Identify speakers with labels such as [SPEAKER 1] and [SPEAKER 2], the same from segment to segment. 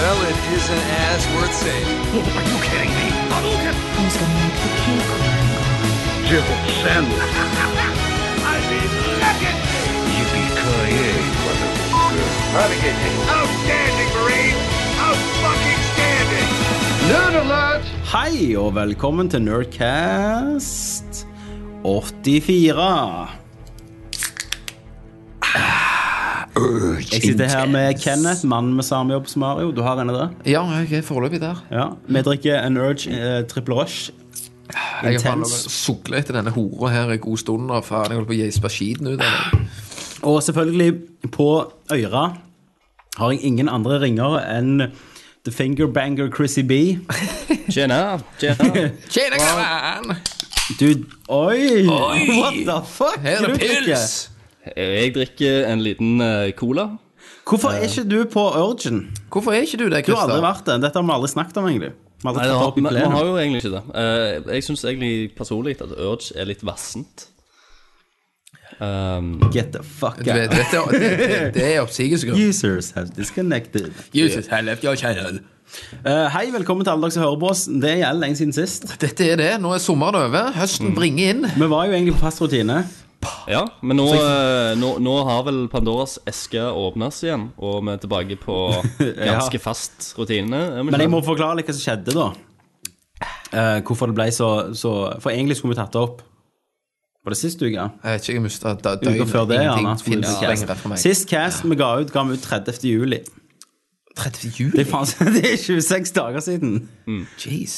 [SPEAKER 1] Well, it isn't as worth saving.
[SPEAKER 2] Are you kidding me? Hadouken!
[SPEAKER 3] Who's gonna make the cake cry?
[SPEAKER 2] Jill Sand. I mean, legend! Yippee-ki-yay, motherfucker. Outstanding, Marine! Out fucking standing! Nerd alert!
[SPEAKER 4] Hei og velkommen til Nerdcast 84. Jeg sitter her med Kenneth, mannen med samme jobb som Mario. Du har en av det?
[SPEAKER 5] Ja, jeg er foreløpig der.
[SPEAKER 4] Ja. Vi drikker en Urge eh, Triple Rush.
[SPEAKER 5] Jeg har
[SPEAKER 4] Intens.
[SPEAKER 5] sukla etter denne hora her en god stund. Og faen, jeg holder på å gispe skiten ut av det.
[SPEAKER 4] Og selvfølgelig, på Øyra har jeg ingen andre ringere enn The Fingerbanger Chrissy B.
[SPEAKER 6] Tjena, tjena.
[SPEAKER 5] Tjena, kameran!
[SPEAKER 4] Du Oi!
[SPEAKER 5] Oi!
[SPEAKER 4] What the fuck?
[SPEAKER 5] Her
[SPEAKER 4] Hva du
[SPEAKER 5] er det
[SPEAKER 4] drikker?
[SPEAKER 5] pils!
[SPEAKER 6] Jeg drikker en liten eh, cola.
[SPEAKER 4] Hvorfor er ikke du på Urgen?
[SPEAKER 5] Hvorfor er ikke du det,
[SPEAKER 4] Du har aldri
[SPEAKER 5] Christer?
[SPEAKER 4] vært det. Dette har vi aldri snakket om, egentlig. Vi
[SPEAKER 6] Nei,
[SPEAKER 4] har aldri tatt det opp i
[SPEAKER 6] man, man
[SPEAKER 4] plenum.
[SPEAKER 6] har jo egentlig ikke det. Eh, jeg syns egentlig personlig at Urge er litt vassent. Um,
[SPEAKER 4] Get the fuck
[SPEAKER 5] Du vet,
[SPEAKER 4] out.
[SPEAKER 5] vet du, det, det- det er oppsigelsesgrunn.
[SPEAKER 4] Users have disconnected.
[SPEAKER 5] Jesus, I left your channel.
[SPEAKER 4] Eh, hei, velkommen til alle dere som hører på oss. Det er jævlig lenge siden sist.
[SPEAKER 5] Dette er det. Nå er sommeren over. Høsten
[SPEAKER 4] Mm.
[SPEAKER 5] bringer inn.
[SPEAKER 4] Vi var jo egentlig på fast rutine.
[SPEAKER 6] ja, men nå, eh, nå, nå har vel Pandoras eske åpnes igjen, og vi er tilbake på ganske fast rutine. er vi ikke
[SPEAKER 4] Men jeg
[SPEAKER 6] det?
[SPEAKER 4] må forklare litt hva som skjedde, da. Eh, hvorfor det ble så, så For egentlig skulle vi tatt det opp. Var det sist uke?
[SPEAKER 5] Jeg vet ikke, jeg mista døgnet.
[SPEAKER 4] Uka før det, gjerne.
[SPEAKER 5] Ingenting
[SPEAKER 4] skulle
[SPEAKER 5] finnes
[SPEAKER 4] det bli
[SPEAKER 5] lenger for
[SPEAKER 4] cast.
[SPEAKER 5] meg.
[SPEAKER 4] Sist cast vi ga ut, ga vi ut 30. juli.
[SPEAKER 5] 30.
[SPEAKER 4] Det
[SPEAKER 5] juli.
[SPEAKER 4] er, faen, det er 26 dager siden.
[SPEAKER 5] Jeez.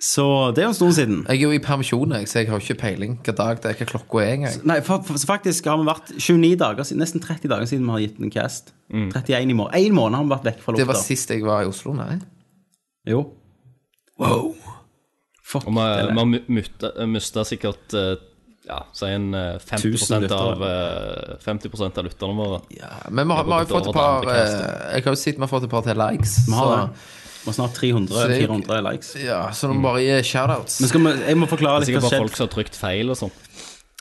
[SPEAKER 4] Så det er jo en stund siden.
[SPEAKER 5] Jeg er jo i permisjon, jeg, så jeg har ikke peiling hva dag det er, hva klokka er engang.
[SPEAKER 4] Nei, fa- fa- så faktisk har vi vært 29 dager siden, nesten 30 dager siden vi har gitt en cast.
[SPEAKER 6] Mm.
[SPEAKER 4] 31 i morgen. En måned har vi vært vekk fra
[SPEAKER 5] Det var
[SPEAKER 4] lufta.
[SPEAKER 5] sist jeg var i Oslo, nei?
[SPEAKER 4] Jo.
[SPEAKER 5] Wow.
[SPEAKER 4] Fuck.
[SPEAKER 6] Og vi- vi har mu- mutta- mista sikkert eh, ja, si en eh, 50
[SPEAKER 4] Tusen
[SPEAKER 6] av, eh, 50 av lytterne våre.
[SPEAKER 5] Ja, men vi har, vi har jo fått et par eh, Jeg har jo sett vi har fått et par til likes.
[SPEAKER 4] Vi har det.
[SPEAKER 5] Så,
[SPEAKER 4] Vi har snart
[SPEAKER 5] Så det er jo-
[SPEAKER 4] 300-400 likes.
[SPEAKER 5] ja, så nå bare gi shoutouts.
[SPEAKER 4] Men skal vi, jeg må forklare litt hva
[SPEAKER 6] Sikkert
[SPEAKER 4] som
[SPEAKER 6] bare
[SPEAKER 4] skjedde
[SPEAKER 6] folk som har trykt feil og sånn.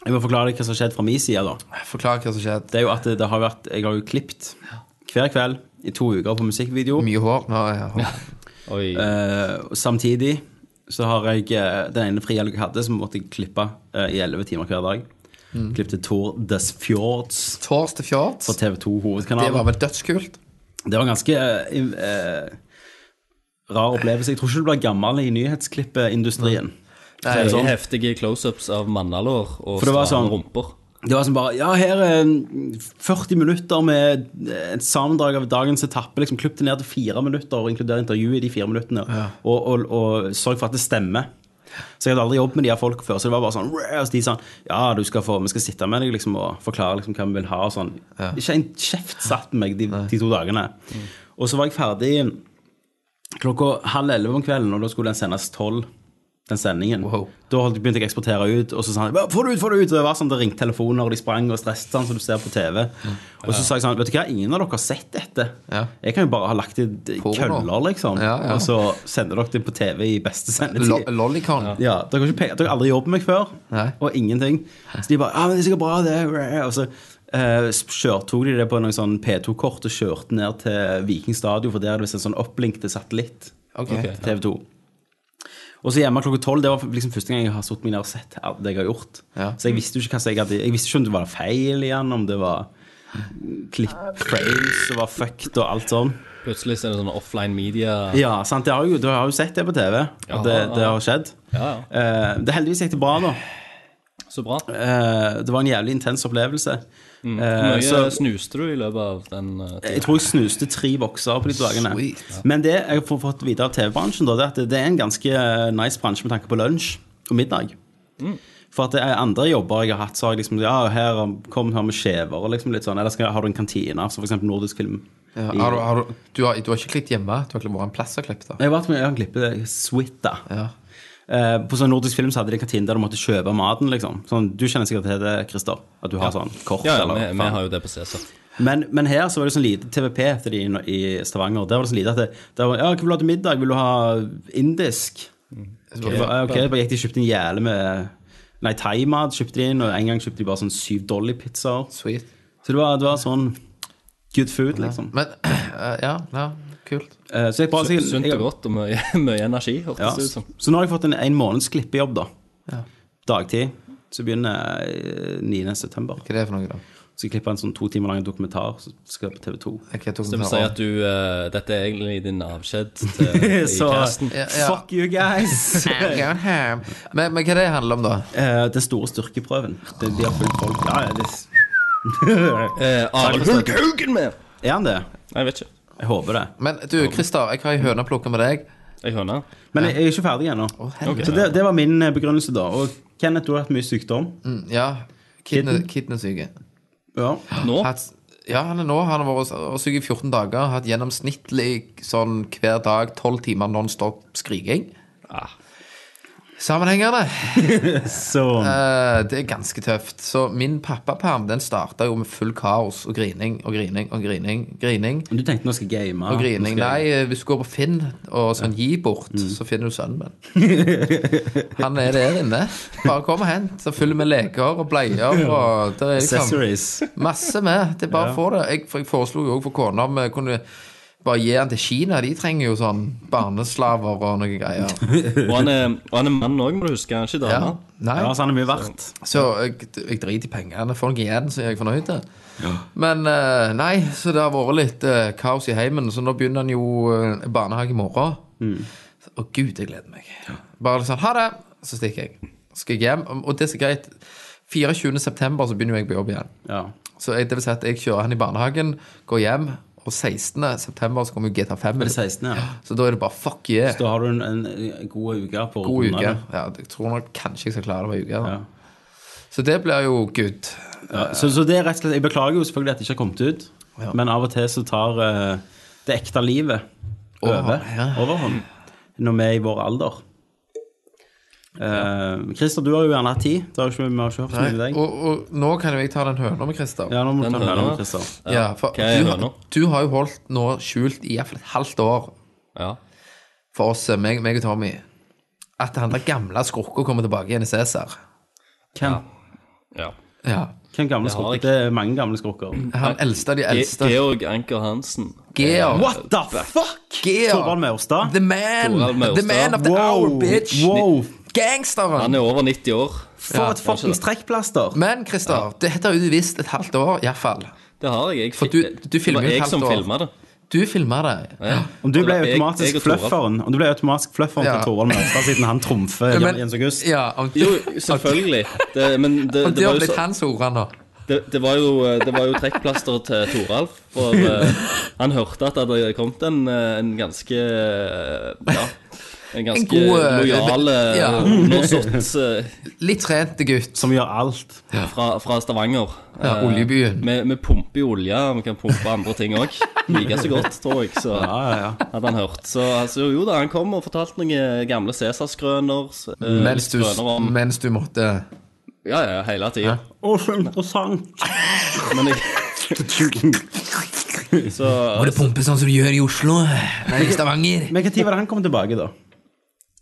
[SPEAKER 4] Jeg må forklare deg hva som har skjedd fra min side. da
[SPEAKER 5] Forklar hva som skjedde.
[SPEAKER 4] Det er jo at det, det har vært Jeg har jo klippt hver kveld i to uker på musikkvideo.
[SPEAKER 5] Mye hår. Nå, ja, hår.
[SPEAKER 6] Oi.
[SPEAKER 4] Eh, og samtidig så har jeg eh, den ene frihelga jeg hadde, som måtte jeg klippe eh, i elleve timer hver dag. Mm. Klippet Tour des Fjords
[SPEAKER 5] Tårs til fjords.
[SPEAKER 4] på TV2
[SPEAKER 5] Det
[SPEAKER 4] hovedkanalen.
[SPEAKER 5] var vel dødskult.
[SPEAKER 4] Det var en ganske eh, im- eh, rar opplevelse. Jeg tror ikke du blir gammel i nyhetsklippeindustrien.
[SPEAKER 5] Nei,
[SPEAKER 6] Veldig
[SPEAKER 4] sånn.
[SPEAKER 6] heftige close-ups av mannalår og
[SPEAKER 4] For det
[SPEAKER 6] stramme
[SPEAKER 4] var sånn-
[SPEAKER 6] rumper.
[SPEAKER 4] Det var som bare Ja, her er en 40 minutter med et sammendrag av dagens etappe. liksom Klipp det ned til fire minutter og inkluder intervjuet i de fire minuttene. Og, og, og sørg for at det stemmer. Så jeg hadde aldri jobbet med de her folk før. Så det var bare sånn «Rrr», og så de sånn, Ja, du skal få, vi skal sitte med deg liksom, og forklare liksom, hva vi vil ha. Og sånn. Ikke en kjeft satt med meg de, de to dagene. Og så var jeg ferdig klokka halv elleve om kvelden, og da skulle den sendes tolv. Den sendingen.
[SPEAKER 5] Wow.
[SPEAKER 4] Da holdt- begynte jeg å eksportere ut, og så sa han «Hva, 'få det ut', få det ut! Og det var sånn, det ringte telefoner, og de sprang og stresset, sånn som du ser på TV. Og så sa jeg sånn 'Vet du hva, ingen av dere har sett dette.
[SPEAKER 5] Mm. Ja.
[SPEAKER 4] Jeg kan jo bare ha lagt det i
[SPEAKER 5] Porno.
[SPEAKER 4] køller, liksom.'
[SPEAKER 5] Ja, ja.
[SPEAKER 4] Og så sender dere det på TV i beste sendetid.
[SPEAKER 5] Lo Lollicon.
[SPEAKER 4] Ja, dere har, ikke pe- dere har aldri jobbet med meg før,
[SPEAKER 5] Nei.
[SPEAKER 4] og ingenting. Så de bare 'Ja, men det er sikkert bra, det.' Og så eh, kjør- tok de det på noen sånn P2-kort og kjørte ned til Viking stadion, for der er det visst en sånn opplink til satellitt
[SPEAKER 5] Ok.
[SPEAKER 4] til TV 2. Og så hjemme klokka tolv. Det var liksom første gang jeg har satt meg ned og sett alt det jeg har gjort.
[SPEAKER 5] Ja.
[SPEAKER 4] Så jeg visste jo ikke hva som jeg hadde Jeg visste ikke om det var feil igjen, om det var klipp frames som var fucked og alt sånn.
[SPEAKER 6] Plutselig så er det sånn offline media.
[SPEAKER 4] Ja, sant. Det har jo, du har jo sett det på TV,
[SPEAKER 6] Ja,
[SPEAKER 4] at det, det
[SPEAKER 6] ja.
[SPEAKER 4] har skjedd.
[SPEAKER 6] Ja, ja.
[SPEAKER 4] Eh, det heldigvis gikk det bra, da.
[SPEAKER 6] Så bra.
[SPEAKER 4] Eh, det var en jævlig intens opplevelse.
[SPEAKER 6] Mm. Hvor
[SPEAKER 4] Eh,
[SPEAKER 6] mye
[SPEAKER 4] så
[SPEAKER 6] snuste du i løpet av den eh, tiden?
[SPEAKER 4] jeg tror jeg snuste tre bokser på de dagene.
[SPEAKER 5] Sweet.
[SPEAKER 4] Men det jeg har fått vite av TV-bransjen, da, det er at det er en ganske eh, nice bransje med tanke på lunsj og middag.
[SPEAKER 6] Mm.
[SPEAKER 4] For at det er andre jobber jeg har hatt, så har jeg liksom Ja, her kom her med skjever og liksom litt sånn. Eller skal, har du en kantine, som for eksempel Nordisk Film.
[SPEAKER 5] Ja, har du, har du, du, har, du har ikke klippet hjemme? Du har ikke vært en plass og klippet? da?
[SPEAKER 4] Jeg har vært med i en klippe, Suita.
[SPEAKER 5] Ja.
[SPEAKER 4] Eh, på sånn nordisk film så hadde de en kantine der du måtte kjøpe maten, liksom. Sånn, du kjenner sikkert til det, Christer, at du har sånn kort
[SPEAKER 6] Ja, ja,
[SPEAKER 4] eller
[SPEAKER 6] vi,
[SPEAKER 4] faen.
[SPEAKER 6] vi har jo det på CC.
[SPEAKER 4] Men, men her så var det sånn lite TVP heter de i- i Stavanger. Der var det sånn lite at det, der var, ja, Hva vil du ha til middag? Vil du ha indisk? Okay. Bare, ok, bare gikk de og kjøpte en jæle med Nei, thaimat kjøpte de inn, og en gang kjøpte de bare sånn syv dolly-pizzaer.
[SPEAKER 5] Sweet.
[SPEAKER 4] Så det var, det var sånn good food, liksom.
[SPEAKER 5] Men eh, Ja, ja, kult.
[SPEAKER 4] Eh, Så, jeg bare, så, jeg,
[SPEAKER 6] Sunt
[SPEAKER 4] jeg,
[SPEAKER 6] og godt og mye, mye energi,
[SPEAKER 4] ja,
[SPEAKER 6] hørtes det ut
[SPEAKER 4] så,
[SPEAKER 6] som.
[SPEAKER 4] så nå har jeg fått en en måneds klippejobb, da. Dagtid. Så begynner eh, 9. september.
[SPEAKER 5] Hva er det for noe, da?
[SPEAKER 4] Så jeg klipper en sånn to timer lang dokumentar som skal på TV 2.
[SPEAKER 5] Hva tok
[SPEAKER 6] Så
[SPEAKER 5] den
[SPEAKER 6] vi
[SPEAKER 5] her?
[SPEAKER 6] sier at du eh, Dette er egentlig din avskjed til i
[SPEAKER 4] Så
[SPEAKER 6] casten.
[SPEAKER 5] Ja, ja.
[SPEAKER 4] Eh, fuck you guys!
[SPEAKER 5] I'm going home. Men, men hva er det handler om, da?
[SPEAKER 4] Eh, Den store styrkeprøven. Det, de har fulgt folk. Ja, ja, det,
[SPEAKER 6] Eh, Arild Hulk Haugen med!
[SPEAKER 4] er han det?
[SPEAKER 6] Nei, Jeg vet ikke.
[SPEAKER 4] Jeg håper det.
[SPEAKER 5] Men du, Christer, jeg har ei høne å plukke med deg.
[SPEAKER 6] Jeg høna.
[SPEAKER 4] Men jeg, jeg er ikke ferdig ennå.
[SPEAKER 5] helvete.
[SPEAKER 4] Så det, det var min eh, begrunnelse, da. Og Kenneth, du har hatt mye sykdom.
[SPEAKER 5] Mm, Ja.
[SPEAKER 4] Kidden?
[SPEAKER 5] Kidnesyke.
[SPEAKER 4] Ja.
[SPEAKER 6] Nå?
[SPEAKER 5] Hatt- Ja, han er nå han har vært og syk i 14 dager. Hatt gjennomsnittlig sånn hver dag 12 timer nonstop skriking. Sammenhengende.
[SPEAKER 4] Så
[SPEAKER 5] Eh, det er ganske tøft. Så min pappaperm den starta jo med full kaos og grining og grining og grining. grining
[SPEAKER 4] Men Du tenkte nå skal jeg game?
[SPEAKER 5] og grining.
[SPEAKER 4] nå skal jeg-
[SPEAKER 5] Nei, eh, hvis du går på Finn og sånn gi bort, så finner du sønnen min. Han er der inne. Bare kom og hent. Så fyller vi leker og bleier og der er liksom
[SPEAKER 4] Accessories.
[SPEAKER 5] Masse med. Det er bare å få det. Jeg, for jeg foreslo jo òg for kona om vi kunne bare gi den til Kina. De trenger jo sånn barneslaver og noe greier.
[SPEAKER 6] Og han er, og han er mann òg, må du huske. Han er ikke
[SPEAKER 5] Ja.
[SPEAKER 6] dame.
[SPEAKER 5] Nei.
[SPEAKER 4] Ja, så han er mye verdt.
[SPEAKER 5] Så jeg, jeg driter i pengene. Får noe igjen, så er jeg fornøyd. Men eh, nei, så det har vært litt eh, kaos i heimen. Så nå begynner han jo eh, barnehage i morgen. Å gud, jeg gleder meg. Bare litt sånn ha det, så stikker jeg. Skal jeg hjem. Og det er så greit. 24.9. så begynner jo jeg på jobb igjen.
[SPEAKER 4] Ja.
[SPEAKER 5] Så jeg, det vil si at jeg kjører han i barnehagen, går hjem, og 16. september så kommer jo GTA 5.
[SPEAKER 4] Det er 16, ja.
[SPEAKER 5] Så da er det bare fuck yeah.
[SPEAKER 4] Så da har du en, en, en god uke på å
[SPEAKER 5] God
[SPEAKER 4] runde
[SPEAKER 5] uke.
[SPEAKER 4] det.
[SPEAKER 5] Ja, jeg tror nok kanskje jeg skal klare det med uke.
[SPEAKER 4] Ja.
[SPEAKER 5] Da. Så det blir jo good.
[SPEAKER 4] Ja, så, så det er rett og slett Jeg beklager jo selvfølgelig at det ikke har kommet ut,
[SPEAKER 5] Ja.
[SPEAKER 4] men av og til så tar eh, det ekte livet over,
[SPEAKER 5] Overhånd, ja.
[SPEAKER 4] overhånd når vi er i vår alder. Eh, Christer, du har jo gjerne hatt tid. Det har jo ikke, vi har ikke hørt så mye med deg.
[SPEAKER 5] Og, og nå kan jo jeg ta den høna med Christer.
[SPEAKER 4] Ja, nå må du
[SPEAKER 6] Den
[SPEAKER 4] ta den
[SPEAKER 6] hører
[SPEAKER 4] om,
[SPEAKER 6] jeg.
[SPEAKER 4] Christer.
[SPEAKER 5] Ja, for
[SPEAKER 6] Hva er
[SPEAKER 5] du,
[SPEAKER 6] høna?
[SPEAKER 5] du har jo holdt nå skjult i iallfall et halvt år
[SPEAKER 6] Ja.
[SPEAKER 5] for oss, eh, meg, meg og Tommy, at han der gamle skurka kommer tilbake igjen i Cæsar.
[SPEAKER 4] Hvem,
[SPEAKER 6] ja.
[SPEAKER 5] Ja.
[SPEAKER 4] hvem gamle
[SPEAKER 6] har Mm.
[SPEAKER 4] skrukker?
[SPEAKER 6] jeg.
[SPEAKER 4] Det er mange gamle skrukker.
[SPEAKER 5] Han eldste av de
[SPEAKER 6] Ge
[SPEAKER 5] eldste.
[SPEAKER 6] Georg Anker Hansen.
[SPEAKER 5] Georg.
[SPEAKER 4] What the fuck?!
[SPEAKER 5] Georg.
[SPEAKER 4] Torvald Maurstad.
[SPEAKER 5] The man.
[SPEAKER 6] Torvald Maurstad.
[SPEAKER 5] The man of the hour,
[SPEAKER 4] Wow!
[SPEAKER 5] bitch.
[SPEAKER 4] wow.
[SPEAKER 5] Gangsteren.
[SPEAKER 6] Han er over 90 år.
[SPEAKER 4] For et fuckings trekkplaster!
[SPEAKER 5] Men Christer, dette har du visst et halvt år, iallfall.
[SPEAKER 6] Det har jeg. jeg
[SPEAKER 5] For
[SPEAKER 6] fi-
[SPEAKER 5] du- du filmer jo
[SPEAKER 6] Det var
[SPEAKER 5] et
[SPEAKER 6] jeg
[SPEAKER 5] halvt
[SPEAKER 6] som
[SPEAKER 5] år.
[SPEAKER 6] filma det.
[SPEAKER 5] Du filma det.
[SPEAKER 6] Ja.
[SPEAKER 4] Om du ble
[SPEAKER 6] Eller jeg- jeg
[SPEAKER 4] automatisk
[SPEAKER 6] og Torvald.
[SPEAKER 4] flufferen Om du ble automatisk flufferen
[SPEAKER 5] Ja.
[SPEAKER 4] til Torvald Maurstad siden han trumfer
[SPEAKER 5] Men-
[SPEAKER 4] Jens August?
[SPEAKER 5] Ja, om du,
[SPEAKER 6] Jo, selvfølgelig. Det, men det,
[SPEAKER 5] om
[SPEAKER 6] det,
[SPEAKER 5] det
[SPEAKER 6] var
[SPEAKER 5] har
[SPEAKER 6] jo
[SPEAKER 5] blitt
[SPEAKER 6] så,
[SPEAKER 5] hans ord han nå.
[SPEAKER 6] det, det var jo eh, Det var jo trekkplaster til Toralf. For eh, han hørte at det hadde kommet en, eh, en ganske eh, Ja. En ganske
[SPEAKER 5] god, eh,
[SPEAKER 6] lojal eh,
[SPEAKER 5] ja.
[SPEAKER 6] undersått eh,
[SPEAKER 5] Litt trente gutt.
[SPEAKER 4] Som gjør alt.
[SPEAKER 6] fra, fra Stavanger.
[SPEAKER 5] Ja,
[SPEAKER 6] Eh,
[SPEAKER 5] oljebyen.
[SPEAKER 6] Vi, vi pumper jo olje, vi kan pumpe andre ting òg. Like så godt, tror jeg. Så
[SPEAKER 4] Ja, ja, ja.
[SPEAKER 6] hadde han hørt. Så altså, jo da, han kom og fortalte noen gamle Cæsarskrøner. Uh,
[SPEAKER 5] Mens du,
[SPEAKER 6] om,
[SPEAKER 5] mens du måtte
[SPEAKER 6] Ja, ja, hele tida.
[SPEAKER 4] Å, så interessant!
[SPEAKER 6] Men jeg Så
[SPEAKER 5] Må du pumpe sånn som du gjør i Oslo? Nei, i Stavanger.
[SPEAKER 4] Men når var det han kom tilbake, da?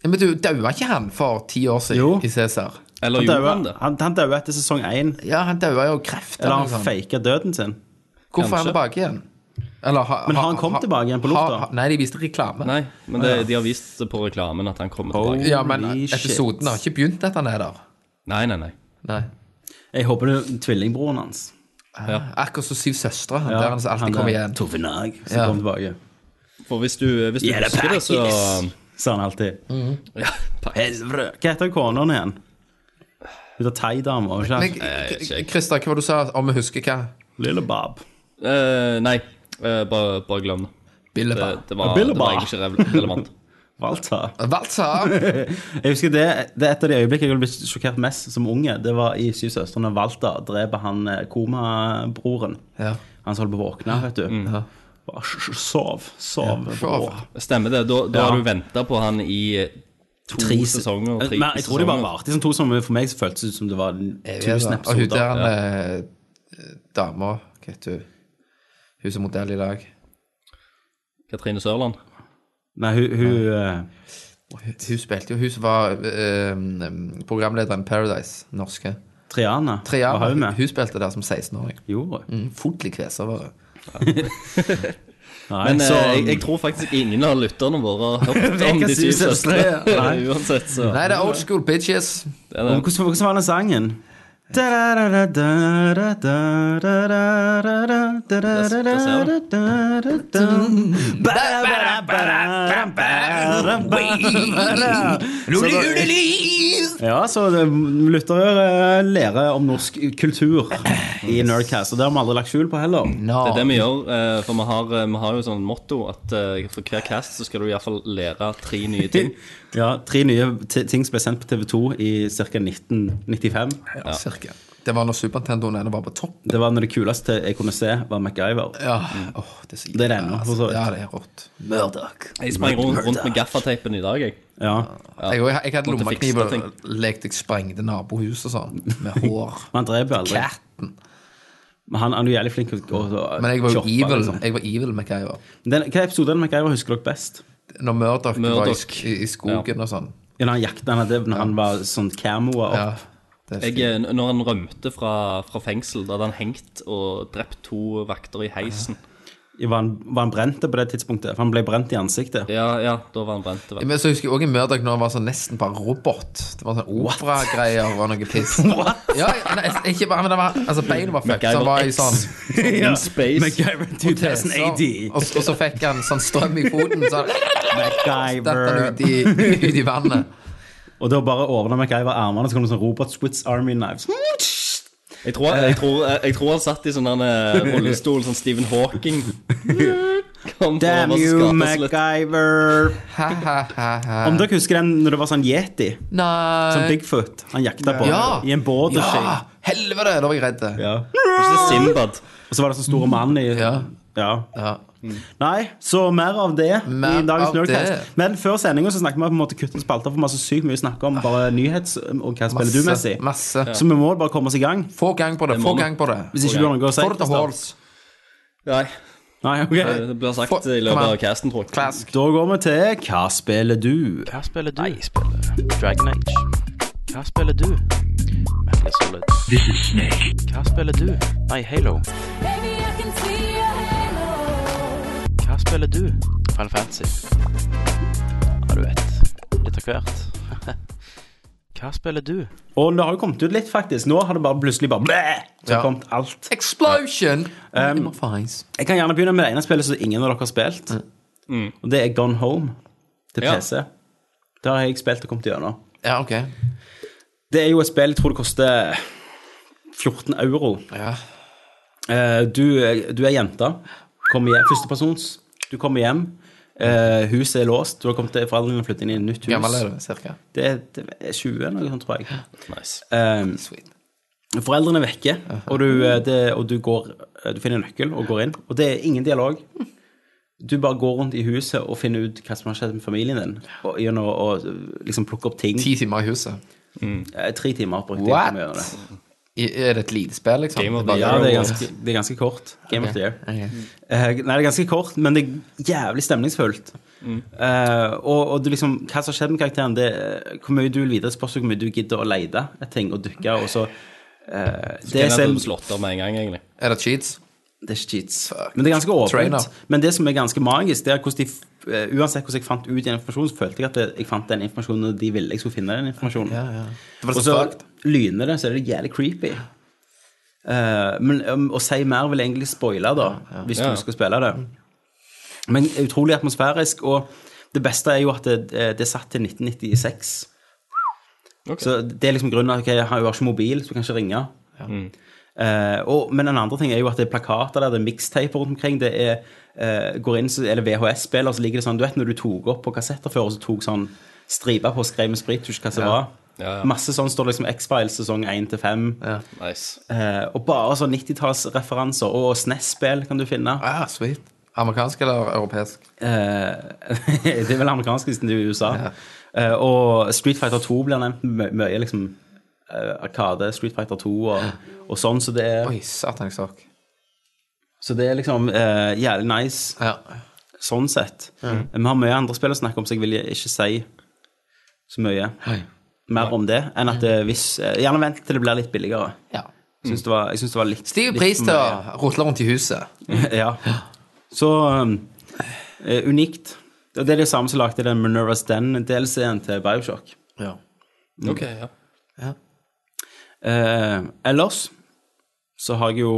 [SPEAKER 5] Ja, Men du daua ikke han for ti år siden
[SPEAKER 4] Jo.
[SPEAKER 5] i Cæsar?
[SPEAKER 6] Eller
[SPEAKER 4] Han
[SPEAKER 6] gjorde han
[SPEAKER 4] døde,
[SPEAKER 6] det?
[SPEAKER 4] han, han døde etter sesong én.
[SPEAKER 5] Ja, han daua jo av kreft.
[SPEAKER 4] Eller
[SPEAKER 5] Eller
[SPEAKER 4] han
[SPEAKER 5] noe sånt.
[SPEAKER 4] faka døden sin.
[SPEAKER 5] Hvorfor er han
[SPEAKER 6] Kanskje.
[SPEAKER 5] tilbake igjen? Eller, ha,
[SPEAKER 4] Men har
[SPEAKER 5] ha-
[SPEAKER 4] han kommet
[SPEAKER 5] ha-
[SPEAKER 4] tilbake igjen på
[SPEAKER 5] ha-
[SPEAKER 4] lufta?
[SPEAKER 5] ha- Nei, de viste reklame.
[SPEAKER 6] Nei, men det, de har vist det på reklamen at han kommer
[SPEAKER 4] Oh.
[SPEAKER 6] tilbake.
[SPEAKER 5] Ja, men
[SPEAKER 4] Holy shit.
[SPEAKER 5] episoden har ikke begynt at han er der.
[SPEAKER 6] Nei, nei, nei.
[SPEAKER 5] Nei. Eh,
[SPEAKER 4] Jeg håper det er tvillingbroren hans.
[SPEAKER 5] Akkurat som Syv søstre. Han der han som alltid
[SPEAKER 4] er
[SPEAKER 5] kommer igjen.
[SPEAKER 4] Tove Nag som
[SPEAKER 5] Ja.
[SPEAKER 4] kom tilbake.
[SPEAKER 6] For hvis du, hvis du
[SPEAKER 4] Yeah, the
[SPEAKER 6] husker det, så
[SPEAKER 4] packies! Sa han alltid.
[SPEAKER 5] Mm.
[SPEAKER 6] ja, pack-
[SPEAKER 4] Helvete! Hva heter kona igjen? Hun er thaidame, ikke
[SPEAKER 5] Men
[SPEAKER 4] sant?
[SPEAKER 6] jeg vet ikke.
[SPEAKER 5] Christer, hva var det du sa om vi husker hva?
[SPEAKER 4] Lille Bab.
[SPEAKER 6] Eh, Nei, eh, bare, bare glem det. Det,
[SPEAKER 5] Billeba.
[SPEAKER 6] det, var, det
[SPEAKER 4] Billeba.
[SPEAKER 6] var egentlig ikke re- relevant.
[SPEAKER 4] Walter.
[SPEAKER 5] Valsa!
[SPEAKER 4] Jeg husker det, det er et av de øyeblikkene jeg ble sjokkert mest som unge. Det var i Syv søstre. Når Walter dreper han eh, komabroren.
[SPEAKER 5] Ja.
[SPEAKER 4] Han som holdt på å våkne, vet du. Mm. Bare s- s- Sov. Sov.
[SPEAKER 5] sov.
[SPEAKER 4] bro.
[SPEAKER 6] Stemmer det. Da, da
[SPEAKER 4] Ja.
[SPEAKER 6] har du venta på han i to
[SPEAKER 4] Tre se-
[SPEAKER 6] sesonger. Tre
[SPEAKER 4] Men jeg tror de bare
[SPEAKER 6] sesonger.
[SPEAKER 4] varte i sånn to som for meg føltes det som det var tusen
[SPEAKER 5] Og hun der
[SPEAKER 4] episoder.
[SPEAKER 5] han eh, dama Hva heter hun? Hun som er modell i dag.
[SPEAKER 6] Katrine Sørland.
[SPEAKER 4] Nei, hun, hun eh,
[SPEAKER 5] Hun hun spilte jo Hun som var eh, programlederen i Paradise, norske.
[SPEAKER 4] Triana
[SPEAKER 5] Triana,
[SPEAKER 4] var hun
[SPEAKER 5] hun,
[SPEAKER 4] med.
[SPEAKER 5] hun spilte der som 16-åring.
[SPEAKER 4] Gjorde hun?
[SPEAKER 5] Mm, Fotlig kveser var hun.
[SPEAKER 4] Nei,
[SPEAKER 6] Men eh,
[SPEAKER 4] så-
[SPEAKER 6] jeg, jeg tror faktisk ingen av lytterne våre har hørt om
[SPEAKER 4] Vekas
[SPEAKER 6] De syv
[SPEAKER 4] syv søstre,
[SPEAKER 6] søstre.
[SPEAKER 4] nei.
[SPEAKER 6] Uansett, så
[SPEAKER 5] Nei, det er old school bitches.
[SPEAKER 6] det
[SPEAKER 4] Og
[SPEAKER 6] er det.
[SPEAKER 4] Hvordan, hvordan var den sangen? Ja, så det- lyttere eh, lærer om norsk kultur i Nerdcast, og det har vi aldri lagt skjul på heller.
[SPEAKER 5] No.
[SPEAKER 6] Det er det vi gjør, eh, for vi har, eh, vi har jo sånn motto at eh, for hver cast så skal du iallfall lære tre nye ting.
[SPEAKER 4] Ja, Tre nye t- ting som ble sendt på TV2 i ca. 1995.
[SPEAKER 5] Ja, cirka. Det var når Super Nintendoen ennå var på topp.
[SPEAKER 4] Det var når det kuleste jeg kunne se, var MacGyver.
[SPEAKER 5] Ja, åh, det er så altså.
[SPEAKER 4] Det er det ennå, for så vidt.
[SPEAKER 5] Ja, det er rått.
[SPEAKER 6] Jeg sprang rundt, rundt med gaffateipen i dag, jeg.
[SPEAKER 4] Ja.
[SPEAKER 5] Jeg, jeg, jeg hadde
[SPEAKER 6] Måtte
[SPEAKER 5] lommekniv og
[SPEAKER 6] fikse
[SPEAKER 5] lekte jeg sprengte nabohus og sånn, med hår.
[SPEAKER 4] Men han drev jo aldri.
[SPEAKER 5] Katten.
[SPEAKER 4] Men Han, han er jo jævlig flink til å gå og
[SPEAKER 5] Men jeg var jo
[SPEAKER 4] shoppe,
[SPEAKER 5] evil.
[SPEAKER 4] liksom.
[SPEAKER 5] Jeg var evil MacGyver.
[SPEAKER 4] Den, hva episode av MacGyver husker dere best?
[SPEAKER 5] Når Murdoch var i,
[SPEAKER 6] Murdoch.
[SPEAKER 5] i, i skogen og sånn.
[SPEAKER 4] Ja, Når han jakta han hadde, når han var sånn camoa opp.
[SPEAKER 5] Ja, det er
[SPEAKER 6] jeg.
[SPEAKER 5] fint.
[SPEAKER 6] eh, Når han rømte fra, fra fengsel, da hadde han hengt og drept to vakter i heisen.
[SPEAKER 4] Var, han, var han brent på det tidspunktet? For han ble brent i ansiktet.
[SPEAKER 6] Ja, ja, da var han brent. det var-
[SPEAKER 5] Men så husker jeg også i Murdoch når han var sånn nesten bare robot. Det var sånn operagreier og noe piss. ja, nei, ikke bare, men det var, altså Beinet var fucked, så han var i sånn
[SPEAKER 6] In space.
[SPEAKER 4] MacGyver
[SPEAKER 5] teser,
[SPEAKER 4] 2080.
[SPEAKER 5] og, og så fikk han sånn strøm i foten, så han datt han ut
[SPEAKER 4] MacGyver.
[SPEAKER 5] i, ut i vannet.
[SPEAKER 4] Og da bare overna MacGyver armene, så kom det sånn Robot Splits Army Knives.
[SPEAKER 6] Jeg tror, jeg, tror, jeg tror han satt i sånn der, eh, rullestol, sånn Stephen Hawking. Kom
[SPEAKER 4] Damn
[SPEAKER 6] over, så
[SPEAKER 4] you,
[SPEAKER 6] skapes litt.
[SPEAKER 4] MacGyver.
[SPEAKER 5] Ha-ha-ha.
[SPEAKER 4] Om dere husker den når det var sånn yeti? Som
[SPEAKER 5] Nei
[SPEAKER 4] Bigfoot. Han jakta på
[SPEAKER 5] Eh. Ja.
[SPEAKER 4] i en border
[SPEAKER 5] Ja!
[SPEAKER 4] shape.
[SPEAKER 5] Helvete, da var jeg redd.
[SPEAKER 4] Ja.
[SPEAKER 6] Ikke det Simbad.
[SPEAKER 4] Og så var det sånn store mann i
[SPEAKER 5] Ja.
[SPEAKER 4] ja.
[SPEAKER 5] Ja.
[SPEAKER 4] Nei, så mer av det
[SPEAKER 5] Mer
[SPEAKER 4] i dagens
[SPEAKER 5] av
[SPEAKER 4] Nerdcast. Men før sendinga snakket vi om å kutte spalter, for vi har så sykt mye å snakke om. Bare nyhets og hva spiller du messig.
[SPEAKER 5] masse.
[SPEAKER 4] Så vi må bare komme oss i gang.
[SPEAKER 5] Få gang på det. Få
[SPEAKER 6] må vi.
[SPEAKER 5] gang på det.
[SPEAKER 4] Hvis ikke du har noe å si.
[SPEAKER 5] Få det til
[SPEAKER 4] Kristian.
[SPEAKER 5] halls. Eh,
[SPEAKER 6] Nei,
[SPEAKER 4] Nei, ok.
[SPEAKER 6] Eh, det blir sagt
[SPEAKER 5] For-
[SPEAKER 6] i
[SPEAKER 5] kom
[SPEAKER 6] løpet
[SPEAKER 5] her.
[SPEAKER 6] av casten, tror jeg.
[SPEAKER 5] Klask.
[SPEAKER 4] Da går vi til Hva spiller du?
[SPEAKER 7] Hva spiller du? Jeg spiller Dragon Age. Hva spiller du? Metal Gear Solid. This is Snake. Hva spiller du? Nei, Halo.
[SPEAKER 8] Baby, I can see your halo.
[SPEAKER 7] Hva spiller du? Final Fantasy. Ja, du vet. Litt av hvert. Hva spiller du?
[SPEAKER 4] Og det har jo kommet ut litt, faktisk. Nå har det bare plutselig bare blæ! Så
[SPEAKER 5] Ja.
[SPEAKER 4] har kommet alt.
[SPEAKER 5] Explosion! Um,
[SPEAKER 4] Jeg kan gjerne begynne med det ene spillet som ingen av dere har spilt.
[SPEAKER 5] Mm.
[SPEAKER 7] Mm.
[SPEAKER 4] Og det er Gone Home til
[SPEAKER 6] Ja.
[SPEAKER 4] PC. Det har jeg spilt og kommet gjennom.
[SPEAKER 5] ja, ok.
[SPEAKER 4] Det er jo et spill jeg tror det koster 14 euro.
[SPEAKER 5] Ja.
[SPEAKER 4] Eh, du, du er jenta. Kommer hjem, førstepersons. Du kommer hjem. eh, huset er låst. Du har kommet til foreldrene og flyttet inn i et nytt hus.
[SPEAKER 5] Gammel er du, cirka.
[SPEAKER 4] Det, det er 20 eller noe sånt, tror jeg.
[SPEAKER 6] Nice.
[SPEAKER 4] Eh,
[SPEAKER 5] Sweet.
[SPEAKER 4] foreldrene er vekke, og, du, eh, det, og du, går, eh, du finner en nøkkel og går inn. Og det er ingen dialog. Du bare går rundt i huset og finner ut hva som har skjedd med familien din. Og, gjennom å å liksom plukke opp ting.
[SPEAKER 5] Ti timer i huset.
[SPEAKER 4] Eh, tre timer brukte jeg
[SPEAKER 5] What?
[SPEAKER 4] på å gjøre det.
[SPEAKER 5] I, er det et lite spill, liksom?
[SPEAKER 6] Game of
[SPEAKER 5] bare-
[SPEAKER 6] the
[SPEAKER 4] Ja,
[SPEAKER 6] Year.
[SPEAKER 4] det er ganske, det er ganske kort. Game of the Year.
[SPEAKER 5] Ok.
[SPEAKER 4] Eh, nei, det er ganske kort, men det er jævlig stemningsfullt. Eh, og og du liksom, hva som har skjedd med karakteren, det er hvor mye du vil videre, spørs jo hvor mye du gidder å lete etter ting og dukke. Og så, eh, det,
[SPEAKER 6] Det er
[SPEAKER 4] som,
[SPEAKER 6] du slått av med en gang, egentlig.
[SPEAKER 5] Er det cheats?
[SPEAKER 4] det er ikke cheats. Men det er ganske
[SPEAKER 5] Trainer.
[SPEAKER 4] åpent. Men det som er ganske magisk, det er hvordan de f- eh, Uansett hvordan jeg fant ut den informasjonen, så følte jeg at jeg fant den informasjonen når de ville jeg skulle finne den informasjonen.
[SPEAKER 5] Det var
[SPEAKER 4] Og
[SPEAKER 5] så
[SPEAKER 4] så
[SPEAKER 5] fucked.
[SPEAKER 4] lyner det, så er det jævlig creepy. Eh, men um, å si mer vil egentlig spoile, da, hvis
[SPEAKER 6] Ja, ja.
[SPEAKER 4] du skal spille det. Men utrolig atmosfærisk, og det beste er jo at det, eh, det er satt til 1996.
[SPEAKER 6] Ok.
[SPEAKER 4] Så det er liksom grunnen at ok, jeg har jo ikke mobil, så du kan ikke ringe.
[SPEAKER 6] Mm.
[SPEAKER 4] Eh, og, men en andre ting er jo at det er plakater der, det er mixtaper rundt omkring. Det er eh, går inn, så, eller VHS-spiller, så ligger det sånn Du vet når du tok opp på kassetter før, og så tok sånn striper på og skrev med sprit, du husker hva som var.
[SPEAKER 6] Ja, ja.
[SPEAKER 4] Masse sånn står det liksom X-Files sesong 1 til 5.
[SPEAKER 6] Nice.
[SPEAKER 4] Eh, og bare sånn 90-tallsreferanser. Og SNES-spill kan du finne.
[SPEAKER 5] Ah, sweet. Amerikansk eller europeisk?
[SPEAKER 4] Eh, det er vel amerikansk hvis det er i USA. Eh, og Street Fighter 2 blir nevnt mø- mye. liksom eh, Arkade, Street Fighter 2 og, og sånn. Så det er,
[SPEAKER 5] Oi, satan, jeg stakk.
[SPEAKER 4] så det er liksom eh, jævlig nice
[SPEAKER 5] Ja.
[SPEAKER 4] sånn sett. Vi har mye andre spill å snakke om, så jeg vil ikke si så mye mer om det. Enn at eh, hvis eh, Gjerne vent til det blir litt billigere.
[SPEAKER 5] ja.
[SPEAKER 4] Jeg syns det var, jeg synes det var litt
[SPEAKER 5] Stiv
[SPEAKER 4] litt
[SPEAKER 5] pris
[SPEAKER 4] for
[SPEAKER 5] til
[SPEAKER 4] mye.
[SPEAKER 5] å rutle rundt i huset.
[SPEAKER 4] ja. Så um, eh, unikt. Og det er det samme som lagde den Minerva's Den-delscenen til Bioshock.
[SPEAKER 5] Ja.
[SPEAKER 6] Ok, ja.
[SPEAKER 4] Eh, ellers så har jeg jo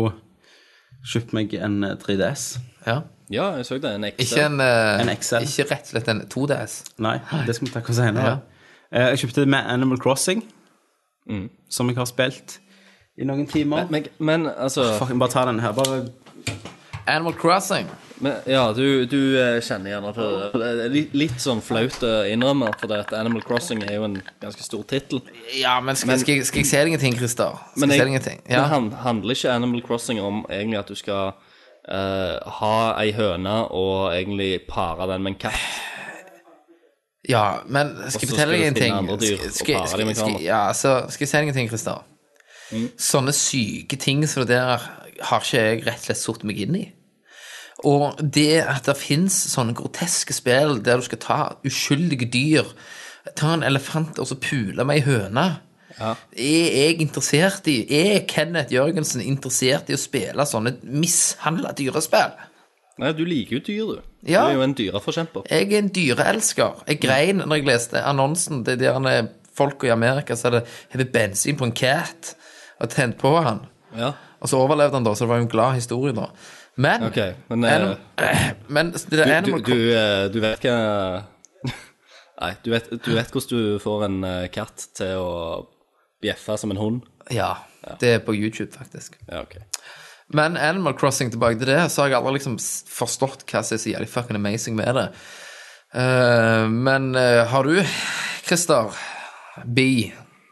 [SPEAKER 4] kjøpt meg en eh, 3DS.
[SPEAKER 5] ja.
[SPEAKER 6] Ja, jeg så det. En ekte.
[SPEAKER 5] Ikke en, eh,
[SPEAKER 4] En XL.
[SPEAKER 5] Ikke rett og slett en 2DS.
[SPEAKER 4] Nei, det skal vi takke oss senere. Eh, jeg kjøpte det med Animal Crossing, som jeg har spilt i noen timer.
[SPEAKER 6] Mm. Men, men altså
[SPEAKER 4] Fuck, jeg må bare ta den her. Bare
[SPEAKER 5] Animal Crossing.
[SPEAKER 6] men, Ja, du, du eh, kjenner gjerne til det. Det er litt- Litt sånn flaut å innrømme, for det at Animal Crossing er jo en ganske stor tittel.
[SPEAKER 5] Ja, men skal,
[SPEAKER 6] Men-
[SPEAKER 5] skal, jeg- skal jeg se deg en ting, Christer? Skal
[SPEAKER 6] Men,
[SPEAKER 5] jeg, se
[SPEAKER 6] jeg,
[SPEAKER 5] deg en ting?
[SPEAKER 6] men
[SPEAKER 5] Ja.
[SPEAKER 6] han, handler ikke Animal Crossing om egentlig at du skal eh, ha ei høne og egentlig pare den med en katt?
[SPEAKER 5] ja, men skal jeg
[SPEAKER 6] så skal
[SPEAKER 5] fortelle
[SPEAKER 6] du
[SPEAKER 5] deg en
[SPEAKER 6] finne
[SPEAKER 5] ting?
[SPEAKER 6] andre dyr
[SPEAKER 5] Skal,
[SPEAKER 6] og
[SPEAKER 5] skal,
[SPEAKER 6] pare dem Mm.
[SPEAKER 5] skal,
[SPEAKER 6] med
[SPEAKER 5] skal,
[SPEAKER 6] hverandre.
[SPEAKER 5] ja, så skal jeg se deg en ting, Christer? Sånne syke ting som det der har ikke jeg rett og slett satt meg inn i. Og det at det fins sånne groteske spill der du skal ta uskyldige dyr Ta en elefant og så pule med ei høne. Er jeg interessert i Er Kenneth Jørgensen interessert i å spille sånne mishandla dyrespill?
[SPEAKER 6] Nei, du liker jo dyr, du.
[SPEAKER 5] Ja.
[SPEAKER 6] Du er jo en dyreforkjemper.
[SPEAKER 5] Jeg er en dyreelsker. Jeg grein når jeg leste annonsen. Det er der han er- folk i Amerika som hadde hevet bensin på en cat og tent på han.
[SPEAKER 6] Ja.
[SPEAKER 5] Og så overlevde han, da, så det var jo en glad historie, da. Men,
[SPEAKER 6] Ok, men, eh,
[SPEAKER 5] Anim- men det
[SPEAKER 6] Du,
[SPEAKER 5] er
[SPEAKER 6] du,
[SPEAKER 5] Animal
[SPEAKER 6] du,
[SPEAKER 5] Crossing
[SPEAKER 6] eh, du vet hva Nei, du vet, du vet hvordan du får en eh, katt til å bjeffe som en hund?
[SPEAKER 5] Ja, det er på YouTube, faktisk.
[SPEAKER 6] Ja, ok.
[SPEAKER 5] Men Animal Crossing tilbake til det, så har jeg aldri liksom s- forstått hva som er så jævlig fucking amazing med det. Eh, men eh, har du, Christer B,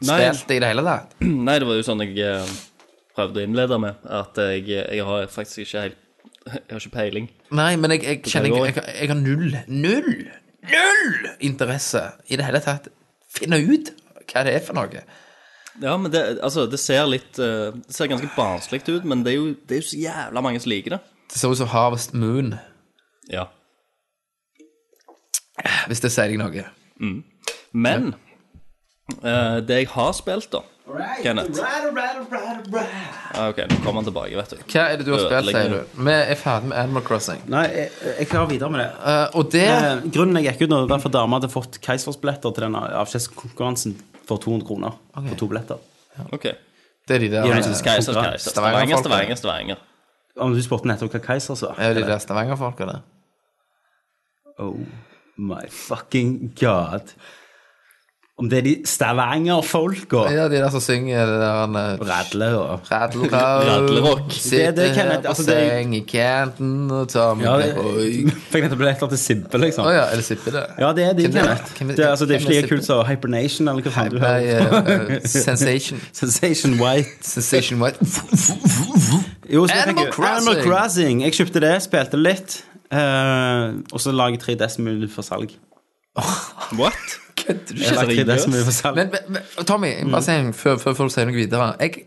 [SPEAKER 6] Nei.
[SPEAKER 5] spilt det i det hele tatt?
[SPEAKER 6] Nei, det var jo sånn jeg eh, prøvde å innlede med, at jeg, jeg har faktisk ikke helt Jeg har ikke peiling.
[SPEAKER 5] Nei, men jeg, jeg kjenner
[SPEAKER 6] går.
[SPEAKER 5] jeg, jeg, jeg har null, null, null interesse i det hele tatt. Finne ut hva det er for noe.
[SPEAKER 6] Ja, men det, altså, det ser litt eh, Det ser ganske barnslig ut, men det er, jo, det er jo så jævla mange som liker det.
[SPEAKER 5] Det ser ut som Harvest Moon,
[SPEAKER 6] Ja.
[SPEAKER 5] hvis det sier deg noe.
[SPEAKER 6] Men eh, det jeg har spilt, da Kenneth. Ah, ok, nå kommer han tilbake, vet du.
[SPEAKER 5] Hva er det du har spilt,
[SPEAKER 6] Ødelegger.
[SPEAKER 5] sier du? Vi er ferdig med Animal Crossing.
[SPEAKER 4] Nei, jeg, jeg klarer videre med det.
[SPEAKER 5] Eh, og det
[SPEAKER 4] Eh, grunnen jeg gikk ut nå, det var derfor dama hadde fått keisersbilletter til den avskjedskonkurransen for 200 kroner. For to billetter.
[SPEAKER 6] Ok.
[SPEAKER 5] Det er de der,
[SPEAKER 4] Ja,
[SPEAKER 5] eh,
[SPEAKER 4] det skal jeg-
[SPEAKER 6] Keiser, keiser. Stavanger,
[SPEAKER 5] Stavanger-folk,
[SPEAKER 6] Stavanger, Stavanger.
[SPEAKER 4] Om du spurte nettopp hva keiser altså. sa?
[SPEAKER 5] er de der Stavanger-folka, det.
[SPEAKER 4] Oh my fucking god. Om det er de Stavanger-folka
[SPEAKER 5] Ja, de der som synger det der eh,
[SPEAKER 4] Radle og
[SPEAKER 5] Radlerock.
[SPEAKER 6] Radlerock.
[SPEAKER 4] Det- det
[SPEAKER 5] Sitter
[SPEAKER 4] er
[SPEAKER 5] her
[SPEAKER 4] Kenneth,
[SPEAKER 5] på
[SPEAKER 4] altså, det er-
[SPEAKER 5] seng i canten og tar med
[SPEAKER 4] Ja, det-
[SPEAKER 5] Oi.
[SPEAKER 4] Fikk nettopp billetter til Sibbe, liksom.
[SPEAKER 5] Å ja, er det Sippe, det?
[SPEAKER 4] Ja, det er de,
[SPEAKER 5] Hvem er-
[SPEAKER 4] Kenneth.
[SPEAKER 5] hvem er-
[SPEAKER 4] Det er, altså, det er
[SPEAKER 5] hvem
[SPEAKER 4] ikke
[SPEAKER 5] er
[SPEAKER 4] like
[SPEAKER 5] Sibbe?
[SPEAKER 4] kult som Hypernation eller hva faen du
[SPEAKER 5] Nei,
[SPEAKER 4] hører
[SPEAKER 5] eh, eh, Sensation.
[SPEAKER 4] Sensation White.
[SPEAKER 5] Sensation White.
[SPEAKER 4] Jo, så jeg
[SPEAKER 5] Animal
[SPEAKER 4] fikk jo-
[SPEAKER 5] Crossing.
[SPEAKER 4] Animal Crossing. Jeg kjøpte det, spilte litt. eh, og så lager jeg 3DS mulig for salg.
[SPEAKER 6] What?
[SPEAKER 5] Kødder du
[SPEAKER 4] Jeg lager 3DS mulig for salg.
[SPEAKER 5] Men, men, men Tommy, jeg må bare si en før, før, før du sier noe videre jeg,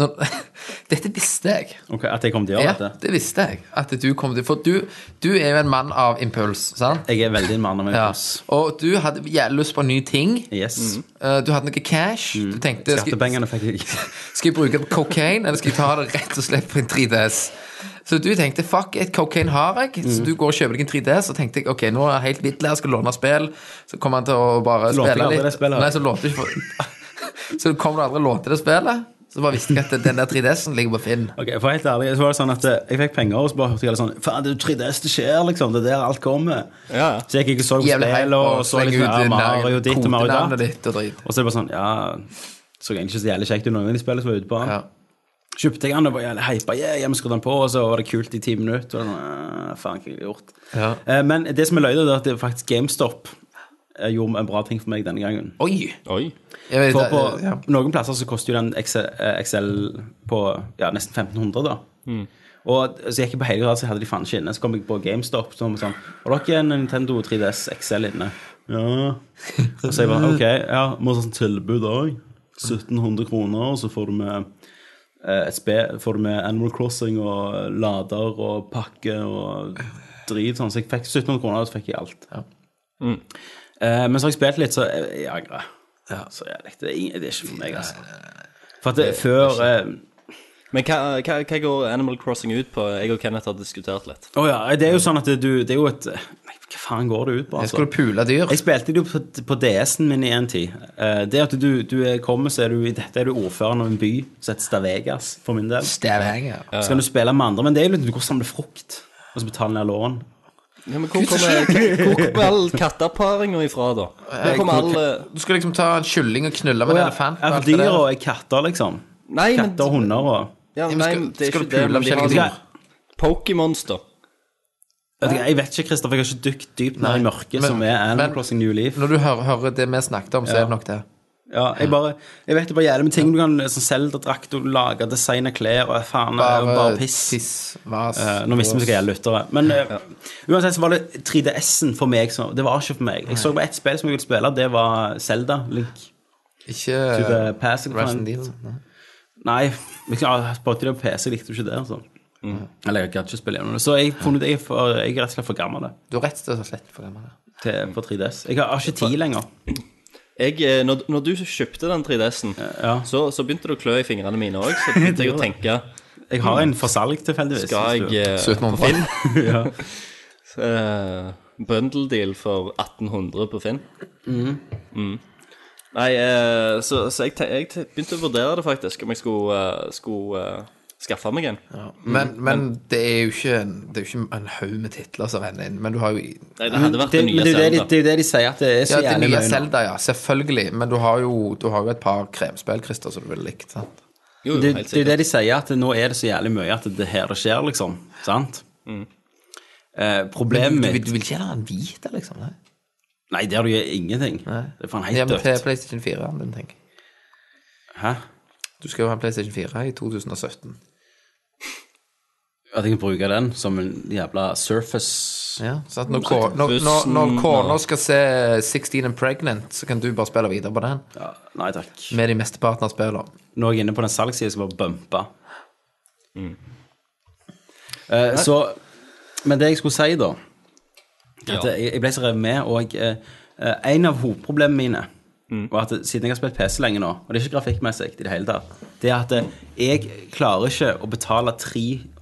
[SPEAKER 5] nå, Dette visste jeg.
[SPEAKER 4] Ok, At jeg kom til å
[SPEAKER 5] Ja,
[SPEAKER 4] gjøre dette?
[SPEAKER 5] det visste jeg. At du kom til For du, du er jo en mann av impuls, sant?
[SPEAKER 4] Jeg er veldig en mann av
[SPEAKER 5] Ja.
[SPEAKER 4] impuls.
[SPEAKER 5] Og du hadde jævlig lyst på en ny ting.
[SPEAKER 4] Yes.
[SPEAKER 5] Eh, Du hadde noe cash. Du tenkte skal,
[SPEAKER 4] Skattepengene fikk jeg ikke.
[SPEAKER 5] skal jeg bruke det på cocaine, eller skal jeg ta det rett og slett på en 3DS? Så du tenkte fuck it, cocaine har jeg.
[SPEAKER 4] Mhm.
[SPEAKER 5] Så du går og kjøper deg en 3DS. Og tenkte jeg, ok, nå er jeg helt vill her, skal låne spill. Så kommer han til å
[SPEAKER 4] Lånte
[SPEAKER 5] bare
[SPEAKER 4] jeg
[SPEAKER 5] spille
[SPEAKER 4] aldri
[SPEAKER 5] litt.
[SPEAKER 4] det spillet?
[SPEAKER 5] Nei, så lånte jeg ikke for- Så kom du aldri og lånte det spillet. Så bare visste jeg at den der 3DS-en ligger på Finn.
[SPEAKER 4] Ok, for helt ærlig, så var det sånn at eh, Jeg fikk penger, og så bare hørte jeg alle sånn Faen, det er jo 3DS det skjer, liksom. Det er der alt kommer.
[SPEAKER 6] Ja, ja.
[SPEAKER 4] Så jeg gikk og så på
[SPEAKER 5] Jævlig hype
[SPEAKER 4] spillet, og så
[SPEAKER 5] slenge
[SPEAKER 4] litt
[SPEAKER 5] ut
[SPEAKER 4] ja,
[SPEAKER 5] den der
[SPEAKER 4] Mario ditt og Mario
[SPEAKER 5] kodenavnet
[SPEAKER 4] datt.
[SPEAKER 5] ditt og drit.
[SPEAKER 4] Og så er det bare sånn Ja, så egentlig ikke så jævlig kjekt ut noen av de spillene som var ute på.
[SPEAKER 5] Ja.
[SPEAKER 4] den. Kjøpte jeg den og var jævlig hypa, yeah, jeg må skru den på, og så var det kult i ti minutter. Og sånn, «Ah, faen, hva har jeg gjort?
[SPEAKER 5] Ja.
[SPEAKER 4] Eh, Men det som er løye, det er at det er faktisk GameStop eh, gjorde en bra ting for meg denne gangen.
[SPEAKER 5] Oi!
[SPEAKER 6] Oi.
[SPEAKER 5] Jeg vet,
[SPEAKER 4] For på
[SPEAKER 5] ja.
[SPEAKER 4] noen plasser så koster jo den Excel, eh, Excel på ja, nesten 1500, da. Og så gikk jeg på hele graden, så hadde de faen ikke inne. Så kom jeg på GameStop som sånn Har dere en Nintendo 3DS XL inne? Ja. Og så jeg bare OK, ja, må ha sånn tilbud òg. 1700 kroner, og så får du med eh, et spe, får du med Animal Crossing og lader og pakke og drit sånn. Så jeg fikk 1700 kroner, og så fikk jeg alt. Eh, men så har jeg spilt litt, så jeg, jeg angrer. Så jeg, det, er ingen, det er ikke for meg, altså. For at det, før eh,
[SPEAKER 6] Men hva, hva, hva går Animal Crossing ut på? Jeg og Kenneth har diskutert litt.
[SPEAKER 4] Å ja, det er jo sånn at du Det er jo et Nei, hva faen går det ut på? altså?
[SPEAKER 5] Jeg skulle pule dyr.
[SPEAKER 4] Jeg spilte det jo på, på DS-en min i en tid. Eh, det at du, du er- kommer, så er du i dette er du ordføreren av en by som heter Stavegas, for min del. Så
[SPEAKER 5] Stavanger.
[SPEAKER 4] kan du spille med andre, men det er jo litt du går og samler frukt. Og så betaler ned lån.
[SPEAKER 6] Ja, men hvor kommer, hvor kommer all katteparinga ifra, da? Hvor kommer all eh,
[SPEAKER 5] Du skal liksom ta en kylling og knulle med en elefant. og
[SPEAKER 4] Ja,
[SPEAKER 5] alt
[SPEAKER 4] for
[SPEAKER 5] det der.
[SPEAKER 4] dyra er katter, liksom.
[SPEAKER 6] Nei, men
[SPEAKER 4] Katter og hunder og
[SPEAKER 6] ja,
[SPEAKER 5] men
[SPEAKER 6] Nei,
[SPEAKER 5] skal-
[SPEAKER 6] men det er
[SPEAKER 5] skal
[SPEAKER 6] ikke
[SPEAKER 5] du
[SPEAKER 6] det.
[SPEAKER 5] pule
[SPEAKER 6] Men de
[SPEAKER 5] forskjellige
[SPEAKER 6] har sånn
[SPEAKER 5] dyr?
[SPEAKER 4] Jeg,
[SPEAKER 6] Pokémonster.
[SPEAKER 4] vet ikke- jeg vet ikke, Christer, for jeg har ikke dykt dypt ned i mørket
[SPEAKER 5] men-
[SPEAKER 4] som er Animal
[SPEAKER 5] men-
[SPEAKER 4] Crossing New Leaf.
[SPEAKER 5] Når du hører, hører det vi snakket om, så er det nok det.
[SPEAKER 4] Ja, jeg, bare, jeg vet det bare gjelder med ting du kan sånn Zelda-drakt, du lager designe klær og faen, bare, bare piss.
[SPEAKER 5] vas.
[SPEAKER 4] Eh, nå mister vi ikke hele lyttere. Men eh, uansett så var det 3DS-en for meg som Det var ikke for meg. Jeg så på ett spill som jeg ville spille, det var Zelda. Link.
[SPEAKER 5] Ikke sånn,
[SPEAKER 4] Type
[SPEAKER 5] eh,
[SPEAKER 4] Pass. eller hva faen.
[SPEAKER 5] Resident Evil. Nei.
[SPEAKER 4] Nei, jeg har spilt det på PC, jeg likte jo ikke det. altså Eller jeg gadd ikke spille gjennom det. Så jeg har funnet ut jeg, er for- jeg er rett og slett for gammel det,
[SPEAKER 5] Du har rett og slett for det. Med det.
[SPEAKER 4] til, for 3DS. Jeg har, har ikke tid lenger.
[SPEAKER 6] Jeg, eh, når, når du kjøpte den 3DS-en,
[SPEAKER 4] ja.
[SPEAKER 6] så, så begynte det å klø i fingrene mine òg. Så begynte jeg å tenke
[SPEAKER 4] Jeg har en for salg tilfeldigvis. hvis
[SPEAKER 6] Skal
[SPEAKER 4] du-
[SPEAKER 6] jeg eh,
[SPEAKER 5] Søt mann på Finn.
[SPEAKER 6] eh, Bundle deal for 1800 på Finn.
[SPEAKER 4] Mhm.
[SPEAKER 6] Mm. Nei, eh, så, så jeg, te- jeg te- begynte å vurdere det faktisk, om jeg skulle, eh, skulle eh, skaffe meg en.
[SPEAKER 4] Mm,
[SPEAKER 5] Men, men det er jo ikke en, det er jo ikke en haug med titler som renner inn. Men du har jo
[SPEAKER 6] Nei, det eh, hadde vært det,
[SPEAKER 4] men
[SPEAKER 6] nye
[SPEAKER 4] Mhm. det er jo det, de,
[SPEAKER 6] Zelda.
[SPEAKER 4] det er jo det de sier, at det er så
[SPEAKER 5] ja, det
[SPEAKER 4] jævlig
[SPEAKER 5] nye
[SPEAKER 4] mye nå.
[SPEAKER 5] Zelda, ja. Selvfølgelig. Men du har jo, du har jo et par kremspill, Christer, som du ville likt. sant?
[SPEAKER 6] Jo, jo, helt
[SPEAKER 4] det, det er jo
[SPEAKER 6] sikkert.
[SPEAKER 4] det de sier, at nå er det så jævlig mye at det her det skjer, liksom. Sant?
[SPEAKER 6] Mm.
[SPEAKER 4] Eh,
[SPEAKER 5] Du,
[SPEAKER 4] problemet
[SPEAKER 5] du,
[SPEAKER 4] mitt
[SPEAKER 5] du vil ikke ha en hvit, liksom? Nei.
[SPEAKER 4] Nei, der du gjør ingenting. Det er faen
[SPEAKER 5] Ja,
[SPEAKER 4] helt
[SPEAKER 5] men til
[SPEAKER 4] dødt.
[SPEAKER 5] PlayStation 4 -en din, tenker jeg.
[SPEAKER 4] Hæ?
[SPEAKER 5] Du skal jo ha en PlayStation 4 i 2017.
[SPEAKER 4] At jeg kan bruke den som en jævla surface
[SPEAKER 5] Ja, sant? Når, ko- når, når, når kona skal se 16 and Pregnant, så kan du bare spille videre på den.
[SPEAKER 4] ja, Nei takk.
[SPEAKER 5] Med de mesteparten av spillene.
[SPEAKER 4] Nå er jeg inne på den salgssida som bare bumpa. Eh, så Men det jeg skulle si, da at
[SPEAKER 6] Ja.
[SPEAKER 4] jeg, jeg ble så revet med, og eh, eh, en av hovedproblemene mine og at Siden jeg har spilt PC lenge nå, og det er ikke grafikkmessig i det hele tatt, det er at eh, jeg klarer ikke å betale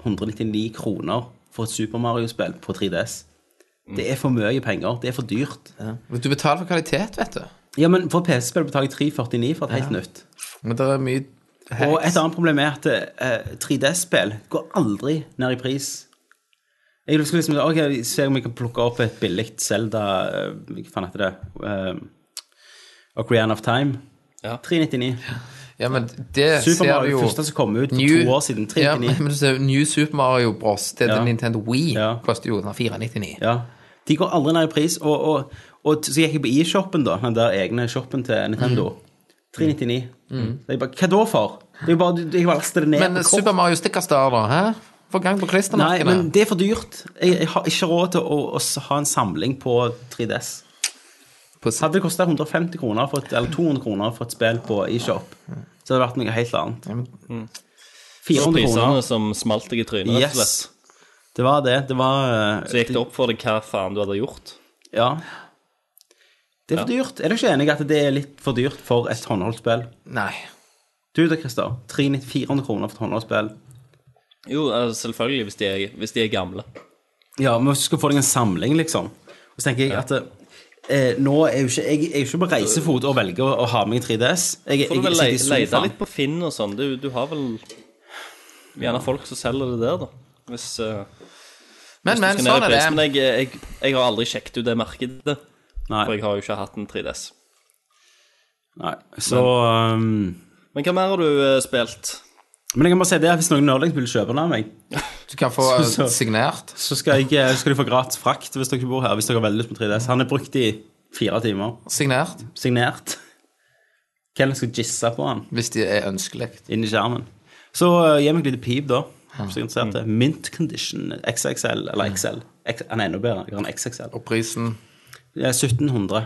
[SPEAKER 4] 399 kroner for et Super Mario-spill på 3DS. Det er for mye penger. Det er for dyrt.
[SPEAKER 5] Men Du betaler for kvalitet, vet du.
[SPEAKER 4] Ja, men for et PC-spill betaler jeg 349 for et helt nytt.
[SPEAKER 5] Men det er mye
[SPEAKER 4] Og et annet problem er at eh, 3DS-spill går aldri ned i pris. Jeg husker liksom, ok, Se om jeg kan plukke opp et billig Zelda eh, Hva faen heter det? Uh, Ocarina of Time.
[SPEAKER 6] Ja.
[SPEAKER 4] 399.
[SPEAKER 5] Ja, men det
[SPEAKER 4] Super
[SPEAKER 5] ser du
[SPEAKER 4] Mario,
[SPEAKER 5] jo
[SPEAKER 4] første som kom ut for
[SPEAKER 5] New-
[SPEAKER 4] to år siden.
[SPEAKER 5] Ja,
[SPEAKER 4] 399.
[SPEAKER 5] men du ser jo New Super Mario Bros. til
[SPEAKER 4] Ja.
[SPEAKER 5] den Nintendo Wii
[SPEAKER 4] Ja.
[SPEAKER 5] koster jo sånn 499.
[SPEAKER 4] Ja. De går aldri ned i pris. Og, og, og så gikk jeg på e-shoppen, da, den der egne shoppen til Nintendo.
[SPEAKER 5] Mm.
[SPEAKER 4] 399. Så jeg bare, Hva da for? Det er jo bare, Jeg bare laster det ned.
[SPEAKER 5] Men eh,
[SPEAKER 4] på kort.
[SPEAKER 5] Super Mario Stickerstar, da? Hæ? Få gang på
[SPEAKER 4] Nei,
[SPEAKER 5] klistremerkene.
[SPEAKER 4] men det er for dyrt. Jeg, jeg har ikke råd til å, å s- ha en samling på 3DS.
[SPEAKER 5] På si-
[SPEAKER 4] Hadde det kosta 150 kroner for et, eller 200 kroner for et spill på eShop, så hadde det vært noe helt annet. 400
[SPEAKER 6] Prisene
[SPEAKER 4] kroner.
[SPEAKER 6] som smalt deg i trynet, rett Mm. og
[SPEAKER 4] Yes.
[SPEAKER 6] slett.
[SPEAKER 4] Det var det. Det var eh,
[SPEAKER 6] Så gikk det opp for deg hva faen du hadde gjort.
[SPEAKER 4] Ja. Det er for dyrt. Er du ikke enig i at det er litt for dyrt for et håndholdt spill?
[SPEAKER 5] Nei.
[SPEAKER 4] Du da, Christer. 300 400 kroner for et håndholdt spill.
[SPEAKER 6] Jo, altså, selvfølgelig, hvis de er, hvis de er gamle.
[SPEAKER 4] Ja, men hvis du skal få deg en samling, liksom. Og så tenker jeg at eh, nå er jo ikke jeg, jeg er jo ikke på reisefot og velger å, å ha med en 3DS. Jeg,
[SPEAKER 6] Får du vel
[SPEAKER 4] sitter i
[SPEAKER 6] le- lete
[SPEAKER 4] sofaen.
[SPEAKER 6] litt på Finn og sånn. Du, du har vel gjerne folk som selger det der, da. Hvis, eh,
[SPEAKER 5] Men,
[SPEAKER 6] hvis
[SPEAKER 5] men,
[SPEAKER 6] du skal ned
[SPEAKER 5] sånn
[SPEAKER 6] i
[SPEAKER 5] er
[SPEAKER 6] pris. Men
[SPEAKER 5] det.
[SPEAKER 6] jeg, jeg, jeg har aldri sjekket ut det markedet.
[SPEAKER 4] Nei.
[SPEAKER 6] For jeg har jo ikke hatt en 3DS.
[SPEAKER 4] Nei. Så um,
[SPEAKER 6] Men hva mer har du eh, spilt?
[SPEAKER 4] Men jeg kan bare si det, at hvis noen nerdlings vil kjøpe den av meg,
[SPEAKER 5] Du kan få
[SPEAKER 4] Så- så-
[SPEAKER 5] eh, signert.
[SPEAKER 4] så skal, jeg, eh, skal de få gratis frakt hvis dere bor her. Hvis dere har veldig lyst på 3DS. Han er brukt i fire timer.
[SPEAKER 5] Signert.
[SPEAKER 4] Signert. Kenneth skal jisse på han
[SPEAKER 5] Hvis de er ønskelig.
[SPEAKER 4] inni skjermen. Så eh, gi meg et lite pip, da. Hvis jeg er interessert. Mint condition XXL eller XL. X, han er enda bedre. Jeg har en XXL.
[SPEAKER 5] Og prisen
[SPEAKER 4] Det er 1700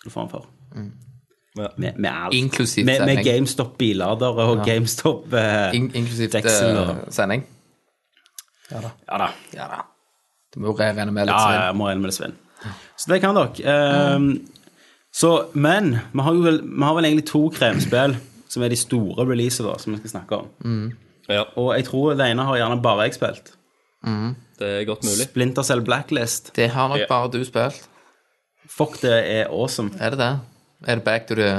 [SPEAKER 4] skal du få den for.
[SPEAKER 6] Ja.
[SPEAKER 4] Med, med alt.
[SPEAKER 5] Mm. Inklusiv
[SPEAKER 4] med, med
[SPEAKER 5] sending.
[SPEAKER 4] GameStop-billader og GameStop eh,
[SPEAKER 5] in inklusiv
[SPEAKER 4] Deksel og
[SPEAKER 5] eh, sending.
[SPEAKER 4] Ja da.
[SPEAKER 5] Ja da. Du må jo re- regne med litt.
[SPEAKER 4] Ja,
[SPEAKER 5] svinn.
[SPEAKER 4] jeg må regne med det svinn. Så det kan dere. Ehm, så, men
[SPEAKER 5] Mm.
[SPEAKER 4] vi har, jo vel, vi har vel egentlig to kremspill som er de store releasene da, som vi skal snakke om.
[SPEAKER 6] Ja,
[SPEAKER 4] Og jeg tror det ene har gjerne bare jeg spilt.
[SPEAKER 6] det er godt mulig.
[SPEAKER 4] Splinter Cell Blacklist.
[SPEAKER 5] Det har nok
[SPEAKER 6] Ja.
[SPEAKER 5] bare du spilt.
[SPEAKER 4] Fuck, det er awesome.
[SPEAKER 5] Er det det? Er det back to the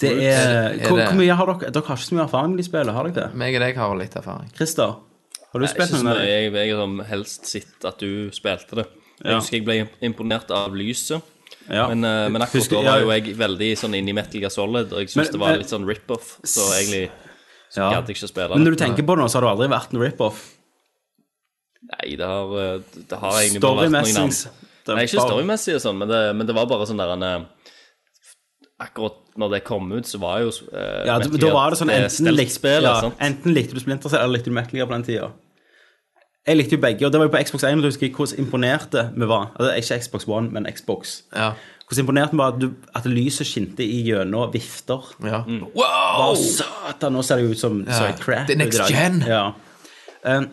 [SPEAKER 4] Det er,
[SPEAKER 5] Er det-
[SPEAKER 4] hvor, hvor mye har dere Dere har ikke så mye erfaring med de spillene, har dere det?
[SPEAKER 5] Meg og deg har litt erfaring.
[SPEAKER 4] Christer, har du
[SPEAKER 6] Jeg
[SPEAKER 4] spilt
[SPEAKER 6] synes
[SPEAKER 4] noe med
[SPEAKER 6] jeg,
[SPEAKER 4] det?
[SPEAKER 6] jeg, jeg har helst sett at du spilte det. Jeg
[SPEAKER 4] Ja.
[SPEAKER 6] husker jeg ble imponert av lyset.
[SPEAKER 4] Ja.
[SPEAKER 6] Men, eh, men akkurat
[SPEAKER 4] Husker-
[SPEAKER 6] da var
[SPEAKER 4] ja.
[SPEAKER 6] jo jeg veldig sånn inni Metal Gear Solid, og jeg
[SPEAKER 4] Men-
[SPEAKER 6] syntes det var
[SPEAKER 4] men-
[SPEAKER 6] litt sånn rip-off, så egentlig
[SPEAKER 4] Ja.
[SPEAKER 6] gadd jeg ikke spille det.
[SPEAKER 4] Men når du tenker på det nå, så har det aldri vært en rip-off.
[SPEAKER 6] Nei, det har, eh, det har egentlig bare vært noen
[SPEAKER 4] Storymessig.
[SPEAKER 6] andre. Nei, ikke storymessig og sånn, men det, men det var bare sånn der en eh, Akkurat når det kom ut, så var jo eh,
[SPEAKER 4] Ja, da-
[SPEAKER 6] Metal
[SPEAKER 4] da
[SPEAKER 6] Gear
[SPEAKER 4] var det sånn
[SPEAKER 6] et altså.
[SPEAKER 4] enten, lik,
[SPEAKER 6] steltspill,
[SPEAKER 4] ja,
[SPEAKER 6] sant?
[SPEAKER 4] enten likte du Splinter Cell eller likte du Metal Gear på den tida. Jeg likte jo begge, og det var jo på Xbox 1. og Du husker jeg hvordan imponerte vi var. Altså, ikke Xbox One, men Xbox.
[SPEAKER 5] Ja.
[SPEAKER 4] Hvordan imponerte vi var at, du, at lyset skinte i gjennom vifter.
[SPEAKER 5] ja.
[SPEAKER 4] Å,
[SPEAKER 5] Wow!
[SPEAKER 4] satan, nå ser det jo ut som så er crap.
[SPEAKER 5] det er
[SPEAKER 4] ut
[SPEAKER 5] next
[SPEAKER 4] i dag.
[SPEAKER 5] gen.
[SPEAKER 4] Ja. Um,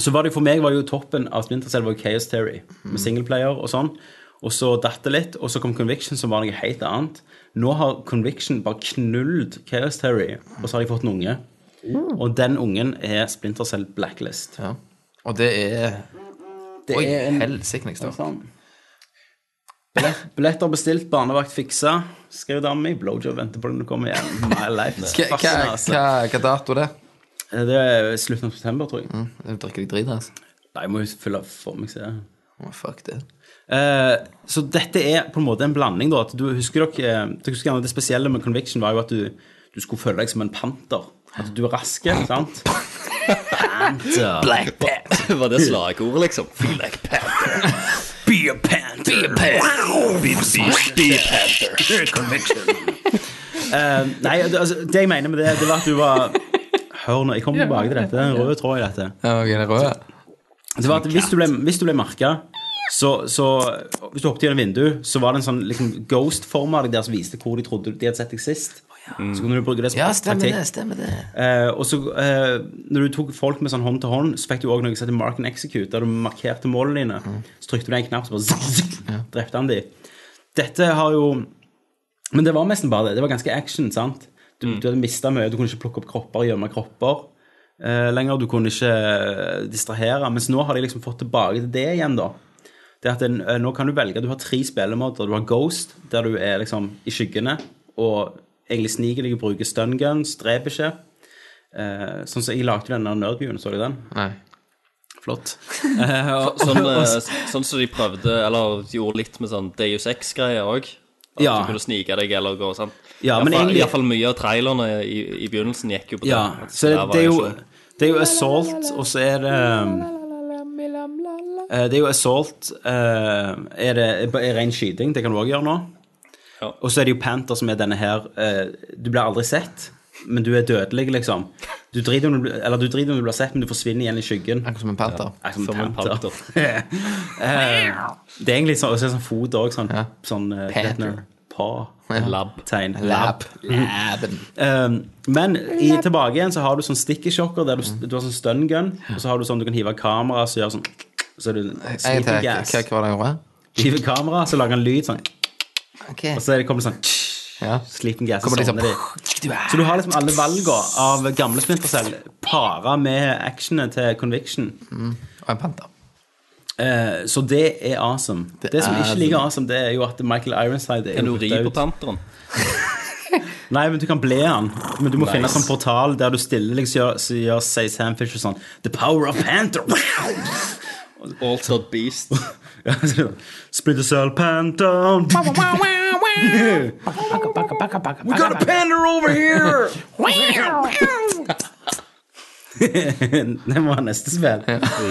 [SPEAKER 4] så var det jo for meg var det jo toppen av Splinter Cell var jo Chaos Theory,
[SPEAKER 5] Mm.
[SPEAKER 4] med singleplayer og sånn. Og så datt det litt, og så kom Conviction, som var noe helt annet. Nå har Conviction bare knullet Chaos Theory, og så har de fått en unge. Og den ungen er Splinter Cell Blacklist.
[SPEAKER 5] Ja. Og det er
[SPEAKER 4] Det
[SPEAKER 5] Oi,
[SPEAKER 4] er en
[SPEAKER 5] helsike, jeg står.
[SPEAKER 4] Sånn. Billett, billetter bestilt, barnevakt fiksa. Skrev dama mi. Blowjob venter på den du kommer igjen. My life is
[SPEAKER 5] Hva, hva,
[SPEAKER 4] fascinating, altså.
[SPEAKER 5] hva, hva dato er det?
[SPEAKER 4] Eh, Det er slutten av september, tror jeg.
[SPEAKER 5] Nå Drikker de drit, altså?
[SPEAKER 4] Nei, jeg må jo fylle for meg se.
[SPEAKER 5] Å, fuck det.
[SPEAKER 4] Eh, så dette er på en måte en blanding, da. At du husker dere, eh, dere husker gjerne Det spesielle med Conviction var jo at du, du skulle føle deg som en panter. At du er rask, sant? Panther.
[SPEAKER 5] Black Panther.
[SPEAKER 6] Var det slagordet, liksom? Feel like Panther.
[SPEAKER 4] Be a panther. Be a panther. nei, det- altså, det jeg mener med det, det var at du var Hør nå, jeg kommer tilbake til dette. Det er en rød tråd i dette.
[SPEAKER 5] Ja, ok, det er rød.
[SPEAKER 4] Det var at hvis du ble, hvis du ble merka så, så Hvis du hoppet gjennom vinduet, så var det en sånn liksom, ghost-form av deg der som viste hvor de trodde de hadde sett deg sist. Så kunne du bruke det som
[SPEAKER 5] Ja, stemmer
[SPEAKER 4] taktikk.
[SPEAKER 5] det. stemmer det.
[SPEAKER 4] Eh, og så eh, Når du tok folk med sånn hånd til hånd, så fikk du òg noe som heter mark and execute, der du markerte målene dine. Så trykte du deg en knapp, så bare zzz, zzz, drepte han de. Dette har jo Men det var nesten bare det. Det var ganske action, sant? Du, du hadde mista mye. Du kunne ikke plukke opp kropper, gjemme kropper eh, lenger. Du kunne ikke eh, distrahere. Mens nå har de liksom fått tilbake til det igjen, da. Det at en, eh, nå kan du velge, du har tre spillemåter. Du har Ghost, der du er liksom i skyggene og egentlig sniker deg og bruker stun guns, dreper ikke. Eh, sånn som jeg lagde den der nerdbyen, så du den?
[SPEAKER 5] Nei.
[SPEAKER 4] Flott.
[SPEAKER 6] Sånn, eh, s- sånn som de prøvde, eller gjorde litt med sånn Deus Ex-greier òg. At
[SPEAKER 4] Ja.
[SPEAKER 6] du kunne snike deg eller gå sånn.
[SPEAKER 4] Ja, men
[SPEAKER 6] Iallfall-
[SPEAKER 4] egentlig-
[SPEAKER 6] Iallfall mye av trailerne i, i begynnelsen gikk jo på
[SPEAKER 4] Ja,
[SPEAKER 6] det. At
[SPEAKER 4] så det,
[SPEAKER 6] der var
[SPEAKER 4] det, er jo,
[SPEAKER 6] ikke-
[SPEAKER 4] det er jo Assault, og så er det eh, Det er jo Assault eh, Er det er ren skyting, det kan du òg gjøre nå.
[SPEAKER 6] Ja.
[SPEAKER 4] Og så er det jo Panther som er denne her eh, Du blir aldri sett, men du er dødelig, liksom. Du driter om du, blir- eller du driter om du blir sett, men du forsvinner igjen i skyggen.
[SPEAKER 5] Akkurat som en panter.
[SPEAKER 4] Er som
[SPEAKER 6] Som en
[SPEAKER 4] panter.
[SPEAKER 6] panter.
[SPEAKER 4] Eh, det er egentlig sånn, og så er det sånn fot òg, sånn,
[SPEAKER 5] Ja.
[SPEAKER 4] sånn eh,
[SPEAKER 5] Panther.
[SPEAKER 4] Detner. Paw.
[SPEAKER 5] Ja.
[SPEAKER 6] Lab.
[SPEAKER 4] Tegn.
[SPEAKER 5] Lab.
[SPEAKER 4] Mm.
[SPEAKER 5] Laben.
[SPEAKER 4] Um, men i, tilbake igjen så har du sånn stikkersjokker der du,
[SPEAKER 5] Mm.
[SPEAKER 4] du har sånn stun gun, og så har du sånn du kan hive kamera så gjør sånn så er det
[SPEAKER 5] Jeg
[SPEAKER 4] sleeping
[SPEAKER 5] tar
[SPEAKER 4] gas.
[SPEAKER 5] hva var det jeg gjorde?
[SPEAKER 4] Hiver kamera, så lager han lyd sånn,
[SPEAKER 5] Ok.
[SPEAKER 4] og så er det- kommer det sånn
[SPEAKER 5] Ja.
[SPEAKER 4] sleeping gas.
[SPEAKER 5] Kommer
[SPEAKER 4] og
[SPEAKER 5] det
[SPEAKER 4] sånn
[SPEAKER 5] liksom
[SPEAKER 4] er det. Så du har liksom alle valgene av gamle Splinter Cell para med actionene til Conviction.
[SPEAKER 5] Og en panter.
[SPEAKER 4] Eh, så det er awesome. Det, som
[SPEAKER 5] er
[SPEAKER 4] ikke ligger awesome, det er jo at Michael Ironside er
[SPEAKER 6] Kan du
[SPEAKER 4] jo
[SPEAKER 6] ri
[SPEAKER 4] død.
[SPEAKER 6] på panteren?
[SPEAKER 4] Nei, men du kan ble han. Men du må
[SPEAKER 6] Nice.
[SPEAKER 4] finne en sånn portal der du stiller liksom, gjør, så gjør say Sam Fisher sånn The power of Panther!
[SPEAKER 6] Altered Beast.
[SPEAKER 4] Ja, så gjør han, Splinter Cell Panther! We got a panther over here! Det må være neste spill.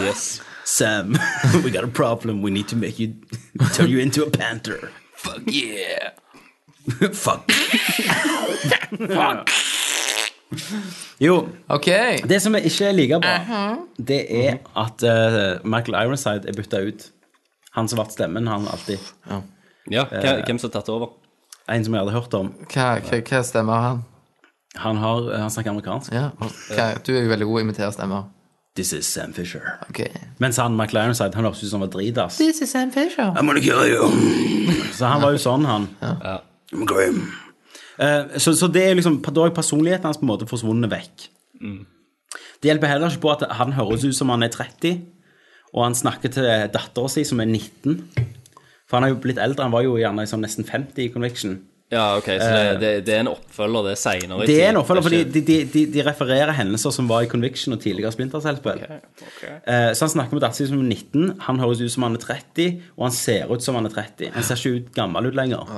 [SPEAKER 6] Yes.
[SPEAKER 4] Sam, we got a problem. We need to make you turn you into a panther.
[SPEAKER 5] Fuck yeah!
[SPEAKER 4] Fuck. Jo,
[SPEAKER 5] Ok.
[SPEAKER 4] det som jeg ikke er like bra, det er at eh, Michael Ironside er bytta ut. Han som ble stemmen, han alltid.
[SPEAKER 6] Ja,
[SPEAKER 4] Eh.
[SPEAKER 6] hvem, hvem som har tatt over?
[SPEAKER 4] En som jeg hadde hørt om.
[SPEAKER 5] Hva, hva, hva stemmer han?
[SPEAKER 4] Han, har, eh, han snakker amerikansk.
[SPEAKER 5] Ja. og Hva, du er jo veldig god til å imitere stemmer.
[SPEAKER 4] This is Sam Fisher.
[SPEAKER 5] Ok.
[SPEAKER 4] Mens han Michael Ironside, han hørtes ut som han var dritass.
[SPEAKER 5] This is Sam Fisher.
[SPEAKER 4] I'm gonna kill you. Så han var jo sånn, han. I'm grim. Eh, så, så det er liksom, da er personligheten hans på en måte forsvunnet vekk. Det hjelper heller ikke på at han høres ut som han er 30, og han snakker til dattera si, som er 19. For han er jo blitt eldre. Han var jo gjerne liksom nesten 50 i Conviction.
[SPEAKER 6] Ja, ok, så det, det, det er en oppfølger, det er seinere.
[SPEAKER 4] Eh. Det er en oppfølger, fordi de, de, de, de refererer hendelser som var i Conviction og tidligere Splinterselspill. Eh, Så han snakker med dattera si som er 19. Han høres ut som han er 30, og han ser ut som han er 30. Han ser ikke ut gammel ut lenger.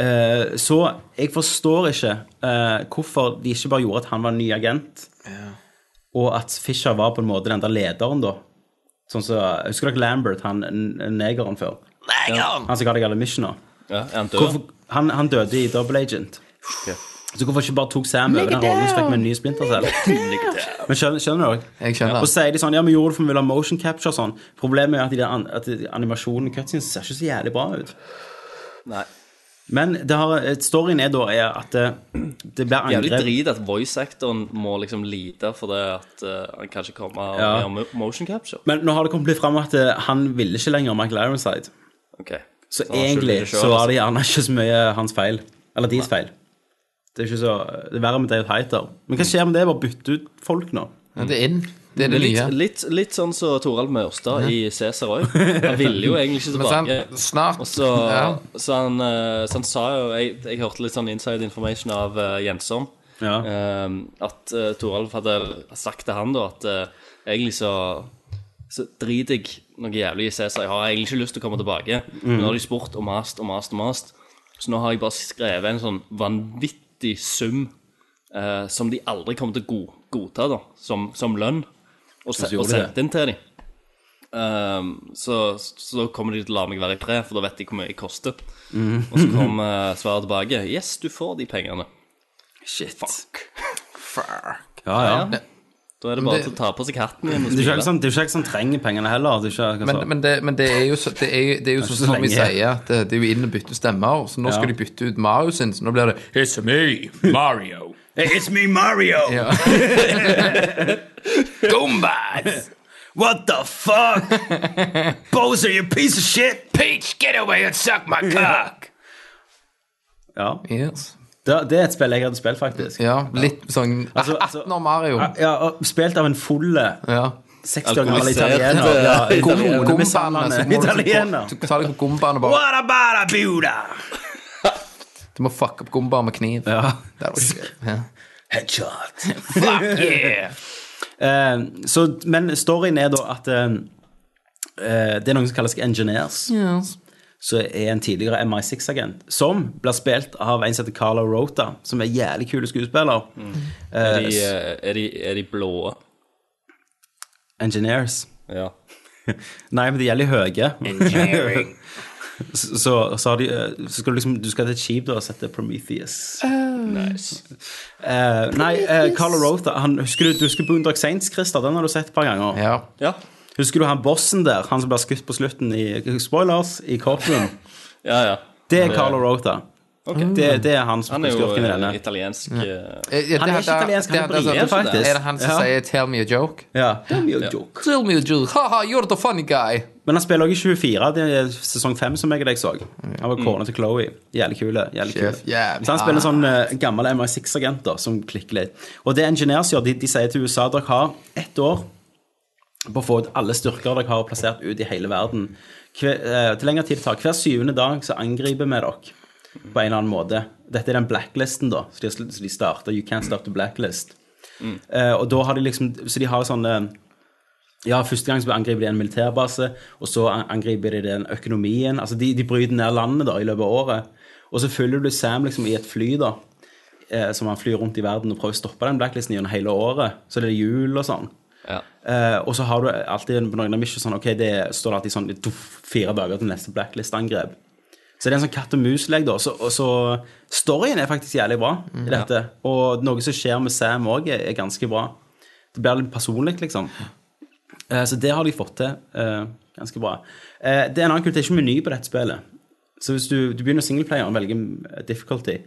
[SPEAKER 4] Eh, Så jeg forstår ikke eh, hvorfor de ikke bare gjorde at han var en ny agent, og at Fisher var på en måte den der lederen, da. Sånn så, Husker dere Lambert, han n- negeren før? Han som ga deg alle missioner?
[SPEAKER 6] Ja, er han død?
[SPEAKER 4] Hvorfor, han, han døde i Double Agent. Så hvorfor ikke bare tok Sam over den rollen som fikk med en ny Splinter Cell? Men skjønner, skjønner dere?
[SPEAKER 5] Jeg skjønner.
[SPEAKER 4] Og så sier de sånn, ja, vi gjorde det for vi vil ha motion capture og sånn. Problemet er at, de der, an- at animasjonen i cutscenes ser ikke så jævlig bra ut.
[SPEAKER 6] Nei.
[SPEAKER 4] Men det har, eh, storyen er da er at det, det blir
[SPEAKER 6] Jævlig
[SPEAKER 4] angrep
[SPEAKER 6] drit at voice-sektoren må liksom lide for det at eh, han kan ikke komme og
[SPEAKER 4] Ja.
[SPEAKER 6] gjøre mo- motion capture.
[SPEAKER 4] Men nå har det kommet litt fram at eh, han ville ikke lenger Michael Ironside.
[SPEAKER 6] Ok.
[SPEAKER 4] Så
[SPEAKER 6] han skylder
[SPEAKER 4] egentlig
[SPEAKER 6] det selv,
[SPEAKER 4] så var
[SPEAKER 6] altså.
[SPEAKER 4] det gjerne ikke så mye hans feil. Eller deres feil. Det er ikke så, det er verre med David Heiter. Men hva skjer med det? Bare bytte ut folk nå?
[SPEAKER 5] Ja, det er inn. Det er det nye.
[SPEAKER 6] Litt, litt, litt sånn som Toralv Mørstad i Cæsar òg. Han ville jo egentlig ikke
[SPEAKER 5] Men sant,
[SPEAKER 6] tilbake.
[SPEAKER 5] snart
[SPEAKER 6] Og så,
[SPEAKER 5] ja.
[SPEAKER 6] så, han, eh, så han sa jo jeg, jeg hørte litt sånn inside information av eh, Jensson.
[SPEAKER 4] Ja.
[SPEAKER 6] eh, at uh, Toralv hadde sagt til han da at eh, egentlig så, så driter jeg noe jævlig i Cæsar. Jeg har egentlig ikke lyst til å komme tilbake.
[SPEAKER 4] Mm.
[SPEAKER 6] Men nå har de spurt og mast og mast og mast. Så nå har jeg bare skrevet en sånn vanvittig sum eh, som de aldri kommer til å go godta da, som, som lønn, og, se og
[SPEAKER 4] gjorde de det?
[SPEAKER 6] sendte inn til dem. Ehm, så, så da kommer de til å la meg være i fred, for da vet de hvor mye jeg koster.
[SPEAKER 4] Mm.
[SPEAKER 6] Og så kom eh, svaret tilbake. Yes, du får de pengene. Shit. Fuck.
[SPEAKER 4] Ja, ja.
[SPEAKER 6] Ja. Da er det bare til å ta på seg hatten igjen og
[SPEAKER 4] Det er jo
[SPEAKER 6] spille.
[SPEAKER 4] ikke sånn jeg som, det er ikke jeg som trenger pengene heller. Det er ikke, altså.
[SPEAKER 5] Men, men, det, men det er jo, så- det er, jo- det er jo sånn
[SPEAKER 4] så
[SPEAKER 5] som vi
[SPEAKER 4] lenge.
[SPEAKER 5] sier, at det, det er jo inn og bytte stemmer. Så nå skal de bytte ut Mario sin, så nå blir det It's me, Mario.
[SPEAKER 4] It's me, Mario!
[SPEAKER 5] Ja. Goombas!
[SPEAKER 4] What the fuck? Bozer, you piece of shit!
[SPEAKER 5] Peach, get away and suck my cock!
[SPEAKER 4] Ja,
[SPEAKER 5] Yes.
[SPEAKER 4] det, det er et spill jeg hadde spilt, faktisk.
[SPEAKER 5] Ja, litt sånn
[SPEAKER 4] Altså, altså-
[SPEAKER 5] 18 år Mario.
[SPEAKER 4] Ja, og Spilt av en full
[SPEAKER 5] Ja.
[SPEAKER 4] 60 år gammel
[SPEAKER 6] Alkoholisert,
[SPEAKER 4] italiener.
[SPEAKER 6] eh,
[SPEAKER 4] Ja,
[SPEAKER 6] italiener.
[SPEAKER 5] Gombaene. så må
[SPEAKER 4] Konemishandlende
[SPEAKER 5] du-
[SPEAKER 4] italiener.
[SPEAKER 5] Du tar deg på gombaene og bare
[SPEAKER 4] What about a beauty?
[SPEAKER 5] Du må fucke opp gombaer med kniv.
[SPEAKER 4] Ja.
[SPEAKER 5] Det er jo ikke- ja.
[SPEAKER 4] Headshot. Fuck yeah! Eh, så, men storyen er da at eh, eh, det er noen som kalles engineers. Som er en tidligere MI6-agent. Som blir spilt av en som heter Carlo Rota, som er jævlig kul skuespiller.
[SPEAKER 6] Mm. Er de, eh, er de, er de blå?
[SPEAKER 4] Engineers.
[SPEAKER 6] Ja.
[SPEAKER 4] Nei, men de gjelder høye. så, så, så, har de, eh, så skal du liksom Du skal til et skip da, og sette Prometheus.
[SPEAKER 6] Nice.
[SPEAKER 4] Eh, nei, eh, Carlo Rota han, Husker du, du husker Boondock Saints, Christer? Den har du sett et par ganger.
[SPEAKER 5] ja.
[SPEAKER 6] Ja.
[SPEAKER 4] Husker du han bossen der, han som ble skutt på slutten i Spoilers, i Courtroom?
[SPEAKER 6] ja, ja.
[SPEAKER 4] Det er Carlo Rota. Det, det er han som
[SPEAKER 6] Han
[SPEAKER 4] er
[SPEAKER 6] er jo
[SPEAKER 4] skurken i denne.
[SPEAKER 6] eh, italiensk eh,
[SPEAKER 5] Eh, ja,
[SPEAKER 4] Han
[SPEAKER 5] det-
[SPEAKER 4] er ikke
[SPEAKER 5] det-
[SPEAKER 4] italiensk, han er
[SPEAKER 5] det- det-
[SPEAKER 4] britisk, faktisk.
[SPEAKER 5] Er det han som
[SPEAKER 4] Ja.
[SPEAKER 5] sier 'tell me a joke'?
[SPEAKER 4] Ja. Det er mye joke.
[SPEAKER 5] Tell me a joke, haha, you're the funny guy.
[SPEAKER 4] Men han spiller også i 24, det er sesong 5 som jeg og deg så. Han var kona til Chloé. Jævlig kule. Jævlig kule.
[SPEAKER 5] Sjef, jævlig.
[SPEAKER 4] Så han spiller sånn eh, gammel MI6-agent da, som klikker litt. Og det engineers gjør, de, de sier til USA dere har ett år på å få ut alle styrker dere har plassert ut i hele verden. Hver, eh, til lengre tid det tar. Hver syvende dag så angriper vi dere på en eller annen måte. Dette er den blacklisten, da. Så de, så de starter You can't start a blacklist. Eh, og da har de liksom Så de har sånne ja, første gang så angriper de en militærbase, og så an- angriper de den økonomien. Altså, de, de bryter ned landet da, i løpet av året. Og så følger du Sam liksom i et fly, da, eh, som han flyr rundt i verden og prøver å stoppe den blacklisten gjennom hele året. Så det er jul og sånn.
[SPEAKER 6] Ja.
[SPEAKER 4] Eh, og så har du alltid en- på noen av missions sånn, ok, det står alltid sånn tuff, fire dager til neste blacklist-angrep. Så det er en sånn katt og mus-lek, da. Så, og så storyen er faktisk jævlig bra i dette. Og noe som skjer med Sam òg, er, er ganske bra. Det blir litt personlig, liksom. Eh, Så det har de fått til eh, ganske bra. Eh, Det er en annen kult, det er ikke meny på dette spillet. Så hvis du, du begynner singleplayer og velger eh, difficulty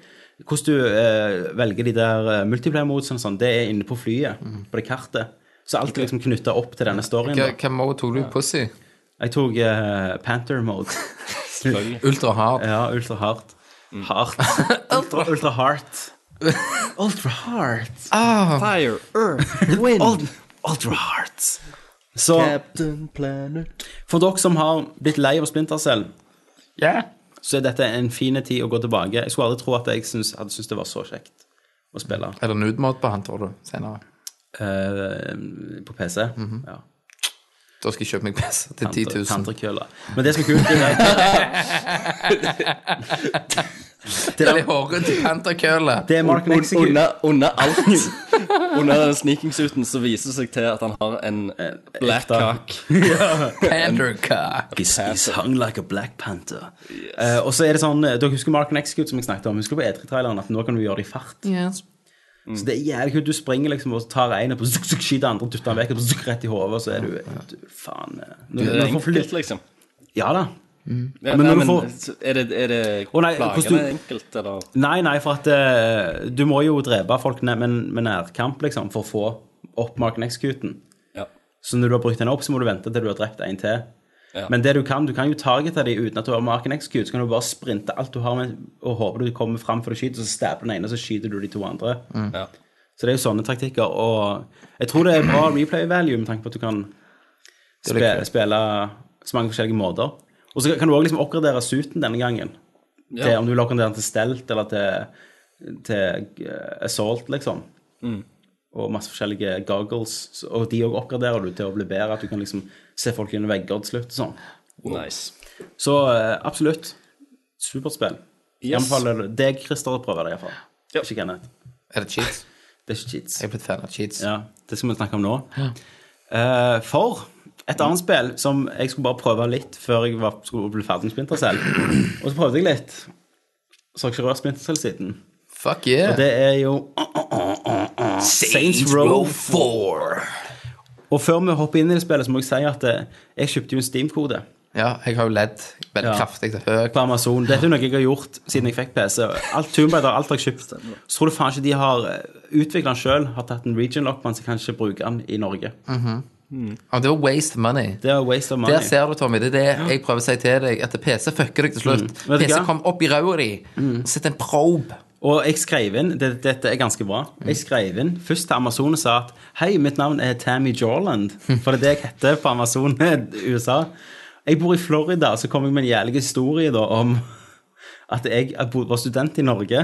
[SPEAKER 4] Hvordan du eh, velger de der eh, multiplayer-modes, og sånn, det er inne på flyet, på det kartet. Så alt er liksom knytta opp til denne storyen. da.
[SPEAKER 5] Hva- Hvem mode tok du? Pussy?
[SPEAKER 4] Jeg tok eh, Panther-mode.
[SPEAKER 5] Ultra hard.
[SPEAKER 6] Mm.
[SPEAKER 4] Ja, ultra hardt. Hardt. Ultra, ultra hardt. Ultra Heart.
[SPEAKER 6] Fire, Earth, Ah. Wind,
[SPEAKER 4] Ultra Heart. Så
[SPEAKER 6] Captain Planet
[SPEAKER 4] for dere som har blitt lei av Splintercell, så er dette en fin tid å gå tilbake. Jeg skulle aldri tro at jeg syns- hadde syntes det var så kjekt å spille
[SPEAKER 5] Er det nudemat på han, tror du? Senere.
[SPEAKER 4] eh, på PC.
[SPEAKER 6] Mhm.
[SPEAKER 4] ja.
[SPEAKER 5] Da skal jeg kjøpe meg PC til 10 000.
[SPEAKER 4] Tantrekøller. Men det som er kult, det er det,
[SPEAKER 5] Eller
[SPEAKER 4] er,
[SPEAKER 5] håret til panterkølle.
[SPEAKER 4] det er Mark and Execute.
[SPEAKER 6] under, under alt. under den sneakingsuten så viser det seg til at han har en black
[SPEAKER 4] Eh, ekte.
[SPEAKER 6] cock.
[SPEAKER 5] Pandercock.
[SPEAKER 4] He's, he's hung like a black panther. Eh, og så er det sånn, eh, Dere husker Mark and Execute som jeg snakket om? Husker du på E3-traileren at nå kan du gjøre det i fart? Så det er jævlig kult. Du springer liksom og tar en og zuk, zuk, skyter andre, dytter den vekk og zuk, rett i hodet, og så er du, du Faen. eh, Når,
[SPEAKER 6] Det er
[SPEAKER 4] når du får
[SPEAKER 6] enkelt,
[SPEAKER 4] fly-
[SPEAKER 6] liksom.
[SPEAKER 4] Ja da.
[SPEAKER 6] Ja,
[SPEAKER 4] Men
[SPEAKER 6] nei,
[SPEAKER 4] når du
[SPEAKER 6] men
[SPEAKER 4] får-
[SPEAKER 6] Er det, er det
[SPEAKER 4] Å, nei, hvordan
[SPEAKER 6] plagende
[SPEAKER 4] du-
[SPEAKER 6] enkelt, eller?
[SPEAKER 4] Nei, nei, for at eh, du må jo drepe folk ned, med, med nærkamp, liksom, for å få opp Mark and Execute-en.
[SPEAKER 6] Ja.
[SPEAKER 4] Så når du har brukt den opp, så må du vente til du har drept en til.
[SPEAKER 6] Ja.
[SPEAKER 4] Men det du kan, du kan jo targete dem uten at du har marken execute. Så kan du bare sprinte alt du har med, og håpe du kommer fram før du skyter, så stabber den ene, så skyter du de to andre.
[SPEAKER 6] Ja.
[SPEAKER 4] Så det er jo sånne taktikker. Og jeg tror det er bra replay value med tanke på at du kan
[SPEAKER 5] litt
[SPEAKER 4] spe,
[SPEAKER 5] kult.
[SPEAKER 4] spille så mange forskjellige måter. Og så kan du òg liksom oppgradere suiten denne gangen.
[SPEAKER 6] Ja.
[SPEAKER 4] Til, om du vil oppgradere den til stelt eller til, til eh, assault, liksom.
[SPEAKER 6] Mm.
[SPEAKER 4] Og masse forskjellige goggles. Så- Og de òg oppgraderer du til å bli bedre. At du kan liksom se folk gjennom vegger til slutt og sånn.
[SPEAKER 6] Nice.
[SPEAKER 4] Så eh, absolutt. Superspill. Jeg
[SPEAKER 6] Yes.
[SPEAKER 4] anbefaler deg, Christer, å prøve det, iallfall.
[SPEAKER 6] Ja.
[SPEAKER 4] Ikke Kenneth.
[SPEAKER 5] Er det cheats?
[SPEAKER 4] Det er ikke cheats.
[SPEAKER 5] Jeg er blitt fan av cheats.
[SPEAKER 4] Ja, det skal vi snakke om nå. Eh, for et annet spill som jeg skulle bare prøve litt før jeg var, skulle bli ferdig med Splinter Cell. Og så prøvde jeg litt. Så har jeg ikke rørt Splinter Cell siden.
[SPEAKER 5] Fuck
[SPEAKER 4] Og
[SPEAKER 5] yeah.
[SPEAKER 4] det er jo Saints Row
[SPEAKER 5] 4.
[SPEAKER 4] Og før vi hopper inn i det spillet, så må jeg si at eh, jeg kjøpte jo en Steam-kode
[SPEAKER 5] Ja, jeg har jo ledd veldig
[SPEAKER 4] Ja.
[SPEAKER 5] kraftig til høy.
[SPEAKER 4] på Amazon. Dette er noe jeg har gjort siden jeg fikk PC. Alt Tomb Raider, alt har jeg kjøpt. Så tror du faen ikke de har utvikla den sjøl, har tatt en region lockman, så jeg kan ikke bruke den i Norge.
[SPEAKER 5] Ja, det var waste money.
[SPEAKER 4] Det er waste of money.
[SPEAKER 5] Der ser du, Tommy, det er det jeg prøver å si til deg, at PC fucker deg til slutt.
[SPEAKER 4] Mm. Vet du
[SPEAKER 5] PC
[SPEAKER 4] hva? Mm.
[SPEAKER 5] kom opp i ræva di og setter en probe.
[SPEAKER 4] Og jeg skrev inn det, Dette er ganske bra. Jeg skrev inn først til Amazon og sa at Hei, mitt navn er Tammy Jorland. For det er det jeg heter på Amazon USA. Jeg bor i Florida, så kom jeg med en jævlig historie da om at jeg bod- var student i Norge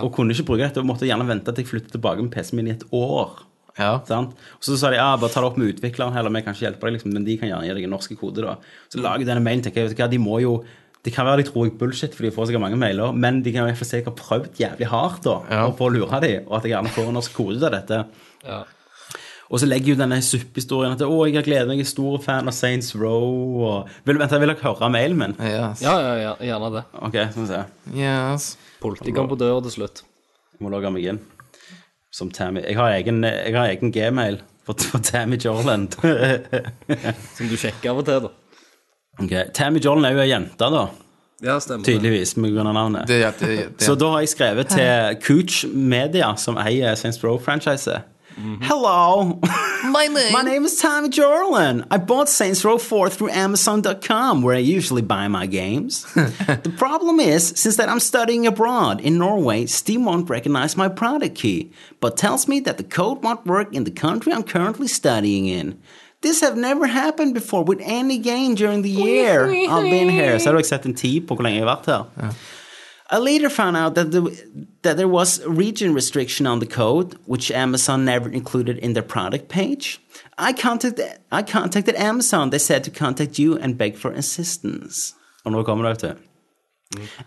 [SPEAKER 4] og kunne ikke bruke dette. Og måtte gjerne vente til jeg flyttet tilbake med PC-en min i et år.
[SPEAKER 5] Ja.
[SPEAKER 4] Sant? Og så sa de ja, bare ta det opp med utvikleren, eller vi kan ikke hjelpe deg, liksom, men de kan gjerne gi deg en norsk kode. da. Så lager jeg denne mailen, tenker jeg, vet du hva, de må jo Det kan være de tror jeg bullshit, for de får sikkert mange mailer, men de kan i hvert fall se at jeg har prøvd jævlig hardt da, og på å lure dem, og at jeg gjerne får en norsk kode av dette.
[SPEAKER 6] Ja.
[SPEAKER 4] Og så legger jo denne suppehistorien at å, jeg har gledet meg, jeg er stor fan av Saints Row, og vil, Vent, jeg vil dere høre mailen min?
[SPEAKER 5] Yes.
[SPEAKER 6] Ja, ja, ja, gjerne det.
[SPEAKER 4] Ok, skal vi se.
[SPEAKER 5] yes.
[SPEAKER 6] Politiet kom på døra til slutt.
[SPEAKER 4] Jeg må logge meg inn. Som Tammy. Jeg har egen, jeg har egen gmail for, for Tammy Jorland.
[SPEAKER 6] Som du sjekker av og til, da.
[SPEAKER 4] Ok, Tammy Jollen er jo ei jente, da.
[SPEAKER 6] Ja, stemmer.
[SPEAKER 4] Tydeligvis, med grunn av navnet.
[SPEAKER 5] Det, det, det,
[SPEAKER 4] Så da har jeg skrevet til Cooch Media, som eier Saints Row-franchiset. Hello!
[SPEAKER 5] My name.
[SPEAKER 4] My name is Tommy Jorlin. I bought Saints Row 4 through Amazon.com, where I usually buy my games. the problem is, since that I'm studying abroad in Norway, Steam won't recognize my product key, but tells me that the code won't work in the country I'm currently studying in. This have never happened before with any game during the year I've been here. Så har du ikke sett en tid på hvor lenge jeg har vært her. I later found out that the that there was region restriction on the code, which Amazon never included in their product page. I contacted I contacted Amazon. They said to contact you and beg for assistance. Og nå kommer det, vet du.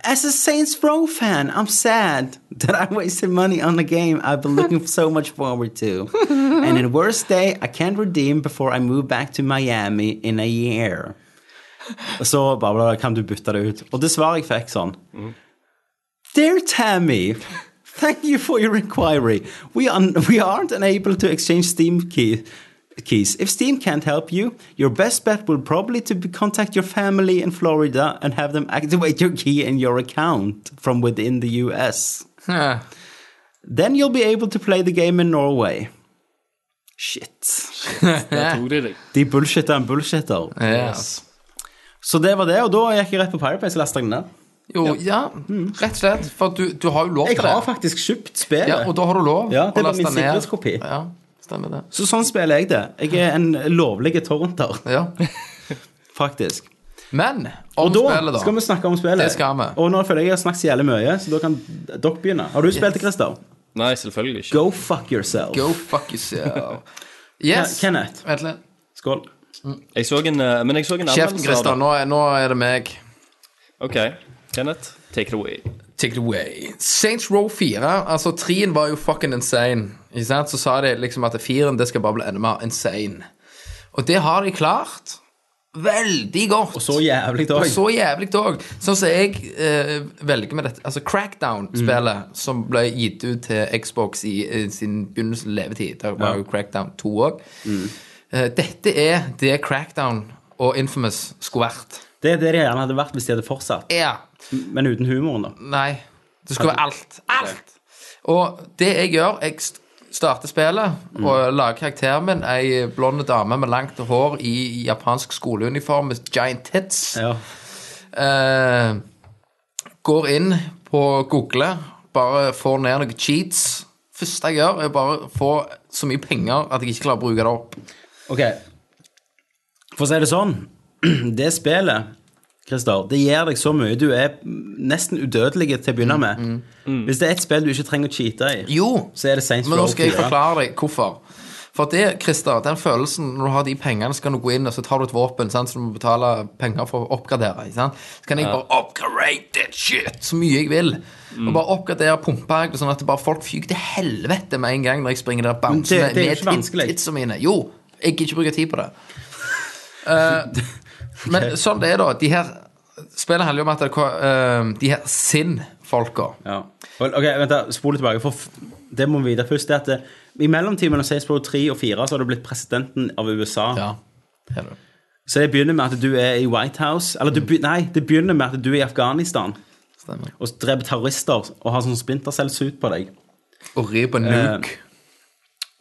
[SPEAKER 4] As a Saints Row fan, I'm sad that I wasted money on a game I've been looking so much forward to. and in worst day, I can't redeem before I move back to Miami in a year. Og så bare bla, bla, kan du bytte det ut. Og det svaret jeg fikk sånn Dear Tammy, thank you for your inquiry. We, un- we aren't unable to exchange Steam key- keys. If Steam can't help you, your best bet will probably to be contact your family in Florida and have them activate your key in your account from within the US.
[SPEAKER 5] Ja.
[SPEAKER 4] Then you'll be able to play the game in Norway. Shit.
[SPEAKER 6] Der tok de deg.
[SPEAKER 4] De er bullshitter en bullshitter.
[SPEAKER 5] Yes.
[SPEAKER 4] er Så det var det, og da gikk jeg rett på Pirate Bay og lasta den ned.
[SPEAKER 5] Jo, ja, rett og slett. For du, du har jo lov
[SPEAKER 4] Jeg
[SPEAKER 5] til det.
[SPEAKER 4] har faktisk kjøpt spillet.
[SPEAKER 5] Ja, og da har du lov
[SPEAKER 4] Ja, det
[SPEAKER 5] å
[SPEAKER 4] var
[SPEAKER 5] laste
[SPEAKER 4] min
[SPEAKER 5] ned.
[SPEAKER 4] sikkerhetskopi.
[SPEAKER 5] Ja, stemmer det.
[SPEAKER 4] Så sånn spiller jeg det. Jeg er en lovlig torrenter,
[SPEAKER 5] Ja.
[SPEAKER 4] faktisk.
[SPEAKER 5] Men om
[SPEAKER 4] Og da
[SPEAKER 5] spillet, da.
[SPEAKER 4] skal vi snakke om spillet.
[SPEAKER 5] Det skal vi.
[SPEAKER 4] Og nå føler jeg jeg har snakket så jævlig mye, så da kan dere begynne. Har du spilt det, Christer?
[SPEAKER 6] Nei, selvfølgelig ikke.
[SPEAKER 4] Go fuck yourself.
[SPEAKER 5] Go fuck yourself. Yes.
[SPEAKER 4] Ken- Kenneth.
[SPEAKER 5] Vent litt.
[SPEAKER 4] Skål.
[SPEAKER 6] Jeg så en, eh, men jeg så en
[SPEAKER 5] Kjeften,
[SPEAKER 6] anmeldelse
[SPEAKER 5] Christer.
[SPEAKER 6] av det.
[SPEAKER 5] Nå, er- nå er det meg.
[SPEAKER 6] OK. Kenneth, take it away.
[SPEAKER 5] Take it away. Saints Row 4. Altså, 3-en var jo fucking insane. Ikke sant? Så sa de liksom at 4-en det skal bare bli enda mer insane. Og det har de klart. Veldig godt.
[SPEAKER 4] Så jævlig dag.
[SPEAKER 5] Og så jævlig òg. Sånn som jeg eh, velger med dette Altså Crackdown-spillet som ble gitt ut til Xbox i, eh, sin begynnelsen av levetid, der var jo Crackdown 2 òg. dette er det Crackdown og Infamous skulle vært.
[SPEAKER 4] Det er det det gjerne hadde vært hvis de hadde fortsatt.
[SPEAKER 5] Ja.
[SPEAKER 4] Men uten humoren, da.
[SPEAKER 5] Nei. Det skulle være alt. Alt! Og det jeg gjør Jeg st- starter spillet og lager karakteren min, ei blonde dame med langt hår i japansk skoleuniform med giant tits.
[SPEAKER 4] Ja.
[SPEAKER 5] eh, går inn på Google, bare får ned noen cheats. Første jeg gjør, er bare å få så mye penger at jeg ikke klarer å bruke det opp.
[SPEAKER 4] Ok. For å si det sånn, det spillet, Christer, det gir deg så mye. Du er nesten udødelig til å begynne med. Hvis det er et spill du ikke trenger å cheate i,
[SPEAKER 5] Mm. Jo,
[SPEAKER 4] så er det Saints
[SPEAKER 5] men nå
[SPEAKER 4] Row
[SPEAKER 5] skal jeg
[SPEAKER 4] 4.
[SPEAKER 5] forklare deg hvorfor. For det, Christer, den følelsen når du har de pengene, så kan du gå inn og så tar du et våpen sant, så du må betale penger for å oppgradere. Ikke sant? Så kan jeg bare upgrade that shit så mye jeg vil. Og bare oppgradere pumpeegg sånn at det bare folk fyker til helvete med en gang når jeg springer der og
[SPEAKER 4] Men det-
[SPEAKER 5] bouncer
[SPEAKER 4] det er jo
[SPEAKER 5] med
[SPEAKER 4] ikke
[SPEAKER 5] tit-
[SPEAKER 4] vanskelig.
[SPEAKER 5] titsa mine. Jo, jeg gidder ikke bruke tid på det. Eh, Men sånn det er, da. De her Spillet handler jo om at det, eh, de her sinn-folka
[SPEAKER 4] Ja. Vel, Ok, vent da, spol litt tilbake, for f- det må vi vite først. Det er at det, I mellomtiden mellom Saints Row 3 og 4 så har du blitt presidenten av USA.
[SPEAKER 5] Ja, det er det.
[SPEAKER 4] Så det begynner med at du er i White House. Eller du, be- nei, det begynner med at du er i Afghanistan
[SPEAKER 5] Stemmer.
[SPEAKER 4] og dreper terrorister og har sånn splintercellsuit på deg.
[SPEAKER 5] Og rir på
[SPEAKER 4] Eh,
[SPEAKER 5] nuke.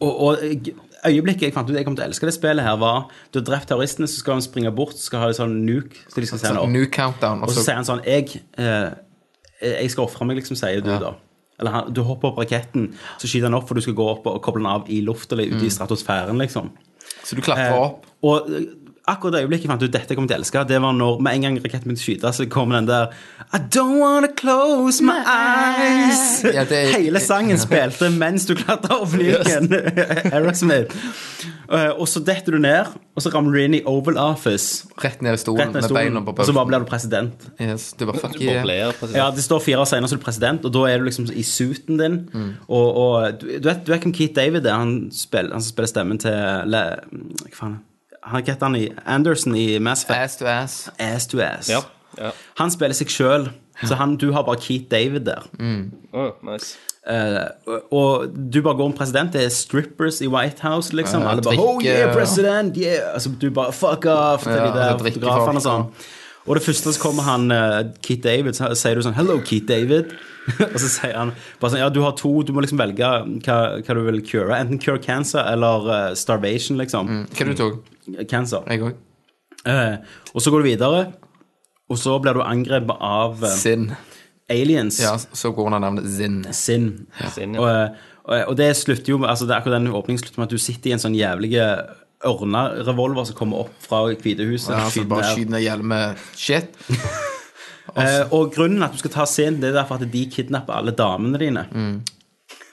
[SPEAKER 4] Og, og jeg- øyeblikket jeg fant ut jeg kom til å elske det spillet her, var du har drept terroristene, så skal han springe bort, så skal ha en sånn nuke, så de skal sende
[SPEAKER 5] Sånn
[SPEAKER 4] opp.
[SPEAKER 5] New countdown.
[SPEAKER 4] Og
[SPEAKER 5] Og
[SPEAKER 4] så
[SPEAKER 5] så,
[SPEAKER 4] sier han sånn Jeg, eh, jeg skal ofre meg, liksom, sier du da. Eller han, du hopper opp raketten, så skyter han opp, for du skal gå opp og koble den av i lufta eller ute i stratosfæren, liksom.
[SPEAKER 5] så du klatrer
[SPEAKER 4] Eh,
[SPEAKER 5] Mm. opp.
[SPEAKER 4] Og eh, akkurat det øyeblikket jeg fant ut dette jeg kommer til å elske, det var når med en gang raketten begynte å skyte, så kom den der I don't wanna close my eyes.
[SPEAKER 5] Ja, det er-
[SPEAKER 4] Hele sangen spilte mens du klatra opp lyken. Aerosmith. Eh, Og så detter du ned, og så ramler du inn i Oval Office.
[SPEAKER 5] Rett ned i
[SPEAKER 4] Rett
[SPEAKER 5] stolen
[SPEAKER 4] ned i
[SPEAKER 5] med
[SPEAKER 4] stolen,
[SPEAKER 5] beina på
[SPEAKER 4] og så bare blir du president.
[SPEAKER 5] Yes, det var fuck
[SPEAKER 6] Du bare
[SPEAKER 5] yeah.
[SPEAKER 6] blir president.
[SPEAKER 4] Ja, Det står fire år senere så er du president, og da er du liksom i suiten din.
[SPEAKER 6] Mm.
[SPEAKER 4] Og, og du, du vet du vet hvem Keith David er, han, spill, han som spiller stemmen til le, Hva faen? Han heter han i Anderson i Mass Effect.
[SPEAKER 5] Ass to ass.
[SPEAKER 4] Ass to ass.
[SPEAKER 6] Ja. ja.
[SPEAKER 4] Han spiller seg sjøl, så han, du har bare Keith David der.
[SPEAKER 6] Å, nice.
[SPEAKER 4] Eh, og- og du bare går om president. Det er strippers i White House, liksom.
[SPEAKER 5] Ja,
[SPEAKER 4] Alle bare
[SPEAKER 5] drikke,
[SPEAKER 4] Oh yeah,
[SPEAKER 5] ja.
[SPEAKER 4] president! Yeah! Altså, du bare fuck off til
[SPEAKER 5] Ja,
[SPEAKER 4] de der
[SPEAKER 5] altså, drikke
[SPEAKER 4] fotografene og
[SPEAKER 5] folk,
[SPEAKER 4] sånn. Og det første så kommer han eh, Keith David, så sier du sånn Hello, Keith David. og så sier han bare sånn Ja, du har to, du må liksom velge hva, hva du vil cure. Enten cure cancer eller eh, starvation, liksom.
[SPEAKER 5] Hva du tok
[SPEAKER 4] Cancer.
[SPEAKER 5] Mm. Jeg òg.
[SPEAKER 4] Eh, og så går du videre, og så blir du angrepet av eh,
[SPEAKER 5] Zinn.
[SPEAKER 4] aliens.
[SPEAKER 5] Ja, så går under navnet Zinn.
[SPEAKER 4] Sinn.
[SPEAKER 6] Sinn, ja.
[SPEAKER 4] Og, og, og det slutter jo med altså det er akkurat den åpningen slutter med at du sitter i en sånn jævlig ørnerevolver som kommer opp fra Hvitehuset.
[SPEAKER 5] Ja,
[SPEAKER 4] og
[SPEAKER 5] så
[SPEAKER 4] skyter
[SPEAKER 5] bare
[SPEAKER 4] ned.
[SPEAKER 5] skyter ned hjelm med shit.
[SPEAKER 4] Eh, og grunnen at du skal ta Sinn, det er derfor at de kidnapper alle damene dine.
[SPEAKER 5] Mm.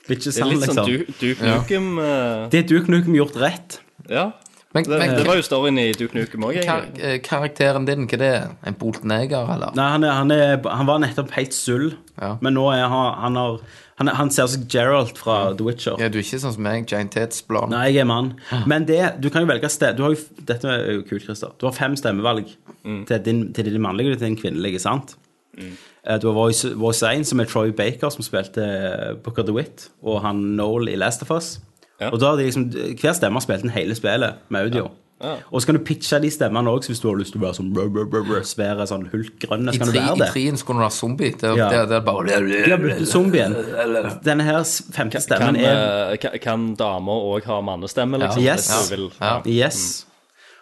[SPEAKER 4] Bitches,
[SPEAKER 6] Det er
[SPEAKER 4] han,
[SPEAKER 6] litt sånn
[SPEAKER 4] liksom.
[SPEAKER 6] Duke Duke Nukem eh,
[SPEAKER 4] Det er Duke Nukem gjort rett.
[SPEAKER 6] Ja.
[SPEAKER 5] Men,
[SPEAKER 6] Det,
[SPEAKER 5] men
[SPEAKER 6] det var jo storyen i Duke Nukem òg,
[SPEAKER 5] kar
[SPEAKER 6] egentlig.
[SPEAKER 5] eh, karakteren din, hva det er? En boltneger, eller?
[SPEAKER 4] Nei, han, er, han, er, han var nettopp helt sull,
[SPEAKER 5] Ja.
[SPEAKER 4] men nå er han Han, har, han, er- han ser ut som Geralt fra The Witcher.
[SPEAKER 5] Ja, du er ikke sånn som meg, Jane Tits, blond.
[SPEAKER 4] Nei, jeg er mann. Men det, du kan jo velge sted du har jo, f- Dette er jo kult, Christer. Du har fem stemmevalg
[SPEAKER 6] Mm.
[SPEAKER 4] til, din, til din mannlige og til din kvinnelige, sant? Eh, Du har Voice, Voice 1, som er Troy Baker, som spilte eh, Booker DeWitt, og han Noel i Last of Us.
[SPEAKER 6] Ja.
[SPEAKER 4] Og da har de liksom, Hver stemme har spilt inn hele spillet med audio.
[SPEAKER 6] Ja. Ja.
[SPEAKER 4] Og så kan du pitche de stemmene òg, hvis du har lyst til å være sånn brr, brr, brr, brr, svære sånn hulkgrønne.
[SPEAKER 5] I
[SPEAKER 4] Så kan du
[SPEAKER 5] tre-
[SPEAKER 4] være
[SPEAKER 5] i
[SPEAKER 4] det.
[SPEAKER 5] trien skulle hun være zombie. Det,
[SPEAKER 4] Ja.
[SPEAKER 5] det, det er bare
[SPEAKER 4] De har brukt zombien. Denne her s- femte
[SPEAKER 6] Kan,
[SPEAKER 4] stemmen er
[SPEAKER 6] eh, ka- kan damer òg ha mannestemme, liksom?
[SPEAKER 4] Ja.
[SPEAKER 6] hvis
[SPEAKER 4] Yes.
[SPEAKER 6] du vil?
[SPEAKER 5] Ja.
[SPEAKER 4] Yes.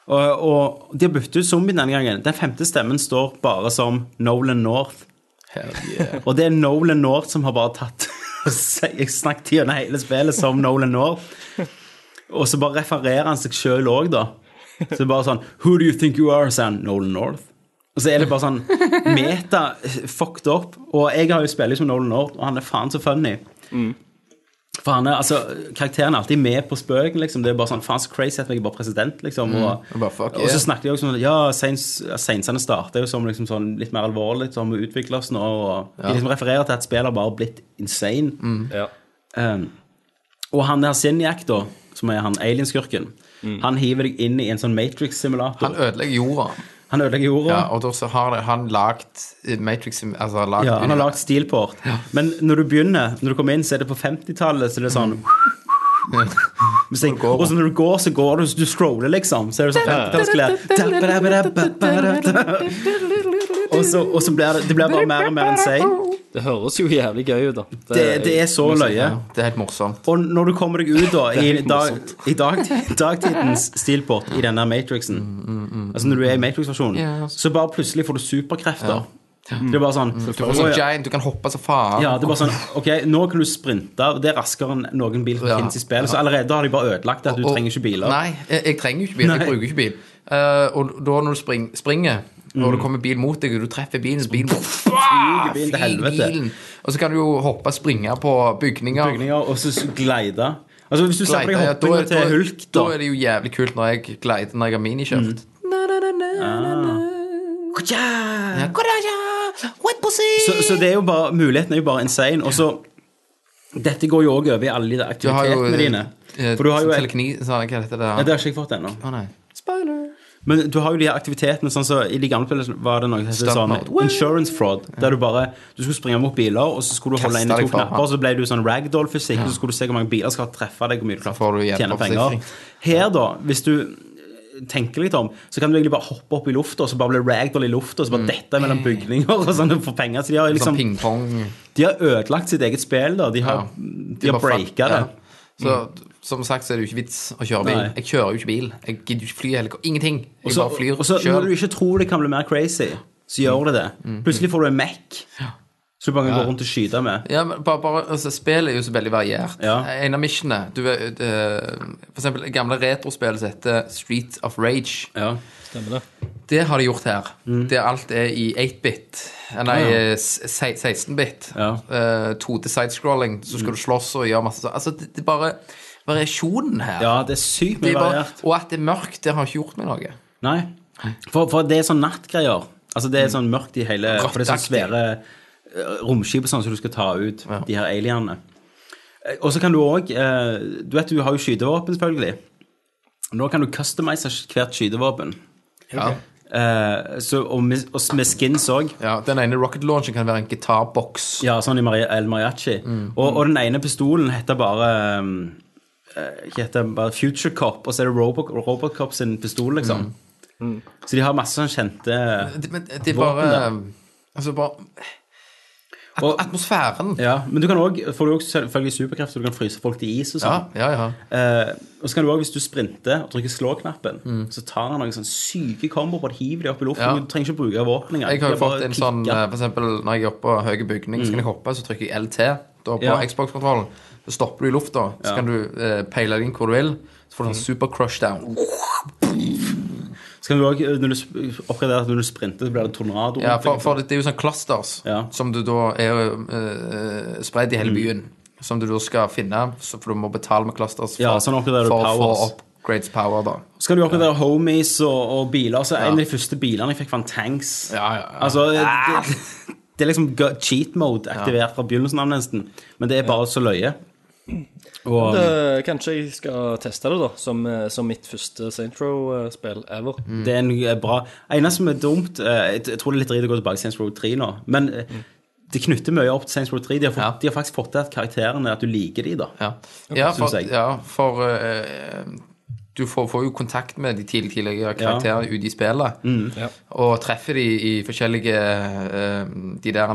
[SPEAKER 4] Og, og de har byttet ut zombien denne gangen. Den femte stemmen står bare som Nolan North. Og det er Nolan North som har bare tatt Jeg snakket gjennom hele spillet som Nolan North. Og så bare refererer han seg sjøl òg, da. Så det er bare sånn Who do you think you are? sier han. Nolan North. Og så er det bare sånn meta fucked up. Og jeg har jo spilt som Nolan North, og han er faen så funny.
[SPEAKER 5] Mm.
[SPEAKER 4] For han er, altså, Karakteren er alltid med på spøken. liksom Det er bare sånn, faen så crazy at jeg er bare president. liksom Og,
[SPEAKER 5] og Mm. bare, fuck
[SPEAKER 4] og så
[SPEAKER 5] yeah.
[SPEAKER 4] snakket de også om at, ja, Seinsene startet jo som liksom sånn litt mer alvorlig, som å utvikle oss nå. Og De liksom refererer til at spillet har bare blitt insane.
[SPEAKER 6] Ja.
[SPEAKER 4] Um, og han der Sinjak, da, som er han alienskurken, han hiver deg inn i en sånn Matrix-simulator.
[SPEAKER 5] Han
[SPEAKER 4] Mm. Han,
[SPEAKER 5] ødelegger jorda.
[SPEAKER 4] ødelegger jorda.
[SPEAKER 5] Ja,
[SPEAKER 4] Ja,
[SPEAKER 5] og da så har det, han lagt Matrix Altså lagt
[SPEAKER 4] han har lagd Steelport. Men når du begynner, når du kommer inn, så er det på 50-tallet, så det er sånn musikk.
[SPEAKER 5] går.
[SPEAKER 4] Og så når du går, så går du, du scroller liksom. Så er det sånn 50-tallsklær. Og så, og så blir det, det blir bare mer og mer insane.
[SPEAKER 6] Det høres jo jævlig gøy ut, da.
[SPEAKER 4] Det, det er så løye.
[SPEAKER 5] Ja, det er helt morsomt.
[SPEAKER 4] Og når du kommer deg ut da, i,
[SPEAKER 6] helt
[SPEAKER 4] dag, i dag, dagtidens stilport i denne Matrixen
[SPEAKER 5] Mm,
[SPEAKER 4] Altså når du er i Matrix-versjonen,
[SPEAKER 5] Ja.
[SPEAKER 4] så bare plutselig får du superkrefter. Det er bare sånn
[SPEAKER 5] Du får sånn giant, du kan hoppe så faen.
[SPEAKER 4] ja, det er bare sånn Ok, nå kan du sprinte. og Det er raskere enn noen bil som
[SPEAKER 5] Ja.
[SPEAKER 4] finnes i spillet. Så allerede har de bare ødelagt det at du
[SPEAKER 5] Og-
[SPEAKER 4] trenger ikke biler.
[SPEAKER 5] Nei, jeg, jeg trenger jo ikke bil.
[SPEAKER 4] Nei.
[SPEAKER 5] Jeg bruker ikke bil. Eh, og da når du spring, springer,
[SPEAKER 4] Mm.
[SPEAKER 5] og det kommer bil mot deg, og du treffer bilen, så bilen
[SPEAKER 4] Flyger bilen til
[SPEAKER 5] Flyr
[SPEAKER 4] helvete.
[SPEAKER 5] bilen. Og så kan du jo hoppe og springe på bygninger.
[SPEAKER 4] Bygninger, og så så gleide. Altså Hvis du ser på deg
[SPEAKER 5] Gleiter, ja, da
[SPEAKER 4] hoppinga
[SPEAKER 5] er-
[SPEAKER 4] til Hulk,
[SPEAKER 5] da
[SPEAKER 4] da Mm.
[SPEAKER 5] er det jo jævlig kult når jeg gleider når jeg har minikjøft. Ja.
[SPEAKER 4] så, så det er jo bare Muligheten er jo bare insane. Og så Dette går jo òg over i alle de der
[SPEAKER 5] Du har jo
[SPEAKER 4] aktivitetene dine.
[SPEAKER 5] eh,
[SPEAKER 4] For du har jo
[SPEAKER 5] telekni... Sånn, hva heter det?
[SPEAKER 4] Ja, det har ikke jeg fått ennå.
[SPEAKER 5] Å, nei.
[SPEAKER 4] Men du har jo de her aktivitetene sånn så I de gamle spillene var det noe som heter sånn
[SPEAKER 5] Stuntmode.
[SPEAKER 4] insurance fraud. Der du bare Du skulle springe mot biler, og så skulle du holde
[SPEAKER 5] Kaste
[SPEAKER 4] inn i
[SPEAKER 5] deg
[SPEAKER 4] to
[SPEAKER 5] foran.
[SPEAKER 4] knapper, og så ble du sånn ragdoll-fysikk, og så skulle du se hvor mange biler skal treffe deg, hvor mye du
[SPEAKER 5] får
[SPEAKER 4] klarer
[SPEAKER 5] du
[SPEAKER 4] å
[SPEAKER 5] igjen
[SPEAKER 4] tjene
[SPEAKER 5] på
[SPEAKER 4] penger.
[SPEAKER 5] forsikring.
[SPEAKER 4] Her, da, hvis du eh, tenker litt om, så kan du egentlig bare hoppe opp i lufta, og så bare bli ragdoll i lufta, og så
[SPEAKER 5] Mm.
[SPEAKER 4] bare dette mellom bygninger og sånn, og få penger. Så de har
[SPEAKER 5] Sånn
[SPEAKER 4] liksom
[SPEAKER 5] pingpong.
[SPEAKER 4] De har ødelagt sitt eget spill, da. De har,
[SPEAKER 5] Ja.
[SPEAKER 4] de har breaka det.
[SPEAKER 5] Så som sagt så er det jo ikke vits å kjøre bil.
[SPEAKER 4] Nei.
[SPEAKER 5] Jeg kjører jo ikke bil. Jeg gidder jo ikke fly heller. Ingenting. Jeg
[SPEAKER 4] Og så-
[SPEAKER 5] bare flyr
[SPEAKER 4] og så når
[SPEAKER 5] selv. Mm.
[SPEAKER 4] du ikke tror det kan bli mer crazy, så gjør det det. Plutselig får du en Mac som du bare kan gå rundt og skyte med.
[SPEAKER 5] Ja, men bare, bare, altså, Spillet er jo så veldig variert. Eh,
[SPEAKER 4] Ja.
[SPEAKER 5] En av missionene du, vet, eh, For eksempel det gamle retrospillet som heter Street of Rage.
[SPEAKER 4] Ja.
[SPEAKER 6] Stemmer det.
[SPEAKER 5] Det har de gjort her.
[SPEAKER 4] Mm.
[SPEAKER 5] Det alt er i 8-bit. Eh, Nei, eh, s- se- 16-bit.
[SPEAKER 4] Ja. Mm.
[SPEAKER 5] Eh, 2D sidescrolling. Så skal du slåss og gjøre masse sånn. Altså, det, det er bare variasjonen her.
[SPEAKER 4] ja, det er sykt
[SPEAKER 5] Det
[SPEAKER 4] mye
[SPEAKER 5] er bare,
[SPEAKER 4] variert.
[SPEAKER 5] og at det er mørkt, det har ikke gjort meg noe.
[SPEAKER 4] Nei. For, for det er sånn nattgreier. Altså
[SPEAKER 5] Mm.
[SPEAKER 4] Det er sånn mørkt i hele For det er sånn
[SPEAKER 5] Rotteaktig.
[SPEAKER 4] svære eh, romskip og sånn som du skal ta ut, de her alienene. Eh, Og så kan du òg Du vet du har jo skytevåpen, selvfølgelig. Nå kan du customize hvert skytevåpen.
[SPEAKER 5] Ja.
[SPEAKER 4] Eh, så, og, med, og med skins òg.
[SPEAKER 5] Ja, den ene rocket launchen kan være en gitarboks.
[SPEAKER 4] Ja, sånn i Mari- El Mariachi.
[SPEAKER 5] Mm.
[SPEAKER 4] Og, og den ene pistolen heter bare um, eh, heter bare Future Cop, og så er det Robo Robocop sin pistol, liksom.
[SPEAKER 5] Mm.
[SPEAKER 4] Så de har masse sånn kjente
[SPEAKER 5] Det, men det er
[SPEAKER 4] Våpen,
[SPEAKER 5] bare
[SPEAKER 4] da.
[SPEAKER 5] Altså, bare at,
[SPEAKER 4] Og-
[SPEAKER 5] Atmosfæren.
[SPEAKER 4] Ja, Men du kan også, får du også selvfølgelig superkrefter, du kan fryse folk til is og
[SPEAKER 5] Ja,
[SPEAKER 4] sånn.
[SPEAKER 5] ja, ja.
[SPEAKER 4] Eh, og så kan du også, hvis du sprinter og trykker slå-knappen, så tar han noen sånn syke komboer og hiver de opp i luften.
[SPEAKER 5] Mm. Ja.
[SPEAKER 4] Du trenger ikke bruke våpen engang.
[SPEAKER 5] Jeg har
[SPEAKER 4] Det er bare
[SPEAKER 5] jo fått en
[SPEAKER 4] kicker.
[SPEAKER 5] sånn eh, For eksempel når jeg er oppe på høye bygning, så kan jeg hoppe, så trykker jeg LT da på
[SPEAKER 4] Ja.
[SPEAKER 5] Xbox-kontrollen. Så stopper du i lufta, så kan du eh, peile deg inn hvor du vil. Så får du sånn
[SPEAKER 4] Mm.
[SPEAKER 5] super crush down.
[SPEAKER 4] Så kan du også, eh, når du sp- oppgraderer at når du sprinter, så blir det tornado.
[SPEAKER 5] Ja, for, for det, det er jo sånn clusters
[SPEAKER 4] Ja. Mm.
[SPEAKER 5] som du da er eh, spredt i hele byen. Som du da skal finne, så for du må betale med clusters for,
[SPEAKER 4] Ja, sånn oppgraderer du
[SPEAKER 5] for å få
[SPEAKER 4] powers.
[SPEAKER 5] upgrades power, da.
[SPEAKER 4] Så kan du oppgradere homies og, og biler. Så En av de første bilene jeg fikk, var en tanks.
[SPEAKER 5] Ja, ja, Ah! ja.
[SPEAKER 4] Altså, det, det er liksom gu- cheat mode aktivert fra begynnelsen av, nesten. Men det er bare så løye. Og, um,
[SPEAKER 6] Eh, kanskje jeg skal teste det, da, som, eh, som mitt første Saint Row-spill ever.
[SPEAKER 4] Det er en eh, bra Eneste som er dumt eh, Jeg jeg tror det er litt dritt å gå tilbake til Saints Row 3 nå, men eh, det knytter mye opp til Saints Row 3. De har, fått,
[SPEAKER 5] Mm. Ja.
[SPEAKER 4] de har faktisk fått til at karakterene At du liker de da.
[SPEAKER 5] Ja, ja
[SPEAKER 4] synes
[SPEAKER 5] for,
[SPEAKER 4] jeg.
[SPEAKER 5] ja, for eh, du får, får jo kontakt med de tidlig, tidligere karakterene ute i spillet.
[SPEAKER 4] Mm.
[SPEAKER 6] Ja.
[SPEAKER 5] Og treffer de i forskjellige eh, De der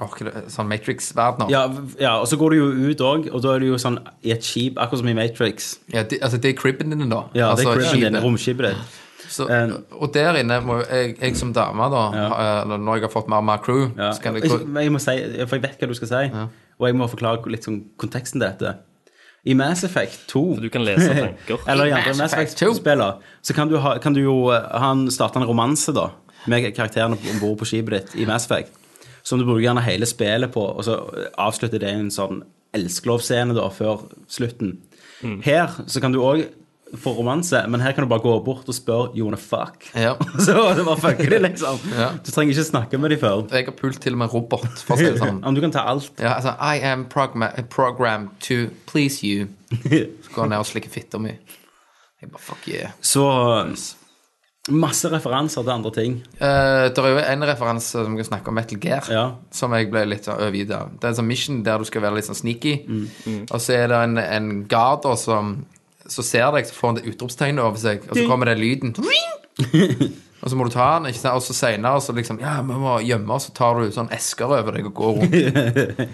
[SPEAKER 5] oh, sånn Matrix-verdener.
[SPEAKER 4] Ja, v- ja, og så går du jo ut òg, og da er du jo sånn i et skip, akkurat som i Matrix.
[SPEAKER 5] Ja, de, altså, det er cribben din, da.
[SPEAKER 4] Ja, det
[SPEAKER 5] altså,
[SPEAKER 4] er cribben din,
[SPEAKER 5] skipet.
[SPEAKER 4] romskipet ditt.
[SPEAKER 5] Så,
[SPEAKER 4] En-
[SPEAKER 5] og der inne må jo jeg, jeg som dame, da,
[SPEAKER 4] Ja.
[SPEAKER 5] eller når jeg har fått mer og mer crew
[SPEAKER 4] Ja.
[SPEAKER 5] så kan jeg,
[SPEAKER 4] Ikke- men jeg må si, For jeg vet hva du skal si, og jeg må forklare litt sånn konteksten til dette. I Mass Effect 2
[SPEAKER 6] Du kan lese tanker.
[SPEAKER 4] Eller i
[SPEAKER 5] I
[SPEAKER 4] andre
[SPEAKER 5] Mass
[SPEAKER 4] Mass
[SPEAKER 5] Effect 2.
[SPEAKER 4] Effect-spillere. Så kan du, ha, kan du jo eh, Han starte en romanse, da, med karakterene om bord på skipet ditt i Mass Effect. Som du bruker gjerne hele spillet på, og så eh, avslutter det i en sånn elskelovscene da, før slutten.
[SPEAKER 6] Mm.
[SPEAKER 4] Her så kan du òg få romanse, men her kan du bare gå bort og spørre You wanna fuck?
[SPEAKER 5] Ja.
[SPEAKER 4] så det bare fucker de, liksom.
[SPEAKER 5] Ja.
[SPEAKER 4] Du trenger ikke snakke med de før.
[SPEAKER 5] jeg har pult til og med robot, for å si det sånn.
[SPEAKER 4] Om du kan ta alt.
[SPEAKER 5] Ja, altså, I am progma- programmed to please you. Så går han ned og slikker fitta mi. Jeg bare, fuck yeah.
[SPEAKER 4] Så Masse referanser til andre ting.
[SPEAKER 5] Eh, det er jo en referanse som vi kan snakke om Metal Gear,
[SPEAKER 4] Ja.
[SPEAKER 5] som jeg ble litt sånn overgitt av. Det er en sånn mission der du skal være litt sånn sneaky, og så er det en, en guard da som så ser deg, så får han det utropstegnet over seg, og så kommer den lyden. og så må du ta den, ikke sant? og så senere så liksom Ja, vi må gjemme oss, så tar du sånn esker over deg og går rundt.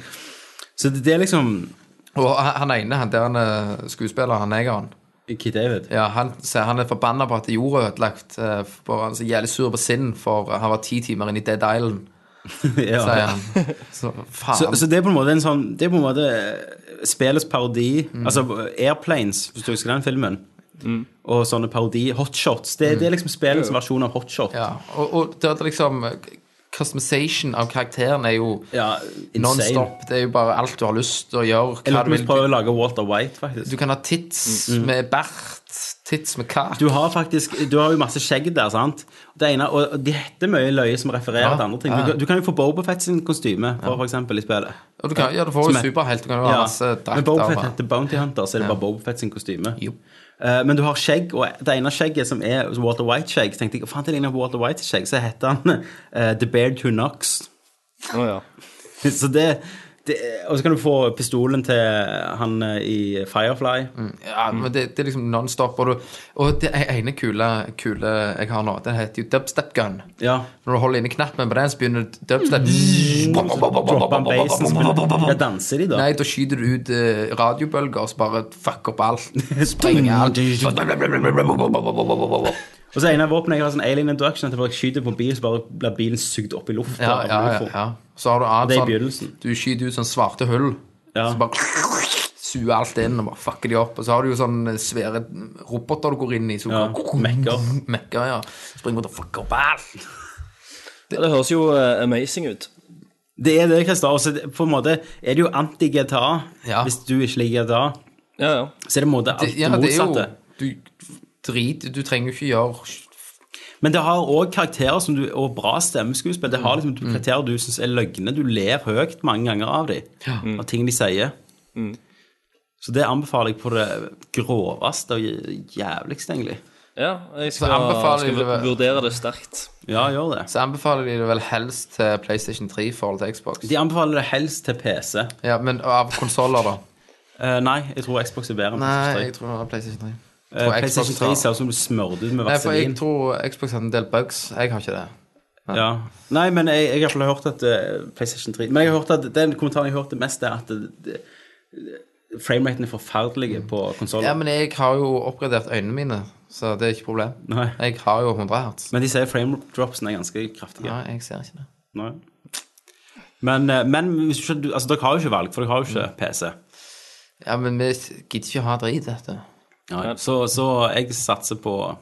[SPEAKER 4] Så det, det er liksom
[SPEAKER 5] Og han han ene, han der han er skuespiller, han negeren
[SPEAKER 4] Kid David.
[SPEAKER 5] Ja, han, så han er forbanna på at jorda er ødelagt. eh, for- Han er så jævlig sur på sinn, for han var ti timer inne i Dead Island,
[SPEAKER 4] Ja.
[SPEAKER 5] sier han. Så faen.
[SPEAKER 4] Så, så det er på en måte en sånn Det er på en måte eh, spillets parodi.
[SPEAKER 5] Mm.
[SPEAKER 4] Altså Airplanes, hvis du husker den filmen. Og sånne parodi Hotshots. Det, det er liksom spillets versjon av hotshot.
[SPEAKER 5] Mm. ja. Og, og det at liksom eh, Customization av karakteren er jo
[SPEAKER 4] Ja, insane.
[SPEAKER 5] non-stop. Det er jo bare alt du har lyst til å gjøre.
[SPEAKER 4] Jeg lurer på
[SPEAKER 5] Hva du,
[SPEAKER 4] om
[SPEAKER 5] vil.
[SPEAKER 4] vi prøver å lage Walter White,
[SPEAKER 5] du
[SPEAKER 4] faktisk.
[SPEAKER 5] kan ha tits med bart, tits med kake.
[SPEAKER 4] Du har faktisk Du har jo masse skjegg der, sant? Det ene, og og de heter mye løye som refererer
[SPEAKER 5] Ja,
[SPEAKER 4] til andre ting.
[SPEAKER 5] ja.
[SPEAKER 4] Du, kan- du kan jo få Bobafett sin kostyme, for, for eksempel, i spillet.
[SPEAKER 5] Og du, kan, ja, du får
[SPEAKER 4] Som
[SPEAKER 5] jo
[SPEAKER 4] er-
[SPEAKER 5] superhelt. Du kan jo ha
[SPEAKER 4] Ja,
[SPEAKER 5] masse
[SPEAKER 4] men
[SPEAKER 5] drakter.
[SPEAKER 4] Bobafett
[SPEAKER 5] og-
[SPEAKER 4] heter Bounty Hunter, så er det bare Bobafett sin kostyme.
[SPEAKER 5] Jo.
[SPEAKER 4] Eh, men du har skjegg, og det ene skjegget som er Walter White-skjegg, så tenkte jeg, faen, det ligner på Walter White-skjegg, så heter han eh, The Bear to Knox.
[SPEAKER 6] Å ja.
[SPEAKER 4] så det, det Og så kan du få pistolen til han eh, i Firefly.
[SPEAKER 5] Ja,
[SPEAKER 4] Mm.
[SPEAKER 5] men det, det er liksom non-stop. Og, du- og det ene kule, kule jeg har nå, den heter jo dubstep gun.
[SPEAKER 4] Ja.
[SPEAKER 5] Når du holder inne knappen på den, så begynner dubstep
[SPEAKER 4] Mm. Dropper han basen, spiller Ja, danser de, da?
[SPEAKER 5] Nei, da skyter du ut eh, radiobølger og så bare fucker opp alt. Sprenger alt.
[SPEAKER 4] Og så er en av våpnene jeg har sånn alien induction, at jeg bare skyter på en bil, så bare blir bilen sugd opp i lufta.
[SPEAKER 5] Ja,
[SPEAKER 4] av
[SPEAKER 5] ja, ja,
[SPEAKER 4] UFO.
[SPEAKER 5] ja. Så har du
[SPEAKER 4] Det er i
[SPEAKER 5] annet sånn
[SPEAKER 4] begynnelsen.
[SPEAKER 5] Du skyter ut sånn svarte hull,
[SPEAKER 4] Ja.
[SPEAKER 5] så bare suger alt inn og bare fucker de opp. Og så har du jo sånne svære roboter du går inn i, som
[SPEAKER 4] Ja, mekker.
[SPEAKER 5] mekker ja. Springer rundt og fucker opp alt.
[SPEAKER 6] Det høres jo eh, amazing ut.
[SPEAKER 4] Det er det, Christer. Og så det- på en måte er det jo anti-GTA,
[SPEAKER 5] Ja.
[SPEAKER 4] hvis du ikke liker GTA.
[SPEAKER 6] Ja, ja.
[SPEAKER 4] Så er det på en måte alt
[SPEAKER 5] Det-
[SPEAKER 4] det motsatte.
[SPEAKER 5] Det er jo, du driter, du trenger jo ikke gjøre
[SPEAKER 4] Men det har òg karakterer som du, og bra stemmeskuespill. Det har liksom
[SPEAKER 5] Mm.
[SPEAKER 4] karakterer du syns er løgne. Du ler høyt mange ganger av dem, av ting de sier. Så det anbefaler jeg på det gråeste og jævligste, egentlig.
[SPEAKER 6] ja jeg
[SPEAKER 5] Så
[SPEAKER 6] skal,
[SPEAKER 5] anbefaler
[SPEAKER 6] skal
[SPEAKER 5] jeg det-
[SPEAKER 6] vurdere det sterkt.
[SPEAKER 4] Ja, gjør det.
[SPEAKER 5] Så anbefaler de det vel helst til PlayStation 3 i forhold til Xbox.
[SPEAKER 4] De anbefaler det helst til PC.
[SPEAKER 5] Ja, men av konsoller, da?
[SPEAKER 4] Eh, nei, jeg tror Xbox er bedre enn
[SPEAKER 5] Nei, jeg
[SPEAKER 4] PlayStation 3.
[SPEAKER 5] tror det var PlayStation 3.
[SPEAKER 4] Eh, PlayStation 3 ser ut som du smørte ut med
[SPEAKER 5] Nei, for jeg
[SPEAKER 4] vaselin.
[SPEAKER 5] tror Xbox hadde en del bugs. Jeg har ikke det.
[SPEAKER 4] Ja. Nei, men jeg, jeg har i hvert fall hørt at eh, PlayStation 3 Men jeg har hørt at den kommentaren jeg hørte mest, er at eh, frameraten er forferdelig på
[SPEAKER 5] Ja,
[SPEAKER 4] konsollen.
[SPEAKER 5] men jeg har jo oppgradert øynene mine, så det er ikke et problem.
[SPEAKER 4] Nei.
[SPEAKER 5] Jeg har jo 100 hertz.
[SPEAKER 4] Men de sier frame dropsen er ganske kraftige.
[SPEAKER 5] Nei, jeg ser ikke det.
[SPEAKER 4] Nei. Men, eh, men hvis du ikke, du- altså, dere har jo ikke valg, for dere har jo ikke
[SPEAKER 5] Mm.
[SPEAKER 4] PC.
[SPEAKER 5] Ja, men vi gidder ikke å ha drit, dette.
[SPEAKER 4] Nei. Så, så jeg satser på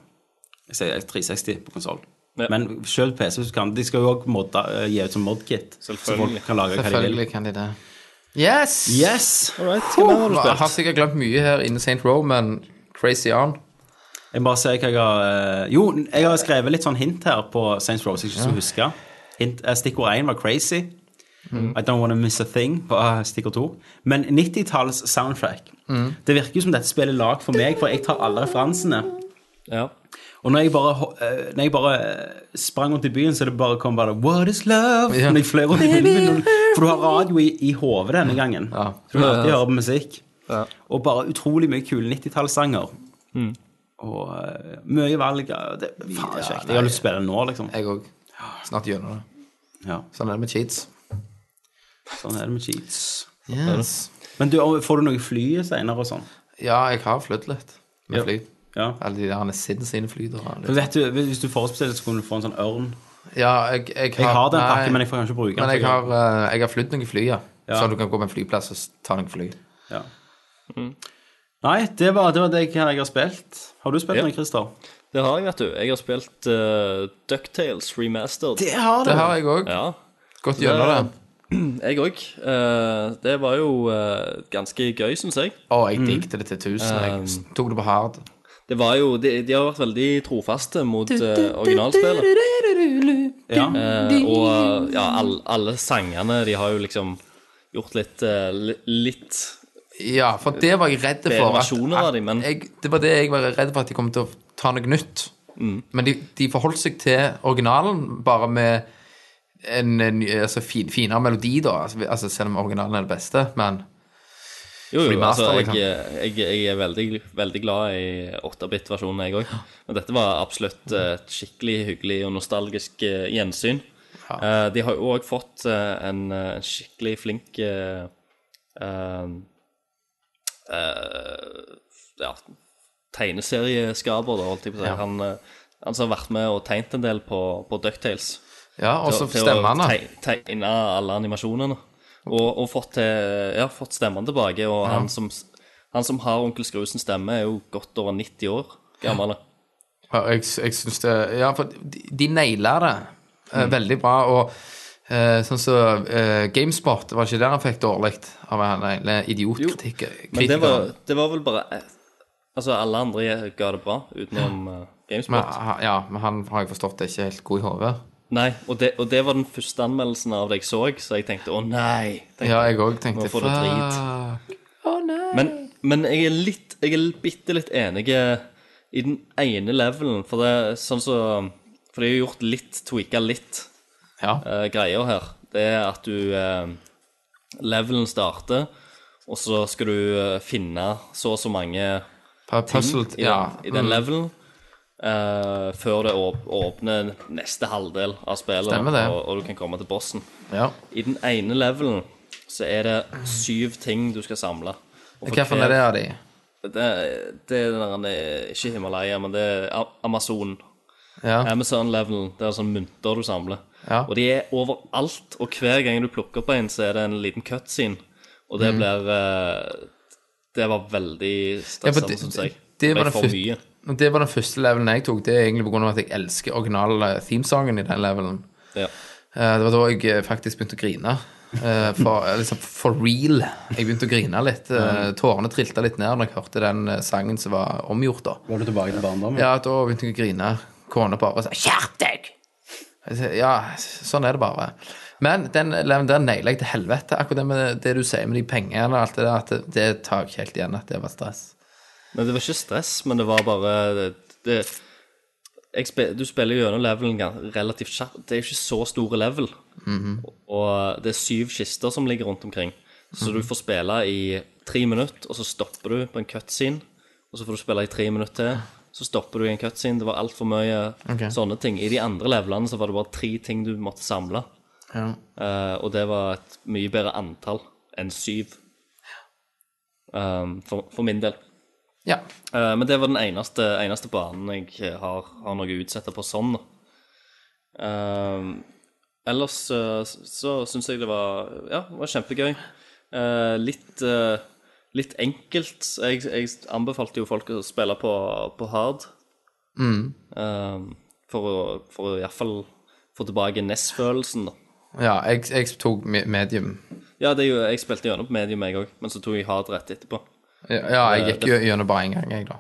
[SPEAKER 4] jeg sier 360 på konsoll.
[SPEAKER 6] Ja.
[SPEAKER 4] Men selv PC hvis du kan. De skal jo også modde, eh, gi ut som modkit. Så folk
[SPEAKER 6] Selvfølgelig.
[SPEAKER 4] kan lage hva de vil.
[SPEAKER 5] Selvfølgelig kan de det. Yes!
[SPEAKER 4] Yes!
[SPEAKER 5] Puh, jeg har sikkert glemt mye her inne i St. Row, men crazy on.
[SPEAKER 4] Jeg bare ser hva jeg har eh, Jo, jeg har skrevet litt sånn hint her på Saints Row, så jeg ikke skal huske. Hint, eh, stikkord 1 var crazy. I don't wanna miss a thing på eh, stikkord 2. Men 90-talls soundtrack. Det virker jo som dette spillet er lag for meg, for jeg tar alle referansene.
[SPEAKER 6] Ja.
[SPEAKER 4] Og når jeg bare, ho- eh, når jeg bare eh, sprang rundt i byen, så det bare kom bare What is love?
[SPEAKER 5] Ja.
[SPEAKER 4] Når jeg fløy rundt i byen. For du har radio i, i hodet denne gangen.
[SPEAKER 5] Ja.
[SPEAKER 4] Så du alltid hører på musikk. Og bare utrolig mye kule 90-tallssanger.
[SPEAKER 5] Mm.
[SPEAKER 4] Og eh, mye valg. av- Det er faen kjekt. Jeg har lyst til å spille det nå, liksom.
[SPEAKER 5] Jeg òg. Snart gjennom det.
[SPEAKER 4] Ja,
[SPEAKER 5] Sånn er det med cheats.
[SPEAKER 4] sånn er det med cheats.
[SPEAKER 5] Yes.
[SPEAKER 4] Men du, får du noe fly senere og sånn?
[SPEAKER 5] Ja, jeg har flydd litt med fly.
[SPEAKER 4] Ja.
[SPEAKER 5] Alle de der sinnsinnflyterne.
[SPEAKER 4] For vet du, Hvis du forhåndsbestiller, så kunne du få en sånn ørn.
[SPEAKER 5] Ja, jeg, jeg,
[SPEAKER 4] Jeg har den
[SPEAKER 5] nei,
[SPEAKER 4] pakken, men jeg får kanskje bruke den.
[SPEAKER 5] Men jeg har, eh, jeg har flydd noen fly, ja.
[SPEAKER 4] Ja.
[SPEAKER 5] Så du kan gå på en flyplass og s- ta noen fly.
[SPEAKER 4] Ja.
[SPEAKER 5] Mm.
[SPEAKER 4] Nei, det var, det var det jeg, jeg har spilt. Har du spilt
[SPEAKER 6] Ja.
[SPEAKER 4] noe, Christer?
[SPEAKER 6] Det har jeg, vet du. Jeg har spilt eh, Ducktales Remastered.
[SPEAKER 4] har
[SPEAKER 5] Det har jeg òg.
[SPEAKER 6] Ja,
[SPEAKER 5] Gått gjennom det.
[SPEAKER 6] jeg òg. Eh, det var jo eh, ganske gøy, syns jeg.
[SPEAKER 5] Å,
[SPEAKER 4] Mm.
[SPEAKER 5] jeg digget det til tusen.
[SPEAKER 6] Um,
[SPEAKER 5] Jeg s- tok det på hard.
[SPEAKER 6] Det var jo, de, de har vært veldig trofaste mot eh, originalspillet.
[SPEAKER 4] Ja.
[SPEAKER 6] Eh, og eh, ja, all, alle sangene De har jo liksom gjort litt eh, li- Litt
[SPEAKER 5] Ja, for det var jeg redd
[SPEAKER 6] Bedre
[SPEAKER 5] for.
[SPEAKER 6] versjoner av de, men-
[SPEAKER 5] jeg, det var det jeg var redd for at de kom til å ta noe nytt.
[SPEAKER 6] Mm.
[SPEAKER 5] Men de, de forholdt seg til originalen, bare med en, en altså, fin, finere melodi, da. Altså, vi- altså, selv om originalen er det beste, men
[SPEAKER 6] Jo, jo, altså,
[SPEAKER 5] Remaster,
[SPEAKER 6] jeg, jeg, jeg er veldig, veldig glad i 8-bit-versjonen, jeg òg. Men dette var absolutt eh, et skikkelig hyggelig og nostalgisk eh, gjensyn. Eh, de har jo òg fått eh, en eh, skikkelig flink eh, eh, eh, ja, tegneserieskaper, da, holdt jeg på å si. Han, eh, han som har vært med og tegnet en del på, på Ducktales.
[SPEAKER 5] Ja, og så
[SPEAKER 6] Til- til å
[SPEAKER 5] Altså stemmene.
[SPEAKER 6] teg- Tegne alle animasjonene. Og, og fått, til, ja, fått stemmen tilbake. Og han, som, han som har Onkel Skrusens stemme, er jo godt over 90 år gammel.
[SPEAKER 5] Ja, jeg, jeg syns det Ja, for de, de naila det eh,
[SPEAKER 6] Mm.
[SPEAKER 5] veldig bra. Og eh, sånn som så, eh, Gamesport, var det ikke der han fikk dårlig av han eh, ene idiotkritikken?
[SPEAKER 6] Men det var, det var vel bare Altså, alle andre ga det bra, utenom eh,
[SPEAKER 5] Men,
[SPEAKER 6] Gamespot.
[SPEAKER 5] ha- ja, men han har jeg forstått er ikke helt god i hodet.
[SPEAKER 6] Nei, og det, og det var den første anmeldelsen av det jeg så, så jeg tenkte å nei. tenkte
[SPEAKER 5] Ja,
[SPEAKER 6] jeg.
[SPEAKER 5] jeg òg tenkte
[SPEAKER 6] Nå får du drit.
[SPEAKER 5] fuck.
[SPEAKER 6] Men, men jeg er litt Jeg er bitte litt enig i den ene levelen, for det er sånn så For det er jo gjort litt, tweaka litt.
[SPEAKER 5] Ja.
[SPEAKER 6] uh, greier her, det er at du eh, Levelen starter, og så skal du eh, finne så og så mange
[SPEAKER 5] pu- Puzzled,
[SPEAKER 6] i,
[SPEAKER 5] ja. mm.
[SPEAKER 6] den, i den levelen eh, før det åp åpner neste halvdel av spillet,
[SPEAKER 5] Stemmer det.
[SPEAKER 6] Og, og du kan komme til bossen.
[SPEAKER 5] ja.
[SPEAKER 6] I den ene levelen så er det syv ting du skal samle. Og for
[SPEAKER 5] Hvilken
[SPEAKER 6] hver-
[SPEAKER 5] er det av de?
[SPEAKER 6] Det, det er den der, eh, ikke Himalaya, men det er A- Amazon.
[SPEAKER 5] Ja.
[SPEAKER 6] Amazon-levelen. Det er sånn mynter du samler.
[SPEAKER 5] Ja.
[SPEAKER 6] Og de er overalt, og hver gang du plukker opp en, så er det en liten cutscene. Og det blir eh, Det var veldig
[SPEAKER 5] Mm. Ja, for
[SPEAKER 6] stressende,
[SPEAKER 5] det-
[SPEAKER 6] syns jeg.
[SPEAKER 5] det
[SPEAKER 6] ble
[SPEAKER 5] var den
[SPEAKER 6] for
[SPEAKER 5] første-
[SPEAKER 6] mye.
[SPEAKER 5] Men Det var den første levelen jeg tok. Det er egentlig pga. at jeg elsker original-themesangen i den levelen.
[SPEAKER 6] Ja.
[SPEAKER 5] Eh, Det var da jeg eh, faktisk begynte å grine. Eh, For, eh, liksom, for real. Jeg begynte å grine litt. eh, Tårene trilta litt ned når jeg hørte den eh, sangen som var omgjort, da.
[SPEAKER 4] Var du tilbake til barndommen?
[SPEAKER 5] Ja, da begynte jeg å grine. Kona bare sa 'Skjerp deg!' Jeg sa, Ja, sånn er det bare. Men den eleven der nailer jeg til helvete. Akkurat det med det du sier med de pengene og alt det der, at det, det tar jeg ikke helt igjen at det var stress.
[SPEAKER 6] Men det var ikke stress, men det var bare det, det, jeg spe, Du spiller jo gjennom levelen gan- relativt kjapt. Det er jo ikke så store level. Og det er syv kister som ligger rundt omkring. Så du får spille i tre minutter, og så stopper du på en cutscene. Og så får du spille i tre minutter til, så stopper du i en cutscene. Det var altfor mye sånne ting. I de andre levelene så var det bare tre ting du måtte samle.
[SPEAKER 5] Ja.
[SPEAKER 6] Eh, og det var et mye bedre antall enn syv. Um, for, for min del.
[SPEAKER 5] ja.
[SPEAKER 6] Eh, Men det var den eneste, eneste banen jeg eh, har, har noe å utsette på sånn. da. Eh, ellers eh, så syns jeg det var Ja, det var kjempegøy. Eh, litt, eh, litt enkelt. Jeg, jeg anbefalte jo folk å spille på, på hard. Eh, for å, for å iallfall få tilbake NES-følelsen, da.
[SPEAKER 5] ja jeg, jeg tok me- medium.
[SPEAKER 6] Ja, det er jo, jeg spilte gjennom på medium, jeg òg, men så tok jeg hard rett etterpå.
[SPEAKER 5] Ja, ja, jeg gikk jo gjennom bare én gang, jeg, da.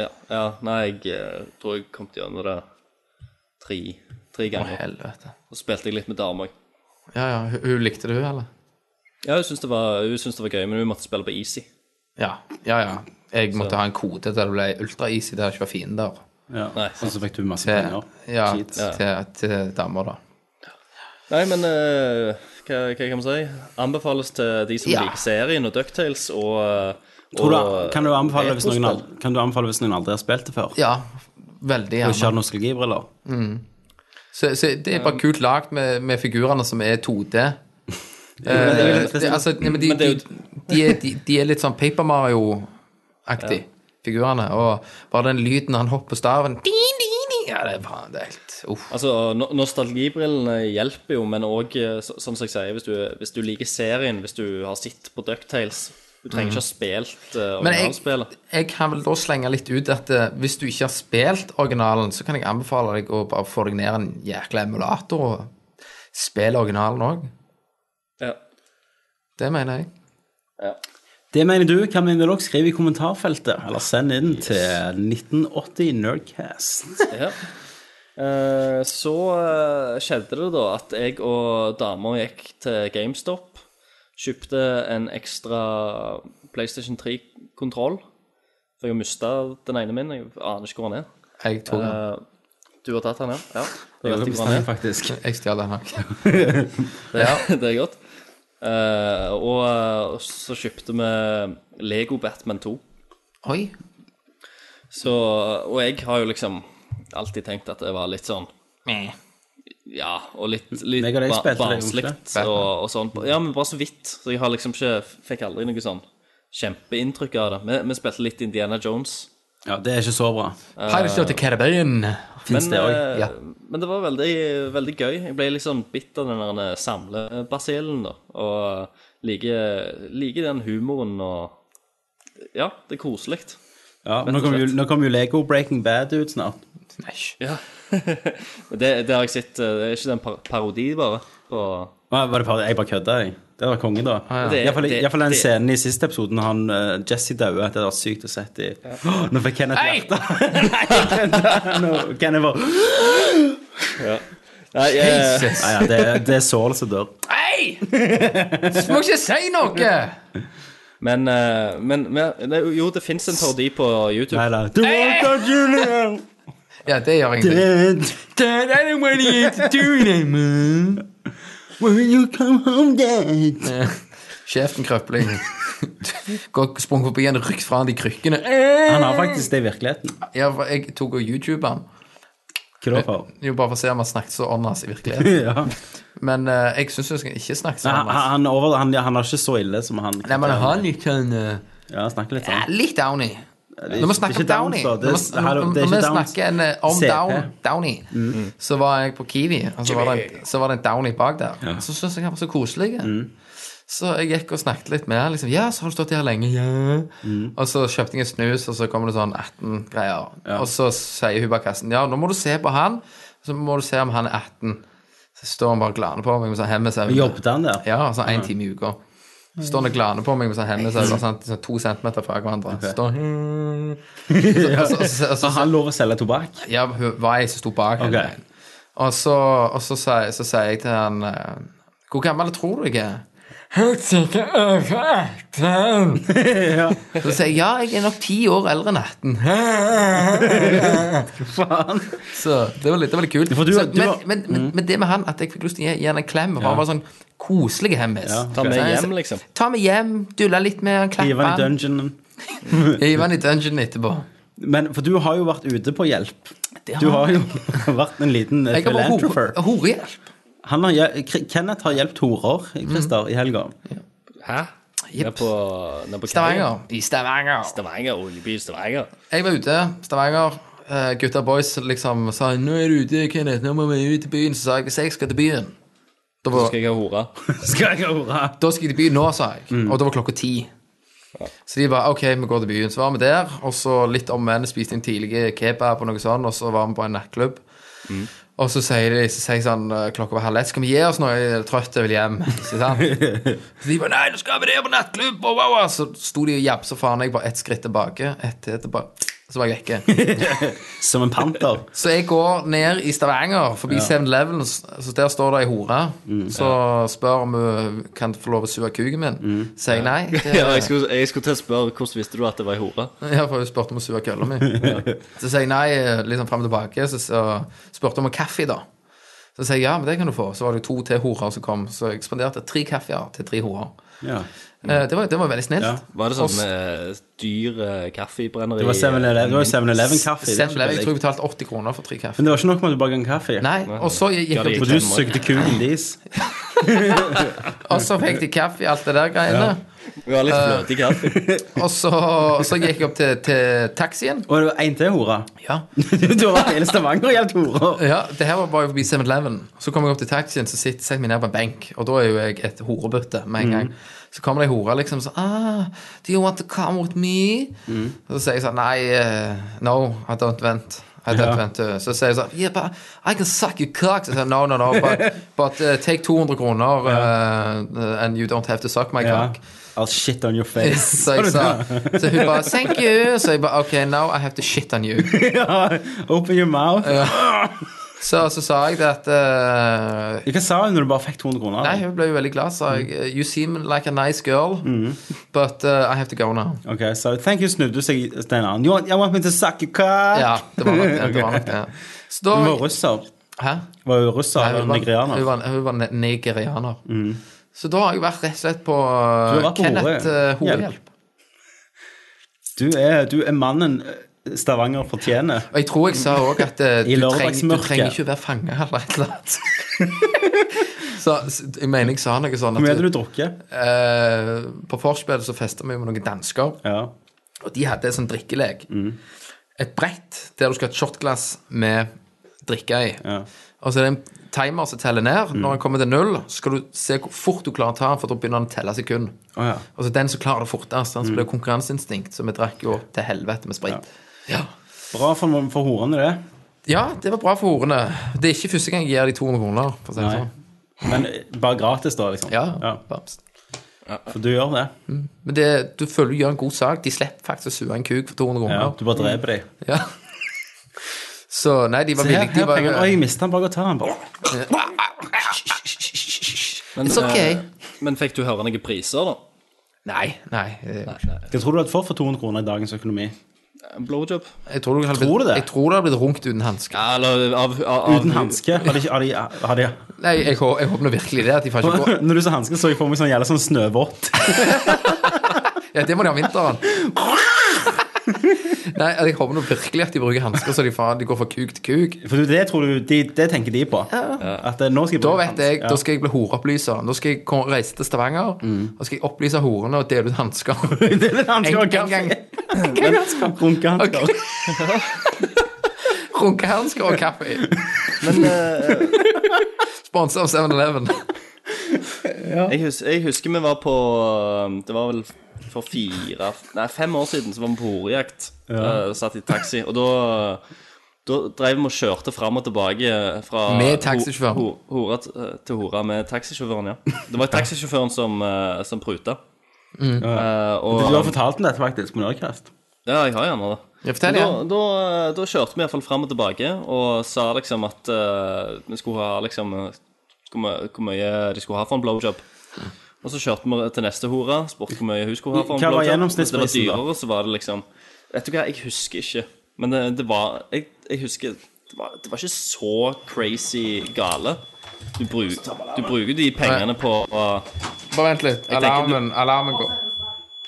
[SPEAKER 6] Ja, ja nei, jeg eh, tror jeg kom til gjennom det tre, tre
[SPEAKER 5] Å,
[SPEAKER 6] ganger.
[SPEAKER 5] helvete.
[SPEAKER 6] Og så spilte jeg litt med dama òg.
[SPEAKER 5] Ja, ja. Hun, hun likte det, hun, eller?
[SPEAKER 6] Ja, hun syntes det, var- hun syntes det var gøy, men hun måtte spille på easy.
[SPEAKER 5] Ja, ja. ja. Jeg måtte ha en kode der det ble ultra-easy, der det ikke var fiender.
[SPEAKER 4] Ja.
[SPEAKER 6] Nei.
[SPEAKER 4] Og så fikk du masse
[SPEAKER 5] Til,
[SPEAKER 4] penger.
[SPEAKER 5] ja,
[SPEAKER 4] Shit.
[SPEAKER 5] til, til damer, da.
[SPEAKER 6] Nei, men eh, hva, hva kan man si? Anbefales til de som
[SPEAKER 5] Ja.
[SPEAKER 6] liker serien og Ducktales og, eh,
[SPEAKER 4] Tror du,
[SPEAKER 6] og
[SPEAKER 4] kan, du anbefale hvis noen,
[SPEAKER 6] retrospill.
[SPEAKER 4] al- kan du anbefale hvis noen aldri har spilt det før?
[SPEAKER 5] Ja,
[SPEAKER 4] Og
[SPEAKER 5] veldig
[SPEAKER 4] ikke
[SPEAKER 5] gjerne.
[SPEAKER 4] har nostalgibriller?
[SPEAKER 5] Så, så det er bare kult lagt med, med figurene som er Eh, 2D.
[SPEAKER 4] Men det er jo litt-
[SPEAKER 5] Det, altså, nei, men de,
[SPEAKER 6] Men det er
[SPEAKER 5] de, de, er, de, de er litt sånn Paper Mario-aktig. figurene. Og bare den lyden han hopper på staven din, din, din, Ja, det er faen, det er helt uff.
[SPEAKER 6] Altså, no Nostalgibrillene hjelper jo, men òg, som jeg sier, hvis du, hvis du liker serien, hvis du har sett på Ducktales Du trenger ikke ha spilt uh,
[SPEAKER 5] Men jeg,
[SPEAKER 6] originalspillet.
[SPEAKER 5] jeg kan vel da slenge litt ut at eh, hvis du ikke har spilt originalen, så kan jeg anbefale deg å bare få deg ned en jækla emulator og spille originalen òg.
[SPEAKER 6] Ja.
[SPEAKER 5] Det mener jeg.
[SPEAKER 6] Ja.
[SPEAKER 4] Det mener du. Hva mener dere? Skriv i kommentarfeltet, eller send inn til 1980 Nerdcast.
[SPEAKER 6] ja. Eh, så eh, skjedde det da at jeg og dama gikk til GameStop, kjøpte en ekstra PlayStation 3-kontroll. For jeg har mista den ene min. Jeg aner ikke hvor den er.
[SPEAKER 5] Jeg tok den.
[SPEAKER 6] Eh, du har tatt den, ja? ja. Jeg vet ikke hvor den er.
[SPEAKER 4] Faktisk.
[SPEAKER 5] Jeg stjal den her.
[SPEAKER 6] Det, det er godt. Eh, og eh, så kjøpte vi Lego Batman 2.
[SPEAKER 5] Oi.
[SPEAKER 6] Så, og jeg har jo liksom alltid tenkt at det var litt sånn Ja, og litt, litt
[SPEAKER 4] Meg og deg
[SPEAKER 6] ba-
[SPEAKER 4] spilte Lego,
[SPEAKER 6] barnslig
[SPEAKER 4] ikke?
[SPEAKER 6] og, og sånn. Ja, men bare så vidt. Så jeg har liksom ikke Fikk aldri noe sånn kjempeinntrykk av det. Vi, vi spilte litt Indiana Jones.
[SPEAKER 4] Ja, det er ikke så bra.
[SPEAKER 5] Pirates of the Caribbean.
[SPEAKER 4] Fins
[SPEAKER 6] Men,
[SPEAKER 4] det òg?
[SPEAKER 6] eh,
[SPEAKER 5] ja.
[SPEAKER 6] men det var veldig, veldig gøy. Jeg ble litt sånn bitt av den der samlebasillen, da. Og liker like den humoren og Ja, det er koselig.
[SPEAKER 4] Ja, nå kommer jo, nå kommer jo Lego Breaking Bad ut snart.
[SPEAKER 6] Ja. det, det har jeg sett. eh, Det er ikke en par parodi, bare. På
[SPEAKER 4] Nei, var det bare, jeg bare kødda, jeg. Det var konge, da.
[SPEAKER 5] ja.
[SPEAKER 6] Det-
[SPEAKER 4] Iallfall
[SPEAKER 6] det-
[SPEAKER 4] den
[SPEAKER 6] det-
[SPEAKER 4] scenen i siste episoden han eh, Jesse døde. Det var sykt å sett i. Åh, Nå fikk Kenneth
[SPEAKER 5] Hei!
[SPEAKER 4] hjerte. Nei, jeg kødda. Nå- Kenneth bare
[SPEAKER 6] Nei, eh,
[SPEAKER 4] Nei, ja, det, det er Saul som dør.
[SPEAKER 5] Hei! Du må ikke si noe!
[SPEAKER 6] men, eh, men, men det, Jo, det fins en parodi på YouTube.
[SPEAKER 4] Nei, nei. Du Walter Junior!
[SPEAKER 5] Ja, det gjør ingenting. Dad, I don't want you to do it, man.
[SPEAKER 4] Will you come home, Dad?
[SPEAKER 5] Kjeften krøpling. Gå- Sprung forbi en rykt fra han de krykkene.
[SPEAKER 4] Han har faktisk det i virkeligheten.
[SPEAKER 5] Ja, for jeg tok og YouTube han.
[SPEAKER 4] Hva da for?
[SPEAKER 5] Jo, bare for å se om han snakket så åndas i virkeligheten.
[SPEAKER 4] Ja. Han,
[SPEAKER 5] Men eh, jeg syns han ikke snakket så
[SPEAKER 4] han,
[SPEAKER 5] åndas.
[SPEAKER 4] han, over, han, han har ikke så ille som han
[SPEAKER 5] Nei, men han er ikke en eh,
[SPEAKER 4] Ja, han snakker litt
[SPEAKER 5] ja,
[SPEAKER 4] sånn.
[SPEAKER 5] Litt Downy.
[SPEAKER 4] det er
[SPEAKER 5] Når vi
[SPEAKER 4] ikke-
[SPEAKER 5] snakker
[SPEAKER 4] det er
[SPEAKER 5] om
[SPEAKER 4] ikke Downs, da.
[SPEAKER 5] Downy Når
[SPEAKER 4] Det er-
[SPEAKER 5] vi-
[SPEAKER 4] hallo,
[SPEAKER 5] når
[SPEAKER 4] det er
[SPEAKER 5] vi
[SPEAKER 4] ikke Downs. Mm.
[SPEAKER 5] snakker en, eh, om
[SPEAKER 4] CP.
[SPEAKER 5] down, Downy, så var jeg på Kiwi, og så var det en, så var det en Downy bak der. Så syntes jeg han var så koselig.
[SPEAKER 4] Mm.
[SPEAKER 5] Så jeg gikk og snakket litt med han. Liksom, 'Ja, så har du stått her lenge.' Ja.
[SPEAKER 4] Mm.
[SPEAKER 5] Og så kjøpte jeg en snus, og så kommer det sånn 18 greier. Og så sier hun bak kassen 'Ja, nå må du se på han, så må du se om han er 18.' Så står han bare og glaner på meg med sånn hemmesøvn.
[SPEAKER 4] Jobbet han der?
[SPEAKER 5] Ja, sånn en time i uka. Så Står han og glaner på meg med sånn hendene så er det bare sånn, sånn to centimeter fra hverandre. Så Står han Og så- og så- og så-
[SPEAKER 4] Har han lov å selge tobakk?
[SPEAKER 5] Ja, hun var ei som sto bak. hele
[SPEAKER 4] Ok.
[SPEAKER 5] veien. Og så, og så, sier- så sier jeg til han eh, Hvor gammel tror du jeg er? Helt sikkert over 18. Så sier jeg ja, jeg er nok ti år eldre enn 18.
[SPEAKER 4] Faen.
[SPEAKER 5] Så det var litt, det var litt kult.
[SPEAKER 4] For du-
[SPEAKER 5] så,
[SPEAKER 4] du Mm.
[SPEAKER 5] men,
[SPEAKER 4] var-
[SPEAKER 5] men, men, men det med han, at jeg fikk lyst til å gi, gi han en klem, og han var sånn koselig hemmis.
[SPEAKER 6] Ta med
[SPEAKER 5] Så jeg-
[SPEAKER 6] hjem, liksom.
[SPEAKER 5] Ta med hjem, dulle litt med han,
[SPEAKER 4] Hive
[SPEAKER 5] klappe
[SPEAKER 4] han i
[SPEAKER 5] han.
[SPEAKER 4] dungeonen.
[SPEAKER 5] Hive han i dungeon etterpå.
[SPEAKER 4] Men for du har jo vært ute på hjelp. Du har jo vært en liten eh,
[SPEAKER 5] Jeg har bare
[SPEAKER 4] philanthroper.
[SPEAKER 5] hore- horehjelp.
[SPEAKER 4] Han har, hjel- K- Kenneth har hjulpet horer eh,
[SPEAKER 5] Mm.
[SPEAKER 4] Christer, i helga.
[SPEAKER 6] Hæ? Nede på, ned på kaien.
[SPEAKER 5] Stavanger. I Stavanger.
[SPEAKER 6] Stavanger, oljeby Stavanger.
[SPEAKER 5] Jeg var ute, Stavanger. eh, Gutta boys liksom sa 'Nå er du ute, Kenneth. Nå må vi ut i byen.' Så sa jeg 'Hvis jeg skal til byen' Da var,
[SPEAKER 6] Skal jeg ha hore?
[SPEAKER 4] Skal jeg hore?
[SPEAKER 5] da skal jeg til byen nå, sa jeg. Og da var klokka ti. Så de bare OK, vi går til byen. Så var vi der, og så litt om menn, spiste en tidlig kebab og noe sånt, og så var vi på en nattklubb. Og så sier de så sier jeg sånn eh, klokka var halv ett, skal vi gi oss nå, jeg er trøtt, jeg vil hjem. Så, sant? så de bare nei, nå skal vi ned på nattklubb, og wow, wow. Så sto de og jabsa faen, jeg bare ett skritt tilbake, ett til tilbake, så var jeg vekke.
[SPEAKER 4] Som en panter.
[SPEAKER 5] Så jeg går ned i Stavanger, forbi 7-Eleven, så der står det ei hore.
[SPEAKER 6] Mm,
[SPEAKER 5] så spør om hun kan få lov å suge kuken min. Sier jeg nei. Det,
[SPEAKER 6] Mm. Ja, jeg skulle, jeg skulle til å spørre hvordan visste du at det var ei hore?
[SPEAKER 5] ja, for hun spurte om å suge kølla mi. Så sier jeg nei, liksom fram og tilbake. Så, så spurte hun om kaffe, da. Så sier jeg ja, men det kan du få. Så var det jo to til horer som kom. Så jeg spanderte tre kaffer til tre horer.
[SPEAKER 4] Ja.
[SPEAKER 5] Eh, Det, var, det var veldig
[SPEAKER 4] Ja.
[SPEAKER 5] snilt.
[SPEAKER 6] Mm. Var det sånn
[SPEAKER 5] Også-
[SPEAKER 6] eh, dyr eh, kaffebrenneri? eh,
[SPEAKER 4] Det var 7-Eleven- det var jo 7-Eleven-kaffe. det er ikke
[SPEAKER 5] 7-Eleven, jeg tror
[SPEAKER 4] billig.
[SPEAKER 5] jeg betalte 80 kroner for tre kaffer.
[SPEAKER 4] Men det var ikke nok med at du bare ga en kaffe.
[SPEAKER 5] Nei, og så gikk
[SPEAKER 6] Ja, det
[SPEAKER 5] jeg
[SPEAKER 6] gikk
[SPEAKER 4] For du sugde kuken deres.
[SPEAKER 5] Og så fikk de kaffe i alt det der greiene.
[SPEAKER 6] Vi har litt fløte i kaffe.
[SPEAKER 5] Og så, så gikk jeg opp til, til taxien.
[SPEAKER 4] Og det var en til hore.
[SPEAKER 5] Ja.
[SPEAKER 4] du har vært hele Stavanger og gjeldt horer.
[SPEAKER 5] Ja, det her var bare forbi 7-Eleven. Så kom jeg opp til taxien, så sitter setter jeg meg ned på en benk. Og da er jo jeg et horebytte med
[SPEAKER 4] Mm.
[SPEAKER 5] en gang. Så kommer det ei hore liksom sånn ah, 'Do you want to come with me?'
[SPEAKER 4] Mm.
[SPEAKER 5] Og så sier jeg sånn Nei, eh, no, I don't vent. I don't
[SPEAKER 4] Ja.
[SPEAKER 5] vent to. Så sier jeg sånn yeah, but I can suck your cock. Så sier jeg no, no, no, but, but eh, take 200 kroner eh, and you don't have to suck my
[SPEAKER 4] Ja.
[SPEAKER 5] cock.
[SPEAKER 4] I'll shit on your face.
[SPEAKER 5] Så jeg sa Så hun bare 'Thank you'. Så jeg bare 'OK, now I have to shit on you'.
[SPEAKER 4] Ja, Open your mouth.
[SPEAKER 5] Så, så sa jeg det at eh,
[SPEAKER 4] Hva sa hun når du bare fikk 200 kroner?
[SPEAKER 5] Nei, hun ble jo veldig glad, sa
[SPEAKER 4] Mm.
[SPEAKER 5] jeg. You seem like a nice girl, but uh, I have to go now.
[SPEAKER 4] Ok, så thank you, snudde seg Stein Arne. You want, I want me to suck your cock?
[SPEAKER 5] Ja, det var nok det. det, var nok det. Så da,
[SPEAKER 4] Hun var russer.
[SPEAKER 5] Hæ?
[SPEAKER 4] Var hun russer
[SPEAKER 5] Nei,
[SPEAKER 4] eller
[SPEAKER 5] var-
[SPEAKER 4] nigerianer? Mm.
[SPEAKER 5] Hun var, hun var ne- nigerianer. Så da har jeg vært rett og slett
[SPEAKER 4] Du
[SPEAKER 5] på uh,
[SPEAKER 4] har vært på
[SPEAKER 5] Kenneth
[SPEAKER 4] Hore.
[SPEAKER 5] uh, Horehjelp.
[SPEAKER 4] Du er, du er mannen Stavanger fortjener.
[SPEAKER 5] Og jeg tror jeg sa òg at uh, du, treng, du
[SPEAKER 4] lørdagsmørket.
[SPEAKER 5] trenger ikke å være fanget eller et eller annet. Så så jeg mener jeg sa noe sånn
[SPEAKER 4] Hvor mye
[SPEAKER 5] at
[SPEAKER 4] hadde du drukket?
[SPEAKER 5] eh, På forspillet så festa vi jo med noen dansker.
[SPEAKER 4] Ja.
[SPEAKER 5] Og de hadde en sånn drikkelek.
[SPEAKER 4] Mm.
[SPEAKER 5] Et brett der du skal ha et shotglass med drikke i.
[SPEAKER 4] Ja. Mm.
[SPEAKER 5] Og så er det en timer som teller ned. Når den kommer til null, så skal du se hvor fort du klarer å ta den, for da begynner den å telle sekund.
[SPEAKER 4] Å ja. Mm.
[SPEAKER 5] Og så den som klarer det fortest, han som blir konkurranseinstinkt, så vi drakk jo til helvete med sprit. Ja.
[SPEAKER 4] Bra for, for horene, det.
[SPEAKER 5] ja, det var bra for ordene. Det er ikke første gang jeg gir de 200 kroner. For å si det
[SPEAKER 4] Nei.
[SPEAKER 5] sånn.
[SPEAKER 4] Men bare gratis, da, liksom.
[SPEAKER 5] Ja,
[SPEAKER 4] ja.
[SPEAKER 5] Bamsen.
[SPEAKER 4] For du gjør det.
[SPEAKER 5] Men det, du føler du gjør en god sak. De slipper faktisk å sue en kuk for 200
[SPEAKER 4] Ja,
[SPEAKER 5] kroner.
[SPEAKER 4] du bare dreper dem.
[SPEAKER 5] Ja. Så nei, de var
[SPEAKER 4] Her,
[SPEAKER 5] villige.
[SPEAKER 4] her
[SPEAKER 5] De var,
[SPEAKER 4] penger. Oi, jeg mistet den. Bare gå og ta den. Bare.
[SPEAKER 6] Men,
[SPEAKER 5] It's okay.
[SPEAKER 6] eh, men fikk du høre noen priser, da?
[SPEAKER 5] Nei, nei. eh,
[SPEAKER 4] Hva tror du du hadde fått for 200 kroner i dagens økonomi?
[SPEAKER 6] En blowjob?
[SPEAKER 5] Jeg tror, du hadde
[SPEAKER 4] Tror du
[SPEAKER 5] blitt,
[SPEAKER 4] det?
[SPEAKER 5] jeg tror det hadde blitt runkt uten hansker.
[SPEAKER 6] Ja, eller av, av, av
[SPEAKER 4] Uten hanske? Har de, ikke- har de, har de
[SPEAKER 5] Nei, jeg, hå- jeg håper nå virkelig det. At de faktisk går.
[SPEAKER 4] Når du sa hanske, så jeg for meg sånn jævla sånn snøvått.
[SPEAKER 5] Ja, det må de ha om vinteren. Nei, jeg håper nå virkelig at de bruker hansker så de, faen- de går fra kuk til kuk.
[SPEAKER 4] For du, det tror du de, Det tenker de på. At eh, nå skal jeg
[SPEAKER 5] Da
[SPEAKER 4] bruke
[SPEAKER 5] vet jeg,
[SPEAKER 4] hansker.
[SPEAKER 5] da skal jeg bli horeopplyser. Da skal jeg ko- reise til Stavanger og skal jeg opplyse horene og dele ut hansker.
[SPEAKER 4] Det vil han skal ha
[SPEAKER 5] En gang,
[SPEAKER 4] kaffe.
[SPEAKER 5] gang.
[SPEAKER 4] Runkehansker.
[SPEAKER 5] Ok. Runkehansker og kaffe. eh, Sponsa av 7-Eleven.
[SPEAKER 6] Jeg, hus jeg husker vi var på um, Det var vel for fire Nei, fem år siden så var vi på horejakt. eh, satt i taxi. Og da, da drev vi og kjørte fram og tilbake fra
[SPEAKER 5] Med taxisjåføren.
[SPEAKER 6] ho ho hora t- eh, til hora med taxisjåføren, ja. Det var taxisjåføren som, eh, som pruta. Eh, og,
[SPEAKER 4] Mm. Du har fortalt om dette faktisk på Nerdcast.
[SPEAKER 6] Ja, jeg har gjerne det.
[SPEAKER 5] Ja, fortell
[SPEAKER 6] da,
[SPEAKER 5] igjen.
[SPEAKER 6] da, eh, da kjørte vi iallfall fram og tilbake og sa liksom at eh, vi skulle ha liksom eh, hvor, mye, hvor mye de skulle ha for en blowjob. Og så kjørte vi til neste hore, spurte hvor mye hun skulle ha for en
[SPEAKER 4] Hva var
[SPEAKER 6] blowjob. Hvis det var
[SPEAKER 4] gjennomsnittsprisen, da?
[SPEAKER 6] dyrere, så var det liksom Vet du hva, jeg husker ikke. Men det, det var Jeg, jeg husker det var, det var ikke så crazy gale. Du, bruk, du bruker de pengene på å-
[SPEAKER 5] Bare vent litt.
[SPEAKER 6] tenker du-
[SPEAKER 5] Alarmen, alarmen går.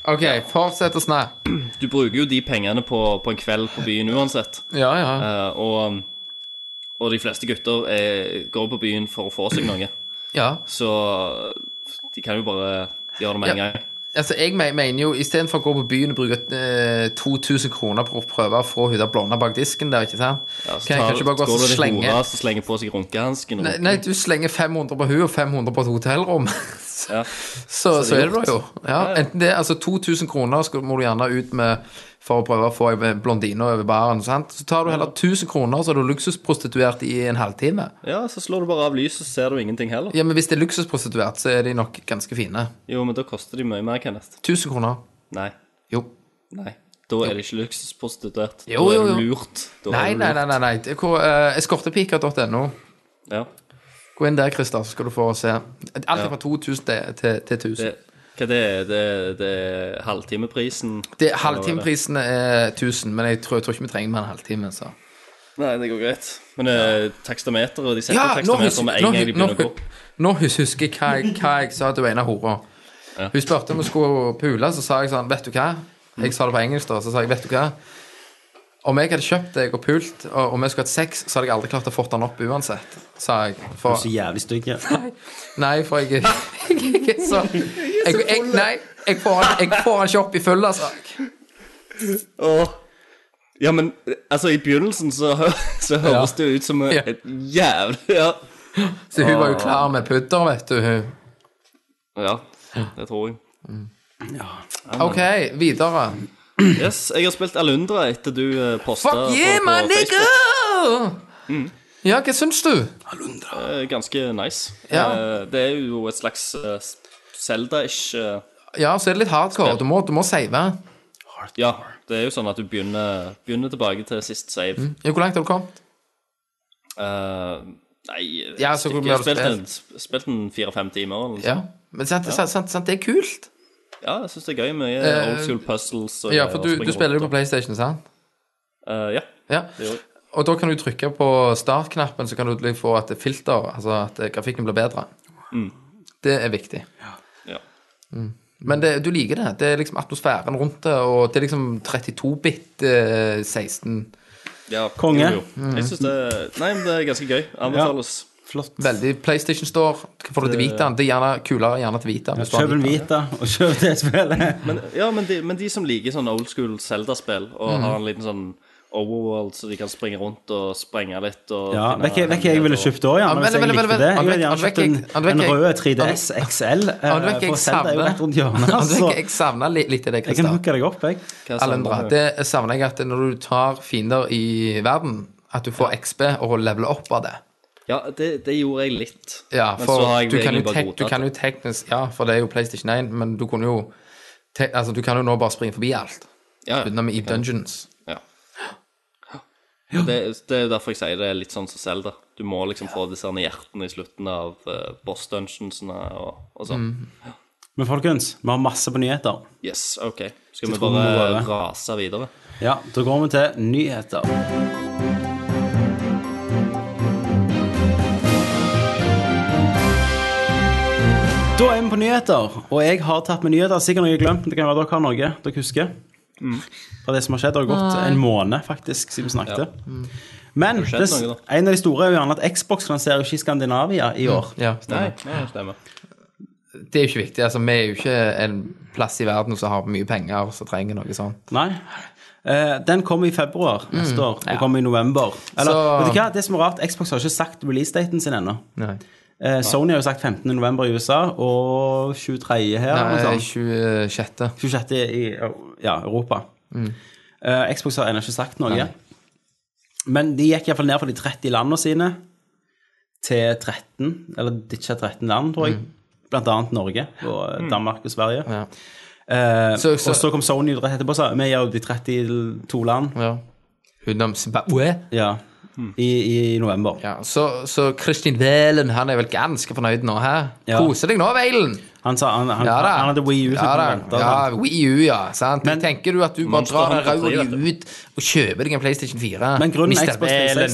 [SPEAKER 5] OK, fortsett å snakke.
[SPEAKER 6] Du bruker jo de pengene på, på en kveld på byen uansett.
[SPEAKER 5] Ja, ja.
[SPEAKER 6] Eh, og, og de fleste gutter er, går på byen for å få seg noe.
[SPEAKER 5] ja.
[SPEAKER 6] Så de kan jo bare gjøre det med en
[SPEAKER 5] Ja.
[SPEAKER 6] gang.
[SPEAKER 5] Altså, jeg me- mener jo, istedenfor å gå på byen og bruke eh, 2000 kroner på å prøve å få hun der blonde bak disken der, ikke sant
[SPEAKER 6] Ja, så
[SPEAKER 5] Kan jeg
[SPEAKER 6] tar-
[SPEAKER 5] kanskje bare gå
[SPEAKER 6] går
[SPEAKER 5] og
[SPEAKER 6] det litt
[SPEAKER 5] slenge
[SPEAKER 6] hora, så slenger på seg runkehansken.
[SPEAKER 5] nei, nei, du slenger 500 på hun og 500 på et hotellrom. så,
[SPEAKER 6] Ja.
[SPEAKER 5] så,
[SPEAKER 6] Så det er
[SPEAKER 5] er det da jo. Ja, enten det, altså 2000 kroner skal, må du gjerne ut med for å prøve å få ei blondine over baren. sant? Så tar du heller 1000 kroner, så er du luksusprostituert i en halvtime.
[SPEAKER 6] Ja, så slår du bare av lyset, så ser du ingenting heller.
[SPEAKER 5] Ja, Men hvis det er luksusprostituert, så er de nok ganske fine.
[SPEAKER 6] Jo, men da koster de mye mer, Kenneth.
[SPEAKER 5] 1000 kroner.
[SPEAKER 6] Nei.
[SPEAKER 5] Jo.
[SPEAKER 6] nei. Da er det ikke luksusprostituert. Da
[SPEAKER 5] Jo, jo,
[SPEAKER 6] er
[SPEAKER 5] jo.
[SPEAKER 6] du lurt. Da
[SPEAKER 5] Nei,
[SPEAKER 6] er du
[SPEAKER 5] nei,
[SPEAKER 6] lurt.
[SPEAKER 5] nei. nei, nei. Det er hvor, eh, Eskortepiker.no.
[SPEAKER 6] Ja.
[SPEAKER 5] Gå inn der, Christer, så skal du få se. Alt fra 2000 til, til, til 1000.
[SPEAKER 6] Det, hva
[SPEAKER 5] Det,
[SPEAKER 6] det er det? Det er halvtimeprisen?
[SPEAKER 5] halvtimeprisen er 1000, men jeg tror, jeg tror ikke vi trenger mer enn halvtime. Så.
[SPEAKER 6] Nei, det går greit. Men eh, takstameteret De setter
[SPEAKER 5] Ja, nå,
[SPEAKER 6] takstameteret med en gang de
[SPEAKER 5] nå,
[SPEAKER 6] begynner å gå opp.
[SPEAKER 5] nå hus- husker jeg hva, jeg hva jeg sa til hun ene hora. Hun spurte om vi skulle pule, så sa jeg sånn Vet du hva? Jeg sa det på engelsk, da. Så sa jeg, vet du hva? Om jeg hadde kjøpt deg og pult, og om vi skulle hatt sex, så hadde jeg aldri klart å fått den opp uansett, sa jeg. For,
[SPEAKER 4] Så jævlig stygg. ja.
[SPEAKER 5] nei, for jeg, Jeg er så jeg, jeg, Nei, jeg får, han- jeg får han ikke opp i full, altså.
[SPEAKER 6] Åh. Ja, men altså, i begynnelsen så, så høres
[SPEAKER 5] Ja.
[SPEAKER 6] det ut som et
[SPEAKER 5] Ja.
[SPEAKER 6] et jævlig ja.
[SPEAKER 5] Så hun var
[SPEAKER 6] Ah.
[SPEAKER 5] jo klar med pudder, vet du. hun.
[SPEAKER 6] ja, det tror jeg.
[SPEAKER 5] OK, videre.
[SPEAKER 6] Yes, jeg har spilt Alundra etter du eh, posta
[SPEAKER 5] Fuck yeah, my nigga! Ja, hva syns du?
[SPEAKER 6] Eh, Ganske nice.
[SPEAKER 5] Ja.
[SPEAKER 6] Eh, Det er jo et slags eh, Zelda-ish eh,
[SPEAKER 5] Ja, så er det litt hardcore. Du må, du må save.
[SPEAKER 6] Ja, det er jo sånn at du begynner, begynner tilbake til sist save.
[SPEAKER 5] Ja, hvor langt har du kommet?
[SPEAKER 6] Eh, nei
[SPEAKER 5] Ja, så hvor
[SPEAKER 6] jeg
[SPEAKER 5] mye har
[SPEAKER 6] har
[SPEAKER 5] du
[SPEAKER 6] spilt en, spilt en fire-fem timer. Eller noe
[SPEAKER 5] Ja. Men sant, sant, sant, sant det er kult.
[SPEAKER 6] sånt. ja, jeg syns det er gøy. Mye
[SPEAKER 5] Eh,
[SPEAKER 6] old school puzzles. og
[SPEAKER 5] Ja,
[SPEAKER 6] greier
[SPEAKER 5] for
[SPEAKER 6] å
[SPEAKER 5] du,
[SPEAKER 6] springe
[SPEAKER 5] du spiller jo
[SPEAKER 6] rundt
[SPEAKER 5] på PlayStation, sant?
[SPEAKER 6] og- Eh, ja,
[SPEAKER 5] Ja.
[SPEAKER 6] det gjør jeg.
[SPEAKER 5] Og da kan du trykke på startknappen, så kan du liksom få et filter, altså at eh, grafikken blir bedre. Mm. Det er viktig.
[SPEAKER 6] Ja.
[SPEAKER 5] Men det, du liker det. Det er liksom atmosfæren rundt det, og det er liksom 32-bit eh, 16.
[SPEAKER 6] ja.
[SPEAKER 4] Konge.
[SPEAKER 6] Jo, jo. Jeg synes det, nei, men det er ganske gøy. Anbefales.
[SPEAKER 4] Flott.
[SPEAKER 5] Veldig PlayStation Store. Hva Får du til Vitaen? Det er gjerne kulere gjerne til Vitaen. hvis du har
[SPEAKER 4] Kjøp en
[SPEAKER 5] Vitaen.
[SPEAKER 4] Vita og kjøp det spillet.
[SPEAKER 6] Men, ja, men, de, men de som liker sånn old school Zelda-spill, og har en liten sånn overworld så de kan springe rundt og sprenge litt og
[SPEAKER 4] Ja,
[SPEAKER 6] finne
[SPEAKER 4] Vet ikke vet ikke jeg ville
[SPEAKER 6] hemmeligheter.
[SPEAKER 4] kjøpt òg, ja. Men
[SPEAKER 5] men-
[SPEAKER 4] hvis jeg
[SPEAKER 5] men- men-
[SPEAKER 4] likte det. Jeg
[SPEAKER 5] men-
[SPEAKER 4] ville gjerne
[SPEAKER 5] men-
[SPEAKER 4] kjøpt en,
[SPEAKER 5] men- men-
[SPEAKER 4] en
[SPEAKER 5] men-
[SPEAKER 4] rød 3DS XL.
[SPEAKER 5] Ja, du vet ikke,
[SPEAKER 4] eh, For
[SPEAKER 5] jeg
[SPEAKER 4] Zelda er jo
[SPEAKER 5] savner-
[SPEAKER 4] rett rundt hjørnet.
[SPEAKER 5] Ja, du vet
[SPEAKER 4] Så
[SPEAKER 5] ikke, Jeg savner li- litt av det,
[SPEAKER 4] jeg kan
[SPEAKER 5] Kristian.
[SPEAKER 4] hooke deg opp, jeg.
[SPEAKER 6] Hva sa han
[SPEAKER 5] Alendra,
[SPEAKER 6] om
[SPEAKER 5] det savner jeg at når du tar fiender i verden, at du får XB og leveler opp av det.
[SPEAKER 6] Ja, det, det gjorde jeg litt.
[SPEAKER 5] Ja,
[SPEAKER 6] Men
[SPEAKER 5] for
[SPEAKER 6] så har jeg
[SPEAKER 5] du kan, jo
[SPEAKER 6] egentlig bare
[SPEAKER 5] tek, du
[SPEAKER 6] godtatt
[SPEAKER 5] kan jo teknisk Ja, for det er jo PlayStation 1, men du kunne jo te, Altså, du kan jo nå bare springe forbi alt.
[SPEAKER 6] ja, ja.
[SPEAKER 5] Utenom i dungeons.
[SPEAKER 6] Ja. Det, det er jo derfor jeg sier det er litt sånn som Zelda. Du må liksom få disse her hjertene i slutten av eh, boss dungeonsene og, og sånn.
[SPEAKER 4] Men folkens, vi har masse på nyheter.
[SPEAKER 6] Yes, OK. Skal vi
[SPEAKER 4] tror vi må
[SPEAKER 6] bare
[SPEAKER 4] bare-
[SPEAKER 6] rase videre?
[SPEAKER 4] Ja, da går vi til nyheter. Da er vi på nyheter, og jeg har tatt med nyheter. Sikkert noe jeg har glemt, men det kan være dere har noe dere husker.
[SPEAKER 6] Mm.
[SPEAKER 4] Fra det som har skjedd. Det har gått en måned faktisk siden vi snakket. Men
[SPEAKER 6] skjedd
[SPEAKER 4] det,
[SPEAKER 6] noe, da.
[SPEAKER 4] en av de store er jo gjerne at Xbox lanserer jo ikke i Skandinavia i år.
[SPEAKER 5] Ja,
[SPEAKER 6] Nei,
[SPEAKER 5] stemmer.
[SPEAKER 6] nei, stemmer.
[SPEAKER 5] Det er jo ikke viktig. Altså, vi er jo ikke en plass i verden som har mye penger som trenger noe sånt.
[SPEAKER 4] Nei. Eh, den kommer i februar neste år. Den kommer i november. Eller,
[SPEAKER 5] Så-
[SPEAKER 4] vet du hva? Det som er rart, Xbox har ikke sagt release-daten sin ennå.
[SPEAKER 5] Nei.
[SPEAKER 4] Eh, Sony har jo sagt 15. november i USA og 23. her. eller
[SPEAKER 5] Nei
[SPEAKER 4] noe sånt.
[SPEAKER 5] 26.
[SPEAKER 4] 26. i ja, Europa. Eh, Xbox har ennå ikke sagt noe.
[SPEAKER 5] Mm. Nei.
[SPEAKER 4] Men de gikk iallfall ned fra de 30 landene sine til 13, eller ditcha 13 land, tror jeg. Blant annet Norge og eh, Danmark og Sverige.
[SPEAKER 5] Mm. Ja.
[SPEAKER 4] Eh,
[SPEAKER 5] Så- så-
[SPEAKER 4] og så kom Sony rett etterpå og sa vi gjør jo de 32 land
[SPEAKER 5] Ja. Utenom Zimbabwe.
[SPEAKER 4] ja, i, i november.
[SPEAKER 5] Ja, så, så Kristin Velen han er vel ganske fornøyd nå, hæ?
[SPEAKER 4] Ja.
[SPEAKER 5] Koser deg nå, Velen!
[SPEAKER 4] Han sa han, han,
[SPEAKER 5] Ja da.
[SPEAKER 4] han hadde Wii U.
[SPEAKER 5] ja, da. ja, Wii U, ja. Sant? Men, tenker du at du bare
[SPEAKER 6] Monster
[SPEAKER 5] drar den
[SPEAKER 6] Hunter
[SPEAKER 5] raude
[SPEAKER 6] 3,
[SPEAKER 5] ut og kjøper deg en PlayStation 4?
[SPEAKER 4] Men grunnen til
[SPEAKER 5] Mr.
[SPEAKER 4] at Xbox
[SPEAKER 5] Velen.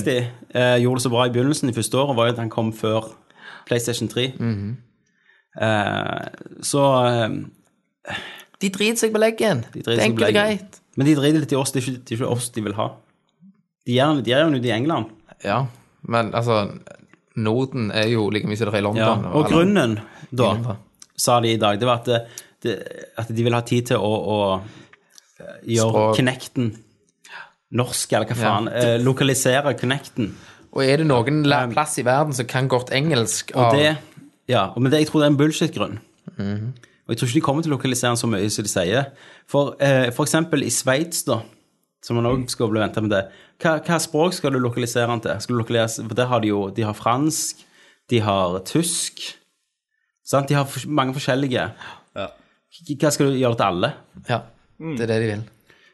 [SPEAKER 4] 360 eh, gjorde det så bra i begynnelsen i første året, var jo at han kom før PlayStation 3. eh, så eh,
[SPEAKER 5] De driter seg på leggen.
[SPEAKER 4] de
[SPEAKER 5] det
[SPEAKER 4] driter seg
[SPEAKER 5] er
[SPEAKER 4] på
[SPEAKER 5] enkelt og
[SPEAKER 4] leggen.
[SPEAKER 5] greit.
[SPEAKER 4] Men de driter litt i oss. Det er ikke, det er ikke oss de vil ha. De gjør de gjør jo det i England.
[SPEAKER 5] Ja, men altså Norden er jo like mye som det er i London.
[SPEAKER 4] Ja. Og
[SPEAKER 5] eller-
[SPEAKER 4] grunnen, da,
[SPEAKER 5] England, da.
[SPEAKER 4] sa de i dag, det var at, det- det, at de vil ha tid til å, å eh, gjøre
[SPEAKER 5] Språk.
[SPEAKER 4] Kinecten norsk, eller hva
[SPEAKER 5] Ja.
[SPEAKER 4] faen. Eh, lokalisere Kinecten.
[SPEAKER 5] Og er det noen la- plass i verden som kan godt engelsk
[SPEAKER 4] Og
[SPEAKER 5] av
[SPEAKER 4] det, ja, og- men det, jeg tror det er en bullshit-grunn. Og jeg tror ikke de kommer til å lokalisere den så mye som de sier. For, eh, for eksempel i Sveits, da, som man også skal bli ventet med det, hva, hva språk skal du lokalisere den til? Skal du lokalisere, for der har de jo de har fransk, de har tysk sant? De har fors- mange forskjellige.
[SPEAKER 6] Ja.
[SPEAKER 4] Hva skal du gjøre til alle?
[SPEAKER 5] Ja,
[SPEAKER 6] Mm.
[SPEAKER 5] det er det de vil.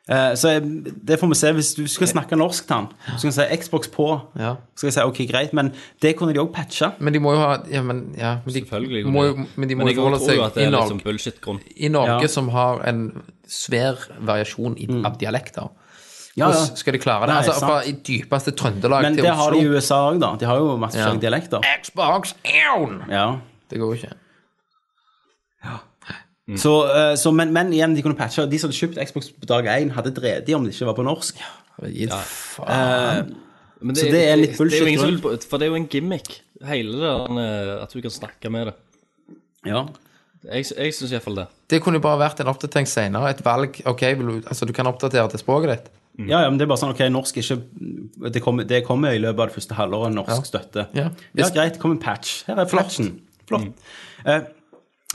[SPEAKER 4] Eh, så jeg, det får vi se. Hvis du skal snakke norsk til han, så kan du si Xbox på.
[SPEAKER 5] Ja.
[SPEAKER 4] Så skal jeg si ok, greit, men det kunne de òg patche.
[SPEAKER 5] Men de må jo ha ja, men, ja, men de,
[SPEAKER 6] Selvfølgelig.
[SPEAKER 5] Må, jo- men de må jo
[SPEAKER 6] jeg
[SPEAKER 5] forholde
[SPEAKER 6] tror jo
[SPEAKER 5] seg
[SPEAKER 6] at det
[SPEAKER 5] i
[SPEAKER 6] er litt
[SPEAKER 5] Norge,
[SPEAKER 6] sånn bullshit-grunn.
[SPEAKER 5] i Norge
[SPEAKER 4] Ja. Mm.
[SPEAKER 5] som har en svær variasjon i, av dialekter.
[SPEAKER 4] Ja, ja.
[SPEAKER 5] Hvordan skal de klare det?
[SPEAKER 4] Nei,
[SPEAKER 5] altså,
[SPEAKER 4] sant.
[SPEAKER 5] fra i dypeste Trøndelag
[SPEAKER 4] Men
[SPEAKER 5] til
[SPEAKER 4] det har de i
[SPEAKER 5] Oslo
[SPEAKER 4] USA òg, da. De har jo masse
[SPEAKER 5] Ja.
[SPEAKER 4] forskjellige dialekter.
[SPEAKER 5] Xbox Own!
[SPEAKER 4] Ja.
[SPEAKER 5] Det går jo ikke.
[SPEAKER 4] Så, eh, så, men, men igjen, de kunne patche. De som hadde kjøpt Xbox på dag én, hadde dredi om det ikke var på norsk. Eh,
[SPEAKER 5] Gitt faen.
[SPEAKER 6] Men
[SPEAKER 4] Så det er litt
[SPEAKER 6] det er jo ingen som
[SPEAKER 4] bullshit-grunn.
[SPEAKER 6] vil- For det er jo en gimmick, hele det der eh, at du kan snakke med det.
[SPEAKER 4] Ja.
[SPEAKER 6] Jeg, sy- jeg syns iallfall det.
[SPEAKER 5] Det kunne jo bare vært en oppdatering senere. Et valg. ok, vil du, altså Du kan oppdatere til språket ditt.
[SPEAKER 4] Ja, ja, men det er bare sånn, ok, norsk ikke, det kommer, det kommer i løpet av det første halvåret norsk støtte. ja,
[SPEAKER 5] Ja. Hvis-
[SPEAKER 4] greit, kom en patch. Her er patchen. Flott. Eh,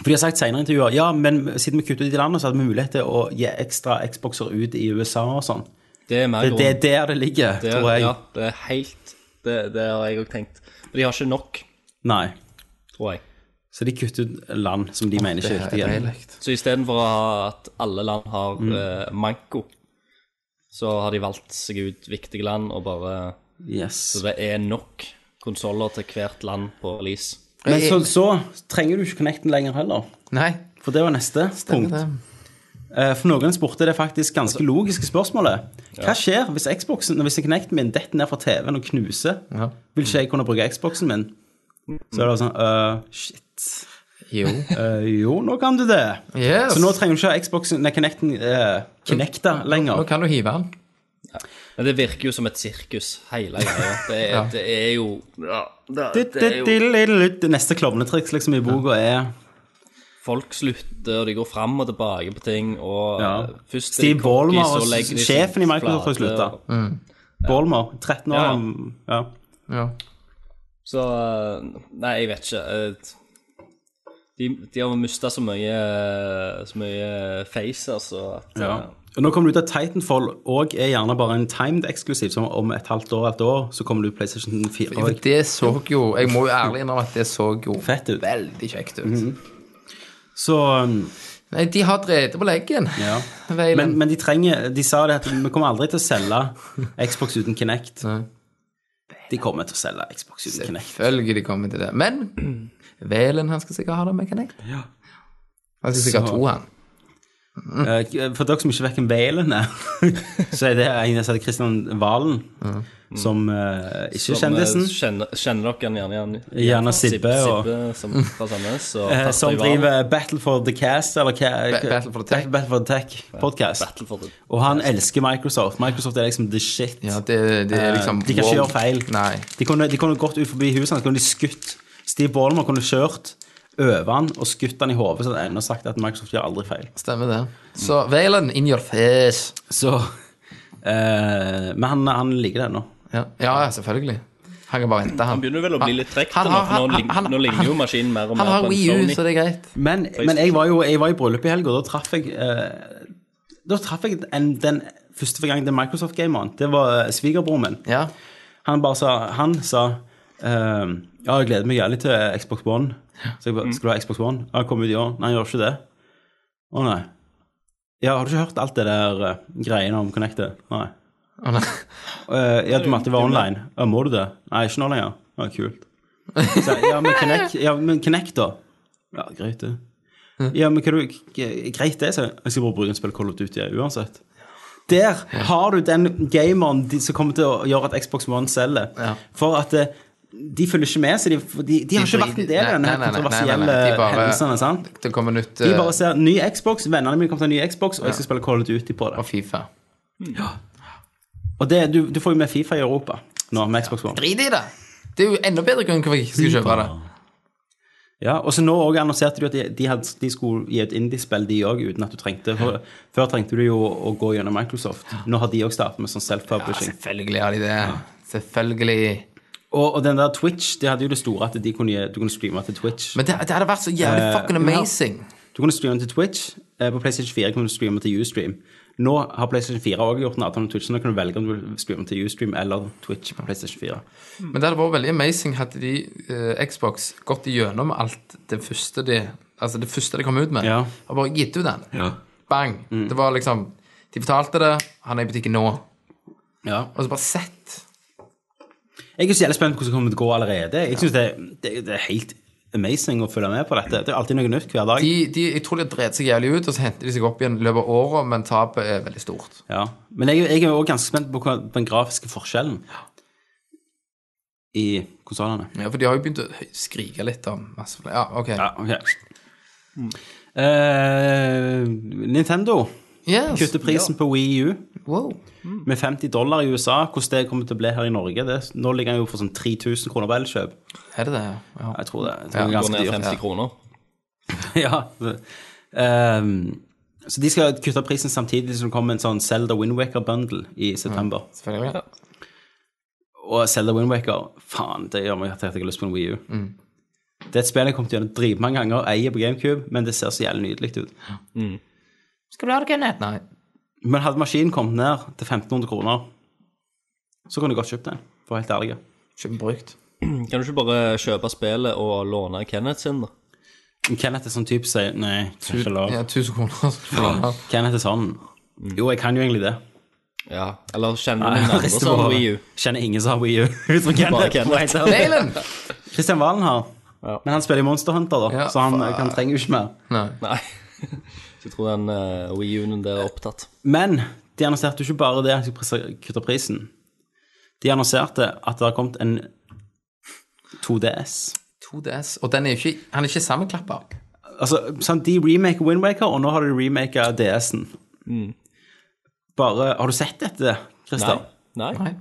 [SPEAKER 4] for de har sagt senere i intervjuer, ja, men siden vi kutter ut i landet, så hadde vi mulighet til å gi ekstra Xboxer ut i USA og sånn.
[SPEAKER 6] Det er mer
[SPEAKER 4] Det, det er
[SPEAKER 6] grunn.
[SPEAKER 4] der det ligger,
[SPEAKER 6] Det er-
[SPEAKER 4] tror jeg.
[SPEAKER 6] Ja, det er helt Det, det har jeg òg tenkt. Men de har ikke nok,
[SPEAKER 4] Nei.
[SPEAKER 6] tror jeg.
[SPEAKER 4] Så de kutter ut land som de mener ikke er viktige.
[SPEAKER 6] Så istedenfor å ha at alle land har eh, manko, så har de valgt seg ut viktige land og bare
[SPEAKER 4] Yes.
[SPEAKER 6] Så det er nok konsoller til hvert land på release.
[SPEAKER 4] Men så, så trenger du ikke Connecten lenger heller,
[SPEAKER 5] Nei.
[SPEAKER 4] for det var neste punkt.
[SPEAKER 5] Det.
[SPEAKER 4] Eh, For noen spurte det faktisk ganske logiske spørsmålet. Hva skjer hvis Xboxen, hvis Kinecten min detter ned fra TV-en og knuser?
[SPEAKER 5] Ja.
[SPEAKER 4] Vil ikke jeg kunne bruke Xboxen min? Så er det bare sånn øh, Shit.
[SPEAKER 5] Jo.
[SPEAKER 4] Eh, jo, nå kan du det.
[SPEAKER 5] Yes.
[SPEAKER 4] Så nå trenger du ikke ha Xboxen, nei, Kinecten eh, Kinecta
[SPEAKER 5] Nå
[SPEAKER 4] lenger.
[SPEAKER 5] kan du hive den.
[SPEAKER 6] Men det virker jo som et sirkus, hele greia. Det, er-
[SPEAKER 5] Ja.
[SPEAKER 6] det er jo ja, det, det er jo
[SPEAKER 4] Det neste klovnetriks liksom i boka er
[SPEAKER 6] Folk slutter, og de går fram og tilbake på ting, og
[SPEAKER 4] Ja.
[SPEAKER 6] eh, først er
[SPEAKER 4] Steve
[SPEAKER 6] de cocky,
[SPEAKER 4] Ballmer,
[SPEAKER 6] så
[SPEAKER 4] og
[SPEAKER 6] legger de seg
[SPEAKER 4] sjefen i Microsoft, har
[SPEAKER 6] flate,
[SPEAKER 4] sluttet.
[SPEAKER 6] og-
[SPEAKER 4] Ballmer. 13 år.
[SPEAKER 6] Ja, ja.
[SPEAKER 4] han- Ja.
[SPEAKER 5] Ja.
[SPEAKER 6] Så eh, Nei, jeg vet ikke. eh, De, de har mista så mye eh, Så mye face, altså. At,
[SPEAKER 4] Ja.
[SPEAKER 6] eh,
[SPEAKER 4] Og nå kommer det ut at Titanfall òg er gjerne bare en timed eksklusiv. Som om et halvt år et år så kommer det ut PlayStation 4.
[SPEAKER 5] For
[SPEAKER 4] også.
[SPEAKER 5] det så jo Jeg må jo ærlig innrømme at det så jo
[SPEAKER 4] Fett ut.
[SPEAKER 5] veldig kjekt ut.
[SPEAKER 4] Mhm. Så um,
[SPEAKER 5] Nei, de har drevet på leggen.
[SPEAKER 4] ja.
[SPEAKER 5] Veilen.
[SPEAKER 4] Men, men de trenger De sa det at vi kommer aldri til å selge Xbox uten Kinect.
[SPEAKER 5] Nei.
[SPEAKER 4] De kommer til å selge Xbox uten Kinect.
[SPEAKER 5] Selvfølgelig de kommer til det. Men Velen, han skal sikkert ha det med Connect.
[SPEAKER 4] Ja.
[SPEAKER 5] Han skal sikkert
[SPEAKER 4] Så-
[SPEAKER 5] ha to, han.
[SPEAKER 4] Eh, For dere som ikke vet hvem Valen er, så er det en som heter Kristian Valen. Som eh, ikke
[SPEAKER 6] som, eh,
[SPEAKER 4] er kjendisen.
[SPEAKER 6] Kjenner, kjenner dere han gjerne igjen?
[SPEAKER 4] Gjerne Sibbe og-
[SPEAKER 6] som, fra Sandnes. Og
[SPEAKER 4] eh,
[SPEAKER 6] Tatøy
[SPEAKER 4] Som
[SPEAKER 6] Valen.
[SPEAKER 4] driver Battle for the Cast, eller hva?
[SPEAKER 5] Ba- Battle for the Tech.
[SPEAKER 4] Battle for the Tech-podkast.
[SPEAKER 6] Battle for the
[SPEAKER 4] Og han elsker Microsoft. Microsoft er liksom the shit.
[SPEAKER 5] Ja, det, det er liksom
[SPEAKER 4] Eh, de kan ikke gjøre feil.
[SPEAKER 5] Nei.
[SPEAKER 4] De kunne, de kunne gått ut forbi huset hans, kunne de skutt Steve Ballmer kunne kjørt over han og skutt han i hodet, så hadde han ennå sagt at Microsoft gjør aldri feil.
[SPEAKER 5] Stemmer det. Så Valen, in your face.
[SPEAKER 4] Så eh, Men han, han liker det ennå.
[SPEAKER 5] Ja, ja ja, selvfølgelig. Han kan bare vente, han.
[SPEAKER 6] Han begynner vel å bli litt trekt,
[SPEAKER 5] Han
[SPEAKER 6] nå,
[SPEAKER 5] har-
[SPEAKER 6] for nå,
[SPEAKER 5] han-
[SPEAKER 6] lign-
[SPEAKER 5] han-
[SPEAKER 6] nå ligner jo
[SPEAKER 5] han-
[SPEAKER 6] maskinen mer og
[SPEAKER 5] Han
[SPEAKER 6] mer
[SPEAKER 5] har
[SPEAKER 6] på en
[SPEAKER 5] Wii U,
[SPEAKER 6] Sony.
[SPEAKER 5] så det er greit.
[SPEAKER 4] Men, men jeg var jo jeg var i bryllup i helga, og da traff jeg eh, Da traff jeg en, den første gang den Microsoft-gameren. Det var eh, svigerbroren min.
[SPEAKER 5] Ja.
[SPEAKER 4] Han bare sa Han sa ehm, Ja, jeg gleder meg jævlig til Xbox One. Så jeg bare, Skal du ha Xbox One? Ja, kom ut i år. Nei, jeg gjør ikke det. Å nei. Ja, har du ikke hørt alt det der eh, greiene om Connected? Nei.
[SPEAKER 5] Å, nei.
[SPEAKER 4] Eh, ja, du måtte være online. Ja, må du det? Nei, ikke nå lenger. Ja, kult. Så, jeg, ja, men Connect, ja, men Connect da? Ja, greit det. Ja, men hva du g- Greit det, sier jeg. Jeg skal bare bruke en spill Call of Duty jeg, uansett. Der har du den gameren de, som kommer til å gjøre at Xbox One selger.
[SPEAKER 5] Ja.
[SPEAKER 4] For at eh, de følger ikke med, så de, for de, de har ikke vært en del av denne
[SPEAKER 5] Nei, nei, nei, nei, nei,
[SPEAKER 4] kontroversielle
[SPEAKER 5] nei, nei, de bare-
[SPEAKER 4] hendelsene. sant?
[SPEAKER 5] Det kommer nytt
[SPEAKER 4] De
[SPEAKER 5] eh,
[SPEAKER 4] bare ser ny Xbox, vennene mine kommer til å ha ny Xbox, og jeg skal spille Call of Duty på
[SPEAKER 5] og
[SPEAKER 4] det.
[SPEAKER 5] Fifa.
[SPEAKER 4] Og det, du, du får jo med Fifa i Europa nå, med Xbox One.
[SPEAKER 5] Drit i det! Det er jo enda bedre grunn til hvorfor jeg ikke skal kjøpe det.
[SPEAKER 4] Ja, og så nå også annonserte de at de, de, hadde, de skulle gi et indiespill, de òg, uten at du trengte for, Før trengte du jo å, å gå gjennom Microsoft. Nå har de òg startet med sånn
[SPEAKER 5] Ja, altså-
[SPEAKER 4] self-publishing.
[SPEAKER 5] selvfølgelig har de det. Selvfølgelig.
[SPEAKER 4] og, og den der Twitch, det hadde jo det store at de kunne, gi- du kunne streame til Twitch.
[SPEAKER 5] Men det, det hadde vært så jævlig
[SPEAKER 4] Eh,
[SPEAKER 5] fucking
[SPEAKER 4] men-
[SPEAKER 5] amazing.
[SPEAKER 4] du kunne streame til Twitch. eh, På PlayStation 4 kunne du streame til Ustream. Nå har PlayStation 4 også gjort en avtale med Twitch, så nå kan du velge om du vil streame til Ustream eller Twitch på PlayStation 4.
[SPEAKER 5] Mm. Men det hadde vært veldig amazing hadde de eh, Xbox gått igjennom alt det første de Altså det første de kom ut med,
[SPEAKER 4] Ja.
[SPEAKER 5] og bare gitt ut den. Bang. Det var liksom De betalte det, han er i butikken nå. Og
[SPEAKER 4] Ja.
[SPEAKER 5] så bare sett.
[SPEAKER 4] Jeg er så jævlig spent på hvordan det kommer til å gå allerede. Jeg synes det, det, det er helt amazing å følge med på dette. Det er alltid noe nytt hver dag.
[SPEAKER 5] De, de, jeg tror de har drevet seg jævlig ut, og så henter de seg opp igjen i løpet av året, men tapet er veldig stort.
[SPEAKER 4] Ja, Men jeg, jeg er òg ganske spent på hva den grafiske forskjellen i konsollene.
[SPEAKER 5] Ja, For de har jo begynt å hø- skrike litt om masse flere. Ja, ok.
[SPEAKER 4] Ja, ok. Eh, Nintendo
[SPEAKER 5] Yes.
[SPEAKER 4] kutter prisen på Wii U
[SPEAKER 5] Wow.
[SPEAKER 4] med 50 dollar i USA. Hvordan det kommer til å bli her i Norge det, Nå ligger den jo for sånn 3000 kroner på elkjøp.
[SPEAKER 5] Er det det? Ja.
[SPEAKER 4] Jeg tror det. Jeg tror det er
[SPEAKER 6] Går
[SPEAKER 4] ganske
[SPEAKER 6] ned 50
[SPEAKER 4] dyrt.
[SPEAKER 6] kroner.
[SPEAKER 4] ja. Ehm, så de skal kutte prisen samtidig som det kommer en sånn Zelda Windwaker-bundle i september.
[SPEAKER 5] Selvfølgelig.
[SPEAKER 4] Og Zelda Windwaker, faen, det gjør meg at jeg har lyst på en Wii U.
[SPEAKER 6] Mm.
[SPEAKER 4] Det er et spill jeg kommer til å gjøre dritmange ganger, eier på GameCube, men det ser så jævlig nydelig ut.
[SPEAKER 5] Skal du ha det, Kenneth? Nei.
[SPEAKER 4] Men hadde maskinen kommet ned til 1500 kroner, så kunne jeg godt kjøpt den, for å være helt ærlig.
[SPEAKER 5] Kjøp den brukt.
[SPEAKER 6] Kan du ikke bare kjøpe spillet og låne Kenneth sin, da?
[SPEAKER 4] Men Kenneth er sånn type sier nei, det er ikke lov.
[SPEAKER 5] Ja, 1000 kroner. skal du ha.
[SPEAKER 4] Kenneth er sånn Jo, jeg kan jo egentlig det.
[SPEAKER 6] Ja. Eller kjenner du Mm. noen andre
[SPEAKER 4] Rister på
[SPEAKER 6] som har
[SPEAKER 4] hodet.
[SPEAKER 6] Wii U?
[SPEAKER 4] Kjenner ingen som har Wii U. Utenom
[SPEAKER 6] Bare
[SPEAKER 4] Kenneth.
[SPEAKER 6] Kenneth.
[SPEAKER 4] for å være helt ærlig.
[SPEAKER 5] Nalen!
[SPEAKER 4] Kristian Valen har. Men han spiller i Monster Hunter, da,
[SPEAKER 5] Ja,
[SPEAKER 4] så han,
[SPEAKER 5] faen.
[SPEAKER 4] han trenger jo ikke mer.
[SPEAKER 5] Nei.
[SPEAKER 6] Nei. Så jeg tror den uh, Wii U-en der er opptatt.
[SPEAKER 4] Men de annonserte jo ikke bare det at de skulle kutte prisen. De annonserte at det har kommet en 2DS.
[SPEAKER 5] 2DS. Og den er jo ikke, han er ikke sammenklappa.
[SPEAKER 4] Altså, sant, de remaker Windwaker, og nå har de remaka DS-en. Bare Har du sett dette,
[SPEAKER 6] Nei.
[SPEAKER 4] Christer?
[SPEAKER 6] Nei.
[SPEAKER 5] Nei.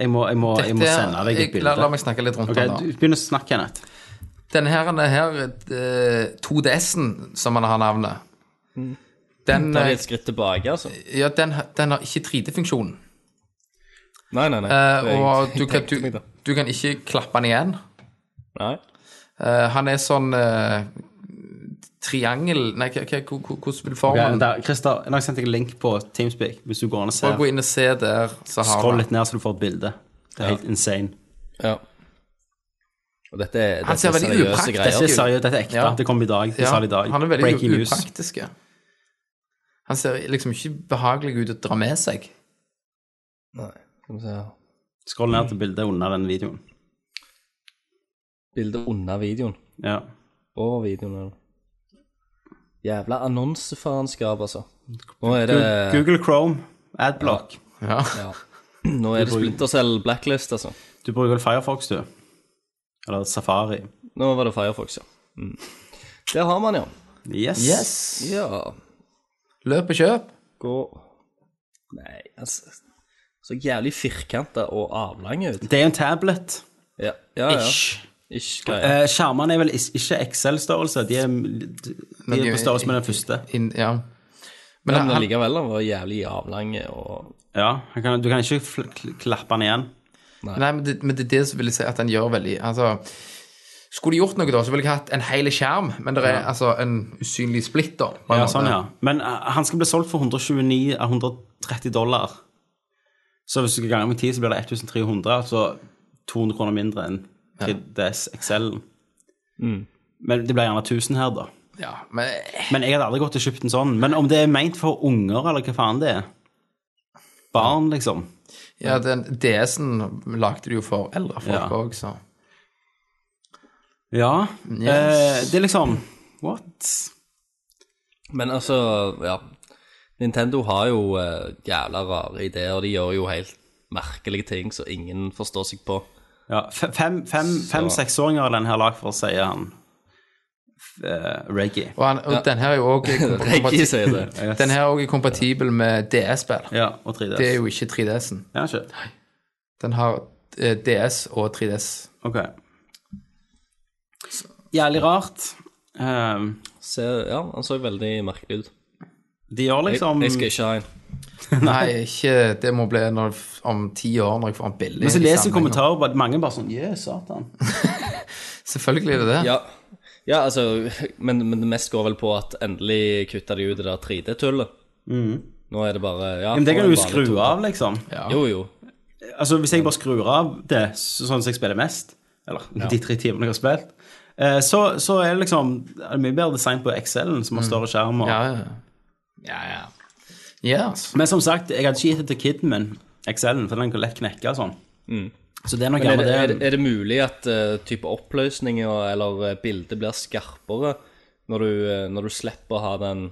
[SPEAKER 4] Jeg må, jeg, må, jeg må
[SPEAKER 5] Dette-
[SPEAKER 4] sende deg et
[SPEAKER 5] jeg- La,
[SPEAKER 4] bilde.
[SPEAKER 5] la meg snakke litt rundt
[SPEAKER 4] Ok,
[SPEAKER 5] den, da.
[SPEAKER 4] du begynner å snakke, Kenneth.
[SPEAKER 5] Denne her, denne her eh, 2DS-en, som han har navnet, den,
[SPEAKER 6] Ta
[SPEAKER 5] eh,
[SPEAKER 6] Mm. det et skritt tilbake, altså.
[SPEAKER 5] ja, den, har- den har ikke 3D-funksjonen.
[SPEAKER 6] Nei, nei, nei.
[SPEAKER 5] Eh,
[SPEAKER 6] Jeg-
[SPEAKER 5] og
[SPEAKER 6] jeg
[SPEAKER 5] du kan,
[SPEAKER 6] tenkte meg
[SPEAKER 5] du,
[SPEAKER 6] det.
[SPEAKER 5] du kan ikke klappe den igjen.
[SPEAKER 6] Nei.
[SPEAKER 5] Eh, han er sånn eh, triangel Nei, hva- hva- hva- hvordan vil
[SPEAKER 4] Ok,
[SPEAKER 5] formen
[SPEAKER 4] der, Christer, nå har jeg sendt deg en link på Teamspeak. Hvis du går an og
[SPEAKER 5] Bare
[SPEAKER 4] ser.
[SPEAKER 5] gå inn og se der, så har
[SPEAKER 4] Scroll
[SPEAKER 5] han
[SPEAKER 4] litt ned, så du får et bilde. Det er helt insane.
[SPEAKER 6] Ja. Og dette er,
[SPEAKER 5] Han ser
[SPEAKER 6] dette er
[SPEAKER 5] veldig
[SPEAKER 6] seriøse
[SPEAKER 5] upraktisk
[SPEAKER 6] greier.
[SPEAKER 4] Dette er seriøst, dette er ekte.
[SPEAKER 5] Ja.
[SPEAKER 4] Det kom i dag. De
[SPEAKER 5] Ja,
[SPEAKER 4] sa det i dag.
[SPEAKER 5] Han er veldig
[SPEAKER 4] Breaking news.
[SPEAKER 5] upraktisk. Han ser liksom ikke behagelig ut å dra med seg.
[SPEAKER 6] Nei. Skal vi se her.
[SPEAKER 4] Scroll ned til bildet under den videoen.
[SPEAKER 6] Bildet under videoen.
[SPEAKER 4] Ja.
[SPEAKER 6] Over videoen. eller? Jævla annonsefaenskap, altså. Nå er det
[SPEAKER 4] Google Chrome, Adblock.
[SPEAKER 5] Ja.
[SPEAKER 6] Ja. Nå er det Splinter Cell Blacklist, altså.
[SPEAKER 4] Du bruker vel Firefox, du? Eller Safari?
[SPEAKER 6] Nå var det Firefox, ja. Mm. Der har man, ja.
[SPEAKER 4] Yes.
[SPEAKER 6] Ja.
[SPEAKER 5] Løp og kjøp.
[SPEAKER 6] Gå Nei, altså Så jævlig firkanta og avlang ut.
[SPEAKER 4] Det er jo en tablet.
[SPEAKER 6] Ja, ja. ja.
[SPEAKER 4] Ish.
[SPEAKER 6] Ish, greier.
[SPEAKER 4] Eh, Skjermene er vel is- ikke Excel-størrelse, de er, de er på størrelse med den første.
[SPEAKER 5] Inn, ja.
[SPEAKER 6] Men
[SPEAKER 5] Men han, han,
[SPEAKER 6] likevel, han var jævlig avlang og
[SPEAKER 4] Ja, han kan, Du kan ikke fl kl- klappe den igjen.
[SPEAKER 5] nei, men, det, men det er det som vil jeg si at han gjør veldig altså, Skulle de gjort noe, da, så ville jeg hatt en hel skjerm, men det er altså en usynlig splitt, da. på en
[SPEAKER 4] Ja,
[SPEAKER 5] måte.
[SPEAKER 4] sånn, ja. Men eh, han skal bli solgt for 129 av 130 dollar. Så hvis du ganger med 10, så blir det 1300, altså 200 kroner mindre enn 3DS XL.
[SPEAKER 5] Mm.
[SPEAKER 4] Men det blir gjerne 1000 her, da.
[SPEAKER 5] Ja, men
[SPEAKER 4] Men jeg hadde aldri gått og kjøpt en sånn. Men om det er meint for unger, eller hva faen det er Barn, liksom.
[SPEAKER 5] ja, den DS-en lagde de jo for eldre
[SPEAKER 4] Ja.
[SPEAKER 5] folk òg, så
[SPEAKER 4] Ja. Eh,
[SPEAKER 5] Yes.
[SPEAKER 4] det er liksom What?
[SPEAKER 6] Men altså, ja. Nintendo har jo eh, jævla rare ideer. De gjør jo helt merkelige ting som ingen forstår seg på.
[SPEAKER 4] Ja, fe- fem- fem- Fem-seksåringer er den her lag for, sier han. F- Eh, Reggie.
[SPEAKER 5] Og, han, og den her er jo òg
[SPEAKER 6] Reggie sier det.
[SPEAKER 5] Den her er også kompatibel med DS-spill.
[SPEAKER 4] Ja, og 3DS.
[SPEAKER 5] Det er jo ikke 3DS-en.
[SPEAKER 4] Ja, ikke?
[SPEAKER 5] Den har eh, DS og 3DS.
[SPEAKER 4] Ok. Jævlig rart. Ehm,
[SPEAKER 6] Så, ja, han så veldig merkelig ut.
[SPEAKER 4] de gjør
[SPEAKER 6] Jeg,
[SPEAKER 4] liksom
[SPEAKER 6] jeg skal ikke ha en.
[SPEAKER 5] Nei, ikke Det må bli når, om ti år, når jeg får den billig.
[SPEAKER 4] Men så
[SPEAKER 5] i
[SPEAKER 4] leser jeg
[SPEAKER 5] samling.
[SPEAKER 4] kommentarer på at mange bare sånn Jø, satan.
[SPEAKER 5] Selvfølgelig er det det.
[SPEAKER 6] Ja, ja altså, men, men det mest går vel på at endelig kutta de ut det der 3D-tullet. Nå er det bare ja,
[SPEAKER 4] Men Mm. det
[SPEAKER 6] få
[SPEAKER 4] kan du
[SPEAKER 6] en
[SPEAKER 4] jo
[SPEAKER 6] vanlig
[SPEAKER 4] skru
[SPEAKER 6] to-
[SPEAKER 4] av, liksom.
[SPEAKER 6] Jo, jo.
[SPEAKER 4] Altså, hvis jeg bare skrur av det, så- sånn som jeg spiller mest, eller de tre timene jeg har spilt, eh, så, så er det liksom det er mye bedre design på Excel-en,
[SPEAKER 6] Mm.
[SPEAKER 4] som har større skjerm. Og,
[SPEAKER 5] Ja, ja. ja, ja. altså. Yes.
[SPEAKER 4] Men som sagt, jeg hadde ikke gitt det til kiden min, Excel-en, for den kan lett knekke og sånn. Så det er noe
[SPEAKER 6] Mm. Men er,
[SPEAKER 4] med
[SPEAKER 6] det, er,
[SPEAKER 4] det.
[SPEAKER 6] det- er det mulig at eh, type oppløsninger eller eh, bildet blir skarpere når du, eh, når du slipper å ha den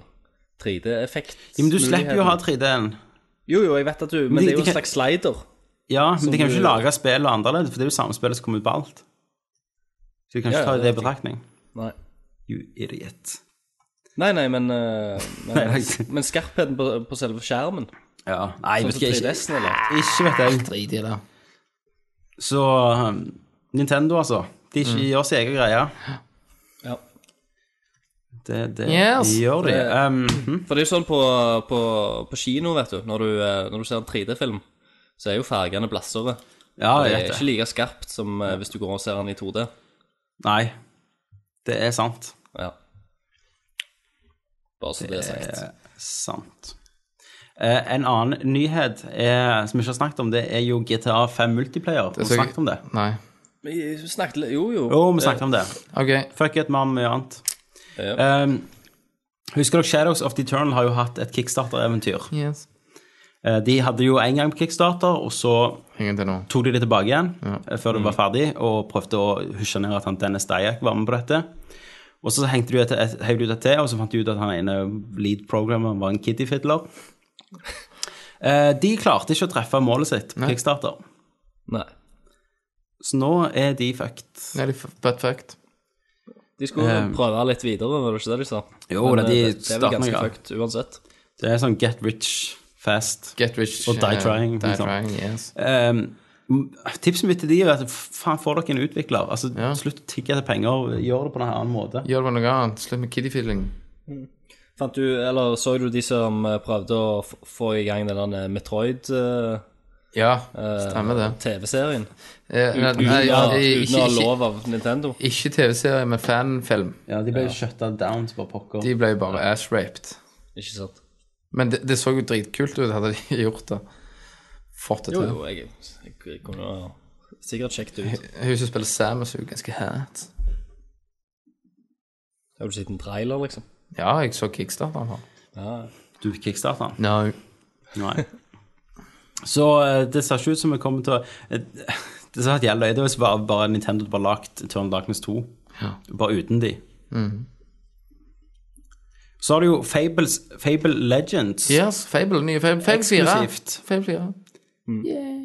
[SPEAKER 6] 3D-effekt?
[SPEAKER 4] Ja, men du slipper jo å ha 3D-en.
[SPEAKER 6] Jo, jo, jeg vet at du Men
[SPEAKER 4] de-
[SPEAKER 6] det er jo
[SPEAKER 4] de
[SPEAKER 6] en
[SPEAKER 4] kan-
[SPEAKER 6] slags slider.
[SPEAKER 4] Ja, men de kan jo ikke
[SPEAKER 6] du-
[SPEAKER 4] lage spillet annerledes, for det er jo samme spillet som kommer ut på alt. Så du kan
[SPEAKER 6] Ja, ja,
[SPEAKER 4] ikke ta
[SPEAKER 6] det
[SPEAKER 4] det i
[SPEAKER 6] vet jeg.
[SPEAKER 4] betraktning.
[SPEAKER 6] Nei.
[SPEAKER 4] You idiot.
[SPEAKER 6] Nei, nei, men, eh,
[SPEAKER 4] Nei,
[SPEAKER 6] men,
[SPEAKER 4] nei.
[SPEAKER 6] men skarpheten på, på selve skjermen
[SPEAKER 4] Ja. Nei,
[SPEAKER 6] Sånn
[SPEAKER 4] vet
[SPEAKER 6] som
[SPEAKER 4] ikke, ikke,
[SPEAKER 6] 3DS-en, eller?
[SPEAKER 4] ikke vet jeg.
[SPEAKER 5] Drit i det.
[SPEAKER 4] Så
[SPEAKER 6] Mm.
[SPEAKER 4] um, Nintendo, altså. De ikke gjør sin egen greie.
[SPEAKER 6] Ja.
[SPEAKER 4] Det, det
[SPEAKER 5] Yes.
[SPEAKER 4] gjør de.
[SPEAKER 6] Det-
[SPEAKER 4] Um, mhm.
[SPEAKER 6] For det er jo sånn på, på, på kino, vet du, når du, eh, når du ser en 3D-film, så er jo fargene blassere.
[SPEAKER 4] ja,
[SPEAKER 6] det er
[SPEAKER 4] jeg vet
[SPEAKER 6] ikke
[SPEAKER 4] det.
[SPEAKER 6] like skarpt som eh, hvis du går og ser den i 2D.
[SPEAKER 4] Nei, det er sant.
[SPEAKER 6] Ja. Bare så det er sagt.
[SPEAKER 4] Sant. Eh, en annen nyhet er, som vi ikke har snakket om, det er jo GTA 5 Multiplayer. Har vi
[SPEAKER 5] så jeg-
[SPEAKER 4] snakket om det?
[SPEAKER 5] Nei.
[SPEAKER 6] Vi snakket litt Jo, jo.
[SPEAKER 4] Jo, vi snakket om det.
[SPEAKER 5] OK.
[SPEAKER 4] Fuck it, vi har mye annet.
[SPEAKER 6] Ja.
[SPEAKER 4] Um, husker dere Shadows of the Eternal har jo hatt et kickstarter-eventyr.
[SPEAKER 5] Yes.
[SPEAKER 4] Eh, de hadde jo en gang på kickstarter, og så
[SPEAKER 5] Ingen til nå.
[SPEAKER 4] tok de det tilbake igjen eh, før det var ferdig, og prøvde å husje ned at han Dennis Dyack var med på dette. Og så hengte de ut et, heiv de ut et til, og så fant de ut at han ene lead programmeren var en kittyfiddler. Eh, de klarte ikke å treffe målet sitt på Kickstarter,
[SPEAKER 6] Nei.
[SPEAKER 4] så nå er de fucked.
[SPEAKER 5] Nei, de er butt fucked.
[SPEAKER 6] De skulle prøve litt videre, var det ikke det de sa?
[SPEAKER 4] Jo,
[SPEAKER 6] Men,
[SPEAKER 4] da, de
[SPEAKER 6] eh, det, det er
[SPEAKER 4] starter
[SPEAKER 6] vel ganske
[SPEAKER 4] med-
[SPEAKER 6] fucked uansett.
[SPEAKER 4] Det er sånn get rich fast.
[SPEAKER 5] Get rich.
[SPEAKER 4] Og die
[SPEAKER 5] eh,
[SPEAKER 4] trying,
[SPEAKER 5] Die
[SPEAKER 4] liksom.
[SPEAKER 5] trying, yes.
[SPEAKER 4] Ehm, m- tipset mitt til de er at faen, får dere en utvikler. Altså,
[SPEAKER 5] Ja.
[SPEAKER 4] Slutt å tigge etter penger, gjør det på en annen måte.
[SPEAKER 5] Gjør det på noe annet. Slutt med kiddie feeling.
[SPEAKER 6] Fant du, eller Så du de som eh, prøvde å f få i gang den der eh, Metroid-TV-serien?
[SPEAKER 5] Ja, stemmer det. Eh, nei,
[SPEAKER 6] Uten
[SPEAKER 5] nei, eh,
[SPEAKER 6] å-
[SPEAKER 5] ikke-
[SPEAKER 6] uten å ha
[SPEAKER 5] ikke-
[SPEAKER 6] lov av Nintendo.
[SPEAKER 5] Ikke TV-serie, men fanfilm.
[SPEAKER 4] Ja, de ble jo shutta down som bare pokker.
[SPEAKER 5] De ble jo bare ass-raped.
[SPEAKER 6] Ikke sant?
[SPEAKER 5] Men det, det så jo dritkult ut, hadde de gjort det. Fått det
[SPEAKER 6] Jo,
[SPEAKER 5] til.
[SPEAKER 6] jo, jeg, jeg kunne jo sikkert sjekket det ut.
[SPEAKER 5] Hun som spiller Samus, er jo ganske hat.
[SPEAKER 6] Har du sett en trailer, liksom?
[SPEAKER 5] Ja, jeg så kickstarteren her.
[SPEAKER 6] Ja.
[SPEAKER 4] Du kickstarter den.
[SPEAKER 5] No.
[SPEAKER 4] Nei. Så eh, det ser ikke ut som vi kommer til å eh, Det ser helt jævlig ut. Det var bare, bare Nintendo hadde bare lagt Turn Darkness 2.
[SPEAKER 5] Ja. Mhm.
[SPEAKER 4] Bare uten de. Så har du jo Fables, Fable Legends.
[SPEAKER 5] Yes, Fable. Nye Fable. Fable 4.
[SPEAKER 4] Eksklusivt.
[SPEAKER 5] Fable 4.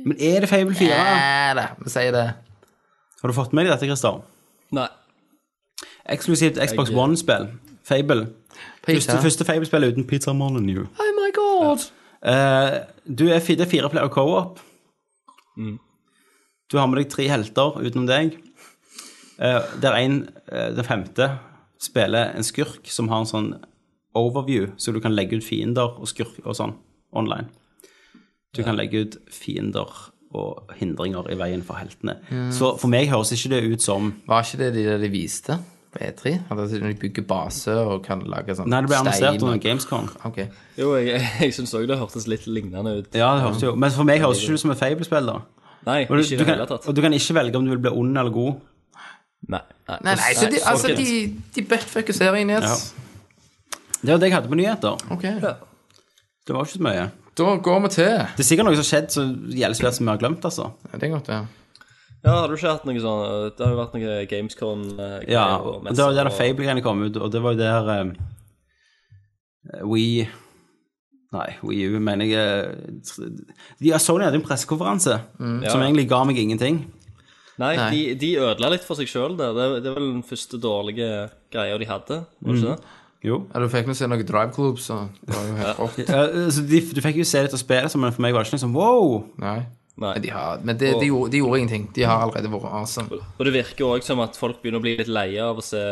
[SPEAKER 4] Men er det Fable 4?
[SPEAKER 5] Ja da, vi sier det.
[SPEAKER 4] Har du fått med deg dette, Christer?
[SPEAKER 6] Nei.
[SPEAKER 4] Eksklusivt Xbox
[SPEAKER 6] Jeg-
[SPEAKER 4] One-spill. Fable.
[SPEAKER 5] Pizza.
[SPEAKER 4] Første, første Fable-spill uten Pizza Molyneux.
[SPEAKER 5] Oh my god!
[SPEAKER 4] Eh, du er fi- det er fire player co-op. Mm. Du har med deg tre helter utenom deg. Eh, der en, eh, den femte, spiller en skurk som har en sånn overview, så du kan legge ut fiender og skurk og sånn online. Du kan legge ut fiender og hindringer i veien for heltene. Så for meg høres ikke det ut som
[SPEAKER 5] Var ikke det de, der de viste på E3? At de bygger base og kan lage sånn
[SPEAKER 4] Nei, det ble annonsert
[SPEAKER 5] stein
[SPEAKER 4] under
[SPEAKER 5] og-
[SPEAKER 4] Gamescom.
[SPEAKER 5] Ok.
[SPEAKER 6] Jo, jeg, jeg syns òg det hørtes litt lignende ut.
[SPEAKER 4] Ja, det høres jo Men for meg høres ikke det ut som et Fable-spill, da.
[SPEAKER 6] Nei,
[SPEAKER 4] Og du,
[SPEAKER 6] ikke i
[SPEAKER 4] du
[SPEAKER 6] det
[SPEAKER 4] kan,
[SPEAKER 6] hele tatt.
[SPEAKER 4] og du kan ikke velge om du vil bli ond eller god.
[SPEAKER 6] Nei.
[SPEAKER 5] Nei, nei, så de, altså,
[SPEAKER 6] fuck it.
[SPEAKER 5] de, de buttfucker serien, yes.
[SPEAKER 4] Det var det jeg hadde på nyheter.
[SPEAKER 5] Ok.
[SPEAKER 4] Det var ikke så mye.
[SPEAKER 5] Da går vi til
[SPEAKER 4] Det er sikkert noe som har skjedd som gjelder svært som vi har glemt, altså.
[SPEAKER 5] Ja, Det er godt, det.
[SPEAKER 6] Ja, har du ikke hatt noe sånn eh, Det har jo vært noe Gamescon eh, greier
[SPEAKER 4] Ja,
[SPEAKER 6] og
[SPEAKER 4] og
[SPEAKER 6] messer
[SPEAKER 4] Det var der
[SPEAKER 6] og-
[SPEAKER 4] Fable-greiene kom ut, og det var jo der um, We Nei, WeU mener jeg eh, ja, Sony hadde en pressekonferanse som
[SPEAKER 6] Ja.
[SPEAKER 4] egentlig ga meg ingenting.
[SPEAKER 6] Nei, De, de ødela litt for seg sjøl der. Det, det er vel den første dårlige greia de hadde, var det
[SPEAKER 4] Mm.
[SPEAKER 6] ikke det?
[SPEAKER 4] Jo.
[SPEAKER 5] Ja, du fikk nå se noe Drive Club, så det var jo helt rått.
[SPEAKER 4] Eh, så de, du fikk jo se litt av spillet, så- men for meg var det ikke liksom wow.
[SPEAKER 5] Nei.
[SPEAKER 6] Nei.
[SPEAKER 5] Men, de, har, men det, de, gjorde, de gjorde ingenting. De har allerede vært awesome.
[SPEAKER 6] Og det virker òg som at folk begynner å bli litt leie av å se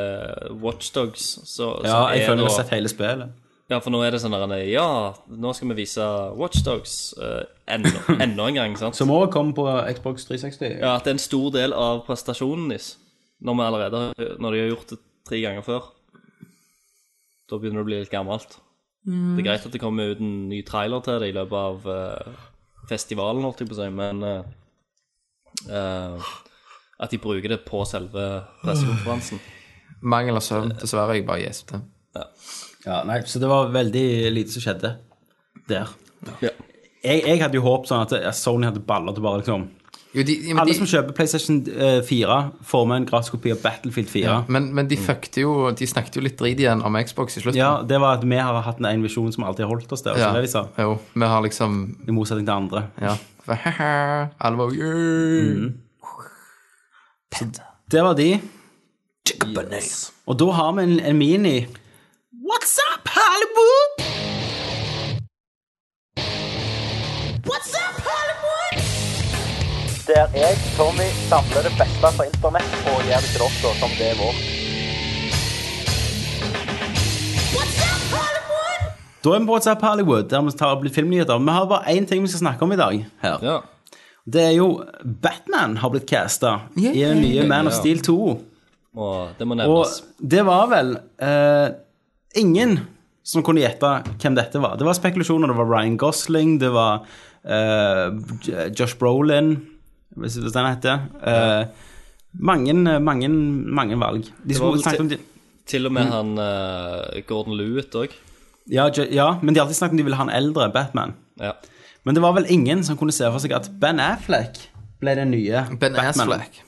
[SPEAKER 6] Watchdogs. Så,
[SPEAKER 4] Ja,
[SPEAKER 6] som
[SPEAKER 4] jeg
[SPEAKER 6] er
[SPEAKER 4] føler jeg
[SPEAKER 6] nå-
[SPEAKER 4] har sett hele spillet.
[SPEAKER 6] Ja, for nå er det sånn der Ja, nå skal vi vise Watchdogs uh, enda, enda en gang, sant?
[SPEAKER 4] Som òg kom på Xbox 360.
[SPEAKER 6] Ja, at det er en stor del av prestasjonen deres når, vi allerede, når de har gjort det tre ganger før. Da begynner det å bli litt gammelt. Det er greit at det kommer ut en ny trailer til det i løpet av eh, festivalen, holdt jeg på å si, men eh, eh, at de bruker det på selve pressekonferansen.
[SPEAKER 5] Mangel av søvn, dessverre. Jeg bare gjespte.
[SPEAKER 4] Ja, nei, så det var veldig lite som skjedde der.
[SPEAKER 6] Ja.
[SPEAKER 4] Jeg, jeg hadde jo håpet sånn at eh, Sony hadde baller til bare liksom
[SPEAKER 5] Jo, de, ja, men,
[SPEAKER 4] Alle som
[SPEAKER 5] de,
[SPEAKER 4] kjøper PlayStation eh, 4, får med en gratis kopi av Battlefield 4. Ja.
[SPEAKER 5] men, men de fuckte jo De snakket jo litt drit igjen om Xbox i slutten.
[SPEAKER 4] Det var at vi har hatt en visjon som alltid har holdt oss der.
[SPEAKER 5] Ja.
[SPEAKER 4] Ja. Det de sa,
[SPEAKER 5] Jo, vi har liksom
[SPEAKER 4] I motsetning til andre.
[SPEAKER 5] Ja. Alle var yeah.
[SPEAKER 4] Mm. Det var de. Og da har vi en, en mini. What's up, Hollywood?
[SPEAKER 9] Der jeg, Tommy, samler det beste fra internett og gjør det til dere som det er vårt.
[SPEAKER 4] Da er vi på WhatsApp Hollywood, der vi tar opp litt filmnyheter. Vi har bare én ting vi skal snakke om i dag. her.
[SPEAKER 6] Ja.
[SPEAKER 4] Det er jo Batman har blitt casta i den nye Man of
[SPEAKER 6] Ja.
[SPEAKER 4] Steel 2.
[SPEAKER 6] Og det må
[SPEAKER 4] Og
[SPEAKER 6] nevnes.
[SPEAKER 4] det var vel eh, ingen som kunne gjette hvem dette var. Det var spekulasjoner. Det var Ryan Gosling, det var eh, J- Josh Brolin, hvis det er det han heter. Eh, mange, mange, mange valg.
[SPEAKER 6] var
[SPEAKER 4] De skulle
[SPEAKER 6] vel
[SPEAKER 4] snakket om de,
[SPEAKER 6] Til og med han eh, Gordon Lewitt òg.
[SPEAKER 4] ja, J- ja, men de har alltid snakket om de ville ha en eldre Batman.
[SPEAKER 6] Ja.
[SPEAKER 4] Men det var vel ingen som kunne se for seg at Ben Affleck ble den nye
[SPEAKER 5] Ben
[SPEAKER 4] Batman.
[SPEAKER 5] Affleck.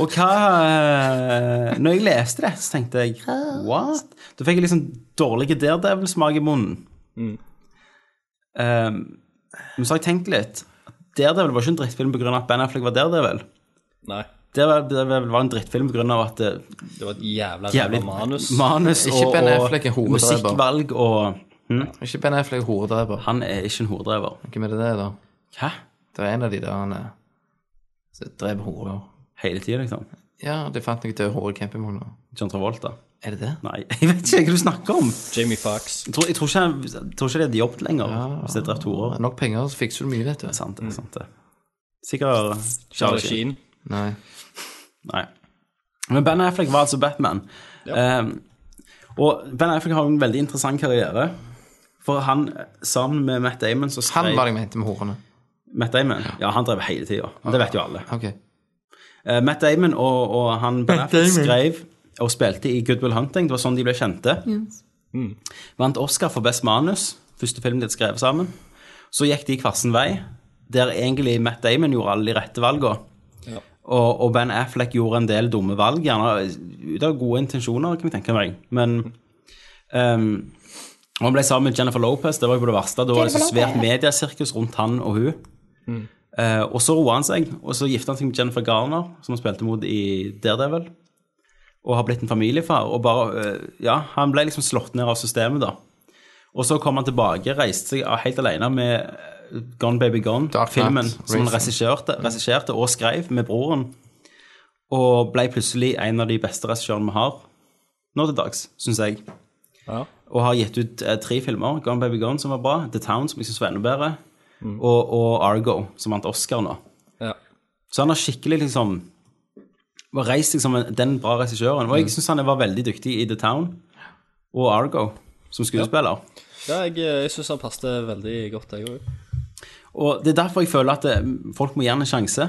[SPEAKER 4] Og hva eh, Når jeg leste det, så tenkte jeg What? Da fikk jeg liksom dårlig daredevil-smak i munnen.
[SPEAKER 6] Mm.
[SPEAKER 4] Um, men så har jeg tenkt litt. Daredevil var ikke en drittfilm pga. at Ben Affleck var Daredevil.
[SPEAKER 6] Nei.
[SPEAKER 4] Daredevil- Daredevil var en drittfilm pga. at eh,
[SPEAKER 6] Det var et jævla
[SPEAKER 4] jævlig
[SPEAKER 6] ræva manus.
[SPEAKER 4] manus
[SPEAKER 5] Ikke
[SPEAKER 4] og,
[SPEAKER 5] Ben Affleck er
[SPEAKER 4] og
[SPEAKER 5] hoveddrever.
[SPEAKER 4] musikkvalg og Hm?
[SPEAKER 5] Ikke Ben Affleck horedreper.
[SPEAKER 4] Han er ikke en hoveddrever.
[SPEAKER 5] Hvem er det der, da?
[SPEAKER 4] Hæ?
[SPEAKER 5] Det er en av de der han eh, som dreper horer.
[SPEAKER 4] Hele tida, liksom.
[SPEAKER 5] Ja, det fant jeg til håret campingvogna.
[SPEAKER 4] John Travolta.
[SPEAKER 5] Er det det?
[SPEAKER 4] Nei, jeg vet ikke hva du snakker om.
[SPEAKER 6] Jamie Fox.
[SPEAKER 4] Jeg tror, jeg tror, ikke, han- jeg tror ikke de hadde jobbet lenger
[SPEAKER 5] Ah.
[SPEAKER 4] hvis de hadde drept horer.
[SPEAKER 5] Nok penger, så fikser du mye, vet du.
[SPEAKER 4] Sant det, sant det. Sikkert
[SPEAKER 6] Charlie
[SPEAKER 4] Mm.
[SPEAKER 6] Sheen.
[SPEAKER 4] Sheen.
[SPEAKER 5] Nei.
[SPEAKER 4] Nei. Men Ben Affleck var altså Batman. Ehm, og Ben Affleck har jo en veldig interessant karriere. For han, eh, sammen med Matt Damon, så skrev
[SPEAKER 5] Han var det jeg mente med horene.
[SPEAKER 4] Matt Damon, ja, han drev hele tida. Det vet jo alle.
[SPEAKER 5] Ok.
[SPEAKER 4] Eh, Matt Damon og, og han Ben Affleck skrev og spilte i Good Will Hunting. Det var sånn de ble kjente. Mm. Vant Oscar for best manus, første film de hadde skrevet sammen. Så gikk de hver sin vei, der egentlig Matt Damon gjorde alle de rette valgene. Og, og Ben Affleck gjorde en del dumme valg, gjerne ut av gode intensjoner, kan jeg tenke meg. Men ehm, og han ble sammen med Jennifer Lopez, det var jo på det verste. Da var det så svært mediesirkus rundt han og hun. Eh, og så roa han seg, og så gifta han seg med Jennifer Garner, som han spilte mot i Daredevil, og har blitt en familiefar. Og bare, eh, ja, han ble liksom slått ned av systemet, da. Og så kom han tilbake, reiste seg helt alene med eh, Gone Baby Gone,
[SPEAKER 5] Dark Knight
[SPEAKER 4] filmen som han
[SPEAKER 5] Rises.
[SPEAKER 4] regisserte, regisserte og skrev med broren, og ble plutselig en av de beste regissørene vi har nå til dags, syns jeg.
[SPEAKER 6] Ja.
[SPEAKER 4] Og har gitt ut eh, tre filmer. Gone Baby Gone, som var bra. The Town, som jeg syns var enda bedre. Og, og Argo, som vant Oscar nå.
[SPEAKER 6] Ja.
[SPEAKER 4] Så han har skikkelig liksom var reist seg som en- den bra regissøren. Og jeg syns han var veldig dyktig i The Town og Argo som skuespiller.
[SPEAKER 6] ja, jeg, eh, jeg syns han passet veldig godt, jeg òg.
[SPEAKER 4] Og det er derfor jeg føler at eh, folk må gi han en sjanse.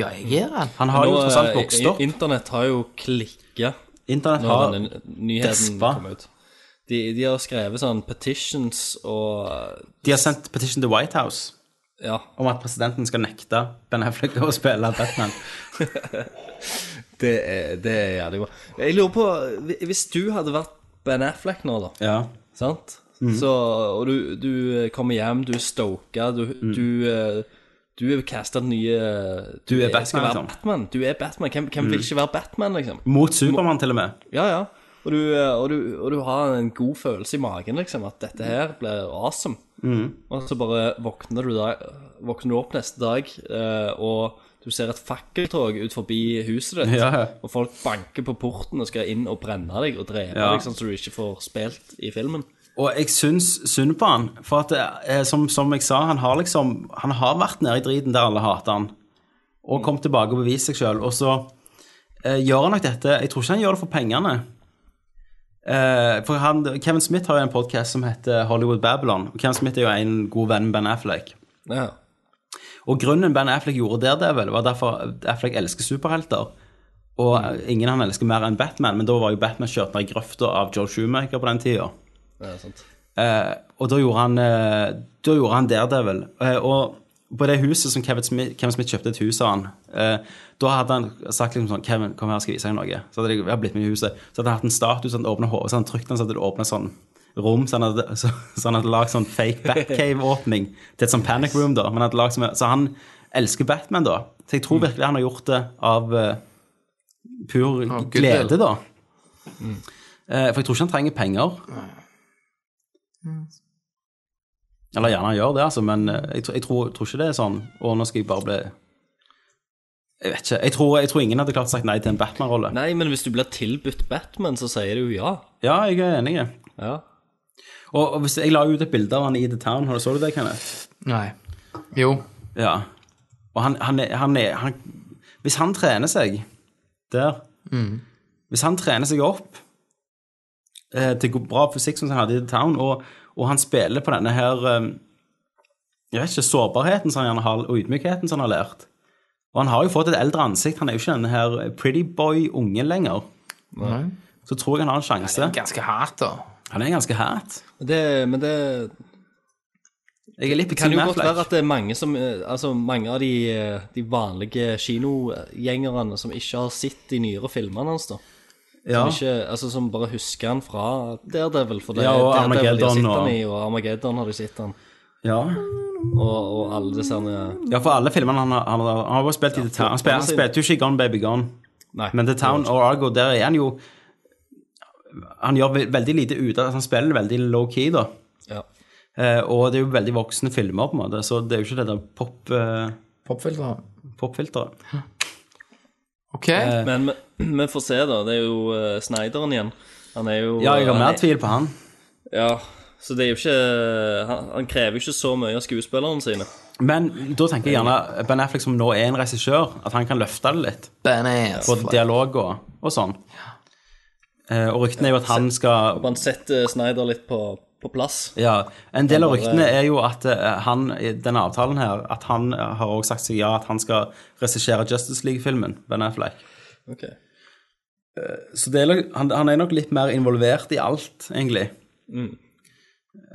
[SPEAKER 5] Ja, jeg gjør det.
[SPEAKER 4] Han har jo tross alt vokst opp.
[SPEAKER 6] eh, Internett har jo klikka
[SPEAKER 4] Internett
[SPEAKER 6] når
[SPEAKER 4] har
[SPEAKER 6] denne nyheten
[SPEAKER 4] despa.
[SPEAKER 6] kom ut. De, de har skrevet sånn petitions og eh,
[SPEAKER 4] De har sendt petition til White House
[SPEAKER 6] Ja,
[SPEAKER 4] om at presidenten skal nekte Ben Affleck å spille Batman.
[SPEAKER 6] det er, det er jævlig bra. Jeg lurer på Hvis du hadde vært Ben Affleck nå, da,
[SPEAKER 4] Ja.
[SPEAKER 6] sant?
[SPEAKER 4] Mhm.
[SPEAKER 6] Så, og du, du kommer hjem, du er stoka, du,
[SPEAKER 4] Mhm.
[SPEAKER 6] du, eh, du er casta den nye eh,
[SPEAKER 4] Du er
[SPEAKER 6] skal
[SPEAKER 4] Batman,
[SPEAKER 6] være
[SPEAKER 4] liksom. Mhm.
[SPEAKER 6] Batman. Du er Batman. Hvem, hvem vil ikke være Batman, liksom?
[SPEAKER 4] Mot Supermann, til og med.
[SPEAKER 6] Ja, ja. Og du, eh, og, du, og du har en god følelse i magen, liksom, at dette her blir awesome.
[SPEAKER 4] Mhm.
[SPEAKER 6] Og så bare våkner du, da, våkner du opp neste dag, eh, og du ser et fakkeltog ut forbi huset ditt.
[SPEAKER 4] Ja.
[SPEAKER 6] Og folk banker på porten og skal inn og brenne deg og drepe
[SPEAKER 4] Ja.
[SPEAKER 6] deg, sånn så du ikke får spilt i filmen.
[SPEAKER 4] Og jeg syns synd på han. For at, eh, som, som jeg sa, han har liksom Han har vært nede i driten der alle hater han, og kom tilbake og bevist seg sjøl. Og så eh, gjør han nok dette Jeg tror ikke han gjør det for pengene. Eh, for han, Kevin Smith har jo en podkast som heter Hollywood Babylon. Og Kevin Smith er jo en god venn med Ben Affleck.
[SPEAKER 6] Ja.
[SPEAKER 4] Og grunnen Ben Affleck gjorde der, det er vel, var derfor Affleck elsker superhelter. Og ingen han elsker mer enn Batman, men da var jo Batman kjørt ned i grøfta av Joe Schumacher på den tida.
[SPEAKER 6] ja sant.
[SPEAKER 4] Eh, og da gjorde han eh, Da gjorde han Daredevil. Eh, og på det huset som Kevin Smith, Kevin Smith kjøpte et hus av han, eh, da hadde han sagt liksom sånn Kevin, kom her, skal jeg vise deg noe. Så hadde jeg, jeg har blitt med i huset. Så hadde han hatt en status, han åpnet hodet, så hadde han trykte den, så hadde det åpnet sånn rom, så han hadde, så, så han hadde lagd sånn fake Batcave-åpning til et sånn panic room, da. Men hadde lagt som, så han elsker Batman, da. Så jeg tror virkelig han har gjort det av eh, pur
[SPEAKER 5] Av goodwill.
[SPEAKER 4] glede, da. Eh, for jeg tror ikke han trenger penger. Eller gjerne han gjør det, altså, men eh, jeg, tror- jeg tror, tror ikke det er sånn Å, nå skal jeg bare bli Jeg vet ikke. Jeg tror, jeg tror ingen hadde klart sagt nei til en Batman-rolle.
[SPEAKER 6] Nei, men hvis du blir tilbudt Batman, så sier du jo ja.
[SPEAKER 4] Ja, jeg er enig.
[SPEAKER 6] Ja.
[SPEAKER 4] Og, og hvis jeg la ut et bilde av han i The Town, har du så du det, Kenneth?
[SPEAKER 5] Nei. Jo.
[SPEAKER 4] Ja. Og han, han, er, han, er, han Hvis han trener seg der
[SPEAKER 6] Mm.
[SPEAKER 4] Hvis han trener seg opp eh, til god- bra fysikk som han hadde i The Town, og, og han spiller på denne her eh, Jeg vet ikke, sårbarheten som han gjerne har, og ydmykheten som han har lært Og han har jo fått et eldre ansikt, han er jo ikke denne her pretty boy-ungen lenger.
[SPEAKER 5] Nei.
[SPEAKER 4] Så tror jeg han har en sjanse.
[SPEAKER 5] Ganske hardt, da.
[SPEAKER 4] Han er ganske hat.
[SPEAKER 6] Det, men det
[SPEAKER 4] Jeg er litt på
[SPEAKER 6] kan
[SPEAKER 4] Team
[SPEAKER 6] jo godt
[SPEAKER 4] Affleck.
[SPEAKER 6] være at det er mange som eh, Altså, mange av de, eh, de vanlige kinogjengerne som ikke har sett de nyere filmene hans, da.
[SPEAKER 4] ja.
[SPEAKER 6] Som, ikke, altså, som bare husker han fra Daredevil. For det,
[SPEAKER 4] Ja, og
[SPEAKER 6] Daredevil de har
[SPEAKER 4] Armageddon
[SPEAKER 6] sett han
[SPEAKER 4] og-
[SPEAKER 6] i, og Armageddon har de sett han.
[SPEAKER 4] Ja.
[SPEAKER 6] Og, og alle disse her,
[SPEAKER 4] ja, for alle filmene han har Han har han har bare spilt i The Town. Han spil- han spilte jo ikke i Gone Baby Gone,
[SPEAKER 6] Nei.
[SPEAKER 4] men The Town og Argo, der er han jo Han gjør ve- veldig lite ut av altså, Han spiller veldig low-key, da.
[SPEAKER 6] Ja.
[SPEAKER 4] Eh, og det er jo veldig voksne filmer, på en måte, så det er jo ikke det der pop, eh,
[SPEAKER 5] Popfiltre.
[SPEAKER 4] popfilteret.
[SPEAKER 5] OK.
[SPEAKER 6] Men men vi får se, da. Det er jo uh, Snyderen igjen. Han er jo
[SPEAKER 4] Ja, jeg har
[SPEAKER 6] han
[SPEAKER 4] mer
[SPEAKER 6] er-
[SPEAKER 4] tvil på han.
[SPEAKER 6] Ja, så det er jo ikke Han, han krever jo ikke så mye av skuespillerne sine.
[SPEAKER 4] Men da tenker jeg gjerne Ben Affleck, som nå er en regissør, at han kan løfte det litt.
[SPEAKER 5] Bananas.
[SPEAKER 4] Både dialog og, og sånn. Eh, og ryktene er jo at han skal
[SPEAKER 6] Man setter eh, Snyder litt på, på plass.
[SPEAKER 4] Ja, En del av
[SPEAKER 6] bare-
[SPEAKER 4] ryktene er jo at eh, han, i denne avtalen her, at han eh, har også sagt seg ja at han skal regissere Justice League-filmen, Ben Affleck.
[SPEAKER 6] Ok.
[SPEAKER 4] Så det er, nok- han, han er nok litt mer involvert i alt, egentlig,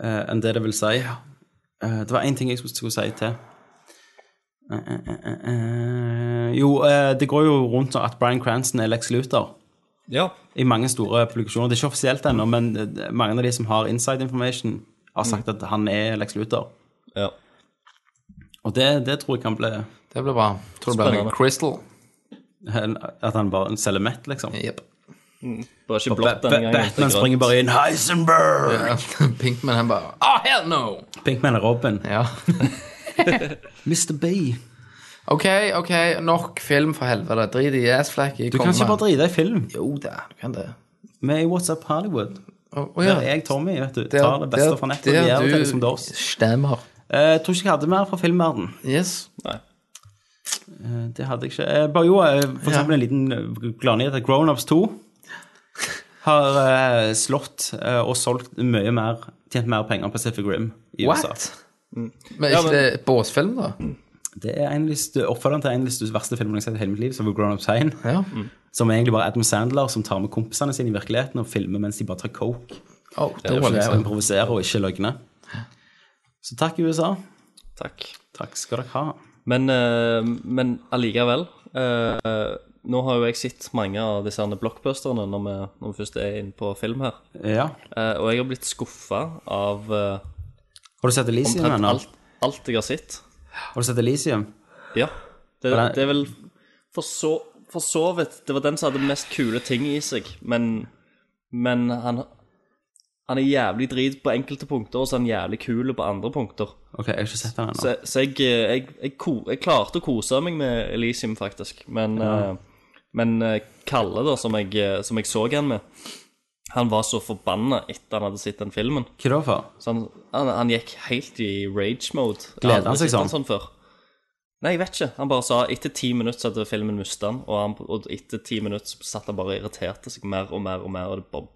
[SPEAKER 4] eh, enn det det vil si. Eh, det var én ting jeg skulle, skulle si til. Eh, eh, eh, eh, jo, eh, det går jo rundt sånn at Bryan Cranston er Lex Luthor
[SPEAKER 6] Ja.
[SPEAKER 4] i mange store publikasjoner. Det er ikke offisielt ennå, men eh, mange av de som har inside information, har sagt at han er Lex Luthor.
[SPEAKER 6] ja.
[SPEAKER 4] Og det, det tror jeg kan bli
[SPEAKER 5] Det blir bra. Tror det blir
[SPEAKER 6] Spennende.
[SPEAKER 5] noe Crystal.
[SPEAKER 4] At han bare selger mett, liksom.
[SPEAKER 5] Yep.
[SPEAKER 6] Bare ikke
[SPEAKER 4] Ba-
[SPEAKER 6] blått
[SPEAKER 4] ba-
[SPEAKER 6] denne gangen. det er
[SPEAKER 4] Batman
[SPEAKER 6] grønt.
[SPEAKER 4] springer bare inn Heisenberg!
[SPEAKER 5] Pinkman, han bare Oh, hell no!
[SPEAKER 4] Pinkman og Robin.
[SPEAKER 5] Ja.
[SPEAKER 4] Mr. B.
[SPEAKER 5] OK, OK, nok film, for helvete. Drit i assflekk.
[SPEAKER 4] Du kan ikke bare drite i film.
[SPEAKER 5] Jo da, du kan det.
[SPEAKER 4] Med i What's Up Hollywood.
[SPEAKER 5] Å å,
[SPEAKER 4] Der
[SPEAKER 5] ja.
[SPEAKER 4] er jeg, Tommy, vet du. Tar det beste fra nettet og gir
[SPEAKER 5] der
[SPEAKER 4] det til deg
[SPEAKER 5] du
[SPEAKER 4] som det oss. Eh,
[SPEAKER 5] Stemmer.
[SPEAKER 4] Jeg tror ikke jeg hadde mer fra filmverden.
[SPEAKER 5] Yes.
[SPEAKER 6] Nei.
[SPEAKER 4] Eh, Det hadde jeg ikke. Eh, Bare jo, eh, for
[SPEAKER 5] Ja.
[SPEAKER 4] eksempel en liten eh, gladnyhet at Grownups 2 har eh, slått eh, og solgt mye mer, tjent mer penger enn Pacific Rim i
[SPEAKER 5] What?
[SPEAKER 4] USA. Mm.
[SPEAKER 5] Men er ikke det båsfilm, da?
[SPEAKER 4] Det er en av de stø- oppfølgeren til en av de stø- verste filmene jeg har sett i hele mitt liv, som var Grown Up Sign.
[SPEAKER 5] Ja.
[SPEAKER 4] Som er egentlig bare Adam Sandler som tar med kompisene sine i virkeligheten og filmer mens de bare tar coke
[SPEAKER 5] Oh,
[SPEAKER 6] er jo ikke
[SPEAKER 5] dårlig.
[SPEAKER 4] og improviserer og ikke løgner. Så takk, USA.
[SPEAKER 6] Takk.
[SPEAKER 4] Takk skal dere ha.
[SPEAKER 6] Men, eh, men allikevel eh, Nå har jo jeg sett mange av disse her blockbusterne når vi, når vi først er inne på film her.
[SPEAKER 4] Ja.
[SPEAKER 6] Eh, og jeg har blitt skuffa av eh,
[SPEAKER 4] Har du sett Elisium
[SPEAKER 6] omtrent
[SPEAKER 4] ennå?
[SPEAKER 6] alt, alt jeg har sett.
[SPEAKER 4] Har du sett Elisium?
[SPEAKER 6] Ja. Det,
[SPEAKER 4] Men det-
[SPEAKER 6] det er vel for så, for så vidt Det var den som hadde mest kule ting i seg, men, men han han er jævlig drit på enkelte punkter, og så er han jævlig kul på andre punkter.
[SPEAKER 4] Ok, jeg har ikke sett den ennå.
[SPEAKER 6] Så, så jeg, eh, jeg, jeg, ko, jeg klarte å kose meg med Elisium, faktisk. Men, eh, men eh, Kalle, da, som jeg, eh, som jeg så han med, han var så forbanna etter han hadde sett den filmen.
[SPEAKER 4] Hva da for?
[SPEAKER 6] Så han, Sånn, han, han gikk helt i rage mode. Jeg har
[SPEAKER 4] Gleder
[SPEAKER 6] aldri
[SPEAKER 4] han seg
[SPEAKER 6] sett
[SPEAKER 4] sånn?
[SPEAKER 6] sånn før. Nei, jeg vet ikke. Han bare sa etter ti minutter så hadde filmen mista han, og, han, og etter ti minutter så satt han bare og irriterte seg mer og mer og mer, og det bare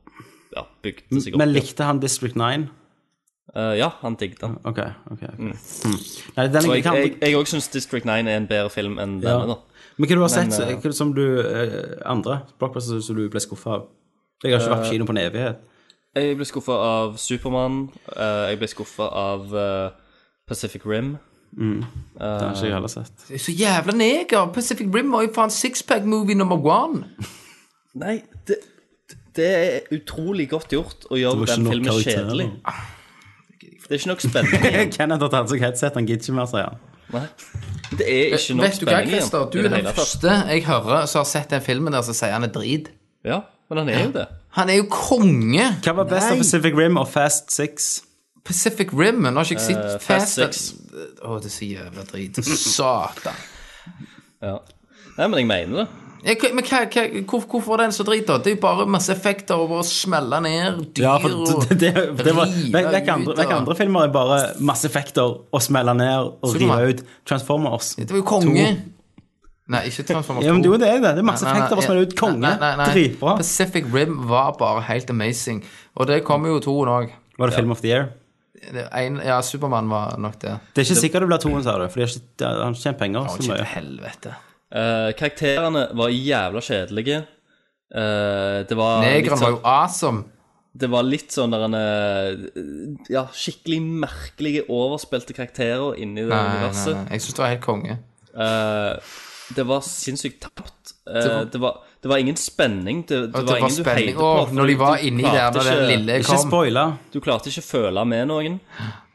[SPEAKER 6] ja, bygde seg opp.
[SPEAKER 4] Men likte han District 9?
[SPEAKER 6] Eh, ja, han digget han.
[SPEAKER 4] Ok, ok. ok. Hmm. Nei, den
[SPEAKER 6] Og
[SPEAKER 4] jeg,
[SPEAKER 6] Mm. jeg òg jeg, jeg også syns District 9 er en bedre film enn
[SPEAKER 4] Ja.
[SPEAKER 6] denne, da.
[SPEAKER 4] Men hva du har sett
[SPEAKER 6] Men, eh,
[SPEAKER 4] hva er det som du eh, andre blockbusters som du ble skuffa av? Jeg har ikke vært på kino på en evighet.
[SPEAKER 6] Jeg ble skuffa av Supermann. jeg ble skuffa av eh, Pacific Rim.
[SPEAKER 4] Den har ikke jeg heller sett.
[SPEAKER 5] Det er Så jævla neger! Pacific Rim var jo faen sixpack-movie number one.
[SPEAKER 6] Nei, det, det er utrolig godt gjort å gjøre den filmen kjedelig. Det er ikke nok spenning igjen.
[SPEAKER 4] Kenneth har tatt seg headset, han gidder ikke mer, sier han.
[SPEAKER 6] Nei. Det er ikke nok
[SPEAKER 5] Vet du hva,
[SPEAKER 6] spenning igjen.
[SPEAKER 5] Christer? Du
[SPEAKER 6] i
[SPEAKER 5] er
[SPEAKER 6] det
[SPEAKER 5] den
[SPEAKER 6] hele tatt.
[SPEAKER 5] første jeg hører som har sett den filmen der som sier han er drit.
[SPEAKER 6] Ja, men han er jo det.
[SPEAKER 5] Han er jo konge!
[SPEAKER 4] Hva var best av Pacific Rim og Fast Six?
[SPEAKER 5] Pacific Rim, men har ikke jeg sett
[SPEAKER 6] Eh, Fast
[SPEAKER 5] Fast
[SPEAKER 6] Six.
[SPEAKER 5] Å, det er så jævla drit. Satan.
[SPEAKER 6] Ja. Nei, men jeg mener det.
[SPEAKER 5] Ja, hva- Men hva, hva, hvor, hvorfor er den så drit, da? Det er jo bare masse effekter og bare smelle ned dyr
[SPEAKER 4] Ja, for det, det, det, det var
[SPEAKER 5] rive
[SPEAKER 4] vekk- Vekk
[SPEAKER 5] ut,
[SPEAKER 4] andre,
[SPEAKER 5] og-
[SPEAKER 4] vekk andre filmer er bare masse effekter og smelle ned og rive
[SPEAKER 5] Superman.
[SPEAKER 4] ut. Transformers.
[SPEAKER 5] Det var jo konge. Nei, ikke Transformers 2.
[SPEAKER 4] Ja, men jo, det er det. Det er
[SPEAKER 6] Altså,
[SPEAKER 4] masse
[SPEAKER 5] Nei, nei,
[SPEAKER 4] effekter og
[SPEAKER 5] nei,
[SPEAKER 4] smelle ut. Konge.
[SPEAKER 5] nei, nei, nei.
[SPEAKER 4] Dritbra.
[SPEAKER 5] Pacific Rim var bare helt amazing. Og det kommer jo toen òg.
[SPEAKER 4] Var det Film of the Year?
[SPEAKER 5] Ja, Supermann var nok det.
[SPEAKER 4] Det er ikke sikkert det blir toen, sa du. For de har ikke- de har ikke tjent penger
[SPEAKER 5] Å,
[SPEAKER 4] så
[SPEAKER 5] ikke
[SPEAKER 4] mye.
[SPEAKER 5] til helvete.
[SPEAKER 6] Eh, karakterene var jævla kjedelige. Eh, det var litt
[SPEAKER 5] Negeren var
[SPEAKER 6] sånn,
[SPEAKER 5] jo awesome.
[SPEAKER 6] det var litt sånn der en eh, Ja, skikkelig merkelige, overspilte karakterer inni det
[SPEAKER 5] Nei, nei,
[SPEAKER 6] universet.
[SPEAKER 5] nei. Jeg syns det var helt konge.
[SPEAKER 6] Eh, det var sinnssykt tapt. Eh,
[SPEAKER 5] Det var-
[SPEAKER 6] det, var, det var ingen spenning. Det, det, var
[SPEAKER 5] Og det var
[SPEAKER 6] ingen du heide
[SPEAKER 5] spenning.
[SPEAKER 6] på.
[SPEAKER 5] Åh,
[SPEAKER 6] for
[SPEAKER 5] når de
[SPEAKER 6] du-
[SPEAKER 5] var
[SPEAKER 6] du
[SPEAKER 5] inni der
[SPEAKER 6] klarte
[SPEAKER 5] når den
[SPEAKER 6] ikke-
[SPEAKER 5] lille
[SPEAKER 4] Ikke
[SPEAKER 5] kom
[SPEAKER 4] spoile.
[SPEAKER 6] Du klarte ikke føle med noen.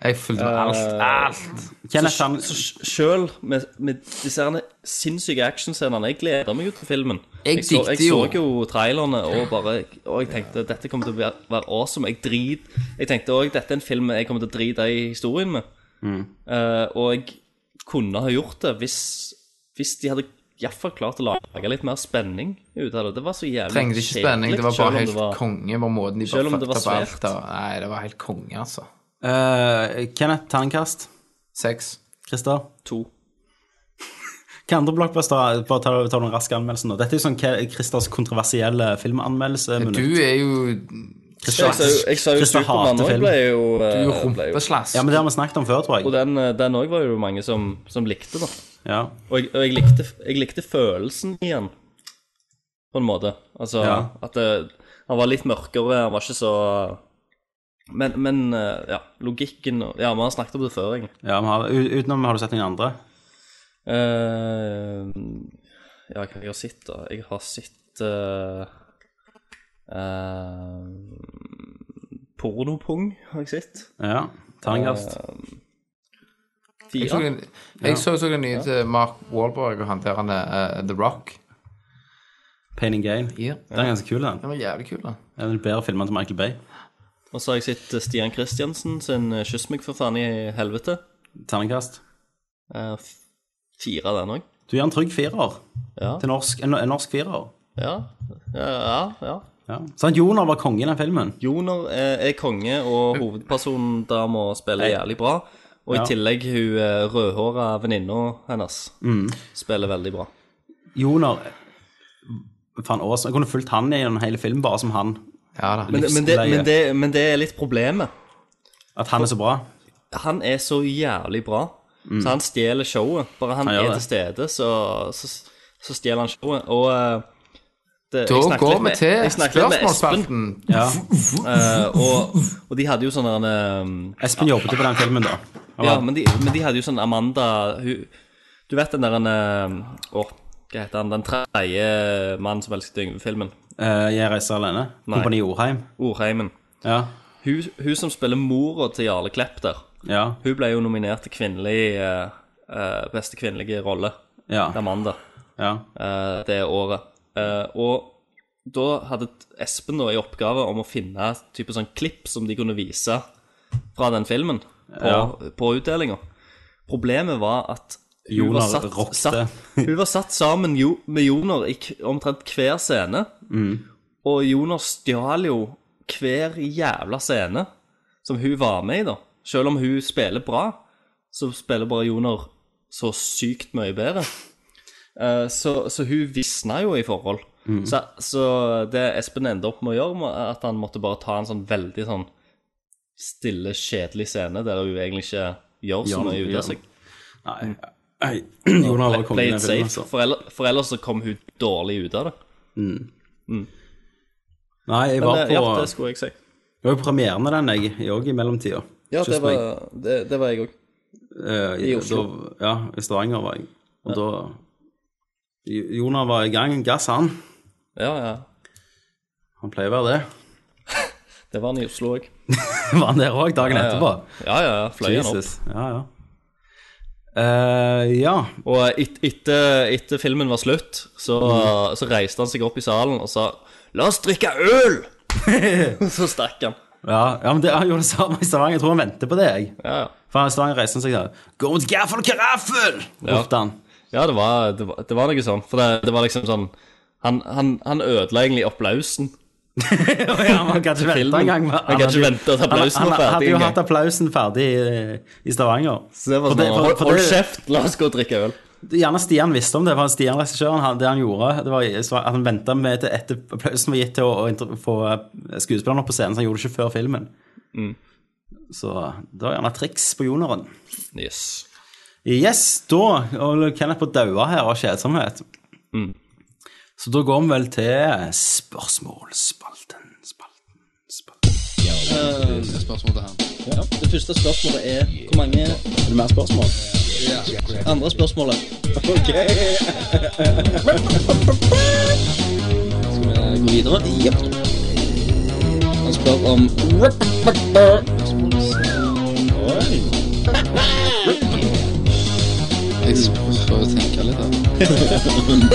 [SPEAKER 5] Jeg fulgte
[SPEAKER 6] Eh,
[SPEAKER 5] med alt. Alt!
[SPEAKER 4] Kenneth han
[SPEAKER 6] Så sj- selv med, med disse herne sinnssyke actionscenene Jeg gleder meg jo til filmen.
[SPEAKER 5] Jeg
[SPEAKER 6] så, jeg
[SPEAKER 5] likte
[SPEAKER 6] så
[SPEAKER 5] jo-
[SPEAKER 6] jo trailerne og bare Og jeg tenkte dette kommer til å være, være awesome. Jeg drit Jeg tenkte òg dette er en film jeg kommer til å drite i historien med.
[SPEAKER 5] Mm.
[SPEAKER 6] Eh, og jeg kunne ha gjort det hvis, hvis de hadde iallfall klart å lage litt mer spenning ut av det. Det var så jævlig
[SPEAKER 5] Trengte ikke spenning. Det var
[SPEAKER 6] kjedelig, selv om
[SPEAKER 5] bare
[SPEAKER 6] det
[SPEAKER 5] helt
[SPEAKER 6] var-
[SPEAKER 5] konge på måten de
[SPEAKER 6] Selv
[SPEAKER 5] bare
[SPEAKER 6] om det
[SPEAKER 5] fucked
[SPEAKER 6] var
[SPEAKER 5] opp alt.
[SPEAKER 6] svært.
[SPEAKER 5] da. Nei, det var helt konge, altså.
[SPEAKER 4] eh, Kenneth Terningkast.
[SPEAKER 5] Seks.
[SPEAKER 4] Christer.
[SPEAKER 6] to.
[SPEAKER 4] Hva andre blockbuster Bare ta, ta noen raske anmeldelser nå. Dette er jo sånn Ke- Christers kontroversielle filmanmeldelse.
[SPEAKER 5] Du
[SPEAKER 4] minutt.
[SPEAKER 5] er jo
[SPEAKER 6] Jeg sa jo- jeg sa jo
[SPEAKER 4] Christer
[SPEAKER 6] Supermann
[SPEAKER 4] hater
[SPEAKER 6] òg
[SPEAKER 4] film.
[SPEAKER 6] ble jo eh,
[SPEAKER 5] Du er jo
[SPEAKER 6] ble jo-
[SPEAKER 5] rumpeslask.
[SPEAKER 4] Ja, men det har vi snakket om før, tror
[SPEAKER 6] Og
[SPEAKER 4] jeg.
[SPEAKER 6] den eh, den òg var jo mange som, som likte, da.
[SPEAKER 4] Ja.
[SPEAKER 6] Og jeg, og jeg, likte, jeg likte følelsen i han, på en måte. Altså
[SPEAKER 4] Ja.
[SPEAKER 6] at det, han var litt mørkere, han var ikke så Men, men eh, ja, logikken og- Ja, vi har snakket om det før, egentlig.
[SPEAKER 4] ja vi har, u- utenom har du sett noen andre?
[SPEAKER 6] Eh, ja, hva har jeg har sett, da? Jeg har sett eh, eh, Pornopung har jeg sett.
[SPEAKER 4] Ja. Terningkast.
[SPEAKER 6] Eh,
[SPEAKER 5] Jeg så
[SPEAKER 6] Fire.
[SPEAKER 5] den- jeg så, så den nye til Mark Wahlberg og han der han er, eh, The Rock.
[SPEAKER 4] Pain and Gain. Den er ganske kul, den.
[SPEAKER 5] Den var jævlig kul, da.
[SPEAKER 4] En av de bedre filmene til Michael Bay.
[SPEAKER 6] Og så har jeg sett eh, Stian Christiansen sin eh, 'Kyss meg for faen i helvete'.
[SPEAKER 4] Terningkast.
[SPEAKER 6] Eh, f- fire, den òg.
[SPEAKER 4] Du gir en trygg firer.
[SPEAKER 6] Ja.
[SPEAKER 4] Til norsk, en, en norsk firer.
[SPEAKER 6] Ja, ja, ja.
[SPEAKER 4] Ja. Sant, Joner var kongen i den filmen.
[SPEAKER 6] Joner eh, er, er konge, og hovedpersonen der må spille jævlig bra. Og
[SPEAKER 4] Ja.
[SPEAKER 6] i tillegg hun eh, rødhåra venninna hennes spiller veldig bra.
[SPEAKER 4] Joner Faen, Aasen. Jeg kunne fulgt han i en hel film bare som han.
[SPEAKER 5] Ja da.
[SPEAKER 6] Men, men, det, men, det, men det er litt problemet.
[SPEAKER 4] At han er så bra.
[SPEAKER 6] Han er så jævlig bra, så han stjeler showet. Bare Mm. han,
[SPEAKER 4] Han gjør
[SPEAKER 6] er
[SPEAKER 4] det.
[SPEAKER 6] til stede, så, så, så stjeler han showet. Og eh, det,
[SPEAKER 5] Da
[SPEAKER 6] jeg snakket
[SPEAKER 5] går
[SPEAKER 6] litt
[SPEAKER 5] vi
[SPEAKER 6] med-
[SPEAKER 5] til
[SPEAKER 6] jeg snakket litt med
[SPEAKER 5] spørsmålsspalten.
[SPEAKER 4] Ja.
[SPEAKER 6] Espen, eh, og, og de hadde jo sånn um,
[SPEAKER 4] Espen jobbet jo på den filmen, da. Han
[SPEAKER 6] Ja,
[SPEAKER 4] var-
[SPEAKER 6] men de, men de hadde jo sånn Amanda hun, Du vet den der en, eh, Å, hva heter han? Den tredje mannen som elsket Yngve-filmen.
[SPEAKER 4] eh, jeg reiser alene.
[SPEAKER 6] Nei.
[SPEAKER 4] Kompani Orheim.
[SPEAKER 6] Orheimen.
[SPEAKER 4] Ja.
[SPEAKER 6] Hun, hun som spiller mora til Jarle Klepp der,
[SPEAKER 4] Ja.
[SPEAKER 6] hun ble jo nominert til kvinnelig eh, eh, beste kvinnelige rolle
[SPEAKER 4] Ja.
[SPEAKER 6] til Amanda
[SPEAKER 4] ja.
[SPEAKER 6] eh, det året. Eh, og da hadde Espen da i oppgave om å finne et type sånn klipp som de kunne vise fra den filmen på,
[SPEAKER 4] Ja.
[SPEAKER 6] på utdelinga. Problemet var at hun
[SPEAKER 4] Jonar
[SPEAKER 6] var satt,
[SPEAKER 4] rockte.
[SPEAKER 6] satt, hun var satt sammen jo, med Jonar i k- omtrent hver scene.
[SPEAKER 4] Mm.
[SPEAKER 6] Og Jonar stjal jo hver jævla scene som hun var med i, da. Selv om hun spiller bra, så spiller bare Jonar så sykt mye bedre. Eh, så, så hun visna jo i forhold.
[SPEAKER 4] Mm.
[SPEAKER 6] Så, så det Espen endte opp med å gjøre, var at han måtte bare ta en sånn veldig sånn stille, kjedelig scene der hun egentlig ikke gjør så
[SPEAKER 4] Gjør-
[SPEAKER 6] mye ut
[SPEAKER 4] gjør-
[SPEAKER 6] av seg.
[SPEAKER 4] Nei. Nei. Joner var kongen i
[SPEAKER 6] Play
[SPEAKER 4] den
[SPEAKER 6] it safe,
[SPEAKER 4] filmen, altså.
[SPEAKER 6] for, ell for ellers så kom hun dårlig ut av det.
[SPEAKER 4] Nei, jeg
[SPEAKER 6] Men
[SPEAKER 4] var
[SPEAKER 6] det,
[SPEAKER 4] på,
[SPEAKER 6] ja, det skulle jeg si.
[SPEAKER 4] jeg var på premieren av den, jeg. Jeg òg i mellomtida.
[SPEAKER 6] Ja,
[SPEAKER 4] Kyss
[SPEAKER 6] det
[SPEAKER 4] meg.
[SPEAKER 6] var, det, det var jeg òg.
[SPEAKER 4] Eh,
[SPEAKER 6] I Oslo.
[SPEAKER 4] Da, ja, i Stavanger var jeg. Og da Jo- Jonar var i gang. Gass, han.
[SPEAKER 6] Ja, ja.
[SPEAKER 4] Han pleier å være det.
[SPEAKER 6] Det var han i Oslo òg.
[SPEAKER 4] var han der òg dagen
[SPEAKER 6] Ja, ja.
[SPEAKER 4] etterpå?
[SPEAKER 6] Ja, ja, ja. Fløy han opp.
[SPEAKER 4] Jesus. Ja, ja. Eh, ja.
[SPEAKER 6] Og et, etter, etter filmen var slutt, så, så reiste han seg opp i salen og sa 'La oss drikke øl!' så stakk han.
[SPEAKER 4] Ja, ja, men det, han gjorde det samme i Stavanger. Jeg tror han venter på det. jeg.
[SPEAKER 6] Ja, ja.
[SPEAKER 4] For han i Stavanger reiste han seg der. Gå mot gaffel og karaffel! ropte han.
[SPEAKER 6] Ja, det var, det var, det var noe sånn. For det, det var liksom sånn Han, han, han ødela egentlig applausen.
[SPEAKER 4] Ja, man kan ikke vente
[SPEAKER 6] Filmen.
[SPEAKER 4] engang.
[SPEAKER 6] Man kan ikke
[SPEAKER 4] hadde-
[SPEAKER 6] vente at applausen var
[SPEAKER 4] han, han
[SPEAKER 6] ferdig
[SPEAKER 4] hadde jo
[SPEAKER 6] engang.
[SPEAKER 4] hatt applausen ferdig i- i Stavanger.
[SPEAKER 6] Så det var
[SPEAKER 4] For
[SPEAKER 6] sånn,
[SPEAKER 4] for-
[SPEAKER 6] hold,
[SPEAKER 4] for
[SPEAKER 6] hold
[SPEAKER 4] det-
[SPEAKER 6] kjeft, la oss gå og drikke øl.
[SPEAKER 4] Gjerne Stian visste om det, for Stian regissøren, han- det han gjorde, det var så at han venta med til etter applausen var gitt til å, å inter- få eh, skuespilleren opp på scenen, så han gjorde det ikke før filmen.
[SPEAKER 6] Mm.
[SPEAKER 4] Så det var gjerne triks på joneren.
[SPEAKER 6] Yes.
[SPEAKER 4] Yes, da holder Kenneth på å daue her av kjedsomhet. Så da går vi vel til spørsmålsspalten. Spalten, spalten.
[SPEAKER 10] Det første spørsmålet er hvor mange
[SPEAKER 4] Er det mer spørsmål?
[SPEAKER 10] andre spørsmålet. Ok. Skal vi gå videre? Jepp. Han spør om
[SPEAKER 5] Jeg prøver å tenke litt her.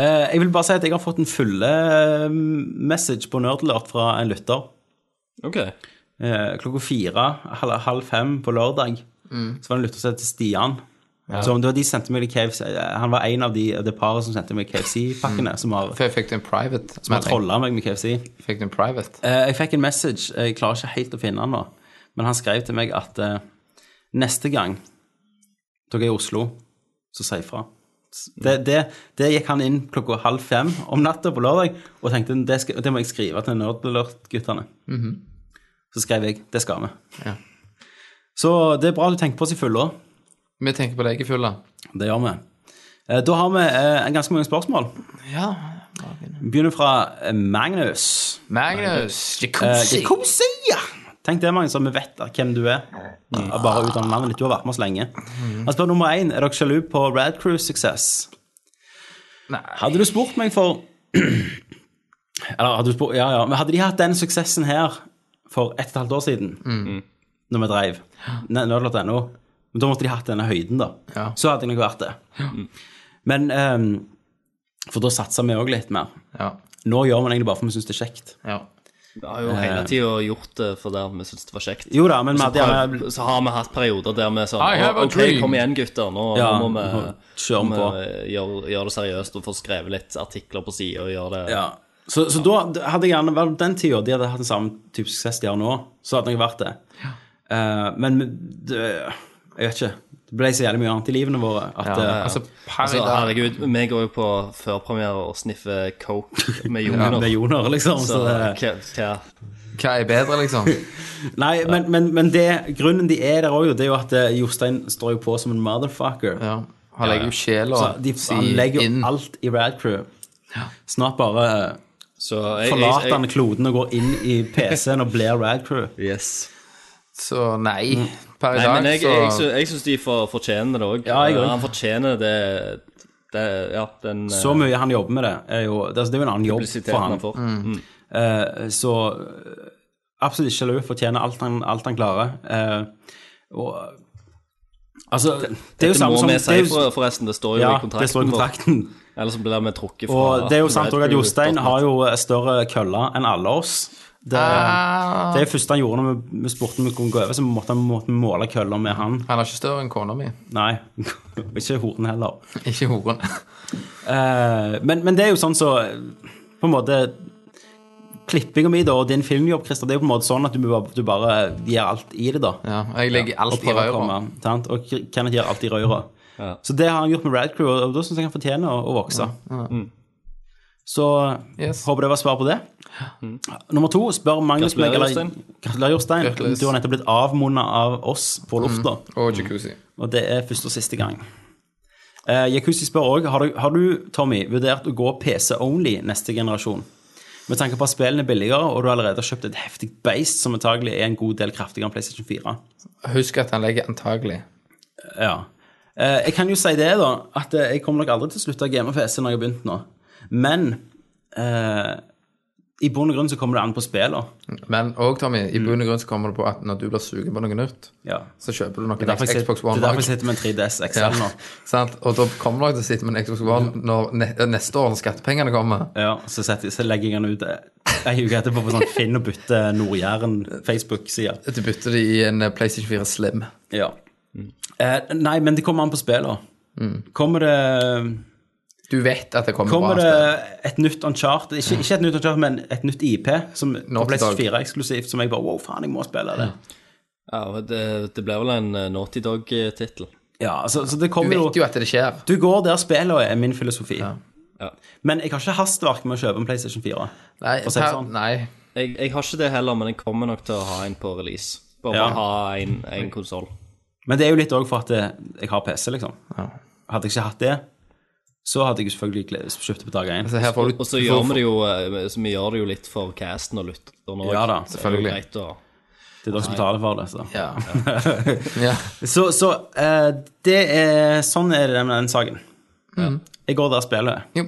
[SPEAKER 4] Eh, jeg vil bare si at jeg har fått en fulle eh, message på Nerdlert fra en lytter.
[SPEAKER 6] Ok.
[SPEAKER 4] Eh, klokka fire, halv, halv fem på lørdag, så var det en lytter som het Stian. Så det var de som sendte meg de KFC, eh, Han var en av de, det paret som sendte meg KFC-pakkene, som har,
[SPEAKER 5] For jeg fikk den private.
[SPEAKER 4] som har trolla meg med KFC.
[SPEAKER 5] Jeg fikk den private.
[SPEAKER 4] Eh, jeg fikk en message, jeg klarer ikke helt å finne den nå, men han skrev til meg at eh, neste gang dere er i Oslo, så si ifra. S- Det, det, det gikk han inn klokka halv fem om natta på lørdag og tenkte det, skal, det må jeg skrive til Nerdlert-guttene. Så skrev jeg det skal vi.
[SPEAKER 5] Ja.
[SPEAKER 4] Så det er bra du tenker på oss i fulle år.
[SPEAKER 5] Vi tenker på deg i fulla.
[SPEAKER 4] Det gjør vi. Eh, Da har vi eh, en ganske mange spørsmål.
[SPEAKER 5] Ja.
[SPEAKER 4] Vi begynner fra eh, Magnus.
[SPEAKER 5] Magnus
[SPEAKER 4] Eh,
[SPEAKER 5] Jacuzzi.
[SPEAKER 4] Kom si, ja! Tenk det, Magnus, at vi vet hvem du er. Og Bare ut av navnet ditt. Du har vært med oss lenge.
[SPEAKER 5] Mhm.
[SPEAKER 4] Han spør nummer én er dere sjalu på Rad Crews suksess.
[SPEAKER 5] Nei.
[SPEAKER 4] Hadde du spurt meg for Eller hadde du spurt Ja, ja. Men hadde de hatt den suksessen her for ett og et halvt år siden,
[SPEAKER 5] Mhm.
[SPEAKER 4] når vi dreiv Nødlott.no, da måtte de hatt denne høyden, da.
[SPEAKER 5] Ja.
[SPEAKER 4] Så hadde jeg nok vært det. Men ehm, For da satsa vi òg litt mer.
[SPEAKER 5] Ja.
[SPEAKER 4] Nå gjør man egentlig bare for vi syns det er kjekt.
[SPEAKER 5] ja.
[SPEAKER 6] Vi har jo hele tida gjort det for der vi syns det var kjekt.
[SPEAKER 4] Jo da, men vi
[SPEAKER 6] så,
[SPEAKER 4] hadde gjerne
[SPEAKER 6] prøv- så har vi hatt perioder der vi sånn
[SPEAKER 5] I have a
[SPEAKER 6] «Å, OK,
[SPEAKER 5] dream».
[SPEAKER 6] kom igjen, gutter. Nå,
[SPEAKER 4] Ja,
[SPEAKER 6] nå må
[SPEAKER 4] nå
[SPEAKER 6] vi,
[SPEAKER 4] kjører vi
[SPEAKER 6] må
[SPEAKER 4] på.
[SPEAKER 6] vi gjøre, gjøre det seriøst og få skrevet litt artikler på sida og gjøre det
[SPEAKER 4] Ja. Så, så da hadde jeg gjerne vært den tida de hadde hatt den samme type suksess de har nå, så hadde jeg vært det. Eh, men det, jeg vet ikke. Det ble så jævlig mye annet i livene våre at eh,
[SPEAKER 5] Altså, per i
[SPEAKER 6] Altså,
[SPEAKER 5] dag
[SPEAKER 6] herregud, vi går jo på førpremiere og sniffer coke med
[SPEAKER 4] ja,
[SPEAKER 6] Joner.
[SPEAKER 4] det er Joner, liksom. Så,
[SPEAKER 6] så
[SPEAKER 4] det-
[SPEAKER 6] hva, hva
[SPEAKER 5] Hva er bedre, liksom?
[SPEAKER 4] nei, men, men, men det, grunnen de er der òg, det er jo at eh, Jostein står jo på som en motherfucker.
[SPEAKER 5] Ja. Han legger jo sjela
[SPEAKER 4] Så de, han legger jo alt i Rad Crew. Snart bare eh,
[SPEAKER 6] Så jeg, jeg,
[SPEAKER 4] forlater han kloden og går inn i PC-en og blir Rad Crew.
[SPEAKER 5] Så nei. Per i
[SPEAKER 6] Nei,
[SPEAKER 5] dag,
[SPEAKER 6] men jeg,
[SPEAKER 5] så
[SPEAKER 6] jeg, sy- jeg syns de for, fortjener det òg.
[SPEAKER 4] Ja, jeg også.
[SPEAKER 6] han fortjener det, det Ja, den eh,
[SPEAKER 4] Så mye han jobber med det, er jo Det, altså, det er jo en annen jobb
[SPEAKER 6] publisiteten
[SPEAKER 4] for han.
[SPEAKER 6] han får.
[SPEAKER 4] Eh, så eh, absolutt ikke sjalu. Fortjener alt han, alt han klarer. Eh, og Altså, det, er jo
[SPEAKER 6] Det
[SPEAKER 4] samme
[SPEAKER 6] må
[SPEAKER 4] som
[SPEAKER 6] vi
[SPEAKER 4] det er
[SPEAKER 6] si
[SPEAKER 4] jo-
[SPEAKER 6] for- forresten, det står jo
[SPEAKER 4] Ja,
[SPEAKER 6] i kontrakten.
[SPEAKER 4] det står i
[SPEAKER 6] vår.
[SPEAKER 4] kontrakten.
[SPEAKER 6] Ellers blir det vi trukket fra
[SPEAKER 4] Og det er jo sant også at Jostein
[SPEAKER 6] redcrew.net.
[SPEAKER 4] har jo større kølle enn alle oss. Det,
[SPEAKER 5] Ah.
[SPEAKER 4] det er første han gjorde når vi, vi spurte om vi kunne gå over, så måtte han måtte måle køller med han.
[SPEAKER 5] Han er ikke større enn kona mi.
[SPEAKER 4] Nei, ikke horen heller.
[SPEAKER 5] Ikke horen.
[SPEAKER 4] Eh, men, men det er jo sånn så På en måte Klippinga mi da, og din filmjobb, Christer, det er jo på en måte sånn at du, bare- du bare gir alt i det, da.
[SPEAKER 5] Ja, jeg legger
[SPEAKER 4] og
[SPEAKER 5] alt i
[SPEAKER 4] prøver å
[SPEAKER 5] røra.
[SPEAKER 4] komme, sant? Og Kenneth gir alt i røra. Så det har han gjort med Rad Crew, og da syns jeg han fortjener å, å vokse. Så
[SPEAKER 5] Mm. Yes. Mm.
[SPEAKER 4] håper det var svar på det. Nummer to spør Magnus meg
[SPEAKER 6] Gratulerer,
[SPEAKER 4] eller-
[SPEAKER 6] Jostein.
[SPEAKER 4] Gratulerer, Jostein.
[SPEAKER 5] Gratuleres. Mm.
[SPEAKER 4] Du har nettopp blitt avmunnet av oss på lufta.
[SPEAKER 5] Og jacuzzi.
[SPEAKER 4] Og det er første og siste gang. Eh, Jacuzzi spør òg har, du- har du, Tommy, vurdert å gå PC-only neste generasjon. Med tanke på at spillene er billigere, og du har allerede kjøpt et heftig beist som antagelig er en god del kraftigere enn PlayStation 4.
[SPEAKER 5] Husk at han legger antagelig.
[SPEAKER 4] Ja. Eh, jeg kan jo si det, da, at eh, jeg kommer nok aldri til å slutte å game PC når jeg har begynt nå. Men eh, i bunn og grunn så kommer det an på spillene.
[SPEAKER 5] Men òg, Tommy,
[SPEAKER 4] Mm.
[SPEAKER 5] i bunn og grunn så kommer det på at når du blir sugen på noe nytt,
[SPEAKER 4] Ja.
[SPEAKER 5] så kjøper du noe
[SPEAKER 4] Det er derfor jeg sitter-
[SPEAKER 5] Xbox
[SPEAKER 4] det
[SPEAKER 5] One.
[SPEAKER 4] er derfor jeg
[SPEAKER 5] også.
[SPEAKER 4] sitter med en 3DS XL
[SPEAKER 5] Ja,
[SPEAKER 4] nå.
[SPEAKER 5] sant? Og da kommer dere til å sitte med en Xbox One når ne neste år når skattepengene kommer.
[SPEAKER 4] Ja, så, setter, så legger jeg den ut eh, ei uke etterpå på sånn Finn og bytte Nord-Jæren Facebook-side.
[SPEAKER 5] Du bytter det i en eh, PlayStation 4 Slim.
[SPEAKER 4] Ja. Eh, nei, men det kommer an på spillet. Kommer det
[SPEAKER 5] Du vet at det kommer,
[SPEAKER 4] Kommer
[SPEAKER 5] Mm. bra. spill.
[SPEAKER 4] det et nytt Uncharted, ikke, ikke et nytt Uncharted, men et nytt IP som
[SPEAKER 5] Naughty
[SPEAKER 4] på PlayStation
[SPEAKER 5] Dog. Mm.
[SPEAKER 4] 4 eksklusivt, som jeg bare Wow, faen, jeg må spille det.
[SPEAKER 6] Ja, og det, det ble vel en eh, Naughty Dog-tittel.
[SPEAKER 4] Ja, altså, så, så det
[SPEAKER 5] Du
[SPEAKER 4] kommer
[SPEAKER 5] vet
[SPEAKER 4] jo
[SPEAKER 5] jo at det skjer.
[SPEAKER 4] Du går der spillet er, min filosofi.
[SPEAKER 6] Ja.
[SPEAKER 4] Men jeg har ikke hastverk med å kjøpe en PlayStation 4.
[SPEAKER 5] Nei,
[SPEAKER 4] For å si det
[SPEAKER 5] per-
[SPEAKER 4] sånn.
[SPEAKER 5] nei.
[SPEAKER 6] Jeg, jeg har ikke det heller, men jeg kommer nok til å ha en på release. Bare
[SPEAKER 4] Ja.
[SPEAKER 6] for å ha en, en konsoll.
[SPEAKER 4] Men det er jo litt òg for at eh, jeg har PC, liksom. Hadde jeg ikke hatt det, så hadde jeg jo selvfølgelig gled- kjøpt det på dag én.
[SPEAKER 5] Altså, her får du
[SPEAKER 6] Og så gjør vi det jo eh, så vi gjør det jo litt for casten og lytteren òg.
[SPEAKER 4] Ja da,
[SPEAKER 5] selvfølgelig.
[SPEAKER 4] Det er dere som betaler for det. Så,
[SPEAKER 5] Ja. ja.
[SPEAKER 4] så, så eh, det er, sånn er det med den saken.
[SPEAKER 5] Mm.
[SPEAKER 4] Jeg går der spillet er.
[SPEAKER 5] Jo.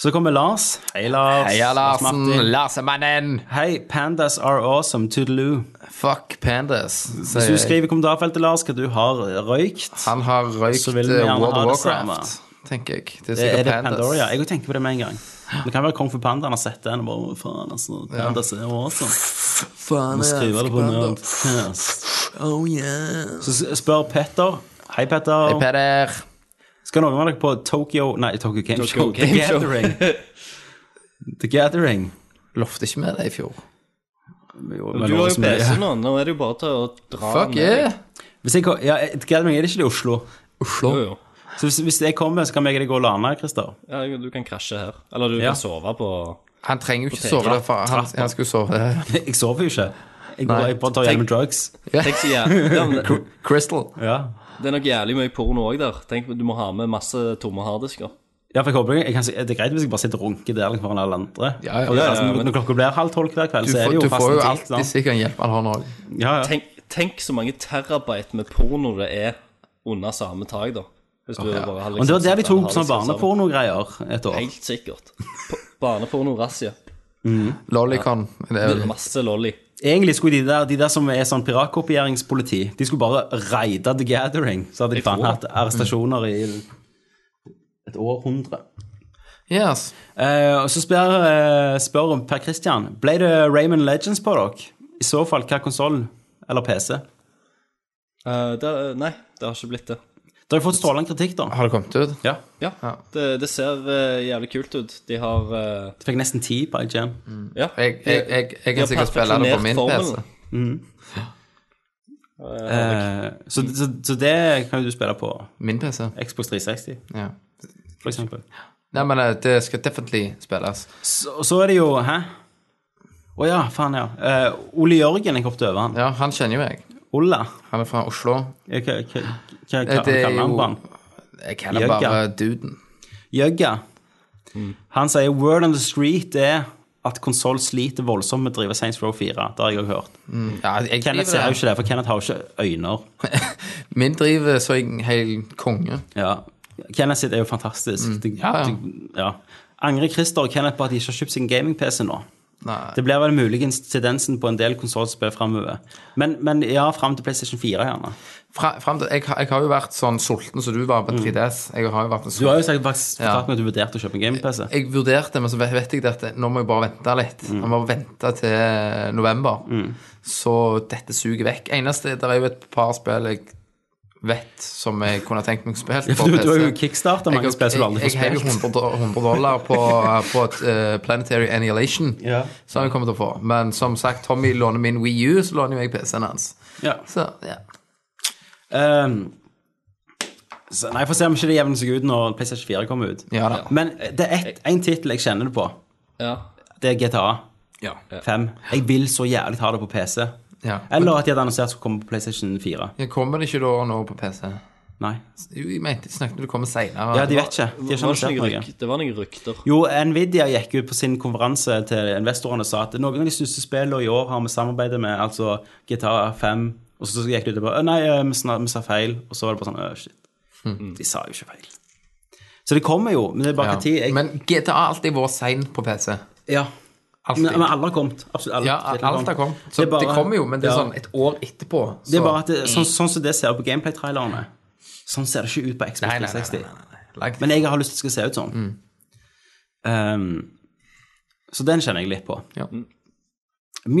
[SPEAKER 4] Så kommer Lars. Hei, Lars.
[SPEAKER 5] Heia Larsen,
[SPEAKER 4] Martin.
[SPEAKER 5] Larsemannen!
[SPEAKER 4] Hei, pandas are awesome. Toodaloo.
[SPEAKER 5] Fuck Pandas.
[SPEAKER 4] Hvis
[SPEAKER 5] sier
[SPEAKER 4] du
[SPEAKER 5] jeg.
[SPEAKER 4] skriver i kommentarfeltet, Lars, hva du har røykt
[SPEAKER 5] Han har røykt
[SPEAKER 4] Så vil vi
[SPEAKER 5] eh,
[SPEAKER 4] gjerne
[SPEAKER 5] World
[SPEAKER 4] ha
[SPEAKER 5] of
[SPEAKER 4] det
[SPEAKER 5] Warcraft, tenker jeg. Det
[SPEAKER 4] Det
[SPEAKER 5] er
[SPEAKER 4] er
[SPEAKER 5] sikkert
[SPEAKER 4] det
[SPEAKER 5] Pandas.
[SPEAKER 4] Pandoria. Jeg tenker på det med en gang. Det kan være Kong for Pandaen har sett den og bare Faen, altså. Pandas er awesome.
[SPEAKER 5] Faen,
[SPEAKER 4] Må
[SPEAKER 5] jeg
[SPEAKER 4] skrive det
[SPEAKER 5] elsker
[SPEAKER 4] på
[SPEAKER 5] Pandas.
[SPEAKER 4] Nerdcast.
[SPEAKER 5] Oh yeah.
[SPEAKER 4] Så s- spør Petter. Hei, Petter.
[SPEAKER 5] Hei, Peder.
[SPEAKER 4] Skal noen av dere på Tokyo Nei, Tokyo Game
[SPEAKER 6] Tokyo
[SPEAKER 4] Show.
[SPEAKER 6] Game
[SPEAKER 4] The
[SPEAKER 6] Show.
[SPEAKER 4] Gathering. The Gathering.
[SPEAKER 5] Lovte ikke med det i fjor.
[SPEAKER 4] Jo,
[SPEAKER 6] Du
[SPEAKER 4] men
[SPEAKER 6] har
[SPEAKER 4] også
[SPEAKER 6] jo
[SPEAKER 4] med-
[SPEAKER 6] PC nå. Nå er det jo bare til å dra
[SPEAKER 5] Fuck
[SPEAKER 6] med deg.
[SPEAKER 5] yeah.
[SPEAKER 4] Hvis jeg, ko- ja, The Gathering er det ikke det i Oslo.
[SPEAKER 5] Oslo.
[SPEAKER 6] Jo, jo.
[SPEAKER 4] Så hvis, hvis jeg kommer, så kan jeg og deg gå og lane, Christer.
[SPEAKER 6] Ja, du kan krasje her. Eller du
[SPEAKER 4] Ja.
[SPEAKER 6] kan sove på
[SPEAKER 5] Han trenger jo ikke
[SPEAKER 6] Potet.
[SPEAKER 5] sove der, for han, han skulle sove der.
[SPEAKER 4] Jeg sover jo ikke. Jeg, går,
[SPEAKER 5] Nei.
[SPEAKER 4] jeg bare tar hjelm med drugs.
[SPEAKER 6] Tenk så jævlig ja, men det,
[SPEAKER 5] Crystal.
[SPEAKER 4] Ja.
[SPEAKER 6] det er nok jævlig mye porno òg der. Tenk, Du må ha med masse tomme harddisker.
[SPEAKER 4] ja, for jeg håper jeg kan, si- Det er greit hvis jeg bare sitter og runker der liksom, foran alle andre.
[SPEAKER 5] Ja, ja.
[SPEAKER 4] For det er altså,
[SPEAKER 6] Ja, ja, men-
[SPEAKER 4] Når klokka blir halv tolv hver kveld,
[SPEAKER 5] Du,
[SPEAKER 4] så er
[SPEAKER 5] får,
[SPEAKER 4] det jo
[SPEAKER 5] du
[SPEAKER 4] fast
[SPEAKER 5] får jo
[SPEAKER 4] en tid.
[SPEAKER 5] alltid
[SPEAKER 4] sant?
[SPEAKER 5] sikkert hjelp av han òg.
[SPEAKER 4] Ja, ja.
[SPEAKER 6] Tenk, tenk så mange terabyte med porno det er under samme tak, da. Hvis du bare har liksom
[SPEAKER 4] Men det var der de
[SPEAKER 6] satt
[SPEAKER 4] tok
[SPEAKER 6] en
[SPEAKER 4] sånne
[SPEAKER 6] harddisk sammen.
[SPEAKER 4] barnepornogreier et år.
[SPEAKER 6] Helt sikkert. P- Barneporno, razzia.
[SPEAKER 5] Lollicon. Det er vel
[SPEAKER 6] Masse lolly.
[SPEAKER 4] Egentlig skulle de der, de der som er sånn piratkopieringspoliti, de skulle bare raide The Gathering. Så hadde de
[SPEAKER 6] Jeg
[SPEAKER 4] faen
[SPEAKER 6] tror
[SPEAKER 4] hatt arrestasjoner i et århundre.
[SPEAKER 5] Yes.
[SPEAKER 4] Eh, og så spør, eh, spør Per Christian Ble det Raymond Legends på dere? I så fall, hva konsoll eller PC?
[SPEAKER 6] Eh, det, nei, det har ikke blitt det.
[SPEAKER 4] Dere har fått strålende kritikk, da.
[SPEAKER 5] Har det kommet ut?
[SPEAKER 4] Ja.
[SPEAKER 6] Ja, det, det ser eh, jævlig kult ut. De har eh,
[SPEAKER 4] Du fikk nesten ti på IGN.
[SPEAKER 6] Ja.
[SPEAKER 5] Jeg, jeg, jeg,
[SPEAKER 6] Ja,
[SPEAKER 5] jeg kan sikkert spille det på min
[SPEAKER 6] perfeksjonert
[SPEAKER 5] PC.
[SPEAKER 6] formelen.
[SPEAKER 4] Eh, så, så, så det kan jo du spille på
[SPEAKER 5] Min PC,
[SPEAKER 4] Xbox 360,
[SPEAKER 5] ja.
[SPEAKER 4] for eksempel.
[SPEAKER 5] Nei, men eh, det skal definitely spilles.
[SPEAKER 4] Så, og så er det jo Hæ? Å ja, faen, ja. Eh, Ole Jørgen, jeg hoppet over han.
[SPEAKER 5] Ja, han kjenner jo jeg.
[SPEAKER 4] Olla?
[SPEAKER 5] Han er fra Oslo.
[SPEAKER 4] Hva hva- hva- hva
[SPEAKER 5] Eh, det er
[SPEAKER 4] kaller han
[SPEAKER 5] jo-
[SPEAKER 4] på han?
[SPEAKER 5] Jeg kaller
[SPEAKER 4] Jøgga.
[SPEAKER 5] bare Duden.
[SPEAKER 4] Jøgga.
[SPEAKER 5] Mm.
[SPEAKER 4] Han sier 'Word on the street' er at konsoll sliter voldsomt med å drive Saints Row 4. Det har jeg også hørt.
[SPEAKER 5] Ja, jeg
[SPEAKER 4] Kenneth ser jo
[SPEAKER 5] driver,
[SPEAKER 4] ikke det, for Kenneth har jo ikke øyne.
[SPEAKER 5] min driver så jeg en hel konge.
[SPEAKER 4] Ja. Kenneth sitt er jo fantastisk. Det-
[SPEAKER 5] Mm. Ja, ja.
[SPEAKER 4] det- ja. Angrer Christer og Kenneth på at de ikke har kjøpt sin gaming-PC nå?
[SPEAKER 5] Nei.
[SPEAKER 4] Det blir vel muligens tendensen på en del konsollspill framover. Men, men ja, fram til PlayStation 4, gjerne.
[SPEAKER 5] Fra, frem til, jeg, har- jeg har jo vært sånn sulten som du var på 3DS. Jeg har jo vært en
[SPEAKER 4] Mm. Du har altså. jo sagt,
[SPEAKER 5] sulten.
[SPEAKER 4] faktisk fortalt meg at du vurderte å kjøpe en gaming-PC.
[SPEAKER 5] Jeg vurderte, men så vet, vet jeg det at nå må jeg bare vente litt.
[SPEAKER 4] Mm.
[SPEAKER 5] Jeg må vente til november. Så dette suger vekk. Eneste, Det er jo et par spill jeg vet som jeg kunne tenkt meg spilt på
[SPEAKER 4] Du, du har jo
[SPEAKER 5] PC.
[SPEAKER 4] kickstarta mange
[SPEAKER 5] Jeg-
[SPEAKER 4] spill som du aldri får
[SPEAKER 5] Jeg jeg heiv jo
[SPEAKER 4] spilt.
[SPEAKER 5] 100, do- 100 dollar på, på et eh, Planetary Annihilation,
[SPEAKER 4] Ja.
[SPEAKER 5] som jeg kommer til å få. Men som sagt, Tommy låner min Wii U, så låner jo jeg PC-en hans.
[SPEAKER 4] Ja.
[SPEAKER 5] Så ja.
[SPEAKER 4] Ehm, så, nei, Få se om ikke det jevner seg ut når PlayStation 4 kommer ut.
[SPEAKER 5] Ja da.
[SPEAKER 4] Men eh, det er én tittel jeg kjenner det på.
[SPEAKER 6] Ja.
[SPEAKER 4] Det er GTA
[SPEAKER 5] Ja.
[SPEAKER 4] 5. Jeg vil så jævlig ha det på PC.
[SPEAKER 5] Ja.
[SPEAKER 4] Eller at de hadde annonsert skulle komme på PlayStation 4.
[SPEAKER 5] Men Kommer det ikke da nå på PC?
[SPEAKER 4] Nei.
[SPEAKER 5] Jo, jeg mente jeg snakket om det kommer senere.
[SPEAKER 4] Ja, de vet ikke. De har ikke
[SPEAKER 6] Var det,
[SPEAKER 4] annonsert
[SPEAKER 6] ikke noen
[SPEAKER 4] noe.
[SPEAKER 6] ryk, det var noen rykter.
[SPEAKER 4] Jo, Nvidia gikk ut på sin konferanse til investorene og sa at noen av de største spillene i år har vi samarbeidet med, altså GTA 5. Og så gikk de ut og bare «Å, Nei, eh, vi, snak, vi sa feil. Og så var det bare sånn Å, shit. De sa jo ikke feil. Så det kommer jo, men det er bare
[SPEAKER 5] Mhm. Ja.
[SPEAKER 4] hva tid. Jeg,
[SPEAKER 5] Men GTA har alltid vært sein på PC.
[SPEAKER 4] ja.
[SPEAKER 5] Alltid.
[SPEAKER 4] men, men alle har kommet. Absolutt alle.
[SPEAKER 5] ja, alt har kommet. Så det, kommer jo, men det er
[SPEAKER 4] ja.
[SPEAKER 5] sånn et år etterpå. Så.
[SPEAKER 4] Det er bare at det, sånn, sånn som det ser ut på gameplay-trailerne, sånn ser det ikke ut på Xbox
[SPEAKER 5] Nei, nei, nei.
[SPEAKER 4] 360.
[SPEAKER 5] Mm. nei, nei, nei. Langt.
[SPEAKER 4] Men jeg har lyst til at det skal se ut sånn. Um, Så den kjenner jeg litt på.
[SPEAKER 5] Ja.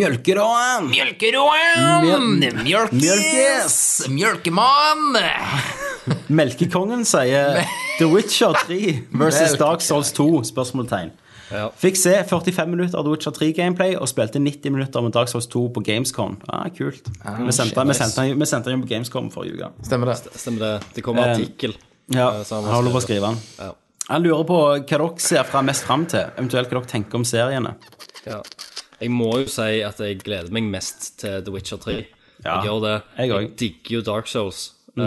[SPEAKER 4] Mjølkeråen!
[SPEAKER 5] Mjølkeroen!
[SPEAKER 4] Mjøl-
[SPEAKER 5] Mjølkes! Mjølkemann!
[SPEAKER 4] Melkekongen sier The Witcher 3 versus
[SPEAKER 5] Melkekongen.
[SPEAKER 4] Dark Souls 2? spørsmålstegn.
[SPEAKER 6] Ja.
[SPEAKER 4] Fikk se 45 minutter av The Witcher 3-gameplay og spilte 90 minutter med Dark Souls 2 på Gamescom. Ah, kult. vi, sendte, vi, sendte, den- vi sendte den på Gamescom forrige uke.
[SPEAKER 5] Stemmer det.
[SPEAKER 6] Stemmer det. Det kommer
[SPEAKER 4] Eh,
[SPEAKER 6] artikkel.
[SPEAKER 4] Ja,
[SPEAKER 6] Eh, så han
[SPEAKER 4] jeg
[SPEAKER 6] må
[SPEAKER 4] har lov å
[SPEAKER 6] skrive.
[SPEAKER 4] skrive den.
[SPEAKER 6] Ja.
[SPEAKER 4] Jeg lurer på hva dere ser fra mest fram til, eventuelt hva dere tenker om seriene.
[SPEAKER 6] Ja. Jeg må jo si at jeg gleder meg mest til The Witcher 3.
[SPEAKER 4] Ja,
[SPEAKER 6] Jeg gjør det.
[SPEAKER 4] jeg også. Mm.
[SPEAKER 6] digger jo Dark Souls. Eh,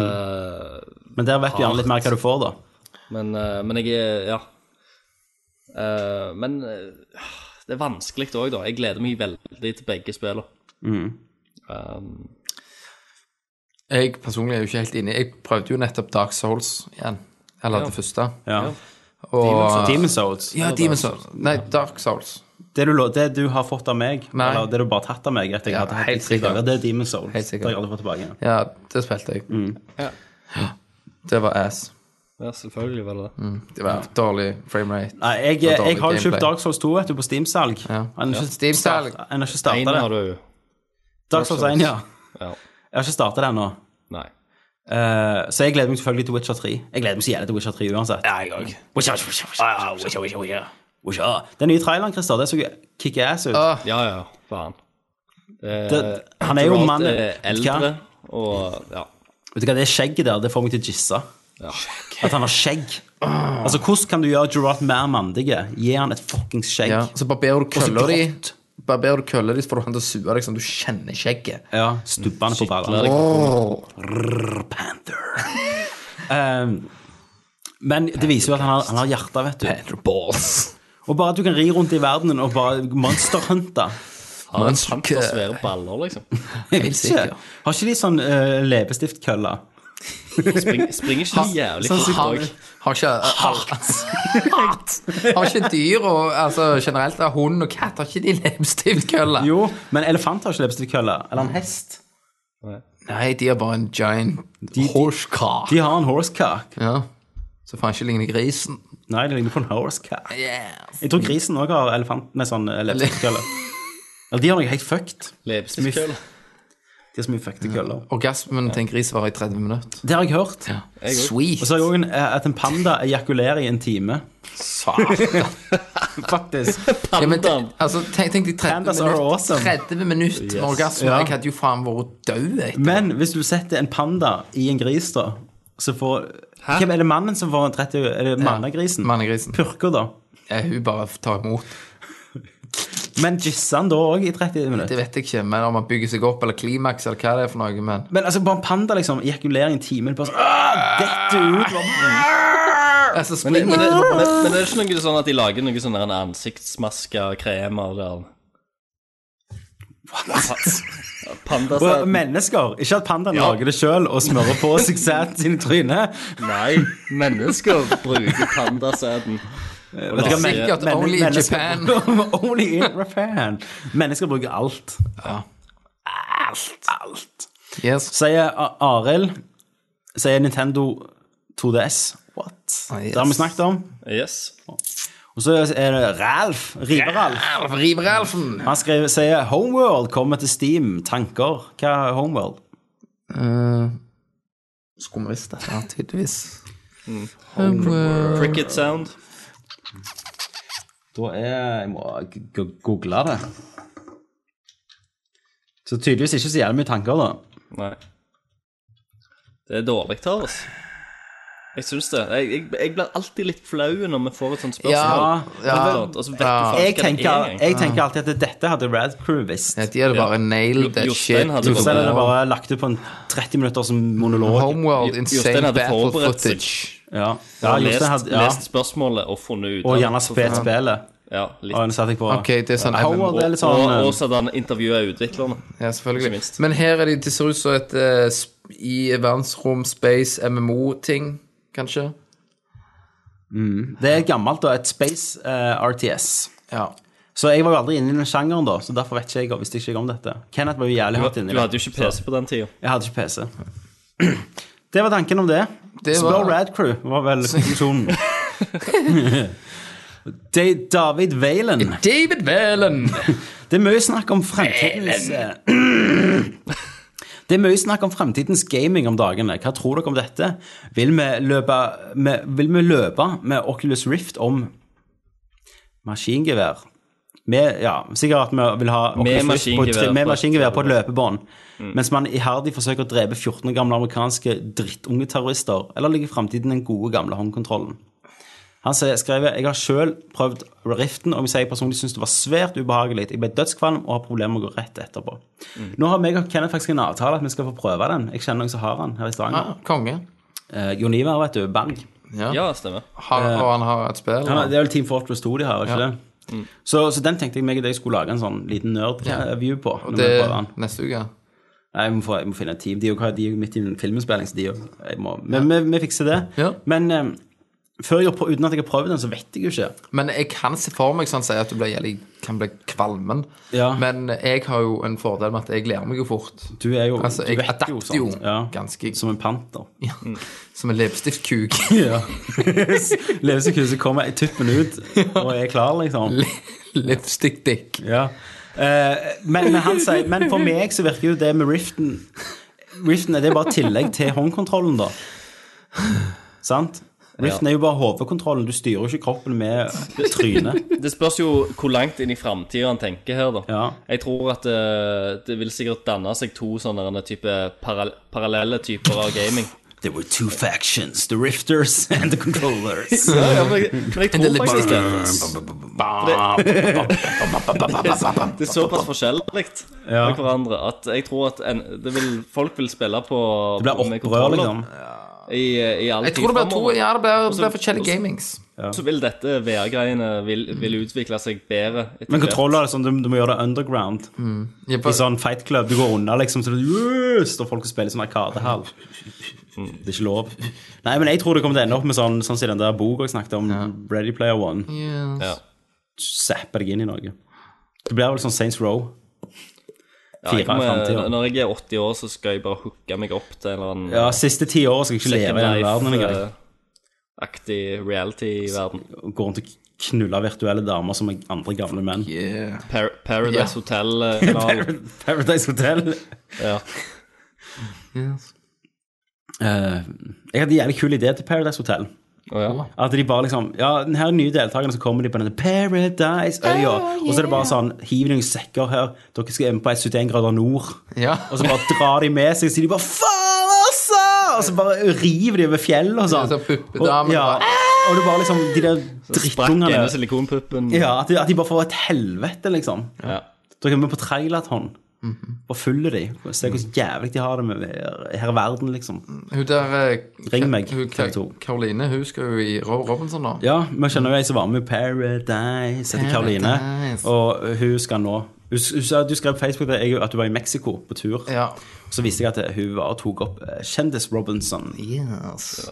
[SPEAKER 4] Men der vet du gjerne litt mer hva du får, da.
[SPEAKER 6] men, eh, men jeg er Ja. Eh, men eh, det er vanskelig òg, da. Jeg gleder meg veldig til begge spillene.
[SPEAKER 5] Jeg personlig er jo ikke helt inne. Jeg prøvde jo nettopp Dark Souls igjen. Eller det første.
[SPEAKER 4] Ja.
[SPEAKER 5] Og
[SPEAKER 4] Demon Souls.
[SPEAKER 5] Ja, Demon Souls. Nei, Dark Souls.
[SPEAKER 4] Det du, lo- det du har fått av meg,
[SPEAKER 5] Nei.
[SPEAKER 4] eller det du bare har tatt av meg etter jeg
[SPEAKER 5] Ja,
[SPEAKER 4] hadde hatt
[SPEAKER 5] helt
[SPEAKER 4] det i tre
[SPEAKER 5] sikkert.
[SPEAKER 4] dager, det er Demon Souls.
[SPEAKER 5] Helt
[SPEAKER 4] Det
[SPEAKER 5] sikkert.
[SPEAKER 4] har jeg aldri fått tilbake igjen.
[SPEAKER 5] Ja, det spilte jeg.
[SPEAKER 4] Mm.
[SPEAKER 5] Ja. Det var ass.
[SPEAKER 6] Ja, selvfølgelig var det det.
[SPEAKER 5] Det var dårlig framerate.
[SPEAKER 4] Nei, jeg,
[SPEAKER 5] Det var
[SPEAKER 4] jeg
[SPEAKER 5] dårlig
[SPEAKER 4] har jo kjøpt
[SPEAKER 5] gameplay.
[SPEAKER 4] Dark Souls 2 vet du, på Steam-salg.
[SPEAKER 5] Ja.
[SPEAKER 4] Han har
[SPEAKER 5] Ja.
[SPEAKER 4] ikke
[SPEAKER 5] Steam-salg.
[SPEAKER 4] startet- Han har ikke starta
[SPEAKER 6] Én har
[SPEAKER 4] det.
[SPEAKER 6] du.
[SPEAKER 4] Dark Souls 1, ja.
[SPEAKER 6] Ja.
[SPEAKER 4] Jeg har ikke starta det ennå.
[SPEAKER 6] Nei.
[SPEAKER 4] Eh, så jeg gleder meg selvfølgelig til Witcher 3. Jeg gleder meg så jævlig til Witcher 3 uansett. Ja, jeg òg. Witcher, Witcher, Witcher, Witcher, Witcher, Witcher, Ah. Witcher. Den nye traileren, Christer, det så kick-ass ut.
[SPEAKER 5] Åh,
[SPEAKER 6] Ja, ja, faen. Det-
[SPEAKER 4] Det- han er jo
[SPEAKER 6] Geralt
[SPEAKER 4] mannen-
[SPEAKER 6] er Eldre, og ja.
[SPEAKER 4] Vet du hva, Det skjegget der, det får meg til å jisse. At han har skjegg. Altså, Hvordan kan du gjøre Gerard mer mandig? Gi han et fuckings skjegg.
[SPEAKER 5] ja. Så barberer du
[SPEAKER 4] så
[SPEAKER 5] kølla di,
[SPEAKER 4] grått.
[SPEAKER 5] barberer du kølla di, så får du han til å sue deg som du kjenner skjegget.
[SPEAKER 4] Ja, Stubbene på
[SPEAKER 6] Eller,
[SPEAKER 4] ballene. Rrr, Panther. Ehm, men det viser jo at han har, han har hjertet, vet du.
[SPEAKER 5] Balls.
[SPEAKER 4] Og bare at du kan ri rundt i verdenen og bare monsterhunte.
[SPEAKER 6] han har
[SPEAKER 5] Men så-
[SPEAKER 6] santer svære baller, liksom.
[SPEAKER 4] Jeg
[SPEAKER 5] Helt
[SPEAKER 4] vet ikke.
[SPEAKER 5] sikker.
[SPEAKER 4] Har ikke de sånn uh, leppestiftkølle?
[SPEAKER 6] Spring, springer ikke så jævlig
[SPEAKER 5] Sånn
[SPEAKER 6] fort
[SPEAKER 5] har,
[SPEAKER 6] òg.
[SPEAKER 5] har ikke Har ikke dyr og altså, generelt da, hund og katt Har ikke de leppestiftkøller?
[SPEAKER 4] Jo, men elefant har ikke leppestiftkølle. Eller en hest.
[SPEAKER 5] Nei, de har bare en giant horse car.
[SPEAKER 4] De har en horsecock.
[SPEAKER 5] Ja. Så faen ikke ligner grisen.
[SPEAKER 4] Nei, det ligner på en horsecock.
[SPEAKER 5] Yes.
[SPEAKER 4] Jeg tror grisen òg har elefant med sånn eh, leppestiftkølle. Eller de har noe helt fucked.
[SPEAKER 6] Leppestiftkølle.
[SPEAKER 4] De har så mye fuckte køller.
[SPEAKER 5] Orgasmen til en gris varer i 30 minutter.
[SPEAKER 4] Det har jeg hørt. Og
[SPEAKER 5] Sweet.
[SPEAKER 4] så har jeg òg at en panda ejakulerer i en time.
[SPEAKER 5] Satan.
[SPEAKER 4] Faktisk.
[SPEAKER 5] Ja, men, te- altså, tenk, tenk de 30
[SPEAKER 4] Pandas are
[SPEAKER 5] minutter
[SPEAKER 4] awesome.
[SPEAKER 5] 30 minutter med orgasme.
[SPEAKER 4] Ja.
[SPEAKER 5] Jeg hadde jo faen vært død. jeg.
[SPEAKER 4] Men hvis du setter en panda i en gris, da, så får Hvem er det mannen som får en 30 Er det mannegrisen?
[SPEAKER 5] Mannegrisen.
[SPEAKER 4] Purker, da.
[SPEAKER 5] Ja, hun bare tar imot.
[SPEAKER 4] Men jisser han da òg i 30 minutter?
[SPEAKER 5] Det vet jeg ikke, men om han bygger seg opp, eller klimaks, eller hva det er for noe. Men
[SPEAKER 4] Men altså, bare en panda, liksom. Ejakulerer i en time. Bare sånn «Åh, Dette ut! bare-
[SPEAKER 6] Men, det-
[SPEAKER 5] altså, springer
[SPEAKER 6] men, det-
[SPEAKER 5] det,
[SPEAKER 6] men, men det er ikke noe sånn at de lager noe sånn der en ansiktsmaske og krem av det der? Panda
[SPEAKER 4] Og
[SPEAKER 6] sa
[SPEAKER 4] Altså, mennesker. Ikke at pandaen lager det sjøl og smører på seg sæd sin i trynet.
[SPEAKER 6] Nei, mennesker bruker pandasæden. Og
[SPEAKER 4] Vet du hva,
[SPEAKER 6] lager-
[SPEAKER 5] Sikkert only in
[SPEAKER 4] mennesker- only in Japan. Mennesker bruker alt. Alt. Alt.
[SPEAKER 5] yes.
[SPEAKER 4] Sier A- Arild, sier Nintendo 2DS. What?
[SPEAKER 5] Ah,
[SPEAKER 4] Det har vi snakket om.
[SPEAKER 6] Yes.
[SPEAKER 4] Og så er det Ralf. Rive-Ralf.
[SPEAKER 5] Alf, River Alfen.
[SPEAKER 4] Han skriver, sier Homeworld kommer til Steam. Tanker. Hva er Homeworld?
[SPEAKER 5] Skulle vi visst det? Eh, Ja, tydeligvis.
[SPEAKER 4] Mm.
[SPEAKER 5] eh,
[SPEAKER 6] Cricket sound.
[SPEAKER 4] Da er Jeg må g- g- google det. Så tydeligvis ikke så jævlig mye tanker, da.
[SPEAKER 6] Nei. Det er dårlig av oss. Jeg syns det. Jeg, jeg, jeg blir alltid litt flau når vi får et sånt spørsmål.
[SPEAKER 5] Ja, ja.
[SPEAKER 6] Og så vet du faen
[SPEAKER 4] Jeg
[SPEAKER 6] ikke hva det er
[SPEAKER 4] tenker,
[SPEAKER 6] engang.
[SPEAKER 4] jeg tenker alltid at dette hadde Rad Crew visst.
[SPEAKER 5] Ja, de hadde bare nailed that shit.
[SPEAKER 6] Jostein hadde
[SPEAKER 4] Så er det
[SPEAKER 6] forberedt,
[SPEAKER 4] bare lagt ut på en 30 minutter som monolog.
[SPEAKER 5] Homeworld,
[SPEAKER 6] Jo-
[SPEAKER 5] insane
[SPEAKER 6] Jostein hadde
[SPEAKER 5] battle
[SPEAKER 6] forberedt seg.
[SPEAKER 5] footage.
[SPEAKER 4] Ja, ja,
[SPEAKER 6] ja, lest,
[SPEAKER 4] Jostein hadde, ja.
[SPEAKER 6] lest spørsmålet og funnet ut
[SPEAKER 4] Og
[SPEAKER 6] av-
[SPEAKER 4] gjerne spilt spillet.
[SPEAKER 6] Ja,
[SPEAKER 4] Og
[SPEAKER 6] litt.
[SPEAKER 4] den satte jeg på.
[SPEAKER 5] Ok, det er sånn
[SPEAKER 4] Howard
[SPEAKER 5] MMO.
[SPEAKER 4] er litt sånn
[SPEAKER 6] og, og
[SPEAKER 4] eh,
[SPEAKER 6] så hadde han intervjua utviklerne.
[SPEAKER 5] Ja,
[SPEAKER 6] Ikke
[SPEAKER 5] selvfølgelig.
[SPEAKER 6] minst.
[SPEAKER 5] Men her er de, det ser ut som et eh, sp- i verdensrom, space, MMO-ting, kanskje?
[SPEAKER 4] Det er gammelt, da. Et Space eh, RTS.
[SPEAKER 5] Ja.
[SPEAKER 4] Så jeg var jo aldri inne i den sjangeren, da. Så derfor vet ikke jeg, visste ikke jeg om dette. Kenneth var jo jævlig hardt
[SPEAKER 6] Du
[SPEAKER 4] inni
[SPEAKER 6] hadde jo ikke PC på den tida.
[SPEAKER 4] Jeg hadde ikke PC. Det var tanken om det.
[SPEAKER 5] Det
[SPEAKER 4] Spør
[SPEAKER 5] var-
[SPEAKER 4] Rad Crew, var vel konklusjonen. Da- David Valen.
[SPEAKER 5] David Valen!
[SPEAKER 4] Det er mye snakk om fremtidens
[SPEAKER 6] Eh,
[SPEAKER 4] eh, Det er mye snakk om fremtidens gaming om dagene. Hva tror dere om dette? Vil vi løpe med, vil vi løpe med Oculus Rift om maskingevær? Med, ja, sikkert at vi vil ha Oculus Rift på,
[SPEAKER 6] maskingevær
[SPEAKER 4] et tri- med
[SPEAKER 6] på et Mm.
[SPEAKER 4] maskingevær på et løpebånd. Mens man iherdig forsøker å drepe 14 år gamle amerikanske drittunge terrorister. Eller ligger fremtiden den gode, gamle håndkontrollen? Han sier- skriver jeg har selv prøvd Riften, og jeg må si jeg personlig synes det var svært ubehagelig. Jeg ble dødskvalm og har problemer med å gå rett etterpå.
[SPEAKER 5] Mm.
[SPEAKER 4] Nå har meg og Kenneth faktisk en avtale at vi skal få prøve den. Jeg kjenner noen som har den her i Stavanger.
[SPEAKER 5] Ah, konge.
[SPEAKER 4] Eh, Jon Ivar, vet du. Berg.
[SPEAKER 6] Ja, stemmer.
[SPEAKER 5] Har, og han har et spill.
[SPEAKER 4] Eh, Han, har- det er vel Team Fortress 2 de har, er ikke det?
[SPEAKER 5] Mm.
[SPEAKER 4] Så, så den tenkte jeg meg og deg skulle lage en sånn liten nerd-view på. når
[SPEAKER 5] det
[SPEAKER 4] vi prøver den.
[SPEAKER 5] neste uke.
[SPEAKER 4] Nei, jeg må, få, jeg må finne et team. De er jo- de er jo midt i en filminnspilling, så de er jo jeg må, Men vi, vi fikser det.
[SPEAKER 5] Ja.
[SPEAKER 4] Men eh, før jeg, har prøvd- uten at jeg har prøvd den, så vet jeg jo ikke.
[SPEAKER 5] Men jeg kan se for meg sånn si at du blir jævlig, kan bli kvalmen.
[SPEAKER 4] Ja.
[SPEAKER 5] Men jeg har jo en fordel med at jeg lærer meg jo fort.
[SPEAKER 4] Du er jo
[SPEAKER 5] Altså,
[SPEAKER 4] du
[SPEAKER 5] jeg
[SPEAKER 4] vet jo,
[SPEAKER 5] adapter jo
[SPEAKER 4] sånt. Ja.
[SPEAKER 5] ganske
[SPEAKER 4] Som en panter.
[SPEAKER 5] ja, som en leppestiftkuk.
[SPEAKER 4] Ja. Levesekhuset kommer i tuppen ut og er klar, liksom.
[SPEAKER 5] Leppestikkdikk.
[SPEAKER 4] Ja. Eh, men, men han sier Men for meg så virker jo det med Riften Riften er det bare tillegg til håndkontrollen, da. Sant? Riften er jo bare hodekontrollen. Du styrer jo ikke kroppen med trynet.
[SPEAKER 6] Det spørs jo hvor langt inn i framtida han tenker her, da.
[SPEAKER 4] Ja.
[SPEAKER 6] Jeg tror at eh, det vil sikkert danne seg to sånne denne type paral parallelle typer av gaming.
[SPEAKER 4] There were two factions, the rifters and the controllers.
[SPEAKER 6] Ja, ja, men, jeg- men jeg tror faktisk det. Det er såpass forskjellig
[SPEAKER 4] Ja.
[SPEAKER 6] med hverandre at jeg tror at en, det vil, folk vil spille på
[SPEAKER 4] Det blir
[SPEAKER 6] med
[SPEAKER 4] opprør,
[SPEAKER 6] kontroller
[SPEAKER 4] liksom.
[SPEAKER 6] I, i all
[SPEAKER 5] Jeg
[SPEAKER 6] tid
[SPEAKER 5] tror det blir to
[SPEAKER 6] fremover.
[SPEAKER 5] Ja, det blir, det
[SPEAKER 4] Altså,
[SPEAKER 6] Også-
[SPEAKER 5] blir forskjellige
[SPEAKER 6] også-
[SPEAKER 5] gamings.
[SPEAKER 6] Så vil dette VR-greiene vil, vil utvikle seg bedre. etter
[SPEAKER 4] Men
[SPEAKER 6] hvert.
[SPEAKER 4] kontroller er sånn, du, du må gjøre det underground.
[SPEAKER 5] Ja,
[SPEAKER 4] I
[SPEAKER 5] for-
[SPEAKER 4] sånn fight club. Du går unna, liksom, så det yes, står folk og spiller sånn arkadehall. Mm. Det er ikke lov. Nei, men jeg tror det kommer til å ende opp med sånn Sånn som i den der boka jeg snakket om, Ready Player One.
[SPEAKER 5] Yes.
[SPEAKER 6] Ja.
[SPEAKER 4] Zapper deg inn i noe. Det blir vel sånn Saints Row.
[SPEAKER 6] Ja, jeg
[SPEAKER 4] Fire i
[SPEAKER 6] kommer,
[SPEAKER 4] fremtiden.
[SPEAKER 6] når jeg er 80 år, så skal jeg bare hooke meg opp til en eller annen
[SPEAKER 4] Ja, siste ti år skal jeg ikke leve i den verden engang.
[SPEAKER 6] life-aktig reality-verden.
[SPEAKER 4] Gå rundt og knulle virtuelle damer som er andre gamle menn.
[SPEAKER 5] Yeah.
[SPEAKER 6] Par Paradise
[SPEAKER 5] Ja.
[SPEAKER 6] Hotel. eh, kanal.
[SPEAKER 4] Paradise Hotel.
[SPEAKER 6] ja.
[SPEAKER 5] Yes.
[SPEAKER 4] Eh, jeg hadde en jævlig kul idé til Paradise Hotel.
[SPEAKER 6] Å, ja.
[SPEAKER 4] At de bare liksom Ja, den her nye deltakerne, så kommer de på denne Paradise-øya. Og så er det bare sånn Hiv noen sekker her. Dere skal inn på 71 grader nord.
[SPEAKER 5] Ja.
[SPEAKER 4] Og så bare drar de med seg, så sier de bare Faen, altså! Og så bare river de over fjellet og sånn.
[SPEAKER 5] Ja, så puppedamen
[SPEAKER 4] og, ja,
[SPEAKER 5] bare,
[SPEAKER 4] og det er bare liksom de der
[SPEAKER 6] Sprakk ene
[SPEAKER 4] drittungene
[SPEAKER 6] silikonpuppen.
[SPEAKER 4] ja, at, de, at de bare får et helvete, liksom.
[SPEAKER 6] Ja.
[SPEAKER 4] Dere er med på trailathon.
[SPEAKER 5] Mhm.
[SPEAKER 4] Og følger de. Se hvor jævlig de har det med her i verden, liksom.
[SPEAKER 5] Hun der eh,
[SPEAKER 4] Ring meg,
[SPEAKER 5] hun,
[SPEAKER 4] TV 2.
[SPEAKER 5] Karoline, hun skal jo i Rob Robinson nå.
[SPEAKER 4] Ja, vi kjenner jo ei som var med i Paradise, heter Karoline.
[SPEAKER 5] Paradise.
[SPEAKER 4] Og hun skal nå hun, hun, sa- Du skrev på Facebook at jeg- at du var i Mexico på tur.
[SPEAKER 5] Ja.
[SPEAKER 4] Så viste jeg at hun var og tok opp eh, Kjendis-Robinson.
[SPEAKER 5] Yes.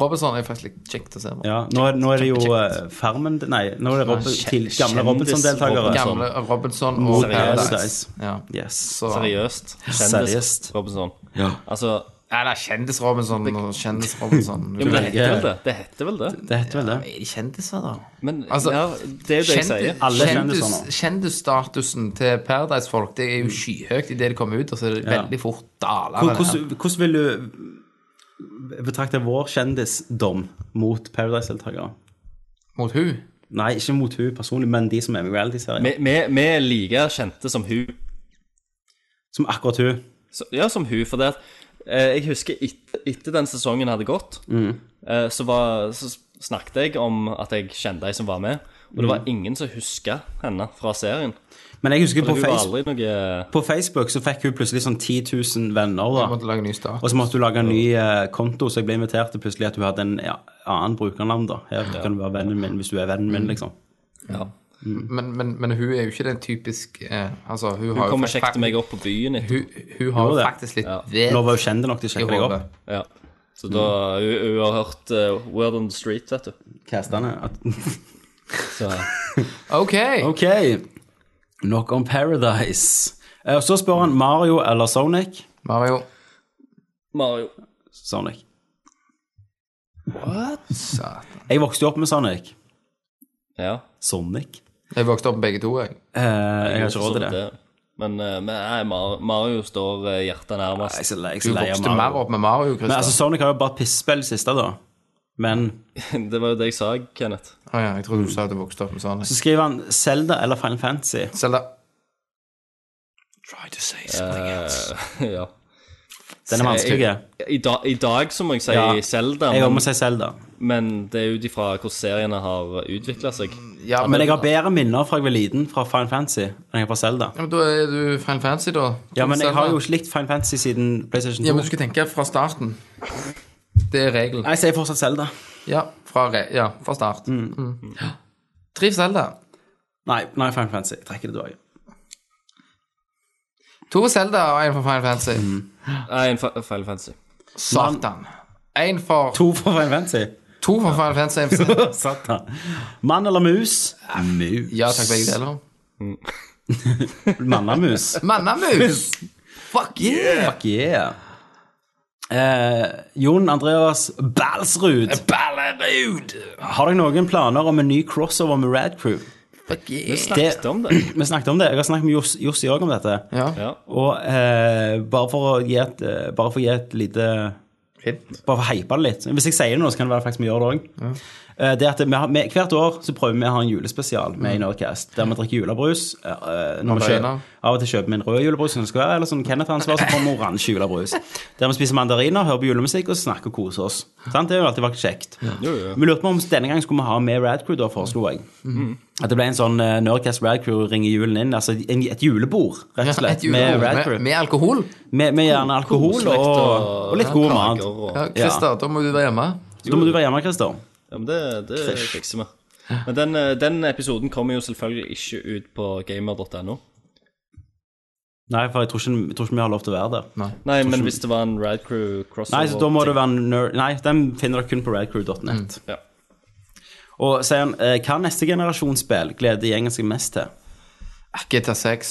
[SPEAKER 5] Robinson er faktisk litt kjekt å se på.
[SPEAKER 4] Ja, nå, er- nå er det jo eh, Farmen Nei, nå er det Rob,
[SPEAKER 6] kje-
[SPEAKER 4] til, gamle
[SPEAKER 6] Kjendis-Robinson.
[SPEAKER 4] Robinson-deltakere.
[SPEAKER 5] Gamle Robinson og
[SPEAKER 4] Mot
[SPEAKER 5] Paradise.
[SPEAKER 4] Paradise.
[SPEAKER 5] Ja.
[SPEAKER 4] Yes.
[SPEAKER 5] Så,
[SPEAKER 6] Seriøst. Kjendis
[SPEAKER 4] Seriøst.
[SPEAKER 6] Robinson.
[SPEAKER 4] Ja.
[SPEAKER 6] Altså
[SPEAKER 5] ja, det er Kjendis-Robinson og Kjendis-Robinson.
[SPEAKER 6] ja, men det heter
[SPEAKER 5] Er
[SPEAKER 6] vel det? Det heter vel det?
[SPEAKER 4] Det heter vel det.
[SPEAKER 5] de kjendiser, da?
[SPEAKER 6] Men
[SPEAKER 5] Altså,
[SPEAKER 6] ja, det er jo det jeg
[SPEAKER 5] Kjendi-
[SPEAKER 6] sier.
[SPEAKER 4] Alle
[SPEAKER 5] kjendis-
[SPEAKER 4] kjendiser nå.
[SPEAKER 5] Kjendisstatusen til Paradise-folk Det er jo skyhøyt idet de kommer ut, og så er det
[SPEAKER 4] Ja.
[SPEAKER 5] veldig fort daler.
[SPEAKER 4] Hvor-
[SPEAKER 5] det her.
[SPEAKER 4] Hvordan hvordan vil du betrakte vår kjendisdom mot Paradise-deltakere?
[SPEAKER 5] Mot hun
[SPEAKER 4] Nei, ikke mot hun personlig, men de som er med i reality-serien.
[SPEAKER 6] Vi- Vi vi er like kjente som hun.
[SPEAKER 4] Som akkurat hun.
[SPEAKER 6] Så, ja, som hun, for det at eh, Jeg husker et, etter den sesongen hadde gått, eh, så, var, så snakket jeg om at jeg kjente ei som var med. Og det var ingen som huska henne fra serien.
[SPEAKER 4] Men jeg husker
[SPEAKER 6] Hun
[SPEAKER 4] på
[SPEAKER 6] var
[SPEAKER 4] Facebook
[SPEAKER 6] aldri noe
[SPEAKER 4] På Facebook så fikk hun plutselig sånn 10 000 venner,
[SPEAKER 5] Vi
[SPEAKER 4] da.
[SPEAKER 5] måtte lage en ny start.
[SPEAKER 4] Og så måtte hun lage en ny eh, konto, så jeg ble invitert til plutselig at hun hadde en ja, annen brukernavn, da. Her kan du være vennen min hvis du er vennen
[SPEAKER 5] Mm.
[SPEAKER 4] min, liksom.
[SPEAKER 5] Men, men, men hun er jo ikke den typisk eh, Altså, hun,
[SPEAKER 6] Hun
[SPEAKER 5] har
[SPEAKER 6] kom
[SPEAKER 5] jo
[SPEAKER 6] og sjekket meg opp på byen etterpå.
[SPEAKER 5] Hun, hun har
[SPEAKER 4] Gjorde
[SPEAKER 5] jo
[SPEAKER 4] det?
[SPEAKER 5] faktisk litt
[SPEAKER 6] Ja.
[SPEAKER 5] vett
[SPEAKER 4] Nå var hun kjent nok til å
[SPEAKER 5] i
[SPEAKER 4] sjekke deg
[SPEAKER 5] hodet.
[SPEAKER 4] opp.
[SPEAKER 6] Ja. Så da
[SPEAKER 4] Mm.
[SPEAKER 6] hun, hun har hørt eh, Word on the Street, vet du.
[SPEAKER 4] Castene. At,
[SPEAKER 6] Så
[SPEAKER 5] Ok.
[SPEAKER 4] ok, nok om Paradise. Eh, Og så spør han Mario eller Sonic.
[SPEAKER 5] Mario.
[SPEAKER 6] Mario
[SPEAKER 4] Sonic.
[SPEAKER 5] Satan.
[SPEAKER 4] Jeg vokste jo opp med Sonic.
[SPEAKER 6] Ja.
[SPEAKER 4] Sonic.
[SPEAKER 5] Jeg vokste opp med begge to, jeg.
[SPEAKER 4] Eh, jeg har ikke råd til det.
[SPEAKER 6] Men, eh, men nei, Mar- Mario står eh, hjertet nærmest.
[SPEAKER 4] Jeg er så lei- jeg er
[SPEAKER 5] Du
[SPEAKER 4] så lei av
[SPEAKER 5] vokste mer
[SPEAKER 4] Mario.
[SPEAKER 5] opp med Mario,
[SPEAKER 4] Men altså,
[SPEAKER 5] Christer.
[SPEAKER 4] Sonic har jo bare pisspill siste, da. Men
[SPEAKER 6] Det var jo det jeg sa, Kenneth.
[SPEAKER 5] Ah, ja, jeg tror du sa at du vokste opp med sånn.
[SPEAKER 4] så skriver han Zelda eller Final Fantasy.
[SPEAKER 5] Zelda. Try to say something else.
[SPEAKER 6] ja.
[SPEAKER 4] Den er vanskelig.
[SPEAKER 6] I, da, I dag så må jeg si
[SPEAKER 4] Ja.
[SPEAKER 6] Zelda,
[SPEAKER 4] Jeg må
[SPEAKER 6] men,
[SPEAKER 4] si Zelda.
[SPEAKER 6] men det er ut ifra hvordan seriene har utvikla seg.
[SPEAKER 4] Mm,
[SPEAKER 5] Ja,
[SPEAKER 4] Men jeg har bedre minner fra jeg var liten, fra Final Fantasy, enn jeg har fra Zelda.
[SPEAKER 5] Ja, men Da er du Final Fantasy, da.
[SPEAKER 4] Ja, men jeg
[SPEAKER 5] Zelda.
[SPEAKER 4] har jo ikke likt Final Fantasy siden PlayStation 2.
[SPEAKER 5] Ja, men du skal tenke fra starten. Det er regelen.
[SPEAKER 4] Nei, jeg sier fortsatt Zelda.
[SPEAKER 5] Ja, fra, re ja, fra start. Mm. Ja. Triv Zelda.
[SPEAKER 4] Nei, nei, Final Fantasy. Jeg trekker det tilbake.
[SPEAKER 5] To Zelda og én for Final Fantasy.
[SPEAKER 6] Nei, en fe- Final Fantasy.
[SPEAKER 5] Satan. Én for to.
[SPEAKER 4] To fra Final Fantasy.
[SPEAKER 5] for Final Fantasy. MC.
[SPEAKER 4] Satan. Mann eller mus? Mus.
[SPEAKER 5] Ja takk, begge deler.
[SPEAKER 4] Mannamus.
[SPEAKER 5] Mannamus! Fuck yeah!
[SPEAKER 4] Fuck yeah. Eh, Jon Andreas Balsrud,
[SPEAKER 5] Ballerud!
[SPEAKER 4] har dere noen planer om en ny crossover med Rad Crew?
[SPEAKER 5] Fuck yeah!
[SPEAKER 6] Snakket om det.
[SPEAKER 4] Vi snakket om det. Jeg har snakket med Jos- Jossi òg om dette.
[SPEAKER 5] Ja.
[SPEAKER 6] Ja.
[SPEAKER 4] Og eh, bare for å gi et, eh, bare for å gi et lite
[SPEAKER 5] Hint.
[SPEAKER 4] Bare for å hype det litt. Hvis jeg sier det nå, så kan det være faktisk vi gjør det òg. Det at vi har, vi, hvert år så prøver vi å ha en julespesial med i Nerdcast, der vi drikker julebrus. eh, eh, når vi
[SPEAKER 5] Mandariner.
[SPEAKER 4] kjøper, av og til kjøper vi en rød julebrus, som det skal være, eller som Kenneth har ansvar, så får vi oransje julebrus. Der vi spiser mandariner, hører på julemusikk og snakker og koser oss. Sant? Det har jo alltid vært kjekt.
[SPEAKER 6] Jo, jo. Mhm.
[SPEAKER 4] Vi lurte på om denne gangen skulle vi ha med Radcrew, da foreslo jeg. At det ble en sånn eh, Nerdcast Radcrew ringer julen inn. Altså en, et julebord, rett og slett,
[SPEAKER 5] Et julebord
[SPEAKER 4] med Radcrew.
[SPEAKER 5] med, med alkohol.
[SPEAKER 4] Med, med gjerne alkohol og, og litt god mat.
[SPEAKER 6] kaker og-
[SPEAKER 5] Ja, Christer, da må du være hjemme.
[SPEAKER 4] Så da må du være hjemme, Christer.
[SPEAKER 6] Ja, men det, det fikser vi. Men den, eh, den episoden kommer jo selvfølgelig ikke ut på gamer.no.
[SPEAKER 4] Nei, for jeg tror, ikke, jeg tror ikke vi har lov til å være der. Nei,
[SPEAKER 6] Nei, men hvis det var en Radcrew crossover
[SPEAKER 4] så da må det være nerd... Nei, den finner dere kun på radcrew.net.
[SPEAKER 6] Ja.
[SPEAKER 4] Og sier han eh, Hva neste generasjons spill gleder gjengen seg mest til?
[SPEAKER 5] GTA 6.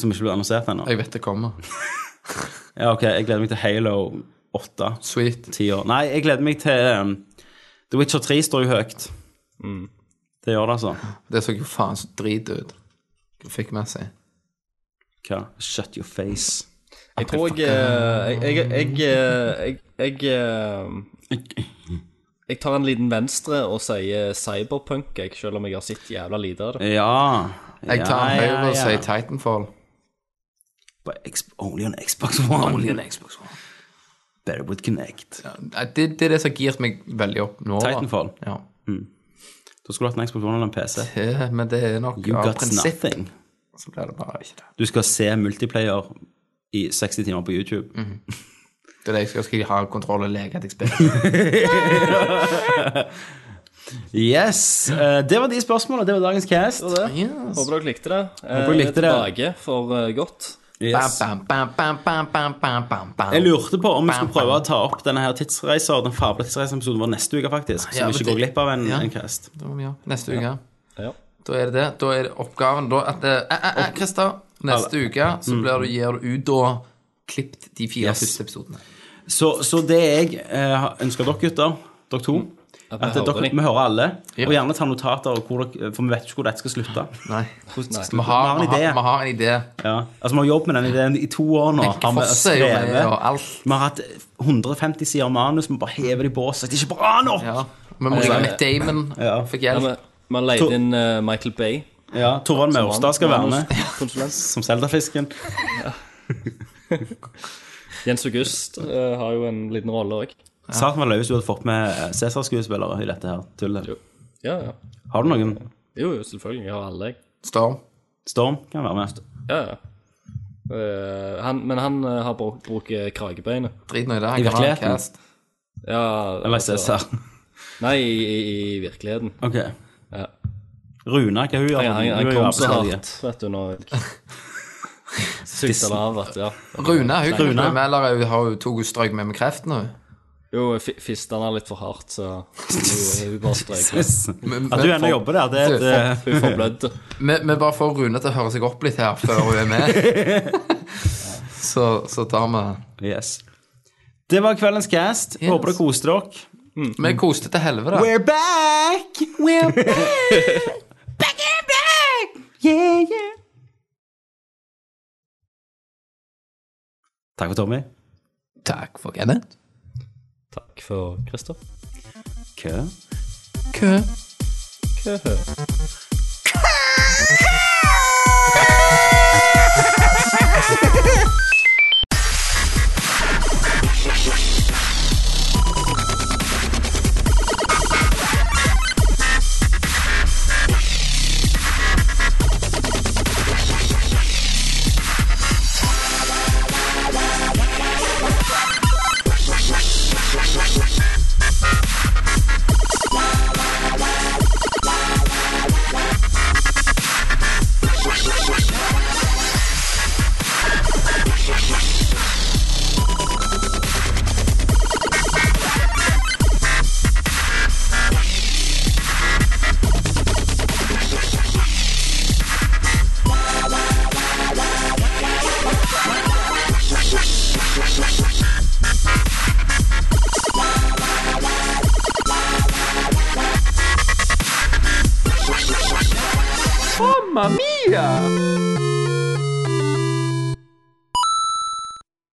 [SPEAKER 4] Som ikke ble annonsert ennå.
[SPEAKER 5] Jeg vet det kommer.
[SPEAKER 4] Ja, ok, jeg gleder meg til Halo 8.
[SPEAKER 5] Sweet.
[SPEAKER 4] Ti år. Nei, jeg gleder meg til um, The Witcher 3 står jo høyt. Det gjør det, altså.
[SPEAKER 5] Det så jo faen så drit ut. Grafikkmessig.
[SPEAKER 4] Hva? Shut your face.
[SPEAKER 6] Jeg tror jeg eh, Jeg Jeg, jeg, jeg, jeg, eh, jeg tar en liten venstre og sier cyberpunk, jeg, selv om jeg har sett jævla lite av det.
[SPEAKER 4] Ja.
[SPEAKER 5] Jeg tar en
[SPEAKER 4] Ja, ja,
[SPEAKER 5] høyre og
[SPEAKER 4] ja.
[SPEAKER 5] sier Titanfall.
[SPEAKER 4] But X- only on Xbox One. Only on Xbox One. Better with Connect.
[SPEAKER 5] Nei, Det, det er det som har girt meg veldig opp nå. da.
[SPEAKER 4] Titanfall.
[SPEAKER 5] Ja.
[SPEAKER 4] Da skulle du hatt en Xbox One eller en PC.
[SPEAKER 5] Eh, Men det er nok
[SPEAKER 4] You
[SPEAKER 5] av
[SPEAKER 4] got
[SPEAKER 5] prinsipp.
[SPEAKER 4] nothing.
[SPEAKER 5] Så blir det bare ikke det.
[SPEAKER 4] Du skal se multiplayer i 60 timer på YouTube.
[SPEAKER 5] Mm. Det er det jeg skal, skal jeg ha kontroll og leke at jeg spiller.
[SPEAKER 4] Yes! eh, det var de spørsmålene. Det var dagens cast.
[SPEAKER 6] Det var det.
[SPEAKER 5] Yes.
[SPEAKER 6] Håper dere likte det.
[SPEAKER 4] Håper dere
[SPEAKER 6] vi
[SPEAKER 4] likte
[SPEAKER 6] er
[SPEAKER 4] det.
[SPEAKER 6] tilbake for eh, godt.
[SPEAKER 4] Yes.
[SPEAKER 5] Bam, bam, bam, bam, bam, bam, bam, bam.
[SPEAKER 4] Jeg lurte på om vi
[SPEAKER 5] Bam,
[SPEAKER 4] skulle prøve å ta opp denne her tidsreiser, den fabla tidsreiseepisoden vår neste uke, faktisk. Så
[SPEAKER 5] Ah, Ja,
[SPEAKER 4] vi ikke
[SPEAKER 5] men
[SPEAKER 4] går
[SPEAKER 5] det-
[SPEAKER 4] glipp av en,
[SPEAKER 5] Ja.
[SPEAKER 4] en cast.
[SPEAKER 5] Da må vi gjøre Neste uke.
[SPEAKER 6] Ja.
[SPEAKER 5] Da er det det. Da er det oppgaven da at eh, eh, eh, eh, Christer, neste uke så blir du, gir du ut da klippet de fire
[SPEAKER 4] Mm. Yes.
[SPEAKER 5] første episodene.
[SPEAKER 4] Så, så det jeg eh, ønsker dere gutter, dere to
[SPEAKER 6] Mm. vi
[SPEAKER 4] at
[SPEAKER 6] hører
[SPEAKER 4] dere,
[SPEAKER 6] de.
[SPEAKER 4] vi hører alle,
[SPEAKER 5] Ja.
[SPEAKER 4] og gjerne ta notater, og hvor dere, for vi vet ikke hvor dette skal slutte.
[SPEAKER 5] Nei.
[SPEAKER 4] Hvordan skal
[SPEAKER 5] Vi
[SPEAKER 4] slutte?
[SPEAKER 5] har,
[SPEAKER 4] vi har en
[SPEAKER 5] vi, har, vi
[SPEAKER 4] idé.
[SPEAKER 5] har en idé.
[SPEAKER 4] Ja. Altså, vi har jobbet med den ideen i to år nå.
[SPEAKER 5] Henke
[SPEAKER 4] Har vi
[SPEAKER 5] Fosse er jo med,
[SPEAKER 4] skrevet.
[SPEAKER 5] og alt.
[SPEAKER 4] Vi har hatt 150 sider manus, vi bare hever det i bås. Det er ikke bra nok!
[SPEAKER 5] Ja. Vi må ringe Matt Damon.
[SPEAKER 4] Ja.
[SPEAKER 5] Fikk
[SPEAKER 6] Ja,
[SPEAKER 5] hjelp.
[SPEAKER 6] men Vi har leid
[SPEAKER 4] To-
[SPEAKER 6] inn eh, Michael Bay.
[SPEAKER 4] Ja, Torvald Maurstad skal være med,
[SPEAKER 6] Konsulent.
[SPEAKER 4] som Zelda-fisken.
[SPEAKER 6] Jens August eh, har jo en liten rolle òg.
[SPEAKER 4] Satan var løs du hadde fått med eh, Cæsar-skuespillere i dette her tullet.
[SPEAKER 6] Jo. Ja, ja.
[SPEAKER 4] Har du noen?
[SPEAKER 6] Jo, jo, selvfølgelig. Jeg har alle, jeg.
[SPEAKER 5] Storm.
[SPEAKER 4] Storm kan være med.
[SPEAKER 6] Ja, ja. Eh, han, men han eh, har brukt, brukt kragebeinet.
[SPEAKER 5] Drit nå i det.
[SPEAKER 4] I
[SPEAKER 5] Han kan ha en
[SPEAKER 4] virkeligheten.
[SPEAKER 5] cast.
[SPEAKER 6] Ja,
[SPEAKER 4] Eller
[SPEAKER 6] altså-
[SPEAKER 4] Cæsar.
[SPEAKER 6] Nei, i, i, i virkeligheten.
[SPEAKER 4] Ok.
[SPEAKER 6] Ja.
[SPEAKER 4] Runa, hva hun gjør
[SPEAKER 6] Han, han,
[SPEAKER 4] Hun
[SPEAKER 6] han
[SPEAKER 4] er jo
[SPEAKER 6] kom så
[SPEAKER 4] arbeidsledige.
[SPEAKER 6] hardt, vet du, når Sugde han av at Ja.
[SPEAKER 5] Rune hun kan
[SPEAKER 4] Rune.
[SPEAKER 5] bli med, eller hun har jo tok hun strøk med med kreft nå.
[SPEAKER 6] Jo, jeg fi- fiste han av litt for hardt, så hun hun bare strøk. med.
[SPEAKER 5] Men-
[SPEAKER 4] At du ennå
[SPEAKER 5] men for-
[SPEAKER 4] jobber der, det er et eh,
[SPEAKER 6] Hun forblødde.
[SPEAKER 5] Vi, vi bare får Rune til å høre seg opp litt her før hun er med. så, så tar vi
[SPEAKER 4] eh, Yes. Det var kveldens cast.
[SPEAKER 5] Yes.
[SPEAKER 4] Håper dere koste dere.
[SPEAKER 5] Vi koste til helvete.
[SPEAKER 4] We're back! We're back! back in black! Yeah, yeah. Takk for Tommy.
[SPEAKER 5] Takk for Kenneth.
[SPEAKER 6] Takk for Christer.
[SPEAKER 4] Kø.
[SPEAKER 5] Kø. Mamma mia!